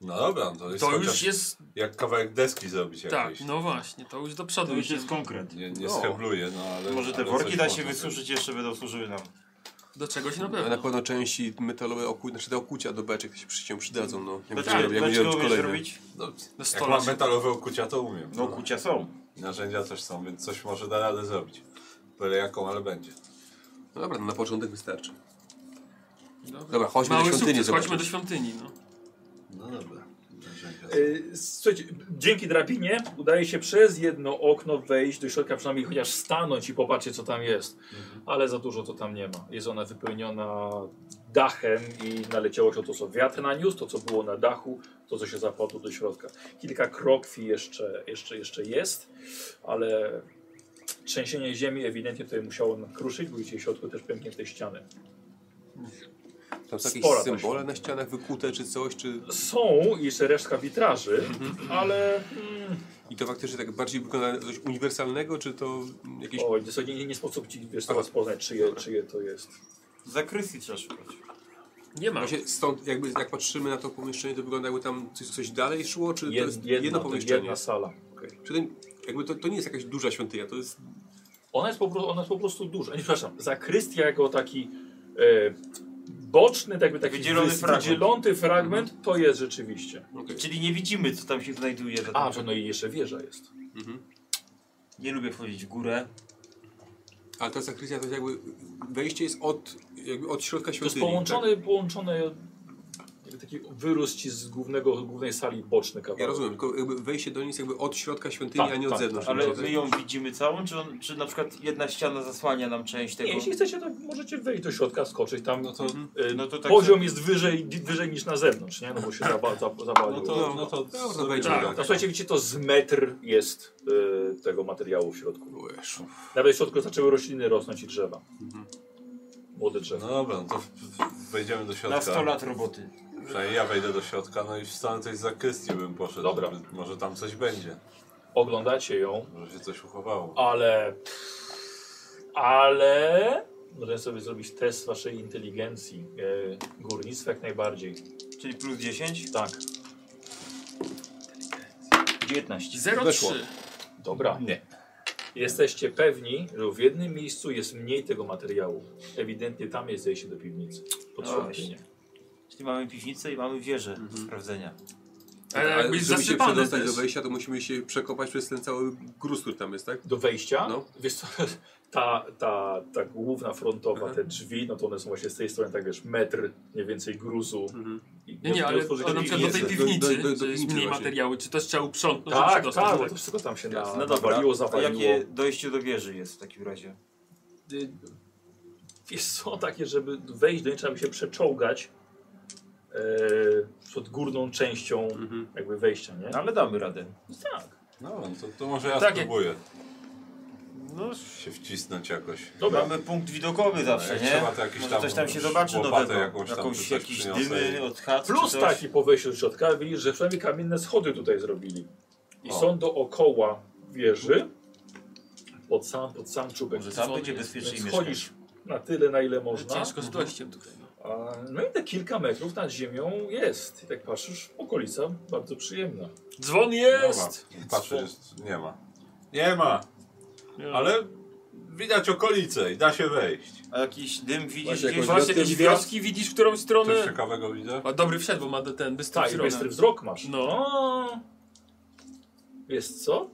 [SPEAKER 4] No dobra, to jest
[SPEAKER 5] To
[SPEAKER 4] chociaż
[SPEAKER 5] już jest.
[SPEAKER 4] jak kawałek deski zrobić
[SPEAKER 5] Tak,
[SPEAKER 4] jakiejś.
[SPEAKER 5] no właśnie, to już do
[SPEAKER 2] To
[SPEAKER 5] przodu
[SPEAKER 2] już
[SPEAKER 5] idzie.
[SPEAKER 2] jest konkret.
[SPEAKER 4] Nie, nie
[SPEAKER 3] No.
[SPEAKER 4] schebluje, no ale...
[SPEAKER 2] Może te
[SPEAKER 4] ale
[SPEAKER 2] worki
[SPEAKER 4] coś
[SPEAKER 2] da się
[SPEAKER 4] można
[SPEAKER 2] wysuszyć, jeszcze będą służyły nam.
[SPEAKER 5] Do czegoś na
[SPEAKER 3] A No, na
[SPEAKER 5] pewno.
[SPEAKER 3] pewno części metalowe oku, znaczy te okucia do beczek się przy się przydadzą, no. Jak
[SPEAKER 2] Beczkę,
[SPEAKER 3] będziemy- jak
[SPEAKER 2] beczkę
[SPEAKER 3] będziemy robić
[SPEAKER 2] umiesz
[SPEAKER 3] kolejne.
[SPEAKER 2] Znaczy, zrobić?
[SPEAKER 4] No,
[SPEAKER 5] Do
[SPEAKER 4] jak mam
[SPEAKER 5] stolarza.
[SPEAKER 4] metalowe okucia, to umiem.
[SPEAKER 2] No kucia są.
[SPEAKER 4] Narzędzia też są, więc coś może da radę zrobić. Byle jaką, ale będzie.
[SPEAKER 3] No dobra, no na początek wystarczy.
[SPEAKER 5] Dobra.
[SPEAKER 3] Dobra, chodźmy
[SPEAKER 5] Mały
[SPEAKER 3] do świątyni
[SPEAKER 5] sukces,
[SPEAKER 3] zobaczyć.
[SPEAKER 5] chodźmy do świątyni. No.
[SPEAKER 4] No dobra.
[SPEAKER 1] Y, Słuchajcie, dzięki drabinie udaje się przez jedno okno wejść do środka, przynajmniej chociaż stanąć i popatrzeć, co tam jest. Ale za dużo to tam nie ma. Jest ona wypełniona dachem i naleciało się to, co wiatr naniósł, to, co było na dachu, to, co się zapadło do środka. Kilka krokwi jeszcze, jeszcze, jeszcze jest, ale trzęsienie ziemi ewidentnie tutaj musiało kruszyć, bo widzicie w środku też pęknięte ściany.
[SPEAKER 3] Tam są jakieś
[SPEAKER 1] Spora ta
[SPEAKER 3] symbole
[SPEAKER 1] świątynia.
[SPEAKER 3] na ścianach wykute czy coś, czy...
[SPEAKER 1] Są jeszcze resztka witraży, ale... Mm,
[SPEAKER 3] I to faktycznie tak bardziej wygląda na coś uniwersalnego, czy to mm, jakieś...
[SPEAKER 1] Oj, to nie, nie, nie sposób ci wiesz, teraz poznać, czyje, czyje to jest.
[SPEAKER 2] Zakrysji trzeba szukać.
[SPEAKER 5] Nie ma.
[SPEAKER 3] Właśnie stąd jakby jak patrzymy na to pomieszczenie, to wygląda jakby tam coś, coś dalej szło, czy to
[SPEAKER 1] Jed,
[SPEAKER 3] jest
[SPEAKER 1] jedna,
[SPEAKER 3] jedno
[SPEAKER 1] to
[SPEAKER 3] pomieszczenie?
[SPEAKER 1] jedna sala.
[SPEAKER 3] Czy to, jakby to, to nie jest jakaś duża świątynia, to jest...
[SPEAKER 1] Ona, jest po prostu, ona jest po prostu duża. Nie, przepraszam, zakrystia jako taki e, boczny, tak jakby taki
[SPEAKER 2] Wydzielony
[SPEAKER 1] wys-
[SPEAKER 2] fragment.
[SPEAKER 1] wydzielony fragment, to jest rzeczywiście.
[SPEAKER 3] okej.
[SPEAKER 2] Czyli nie widzimy, co tam się znajduje. za
[SPEAKER 1] A,
[SPEAKER 2] tym.
[SPEAKER 1] że no i jeszcze wieża jest.
[SPEAKER 2] Nie lubię wchodzić w górę.
[SPEAKER 3] Ale ta zakrystia to jest jakby... Wejście jest od, jakby od środka
[SPEAKER 1] To jest
[SPEAKER 3] świątyni.
[SPEAKER 1] połączone, połączone jakby taki wyrósł ci z głównego, głównej sali boczny kawałek.
[SPEAKER 3] tak? Ja rozumiem, tylko jakby wejście do nic jakby od środka świątyni,
[SPEAKER 1] Tak,
[SPEAKER 3] a nie od
[SPEAKER 1] tak,
[SPEAKER 3] zewnątrz.
[SPEAKER 2] Ale
[SPEAKER 3] Rozumiem.
[SPEAKER 2] my ją widzimy całą, czy, on, czy na przykład jedna ściana zasłania nam część tego?
[SPEAKER 1] Nie, jeśli chcecie, to możecie wejść do środka, skoczyć tam.
[SPEAKER 6] No to,
[SPEAKER 1] e,
[SPEAKER 2] no to tak-
[SPEAKER 1] poziom jest wyżej, wyżej niż na zewnątrz, nie? No bo się zaba, za,
[SPEAKER 6] no
[SPEAKER 1] zabaliło.
[SPEAKER 6] to, no to,
[SPEAKER 3] No, to
[SPEAKER 6] sobie-
[SPEAKER 3] wejdzie.
[SPEAKER 6] tak.
[SPEAKER 1] Tak, a słuchajcie, widzicie, to z metr jest y, tego materiału w środku.
[SPEAKER 3] Ujesz.
[SPEAKER 1] Nawet w środku zaczęły rośliny rosnąć i drzewa. Młode drzewa.
[SPEAKER 6] No dobra, no to w- w- wejdziemy do
[SPEAKER 2] Na 100
[SPEAKER 6] środka.
[SPEAKER 2] lat roboty.
[SPEAKER 6] Przynajmniej ja wejdę do środka, no i w stronę tej zakrystii bym poszedł.
[SPEAKER 1] Dobra.
[SPEAKER 6] żeby- Może tam coś będzie.
[SPEAKER 1] Oglądacie ją,
[SPEAKER 6] Może się coś uchowało.
[SPEAKER 1] ale... Ale... Możemy sobie zrobić test waszej inteligencji. Y, górnictwa jak najbardziej.
[SPEAKER 2] Czyli plus 10?
[SPEAKER 1] Tak,
[SPEAKER 2] 19.
[SPEAKER 5] 0,3.
[SPEAKER 1] dobra.
[SPEAKER 6] Nie.
[SPEAKER 1] Jesteście pewni, że w jednym miejscu jest mniej tego materiału. Ewidentnie tam jest zejście do piwnicy. Pod
[SPEAKER 2] No
[SPEAKER 1] świątynię.
[SPEAKER 2] Czyli mamy piwnicę i mamy wieżę
[SPEAKER 6] Mhm.
[SPEAKER 2] do sprawdzenia.
[SPEAKER 5] Ale
[SPEAKER 3] Tak, Ale
[SPEAKER 5] jakbyś
[SPEAKER 3] żeby się
[SPEAKER 5] zasypany
[SPEAKER 3] przedostać
[SPEAKER 5] też.
[SPEAKER 3] do wejścia, to musimy się przekopać przez ten cały gruz, który tam jest, tak?
[SPEAKER 1] do wejścia,
[SPEAKER 3] No.
[SPEAKER 1] wiesz co, ta, ta, ta główna frontowa,
[SPEAKER 3] Mhm.
[SPEAKER 1] te drzwi, no to one są właśnie z tej strony, tak wiesz, metr mniej więcej gruzu. I
[SPEAKER 5] Nie, nie, ale
[SPEAKER 1] otworzycie
[SPEAKER 5] ale na przykład do tej
[SPEAKER 1] piwnicy.
[SPEAKER 3] piwnicy. Do-
[SPEAKER 5] piwnicy,
[SPEAKER 3] do- do
[SPEAKER 5] to jest
[SPEAKER 3] piwnicy
[SPEAKER 5] mniej
[SPEAKER 3] właśnie.
[SPEAKER 5] materiały, czy też trzeba uprzątnąć, żeby się
[SPEAKER 1] Tak,
[SPEAKER 5] dostać.
[SPEAKER 1] tak, bo
[SPEAKER 5] tak?
[SPEAKER 1] to wszystko tam się na,
[SPEAKER 2] Jasne,
[SPEAKER 1] no
[SPEAKER 2] no dobra.
[SPEAKER 1] nawaliło,
[SPEAKER 2] A
[SPEAKER 1] zawaliło.
[SPEAKER 2] jakie dojście do wieży jest w takim razie?
[SPEAKER 1] Y, Wiesz, są takie, żeby wejść do niej trzeba by się przeczołgać e, przed górną częścią jakby wejścia, nie?
[SPEAKER 2] No, ale damy radę.
[SPEAKER 1] tak.
[SPEAKER 6] No to, to może ja
[SPEAKER 5] Tak, jak-
[SPEAKER 6] spróbuję
[SPEAKER 2] No,
[SPEAKER 6] się wcisnąć jakoś.
[SPEAKER 1] Dobra,
[SPEAKER 2] Mamy punkt widokowy zawsze,
[SPEAKER 6] jak
[SPEAKER 2] nie?
[SPEAKER 6] trzeba, to jakiś
[SPEAKER 2] Może
[SPEAKER 6] tam
[SPEAKER 2] coś tam się
[SPEAKER 6] już
[SPEAKER 2] zobaczy
[SPEAKER 6] łopatę
[SPEAKER 2] nowego.
[SPEAKER 6] jakąś tam czy
[SPEAKER 2] Jakąś,
[SPEAKER 6] coś
[SPEAKER 2] jakieś
[SPEAKER 6] przyniosę i-
[SPEAKER 2] dymy od chat,
[SPEAKER 1] Plus
[SPEAKER 2] czy coś.
[SPEAKER 1] taki po wejściu do środka widzisz, że przynajmniej kamienne schody tutaj zrobili. I
[SPEAKER 6] O.
[SPEAKER 1] są dookoła wieży pod sam, pod sam czubek.
[SPEAKER 2] Może tam
[SPEAKER 5] Co
[SPEAKER 2] będzie
[SPEAKER 5] on jest?
[SPEAKER 2] bezpieczniej
[SPEAKER 1] Więc
[SPEAKER 2] mieszkać.
[SPEAKER 1] chodzisz na tyle, na ile
[SPEAKER 5] Że
[SPEAKER 1] można.
[SPEAKER 5] Ciężko z dojściem tutaj. No.
[SPEAKER 1] A, no i te kilka metrów nad ziemią jest. I tak patrzysz, okolica bardzo przyjemna.
[SPEAKER 5] Dzwon
[SPEAKER 6] Dobra,
[SPEAKER 5] jest!
[SPEAKER 6] patrzę, jest, nie ma. Nie ma,
[SPEAKER 5] Nie.
[SPEAKER 6] ale widać okolice i da się wejść.
[SPEAKER 2] A jakiś dym widzisz
[SPEAKER 3] Właśnie
[SPEAKER 2] gdzieś?
[SPEAKER 3] jakoś-
[SPEAKER 5] Właśnie jakieś wioski widzisz, w którą
[SPEAKER 6] Coś
[SPEAKER 5] stronę?
[SPEAKER 6] ciekawego widzę?
[SPEAKER 5] A dobry wszedł, bo ma do- ten bystrą
[SPEAKER 1] Tak, i
[SPEAKER 5] stronę.
[SPEAKER 1] bystry wzrok masz.
[SPEAKER 5] No.
[SPEAKER 1] A, Wiesz co?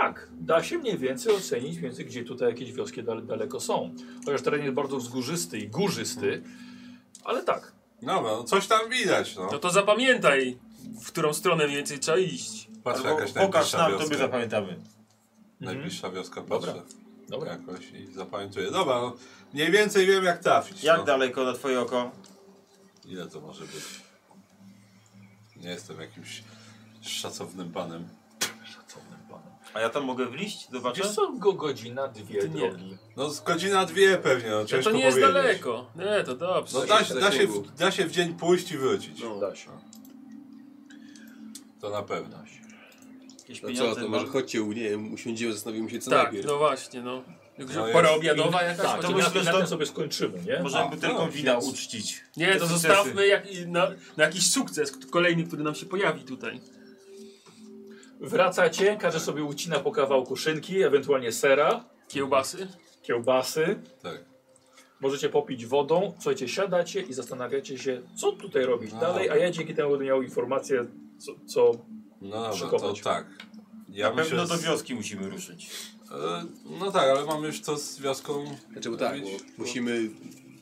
[SPEAKER 1] Tak, da się mniej więcej ocenić, między gdzie tutaj jakieś wioski dal daleko są. Chociaż teren jest bardzo wzgórzysty i górzysty, ale tak.
[SPEAKER 6] No, no coś tam widać, no.
[SPEAKER 5] No to zapamiętaj, w którą stronę mniej więcej trzeba iść.
[SPEAKER 6] Patrzę
[SPEAKER 2] Albo
[SPEAKER 6] jakaś
[SPEAKER 2] pokaż
[SPEAKER 6] najbliższa
[SPEAKER 2] nam, to
[SPEAKER 6] wioska.
[SPEAKER 2] my zapamiętamy. Mhm.
[SPEAKER 6] Najbliższa wioska
[SPEAKER 1] Dobra.
[SPEAKER 6] patrzę
[SPEAKER 1] Dobra.
[SPEAKER 6] jakoś i zapamiętuję. Dobra, no, mniej więcej wiem jak trafić.
[SPEAKER 2] Jak
[SPEAKER 6] no.
[SPEAKER 2] daleko na twoje oko?
[SPEAKER 6] Ile to może być? Nie jestem jakimś szacownym panem.
[SPEAKER 1] Szacownym panem.
[SPEAKER 2] A ja tam mogę wliść? Zobaczę?
[SPEAKER 1] Wiesz co, go godzina, dwie
[SPEAKER 5] Ty nie.
[SPEAKER 1] drogi.
[SPEAKER 6] No z godzina dwie pewnie, no
[SPEAKER 5] Ja
[SPEAKER 6] ciężko
[SPEAKER 5] to nie jest
[SPEAKER 6] powiedzieć.
[SPEAKER 5] daleko. Nie, to dobrze.
[SPEAKER 6] No da, się- da, się,
[SPEAKER 3] Zasięgu.
[SPEAKER 6] w, da się w dzień pójść i wrócić.
[SPEAKER 2] No.
[SPEAKER 1] No, Da się.
[SPEAKER 6] To na pewno.
[SPEAKER 2] Jakieś
[SPEAKER 3] No co,
[SPEAKER 2] pieniądze
[SPEAKER 3] to
[SPEAKER 2] mam?
[SPEAKER 3] może chodźcie, nie wiem, usiądziemy, zastanowimy się co
[SPEAKER 5] Tak,
[SPEAKER 3] najpierw.
[SPEAKER 5] no właśnie, no.
[SPEAKER 6] No
[SPEAKER 5] Także
[SPEAKER 6] jest-
[SPEAKER 5] pora obiadowa jakaś?
[SPEAKER 1] Tak,
[SPEAKER 5] Tak,
[SPEAKER 1] to
[SPEAKER 2] to
[SPEAKER 1] myślę,
[SPEAKER 2] myślę,
[SPEAKER 1] że na
[SPEAKER 2] że
[SPEAKER 1] tym
[SPEAKER 2] to-
[SPEAKER 1] sobie skończymy, nie?
[SPEAKER 2] Możemy
[SPEAKER 6] A,
[SPEAKER 2] mu tylko
[SPEAKER 6] no,
[SPEAKER 2] wina
[SPEAKER 6] jest.
[SPEAKER 2] uczcić.
[SPEAKER 5] Nie,
[SPEAKER 2] Te
[SPEAKER 5] to
[SPEAKER 2] sukcesy.
[SPEAKER 5] zostawmy jak, i na, na jakiś sukces k- kolejny, który nam się pojawi tutaj.
[SPEAKER 1] Wracacie, każe sobie ucina po kawałku szynki, ewentualnie sera,
[SPEAKER 5] Kiełbasy.
[SPEAKER 1] kiełbasy.
[SPEAKER 6] Tak.
[SPEAKER 1] Możecie popić wodą. Słuchajcie, siadacie i zastanawiacie się, co tutaj robić
[SPEAKER 6] No.
[SPEAKER 1] dalej, a ja dzięki temu będę miał informację, co... co...
[SPEAKER 6] No dobra, to
[SPEAKER 1] Szykować.
[SPEAKER 6] tak. Ja
[SPEAKER 2] Na pewno
[SPEAKER 6] z-
[SPEAKER 2] do wioski musimy ruszyć.
[SPEAKER 6] E, No tak, ale mamy już to z wioską.
[SPEAKER 5] no.
[SPEAKER 3] Znaczy, bo tak, bo
[SPEAKER 6] robić.
[SPEAKER 3] musimy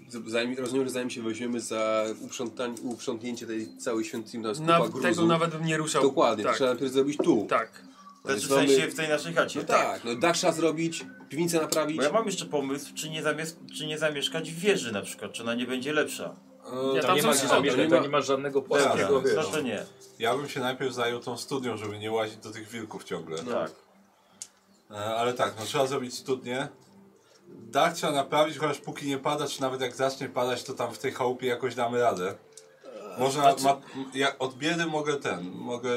[SPEAKER 3] Z- Zanim, rozumiem, że zanim się weźmiemy za uprzątanie- uprzątnięcie tej całej świątyni, tam jest kupa
[SPEAKER 5] Nawet,
[SPEAKER 3] gruzu.
[SPEAKER 5] tego nawet bym nie ruszał.
[SPEAKER 3] Dokładnie,
[SPEAKER 5] tak.
[SPEAKER 3] trzeba najpierw zrobić tu.
[SPEAKER 5] tak.
[SPEAKER 3] Więc
[SPEAKER 2] Znaczy w
[SPEAKER 3] mamy-
[SPEAKER 2] sensie w tej naszej chacie.
[SPEAKER 3] No tak, no dach trzeba zrobić, piwnicę naprawić.
[SPEAKER 2] Bo ja mam jeszcze pomysł, czy nie, zamies- czy nie zamieszkać w wieży na przykład, czy ona nie będzie lepsza.
[SPEAKER 3] E,
[SPEAKER 5] Ja
[SPEAKER 1] Tam,
[SPEAKER 5] tam
[SPEAKER 1] nie
[SPEAKER 5] są
[SPEAKER 1] ma gdzie
[SPEAKER 5] schody,
[SPEAKER 1] zamieszkać,
[SPEAKER 3] nie
[SPEAKER 1] tam
[SPEAKER 3] ma-
[SPEAKER 1] nie ma Tak. żadnego
[SPEAKER 4] Dobra,
[SPEAKER 1] płaskiego
[SPEAKER 4] Wiesz.
[SPEAKER 2] Znaczy nie.
[SPEAKER 4] Ja bym się najpierw zajął tą studnią, żeby nie łazić do tych wilków ciągle.
[SPEAKER 3] No.
[SPEAKER 2] Tak.
[SPEAKER 4] E, ale tak, no trzeba zrobić studnię. Dach trzeba naprawić, chociaż póki nie pada, czy nawet jak zacznie padać, to tam w tej chałupie jakoś damy radę. Można,
[SPEAKER 3] Znaczy-
[SPEAKER 4] ma, m- ja od biedy mogę ten, mogę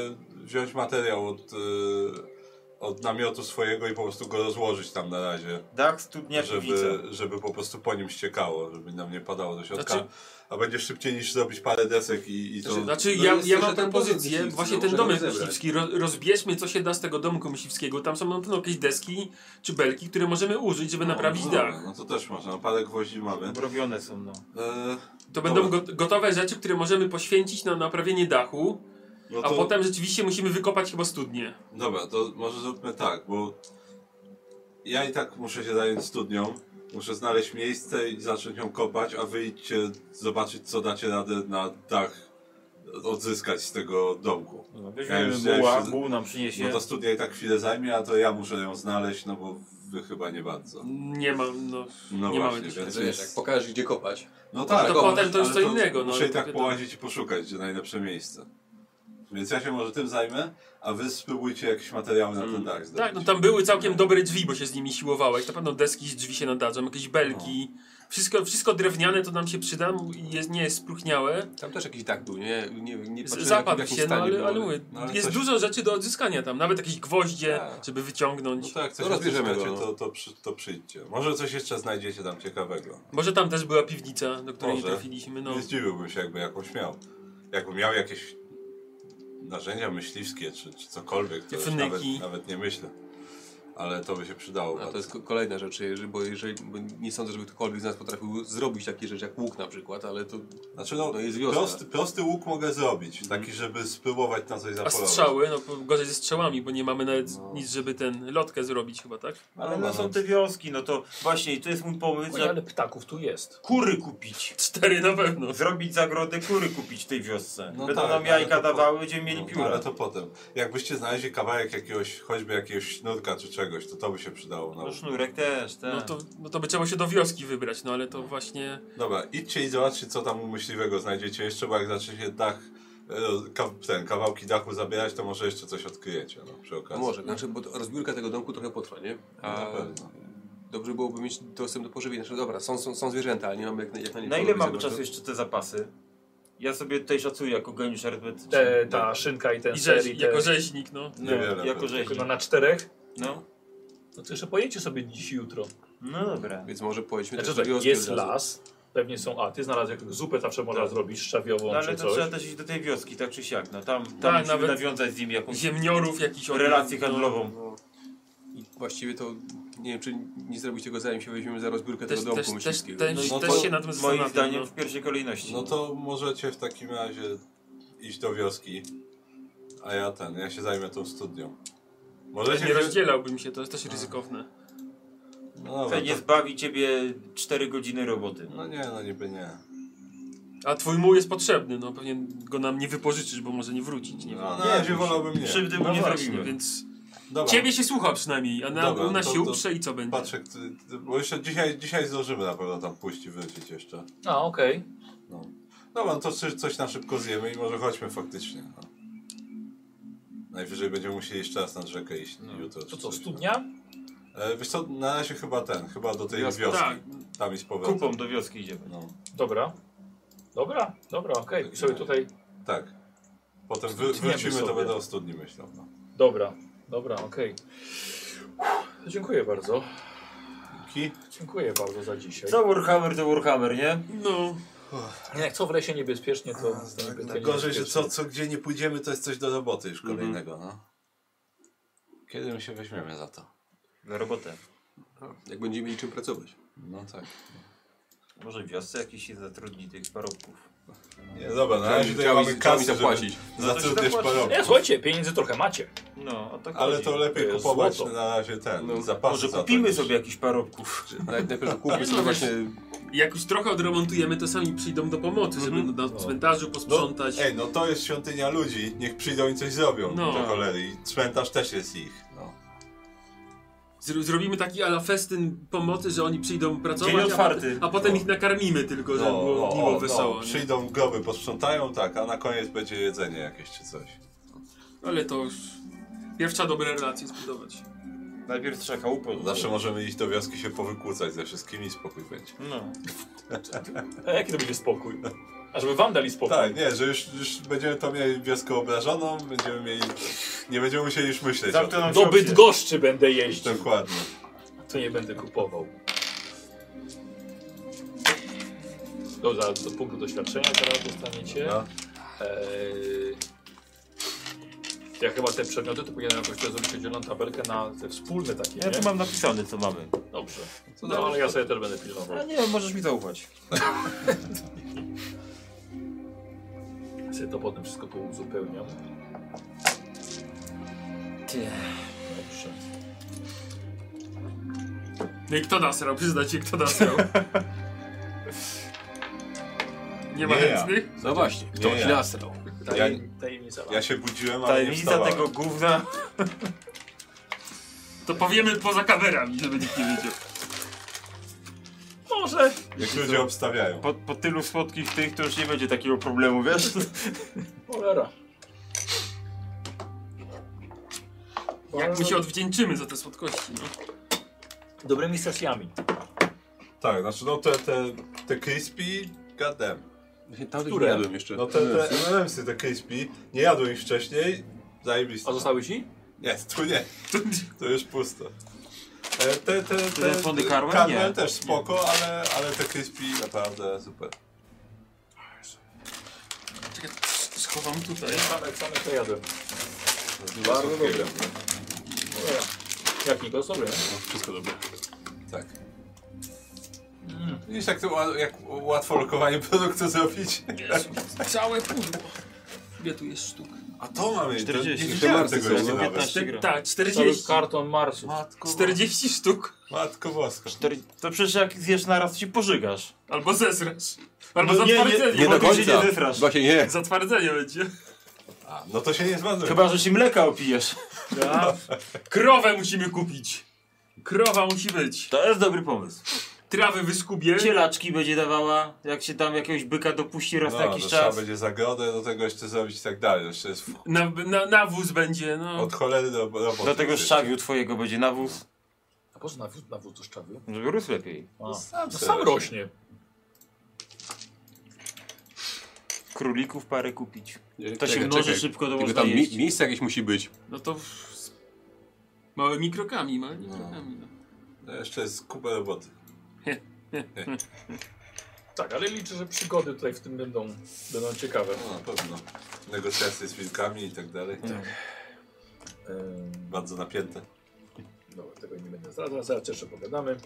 [SPEAKER 4] wziąć materiał od, y, od namiotu swojego i po prostu go rozłożyć tam na razie.
[SPEAKER 2] Dach, studnia, piwnica.
[SPEAKER 4] żeby, żeby po prostu po nim ściekało, żeby nam nie padało do środka.
[SPEAKER 5] Znaczy-
[SPEAKER 4] A będzie szybciej niż zrobić parę desek i, i to...
[SPEAKER 5] Znaczy,
[SPEAKER 3] No
[SPEAKER 5] ja,
[SPEAKER 3] jest
[SPEAKER 5] ja
[SPEAKER 3] jeszcze
[SPEAKER 5] mam
[SPEAKER 3] ten
[SPEAKER 5] propozycję,
[SPEAKER 3] pomysł,
[SPEAKER 5] właśnie
[SPEAKER 3] no,
[SPEAKER 5] ten
[SPEAKER 3] możemy
[SPEAKER 5] domek
[SPEAKER 3] zebrać.
[SPEAKER 5] myśliwski, ro, rozbierzmy co się da z tego domku myśliwskiego, tam są na pewno jakieś deski czy belki, które możemy użyć, żeby naprawić
[SPEAKER 4] no,
[SPEAKER 5] dach.
[SPEAKER 4] No to też można, parę gwoździ mamy.
[SPEAKER 2] Robione są, no.
[SPEAKER 4] E,
[SPEAKER 5] To będą go, gotowe rzeczy, które możemy poświęcić na naprawienie dachu,
[SPEAKER 4] no
[SPEAKER 5] a
[SPEAKER 4] to,
[SPEAKER 5] potem rzeczywiście musimy wykopać chyba studnie.
[SPEAKER 4] Dobra, to może zróbmy tak, bo ja i tak muszę się zająć studnią. Muszę znaleźć miejsce i zacząć ją kopać, a wy idźcie zobaczyć, co dacie radę na dach odzyskać z tego domku.
[SPEAKER 2] no
[SPEAKER 4] Ja
[SPEAKER 2] weźmiemy
[SPEAKER 4] już- ja
[SPEAKER 2] buła,
[SPEAKER 4] już się-
[SPEAKER 2] buł nam
[SPEAKER 4] No
[SPEAKER 2] przyniesie.
[SPEAKER 4] ta studnia i tak chwilę zajmie, a to ja muszę ją znaleźć, no bo wy chyba nie bardzo.
[SPEAKER 5] Nie mam, no,
[SPEAKER 4] No
[SPEAKER 5] nie mamy
[SPEAKER 4] właśnie,
[SPEAKER 5] tych.
[SPEAKER 4] więc
[SPEAKER 3] Wiesz, jak
[SPEAKER 4] jest...
[SPEAKER 3] pokażesz gdzie kopać.
[SPEAKER 4] No
[SPEAKER 5] No
[SPEAKER 4] tak,
[SPEAKER 5] to
[SPEAKER 4] ale-
[SPEAKER 5] potem to już
[SPEAKER 4] ale
[SPEAKER 5] co innego, no,
[SPEAKER 4] Muszę i tak
[SPEAKER 5] wiadomo.
[SPEAKER 4] połazić i poszukać, gdzie najlepsze miejsce. Więc ja się może tym zajmę, a wy spróbujcie jakieś materiały na ten dach zdobyć.
[SPEAKER 5] Tak, no tam były całkiem dobre drzwi, bo się z nimi siłowałeś. Na pewno deski z drzwi się nadadzą, jakieś belki. Wszystko, wszystko drewniane to nam się przyda, jest, nie jest spruchniałe.
[SPEAKER 3] Tam też jakiś dach był, nie? nie, nie
[SPEAKER 5] Z-
[SPEAKER 3] patrzyłem,
[SPEAKER 5] Zapadł
[SPEAKER 3] jakim
[SPEAKER 5] się, no
[SPEAKER 3] stanie
[SPEAKER 5] ale,
[SPEAKER 3] był,
[SPEAKER 5] ale mówię,
[SPEAKER 4] no ale
[SPEAKER 5] jest
[SPEAKER 4] coś-
[SPEAKER 5] dużo rzeczy do odzyskania tam, nawet jakieś gwoździe,
[SPEAKER 4] Tak.
[SPEAKER 5] żeby wyciągnąć.
[SPEAKER 4] No to jak coś
[SPEAKER 3] No rozbierzemy
[SPEAKER 4] odzyskacie,
[SPEAKER 3] go, no.
[SPEAKER 4] to, to, przy, to przyjdźcie. Może coś jeszcze znajdziecie tam ciekawego.
[SPEAKER 5] Może tam też była piwnica, do której nie
[SPEAKER 4] Może.
[SPEAKER 5] trafiliśmy. No.
[SPEAKER 4] Nie zdziwiłbym się, jakby jakąś miał. Jakby miał jakieś narzędzia myśliwskie, czy, czy cokolwiek, to już
[SPEAKER 5] Fnyki.
[SPEAKER 4] nawet, nawet nie myślę. Ale to by się przydało.
[SPEAKER 3] A
[SPEAKER 4] bardzo.
[SPEAKER 3] to jest ko- kolejna rzecz, jeżeli- bo jeżeli bo nie sądzę, żeby ktokolwiek z nas potrafił zrobić takie rzeczy jak łuk na przykład, ale to
[SPEAKER 4] Znaczy no,
[SPEAKER 3] To jest wiosna.
[SPEAKER 4] prosty, prosty łuk mogę zrobić, taki żeby spróbować na coś
[SPEAKER 5] A
[SPEAKER 4] zapolować.
[SPEAKER 5] strzały, no po- gorzej ze strzałami, bo nie mamy nawet nic, żeby ten lotkę zrobić chyba, tak?
[SPEAKER 2] Ale no są te wioski, no to właśnie i to jest mój pomysł,
[SPEAKER 1] Oj,
[SPEAKER 2] że
[SPEAKER 1] No, ale ptaków tu jest.
[SPEAKER 2] kury kupić. No,
[SPEAKER 5] Cztery na pewno.
[SPEAKER 2] Zrobić zagrodę, kury kupić w tej wiosce.
[SPEAKER 4] No
[SPEAKER 2] Będą
[SPEAKER 4] tak,
[SPEAKER 2] nam
[SPEAKER 4] ale
[SPEAKER 2] jajka
[SPEAKER 4] to po-
[SPEAKER 2] dawały, będziemy mieli
[SPEAKER 4] No,
[SPEAKER 2] pióra.
[SPEAKER 4] ale to potem. Jakbyście znaleźli kawałek jakiegoś, choćby jakiegoś sznurka czy czegoś, to to by się przydało. No.
[SPEAKER 2] No sznurek też, tak.
[SPEAKER 5] No to, no to by trzeba się do wioski wybrać, no ale to właśnie...
[SPEAKER 4] Dobra, idźcie i zobaczcie, co tam u myśliwego znajdziecie jeszcze, bo jak zacznie się dach, e, ka, ten, kawałki dachu zabierać, to może jeszcze coś odkryjecie, no, przy
[SPEAKER 3] no
[SPEAKER 4] okazji.
[SPEAKER 3] może, znaczy, bo to- rozbiórka tego domku trochę potrwa, nie?
[SPEAKER 4] Na
[SPEAKER 3] A
[SPEAKER 4] pewno.
[SPEAKER 3] dobrze byłoby mieć dostęp do pożywienia. Znaczy, dobra, są, są, są zwierzęta, ale nie mamy jak na, jak na nie
[SPEAKER 2] Na ile
[SPEAKER 3] polować,
[SPEAKER 2] mamy
[SPEAKER 3] dobra,
[SPEAKER 2] czasu
[SPEAKER 3] to-
[SPEAKER 2] jeszcze te zapasy? Ja sobie tutaj szacuję jako geniusz arytmetyczny.
[SPEAKER 1] Te, ta szynka tak. i ten
[SPEAKER 5] I rzeź,
[SPEAKER 1] ser i te,
[SPEAKER 5] jako rzeźnik, no.
[SPEAKER 2] No,
[SPEAKER 4] Niewiele
[SPEAKER 2] jako
[SPEAKER 4] pewnie.
[SPEAKER 1] tylko
[SPEAKER 2] rzeźnik.
[SPEAKER 1] no, na czterech.
[SPEAKER 2] No.
[SPEAKER 1] No to jeszcze pojedziecie sobie dziś i jutro.
[SPEAKER 2] no dobra.
[SPEAKER 3] Więc może pojedźmy
[SPEAKER 1] Znaczy,
[SPEAKER 3] też
[SPEAKER 1] że
[SPEAKER 3] do wioski
[SPEAKER 1] jest
[SPEAKER 3] od razu.
[SPEAKER 1] las, pewnie są a ty znalazł jakąś zupę, zawsze można zrobić szczawiową
[SPEAKER 2] No ale
[SPEAKER 1] czy
[SPEAKER 2] to
[SPEAKER 1] coś.
[SPEAKER 2] trzeba też iść do tej wioski, tak czy siak. No tam, tam
[SPEAKER 5] Tak,
[SPEAKER 2] musimy
[SPEAKER 5] nawet-
[SPEAKER 2] nawiązać z nimi jakąś
[SPEAKER 5] Ziemniorów jakiś...
[SPEAKER 2] relację
[SPEAKER 5] no.
[SPEAKER 2] handlową.
[SPEAKER 3] No. I właściwie to nie wiem, czy nie zrobić tego zanim się weźmiemy za rozbiórkę
[SPEAKER 5] Też,
[SPEAKER 3] tego
[SPEAKER 5] też,
[SPEAKER 3] domku
[SPEAKER 5] też,
[SPEAKER 3] myśliwskiego.
[SPEAKER 5] też,
[SPEAKER 4] No
[SPEAKER 5] też
[SPEAKER 4] to
[SPEAKER 5] się nad tym
[SPEAKER 2] Moim
[SPEAKER 5] zastanawiam.
[SPEAKER 2] zdaniem
[SPEAKER 5] No.
[SPEAKER 2] w pierwszej kolejności.
[SPEAKER 4] No to możecie w takim razie iść do wioski, a ja ten, ja się zajmę tą studnią. Możecie...
[SPEAKER 5] Nie
[SPEAKER 4] wziąć-
[SPEAKER 5] rozdzielałbym się, to jest też ryzykowne.
[SPEAKER 4] No, dobra,
[SPEAKER 2] To nie
[SPEAKER 4] to...
[SPEAKER 2] zbawi ciebie 4 godziny roboty.
[SPEAKER 4] no nie, no niby nie.
[SPEAKER 5] A twój muł jest potrzebny, no pewnie go nam nie wypożyczysz, bo może nie wrócić, nie
[SPEAKER 4] No,
[SPEAKER 5] wiem.
[SPEAKER 4] na razie wolałbym nie.
[SPEAKER 2] Krzywdy mu
[SPEAKER 5] No
[SPEAKER 2] nie
[SPEAKER 5] właśnie,
[SPEAKER 2] zrobimy.
[SPEAKER 5] więc
[SPEAKER 4] Dobra.
[SPEAKER 5] ciebie się słucha przynajmniej, a na,
[SPEAKER 4] Dobra, no
[SPEAKER 5] u nas
[SPEAKER 4] to-
[SPEAKER 5] się
[SPEAKER 4] to-
[SPEAKER 5] uprze i co będzie?
[SPEAKER 4] Patrzek, ty, ty, bo jeszcze dzisiaj, dzisiaj zdążymy na pewno tam pójść i wrócić jeszcze.
[SPEAKER 1] A, okej.
[SPEAKER 4] No. Dobra, no to czy- coś na szybko zjemy i może chodźmy faktycznie. No. Najwyżej będziemy musieli jeszcze raz nad rzekę iść jutro.
[SPEAKER 1] To co,
[SPEAKER 4] czy coś, no.
[SPEAKER 1] studnia?
[SPEAKER 4] E, wiesz co, na razie chyba ten, chyba do tej
[SPEAKER 3] Wioska.
[SPEAKER 4] wioski.
[SPEAKER 5] Tak.
[SPEAKER 4] Tam i z powrotem.
[SPEAKER 2] Kupą do wioski idziemy.
[SPEAKER 4] No.
[SPEAKER 1] Dobra. Dobra, dobra, okej. I sobie tutaj...
[SPEAKER 4] Tak. Potem wy,
[SPEAKER 1] Studniemy
[SPEAKER 4] wrócimy,
[SPEAKER 1] sobie.
[SPEAKER 4] to będę o studni myślał. No.
[SPEAKER 1] Dobra, dobra, okej. Uff, Dziękuję bardzo.
[SPEAKER 4] Ki?
[SPEAKER 1] Dziękuję bardzo za dzisiaj.
[SPEAKER 2] Co Warhammer to Warhammer, nie?
[SPEAKER 5] No,
[SPEAKER 1] Nie, jak co w lesie niebezpiecznie, to...
[SPEAKER 2] Tak,
[SPEAKER 1] to niby to
[SPEAKER 4] Tak, Gorzej, że
[SPEAKER 1] niebezpiecznie.
[SPEAKER 4] co, co gdzie nie pójdziemy, to jest coś do roboty już kolejnego. No. Kiedy my się weźmiemy za to?
[SPEAKER 2] Na robotę.
[SPEAKER 3] Jak będziemy mieli czym pracować.
[SPEAKER 4] No tak.
[SPEAKER 2] Może w wiosce jakiś się zatrudni tych parobków.
[SPEAKER 4] Nie, dobra, na
[SPEAKER 6] Trzeba
[SPEAKER 4] razie
[SPEAKER 6] mi-
[SPEAKER 4] tutaj
[SPEAKER 6] trzeba mi-
[SPEAKER 4] mamy
[SPEAKER 6] trzeba mi
[SPEAKER 4] kasy,
[SPEAKER 6] zapłacić.
[SPEAKER 4] zapłacić.
[SPEAKER 2] No
[SPEAKER 4] Za
[SPEAKER 2] to
[SPEAKER 4] co
[SPEAKER 2] się
[SPEAKER 4] też
[SPEAKER 2] zapłaci.
[SPEAKER 4] porobić.
[SPEAKER 1] Nie, słuchajcie, pieniędzy trochę macie.
[SPEAKER 2] No, o tak
[SPEAKER 4] Ale
[SPEAKER 2] chodzi.
[SPEAKER 4] to lepiej
[SPEAKER 1] To jest
[SPEAKER 4] kupować
[SPEAKER 1] złoto.
[SPEAKER 4] na razie ten,
[SPEAKER 2] No,
[SPEAKER 4] zapasy
[SPEAKER 2] Może
[SPEAKER 4] za to
[SPEAKER 2] kupimy
[SPEAKER 4] niż-
[SPEAKER 2] sobie jakichś parobków.
[SPEAKER 6] Naj- Najpierw kupmy
[SPEAKER 5] Nie,
[SPEAKER 6] sobie
[SPEAKER 5] no
[SPEAKER 6] właśnie...
[SPEAKER 5] Jak już trochę odremontujemy, to sami przyjdą do pomocy, żeby na cmentarzu posprzątać.
[SPEAKER 4] Ej, no to jest świątynia ludzi, niech przyjdą i coś zrobią
[SPEAKER 5] No.
[SPEAKER 4] no. do cholery. I cmentarz też jest ich. No.
[SPEAKER 5] Zro- Zrobimy taki ala festyn pomocy, że oni przyjdą pracować,
[SPEAKER 2] Dzień
[SPEAKER 5] a,
[SPEAKER 2] otwarty.
[SPEAKER 5] potem- a potem ich nakarmimy tylko, żeby
[SPEAKER 4] No,
[SPEAKER 5] było
[SPEAKER 4] o,
[SPEAKER 5] miło,
[SPEAKER 4] o,
[SPEAKER 5] wesoło.
[SPEAKER 4] no,
[SPEAKER 5] nie?
[SPEAKER 4] przyjdą groby, posprzątają, tak, a na koniec będzie jedzenie jakieś czy coś.
[SPEAKER 5] Ale to już pierwsza dobre relacje zbudować.
[SPEAKER 2] Najpierw trzeba chałupę.
[SPEAKER 4] Zawsze możemy iść do wioski się powykłócać ze wszystkimi i spokój będzie.
[SPEAKER 2] No.
[SPEAKER 1] A jaki to będzie spokój? A żeby wam dali spokój.
[SPEAKER 4] Tak, nie, że już, już będziemy to mieli wioskę obrażoną, będziemy mieli... Nie będziemy musieli już myśleć o
[SPEAKER 2] Zamknę
[SPEAKER 4] tym.
[SPEAKER 2] nam
[SPEAKER 1] Do
[SPEAKER 2] się opcje.
[SPEAKER 1] Bydgoszczy będę jeździł,
[SPEAKER 4] Dokładnie.
[SPEAKER 1] to nie będę kupował. Dobra, do punktu doświadczenia teraz dostaniecie.
[SPEAKER 4] No.
[SPEAKER 1] Eee, ja chyba te przedmioty to powinienem jakoś teraz zrobić oddzielną tabelkę na te wspólne takie,
[SPEAKER 2] Ja
[SPEAKER 1] nie?
[SPEAKER 2] tu mam napisane, co mamy.
[SPEAKER 1] Dobrze. No, ale ja sobie też będę pilnował.
[SPEAKER 2] A nie, możesz mi zaufać.
[SPEAKER 1] Sobie to potem wszystko pouzupełniam.
[SPEAKER 2] Ty.
[SPEAKER 1] Dobrze.
[SPEAKER 5] No i kto nasrał? Przyznać się, kto nasrał. Nie ma
[SPEAKER 4] Nie ja.
[SPEAKER 5] chętnych?
[SPEAKER 6] No właśnie, ktoś
[SPEAKER 4] ja.
[SPEAKER 6] nasrał.
[SPEAKER 1] Tajem, tajemnica.
[SPEAKER 4] Ja się budziłem, ale nie
[SPEAKER 2] Tajemnica
[SPEAKER 4] wstawałem.
[SPEAKER 2] tego gówna.
[SPEAKER 5] To powiemy poza kamerami, żeby nikt nie wiedział.
[SPEAKER 1] Może.
[SPEAKER 4] Jak ludzie obstawiają.
[SPEAKER 2] Po, po tylu słodkich tych, to już nie będzie takiego problemu, wiesz?
[SPEAKER 1] Cholera.
[SPEAKER 5] Jak mu się odwdzięczymy za te słodkości, no.
[SPEAKER 1] Dobrymi sesjami.
[SPEAKER 4] Tak, znaczy no te, te, te crispy, gadem.
[SPEAKER 6] Tam
[SPEAKER 1] Które?
[SPEAKER 6] jadłem jeszcze.
[SPEAKER 4] No te, te M&M'sy, te crispy, nie jadłem ich wcześniej, zajebiste.
[SPEAKER 1] A zostały ci?
[SPEAKER 4] Nie, tu nie, to już pusto. E, Te, te, te,
[SPEAKER 2] Te wody Karmel?
[SPEAKER 4] Karmel
[SPEAKER 2] Nie.
[SPEAKER 4] też spoko, ale, ale te crispy naprawdę super.
[SPEAKER 5] Czekaj, schowam tutaj.
[SPEAKER 1] Same, Tak, same to jadłem.
[SPEAKER 6] Bardzo dobre.
[SPEAKER 1] Jak Nikos, dobry.
[SPEAKER 6] Wszystko dobre.
[SPEAKER 4] Tak. Widzisz jak, to, ła- jak łatwo lokowanie produktu zrobić?
[SPEAKER 5] Jezu, całe pudło. Ile tu jest sztuk?
[SPEAKER 4] A to mamy,
[SPEAKER 2] 40.
[SPEAKER 4] To, nie widziałem
[SPEAKER 6] Marcy
[SPEAKER 4] tego
[SPEAKER 6] są,
[SPEAKER 4] jeszcze
[SPEAKER 6] no.
[SPEAKER 4] nawet.
[SPEAKER 2] Tygra.
[SPEAKER 5] Tak,
[SPEAKER 1] Cały
[SPEAKER 5] 40.
[SPEAKER 1] karton Marsu.
[SPEAKER 4] Matko,
[SPEAKER 5] 40 sztuk.
[SPEAKER 4] matko boska.
[SPEAKER 2] Cztery- To przecież jak zjesz naraz, to się pożygasz.
[SPEAKER 5] Albo zesrasz. Albo
[SPEAKER 2] No nie, nie,
[SPEAKER 5] zatwardzenie.
[SPEAKER 6] Nie do
[SPEAKER 2] Bo ty się
[SPEAKER 6] końca.
[SPEAKER 2] nie zefrasz.
[SPEAKER 6] Właśnie nie.
[SPEAKER 5] Zatwardzenie będzie.
[SPEAKER 4] A, no to się nie zmarnuje.
[SPEAKER 2] Chyba, że się mleka opijesz.
[SPEAKER 5] Krowę musimy kupić. Krowa musi być.
[SPEAKER 2] To jest dobry pomysł.
[SPEAKER 5] Trawy wyskubię.
[SPEAKER 2] Cielaczki będzie dawała, jak się tam jakiegoś byka dopuści raz na
[SPEAKER 4] No,
[SPEAKER 2] jakiś
[SPEAKER 4] to trzeba
[SPEAKER 2] czas. No.
[SPEAKER 4] będzie zagrodę do tego jeszcze zrobić i tak dalej. Jeszcze jest w-
[SPEAKER 5] Na, na, nawóz będzie, no.
[SPEAKER 4] od cholery do roboty.
[SPEAKER 2] Do tego szczawiu twojego będzie nawóz,
[SPEAKER 1] A po co na wóz, na wóz do szczawy?
[SPEAKER 2] żeby rósł lepiej.
[SPEAKER 1] A,
[SPEAKER 4] sam
[SPEAKER 1] sam,
[SPEAKER 4] sobie
[SPEAKER 1] sam
[SPEAKER 4] rośnie.
[SPEAKER 1] rośnie.
[SPEAKER 2] Królików parę kupić. To
[SPEAKER 6] Czekaj,
[SPEAKER 2] się
[SPEAKER 6] czekaj.
[SPEAKER 2] mnoży szybko, to
[SPEAKER 6] Tylko
[SPEAKER 2] można
[SPEAKER 6] tam mi-
[SPEAKER 2] jeść.
[SPEAKER 6] miejsce jakieś musi być.
[SPEAKER 5] No to w- z małymi krokami, małymi krokami. No.
[SPEAKER 4] No, jeszcze jest kupa roboty.
[SPEAKER 1] Tak, ale liczę, że przygody tutaj w tym będą, będą ciekawe.
[SPEAKER 4] No, na pewno. Negocjacje z wilkami i tak dalej.
[SPEAKER 2] Mm.
[SPEAKER 1] Ehm,
[SPEAKER 4] Bardzo napięte.
[SPEAKER 2] No,
[SPEAKER 1] dobra, tego nie będę zdradzał, zaraz jeszcze pogadamy.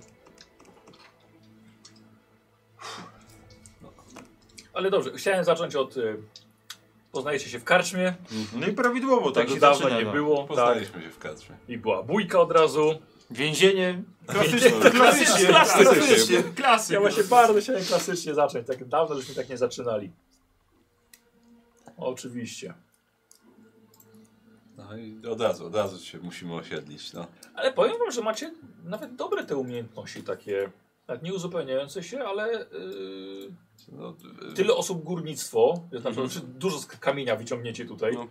[SPEAKER 1] Ale dobrze, chciałem zacząć od... y, Poznajecie się w karczmie,
[SPEAKER 2] No i prawidłowo, tak
[SPEAKER 1] tego
[SPEAKER 2] się
[SPEAKER 1] dawno
[SPEAKER 2] zaczyna,
[SPEAKER 1] nie
[SPEAKER 2] no.
[SPEAKER 1] było. Tak.
[SPEAKER 4] Poznaliśmy się w kadrze.
[SPEAKER 1] I była bójka od razu.
[SPEAKER 2] Więzienie.
[SPEAKER 1] Klasycznie,
[SPEAKER 2] Klasycznie. Klasycznie.
[SPEAKER 5] Klasy. No
[SPEAKER 1] Ja właśnie bardzo chciałem klasycznie zacząć, tak dawno żeśmy tak nie zaczynali. Oczywiście.
[SPEAKER 4] No i od razu, od razu się musimy osiedlić. No.
[SPEAKER 1] Ale powiem wam, że macie nawet dobre te umiejętności takie, nawet nie uzupełniające się, ale yy,
[SPEAKER 4] No, y,
[SPEAKER 1] tyle osób górnictwo, to znaczy
[SPEAKER 5] Mhm.
[SPEAKER 1] czy dużo z kamienia wyciągniecie tutaj.
[SPEAKER 2] No.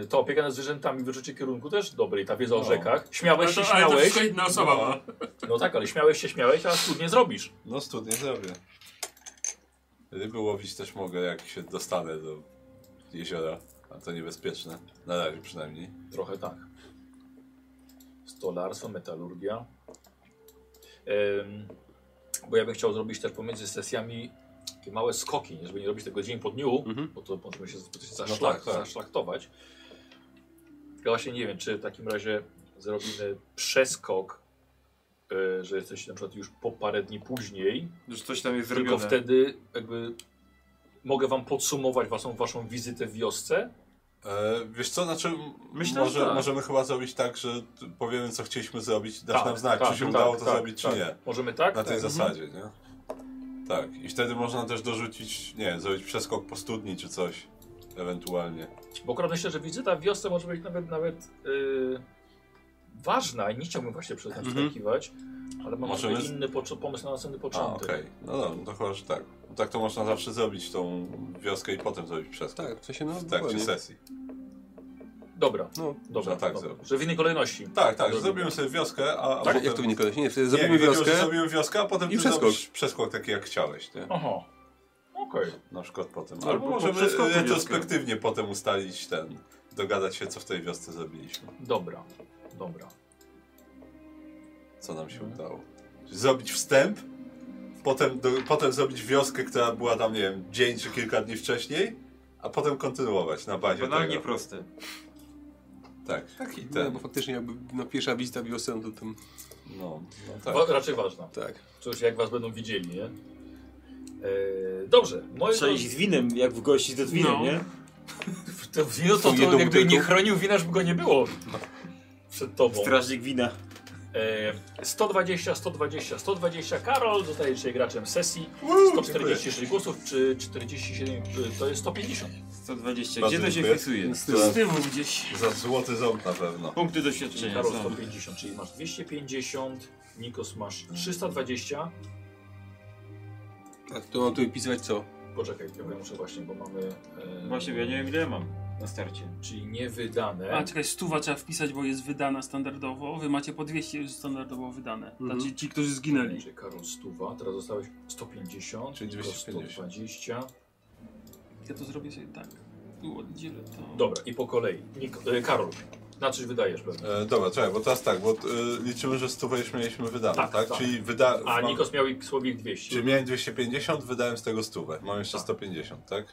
[SPEAKER 1] Yy, To opieka nad zwierzętami, wyczucie kierunku też dobre i ta wiedza o
[SPEAKER 4] No.
[SPEAKER 1] rzekach.
[SPEAKER 5] Ale
[SPEAKER 1] Śmiałeś się,
[SPEAKER 5] to, ale to
[SPEAKER 1] śmiałeś.
[SPEAKER 5] wszystko jedna osoba
[SPEAKER 4] No.
[SPEAKER 5] ma.
[SPEAKER 1] No tak, ale śmiałeś się, śmiałeś, a studnie zrobisz.
[SPEAKER 4] no studnie zrobię. Ryby łowić też mogę, jak się dostanę do jeziora. A to niebezpieczne. Na razie przynajmniej.
[SPEAKER 1] Trochę tak. Stolarstwo, metalurgia. Ym, bo ja bym chciał zrobić też pomiędzy sesjami takie małe skoki, nie? żeby nie robić tego dzień po dniu, bo to możemy się zbyt- zaszlak,
[SPEAKER 4] Mhm. tak, tak.
[SPEAKER 1] zaszlaktować. Ja właśnie nie wiem, czy w takim razie zrobimy przeskok, y, że jesteś na przykład już po parę dni później,
[SPEAKER 2] Już coś tam jest
[SPEAKER 1] tylko
[SPEAKER 2] zrobione.
[SPEAKER 1] wtedy jakby Mogę wam podsumować waszą, waszą wizytę w wiosce.
[SPEAKER 4] E, wiesz co, znaczy m-
[SPEAKER 5] Myślę,
[SPEAKER 4] może,
[SPEAKER 5] że tak.
[SPEAKER 4] możemy chyba zrobić tak, że t- powiemy co chcieliśmy zrobić, dasz
[SPEAKER 1] Tak,
[SPEAKER 4] nam znać,
[SPEAKER 1] tak,
[SPEAKER 4] czy się
[SPEAKER 1] tak,
[SPEAKER 4] udało to
[SPEAKER 1] tak,
[SPEAKER 4] zrobić,
[SPEAKER 1] tak.
[SPEAKER 4] czy nie.
[SPEAKER 1] Możemy tak?
[SPEAKER 4] Na tej
[SPEAKER 1] tak.
[SPEAKER 4] zasadzie, nie? Tak, i wtedy można też dorzucić, nie, zrobić przeskok po studni czy coś, ewentualnie.
[SPEAKER 1] Bo akurat myślę, że wizyta w wiosce może być nawet, nawet yy, ważna i nie chciałbym właśnie przez nas
[SPEAKER 2] Mhm.
[SPEAKER 1] wskakiwać, ale mam
[SPEAKER 4] Możemy
[SPEAKER 1] Możemy...
[SPEAKER 4] z-
[SPEAKER 1] inny poczu- pomysł na następny
[SPEAKER 4] A,
[SPEAKER 1] początek.
[SPEAKER 4] okej, no dobra, no to chyba, że tak. Tak to można zawsze zrobić, tą wioskę i potem zrobić przeskok.
[SPEAKER 3] Tak, to się no,
[SPEAKER 4] W trakcie
[SPEAKER 3] dokładnie.
[SPEAKER 4] sesji.
[SPEAKER 1] Dobra,
[SPEAKER 3] No,
[SPEAKER 1] dobra,
[SPEAKER 4] tak
[SPEAKER 1] dobra.
[SPEAKER 4] zrobić.
[SPEAKER 1] Że w innej kolejności.
[SPEAKER 4] Tak, tak,
[SPEAKER 1] Zrobimy.
[SPEAKER 4] zrobimy sobie wioskę, a, a
[SPEAKER 3] Tak?
[SPEAKER 4] potem...
[SPEAKER 3] Jak to wynika? Nie, wtedy
[SPEAKER 4] Nie,
[SPEAKER 3] zrobimy
[SPEAKER 4] wiedział, że
[SPEAKER 3] wioskę.
[SPEAKER 4] Zrobimy wioskę, a potem
[SPEAKER 3] i
[SPEAKER 4] ty
[SPEAKER 3] przeskok.
[SPEAKER 4] zrobisz przeskok taki jak chciałeś, nie?
[SPEAKER 1] Aha, okej.
[SPEAKER 4] Na przykład potem.
[SPEAKER 2] Albo
[SPEAKER 4] Albo,
[SPEAKER 2] po
[SPEAKER 4] możemy
[SPEAKER 2] przeskoku
[SPEAKER 4] retrospektywnie potem ustalić ten. Dogadać się, co w tej wiosce zrobiliśmy.
[SPEAKER 1] Dobra, dobra.
[SPEAKER 4] Co nam się udało. Zrobić wstęp, potem, do, potem zrobić wioskę, która była tam, nie wiem, dzień czy kilka dni wcześniej, a potem kontynuować na bazie
[SPEAKER 2] Banalnie
[SPEAKER 4] tego.
[SPEAKER 2] proste.
[SPEAKER 4] Tak, taki
[SPEAKER 3] No,
[SPEAKER 4] ten.
[SPEAKER 3] bo faktycznie jakby no, pierwsza wizyta wiosce, no to tam,
[SPEAKER 4] No, no
[SPEAKER 1] Wa
[SPEAKER 4] tak.
[SPEAKER 1] raczej ważna.
[SPEAKER 3] tak.
[SPEAKER 1] Cóż, jak was będą widzieli, nie? Eee, dobrze, moi
[SPEAKER 2] Trzeba iść z winem, jak w gości z winem,
[SPEAKER 5] No.
[SPEAKER 2] nie?
[SPEAKER 1] drodzy, to wino to,
[SPEAKER 3] Tą jedną
[SPEAKER 1] to jakby
[SPEAKER 3] butelką.
[SPEAKER 1] nie chronił wina, żeby go nie było przed tobą.
[SPEAKER 2] Strażnik wina.
[SPEAKER 1] Eee, 120, 120, 120. Karol zostaje dzisiaj graczem sesji. 146 głosów, czy 47, czy to jest 150.
[SPEAKER 2] 120.
[SPEAKER 4] Bardzo
[SPEAKER 2] Gdzie to się
[SPEAKER 4] dziękuję.
[SPEAKER 2] wpisuje?
[SPEAKER 1] Tak.
[SPEAKER 5] Z tyłu gdzieś.
[SPEAKER 4] Za złoty ząb na pewno.
[SPEAKER 2] Punkty doświadczenia.
[SPEAKER 1] Karol
[SPEAKER 2] są.
[SPEAKER 1] 150, czyli masz 250, Nikos masz 320.
[SPEAKER 3] A tak, to mam tu pisać co?
[SPEAKER 1] Poczekaj, ja muszę właśnie, bo mamy. eee,
[SPEAKER 2] Właśnie, bo ja nie wiem ile ja mam na starcie.
[SPEAKER 1] Czyli niewydane.
[SPEAKER 5] A czekaj, stuwa trzeba wpisać, bo jest wydana standardowo. Wy macie po 200 już standardowo wydane. Znaczy
[SPEAKER 1] Mhm.
[SPEAKER 5] ci, którzy zginęli.
[SPEAKER 1] Czyli Karol Stuwa, teraz dostałeś 150,
[SPEAKER 4] Czyli
[SPEAKER 1] czyli
[SPEAKER 4] 250.
[SPEAKER 1] 120.
[SPEAKER 5] Ja to zrobię sobie tak. Tu oddzielę to.
[SPEAKER 1] Dobra, i po kolei. Nik- e, Karol, na coś wydajesz pewnie.
[SPEAKER 4] E, dobra, czekaj, bo teraz tak, bo e, liczymy, że stówę już mieliśmy wydane, tak?
[SPEAKER 1] Tak, tak.
[SPEAKER 4] Czyli wyda...
[SPEAKER 1] A
[SPEAKER 4] mam-
[SPEAKER 1] Nikos miał ich słowik 200.
[SPEAKER 4] Czyli miałem 250, wydałem z tego 100. Mam jeszcze
[SPEAKER 1] Tak.
[SPEAKER 4] 150, tak?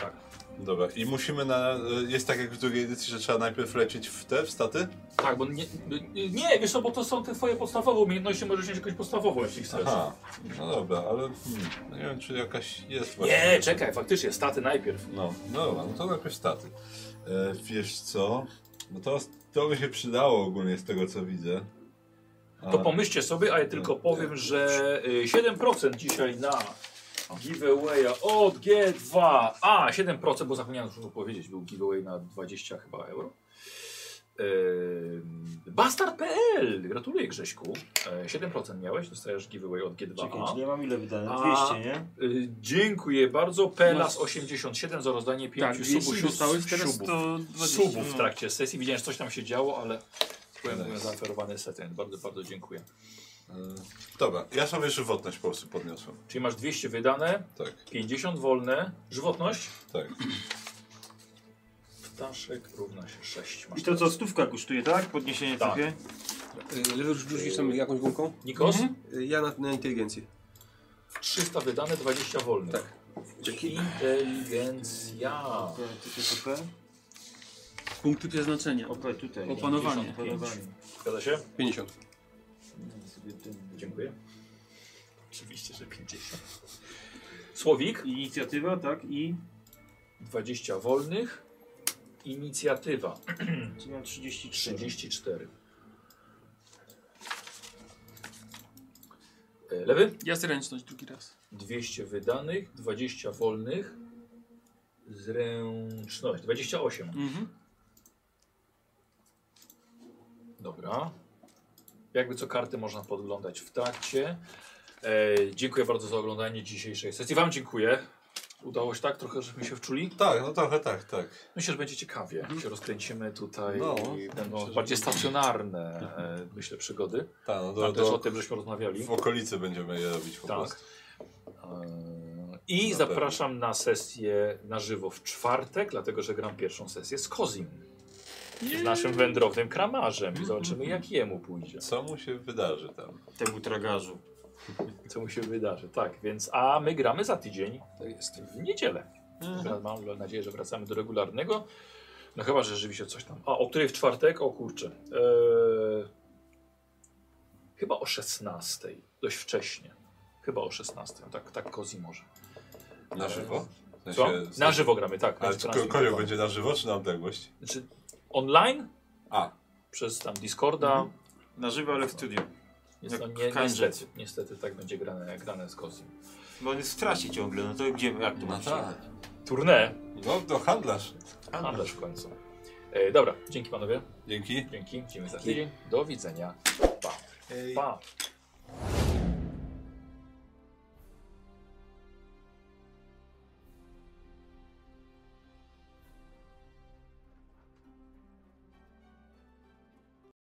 [SPEAKER 1] Tak.
[SPEAKER 4] Dobra, i musimy na. Jest tak jak w drugiej edycji, że trzeba najpierw lecieć w te, w staty?
[SPEAKER 1] Tak, bo nie, nie, wiesz co, bo to są te twoje podstawowe umiejętności, możesz mieć jakąś podstawową, jeśli chcesz.
[SPEAKER 4] Aha, no dobra, ale hmm, no nie wiem, czy jakaś jest
[SPEAKER 1] Nie, czekaj, faktycznie, staty najpierw.
[SPEAKER 4] No, no dobra, no to najpierw staty. E, wiesz co? No to, to by się przydało ogólnie z tego, co widzę. A,
[SPEAKER 1] To pomyślcie sobie, a ja tylko powiem, że y, 7% dzisiaj na giveawaya od G2. A, 7%, bo zapomniałem już powiedzieć, był giveaway na 20 chyba euro. Ym, Bastard.pl, gratuluję Grześku. E, 7% miałeś, dostajesz giveaway od
[SPEAKER 2] Czekaj,
[SPEAKER 1] G2.
[SPEAKER 2] czyli ja mam ile wydane?
[SPEAKER 1] A.
[SPEAKER 2] 200, nie? No.
[SPEAKER 1] Y, Dziękuję bardzo. Pelas87 za rozdanie 5
[SPEAKER 5] Tak,
[SPEAKER 1] tak,
[SPEAKER 5] 200
[SPEAKER 1] subów,
[SPEAKER 5] dostałeś,
[SPEAKER 1] siu-
[SPEAKER 5] teraz
[SPEAKER 1] siubów.
[SPEAKER 5] 120.
[SPEAKER 1] subów w
[SPEAKER 5] No.
[SPEAKER 1] trakcie sesji. Widziałem, że coś tam się działo, ale byłem,
[SPEAKER 4] Nice.
[SPEAKER 1] byłem zaoferowany setem. Bardzo, bardzo dziękuję.
[SPEAKER 4] E, dobra, ja sobie żywotność po prostu podniosłem.
[SPEAKER 1] Czyli masz 200 wydane,
[SPEAKER 4] Tak,
[SPEAKER 1] 50 wolne, żywotność.
[SPEAKER 4] tak.
[SPEAKER 1] Ptaszek równa się 6. Masz
[SPEAKER 2] I to co stówka kosztuje, tak? Podniesienie
[SPEAKER 1] Tak.
[SPEAKER 2] trochę?
[SPEAKER 3] Y, Lewy rzucisz tam jakąś gumką?
[SPEAKER 1] Nikos?
[SPEAKER 3] Y, Ja na, na inteligencję.
[SPEAKER 1] 300 wydane, 20 wolnych.
[SPEAKER 3] Tak. Dzięki.
[SPEAKER 1] Inteligencja.
[SPEAKER 2] Okej,
[SPEAKER 5] Punkty przeznaczenia.
[SPEAKER 2] okay, tutaj.
[SPEAKER 5] Opanowanie.
[SPEAKER 2] 55.
[SPEAKER 1] Zgadza się?
[SPEAKER 3] 50.
[SPEAKER 1] Dziękuję. Oczywiście, że 50. Słowik?
[SPEAKER 2] Inicjatywa, tak? I
[SPEAKER 1] 20 wolnych. Inicjatywa
[SPEAKER 2] czy mam 33?
[SPEAKER 1] 34. E, Lewy?
[SPEAKER 5] Ja zręczność drugi raz.
[SPEAKER 1] 200 wydanych, 20 wolnych. Zręczność 28.
[SPEAKER 5] Mhm.
[SPEAKER 1] Dobra. Jakby co karty można podglądać w trakcie. E, dziękuję bardzo za oglądanie dzisiejszej sesji. Wam dziękuję. Udało się tak trochę, żeśmy się wczuli.
[SPEAKER 4] Tak, no trochę tak, tak.
[SPEAKER 1] Myślę, że będzie ciekawie. się rozkręcimy tutaj.
[SPEAKER 4] Mhm. No,
[SPEAKER 1] będą
[SPEAKER 4] myślę, że
[SPEAKER 1] bardziej
[SPEAKER 4] będzie.
[SPEAKER 1] stacjonarne, e, myślę, przygody.
[SPEAKER 4] Tak, no
[SPEAKER 1] Tam
[SPEAKER 4] do,
[SPEAKER 1] też o
[SPEAKER 4] do,
[SPEAKER 1] tym żeśmy rozmawiali.
[SPEAKER 4] w okolicy będziemy je robić po
[SPEAKER 1] Tak.
[SPEAKER 4] prostu.
[SPEAKER 1] E, I
[SPEAKER 4] Na
[SPEAKER 1] zapraszam na sesję na żywo w czwartek, dlatego że gram pierwszą sesję z Kozim. Z naszym wędrownym kramarzem. I zobaczymy, jak jemu pójdzie.
[SPEAKER 4] Co mu się wydarzy tam?
[SPEAKER 2] Temu tragarzu.
[SPEAKER 1] co mu się wydarzy. Tak, więc a my gramy za tydzień. To jest w niedzielę. Mam nadzieję, że wracamy do regularnego. No chyba, że rzeczywiście coś tam. A o której w czwartek? O kurczę. Eee, chyba o 16. Dość wcześnie. Chyba o 16. Tak, tak Kozi może.
[SPEAKER 4] Na żywo? sensie-
[SPEAKER 1] Co? Na żywo gramy, tak.
[SPEAKER 4] Ale
[SPEAKER 1] będzie
[SPEAKER 4] czy ko-
[SPEAKER 1] transmitowane.
[SPEAKER 4] Kolio będzie na żywo czy na odległość?
[SPEAKER 1] Znaczy, online?
[SPEAKER 4] A.
[SPEAKER 1] Przez tam Discorda.
[SPEAKER 2] Na żywo, ale w studiu.
[SPEAKER 1] Jest to
[SPEAKER 2] Jak
[SPEAKER 1] nie,
[SPEAKER 2] kanjet.
[SPEAKER 1] niestety, niestety tak będzie grane, grane z Kosy.
[SPEAKER 2] Bo on jest w trasie ciągle, no to gdzie, jak to
[SPEAKER 4] No
[SPEAKER 2] masz?
[SPEAKER 4] tak.
[SPEAKER 1] Tournée.
[SPEAKER 4] No to handlarz.
[SPEAKER 1] Handlarz w końcu. E, dobra, dzięki panowie.
[SPEAKER 4] Dzięki.
[SPEAKER 1] Dzięki. Widzimy za tydzień. Do widzenia. Pa.
[SPEAKER 2] Ej.
[SPEAKER 1] pa.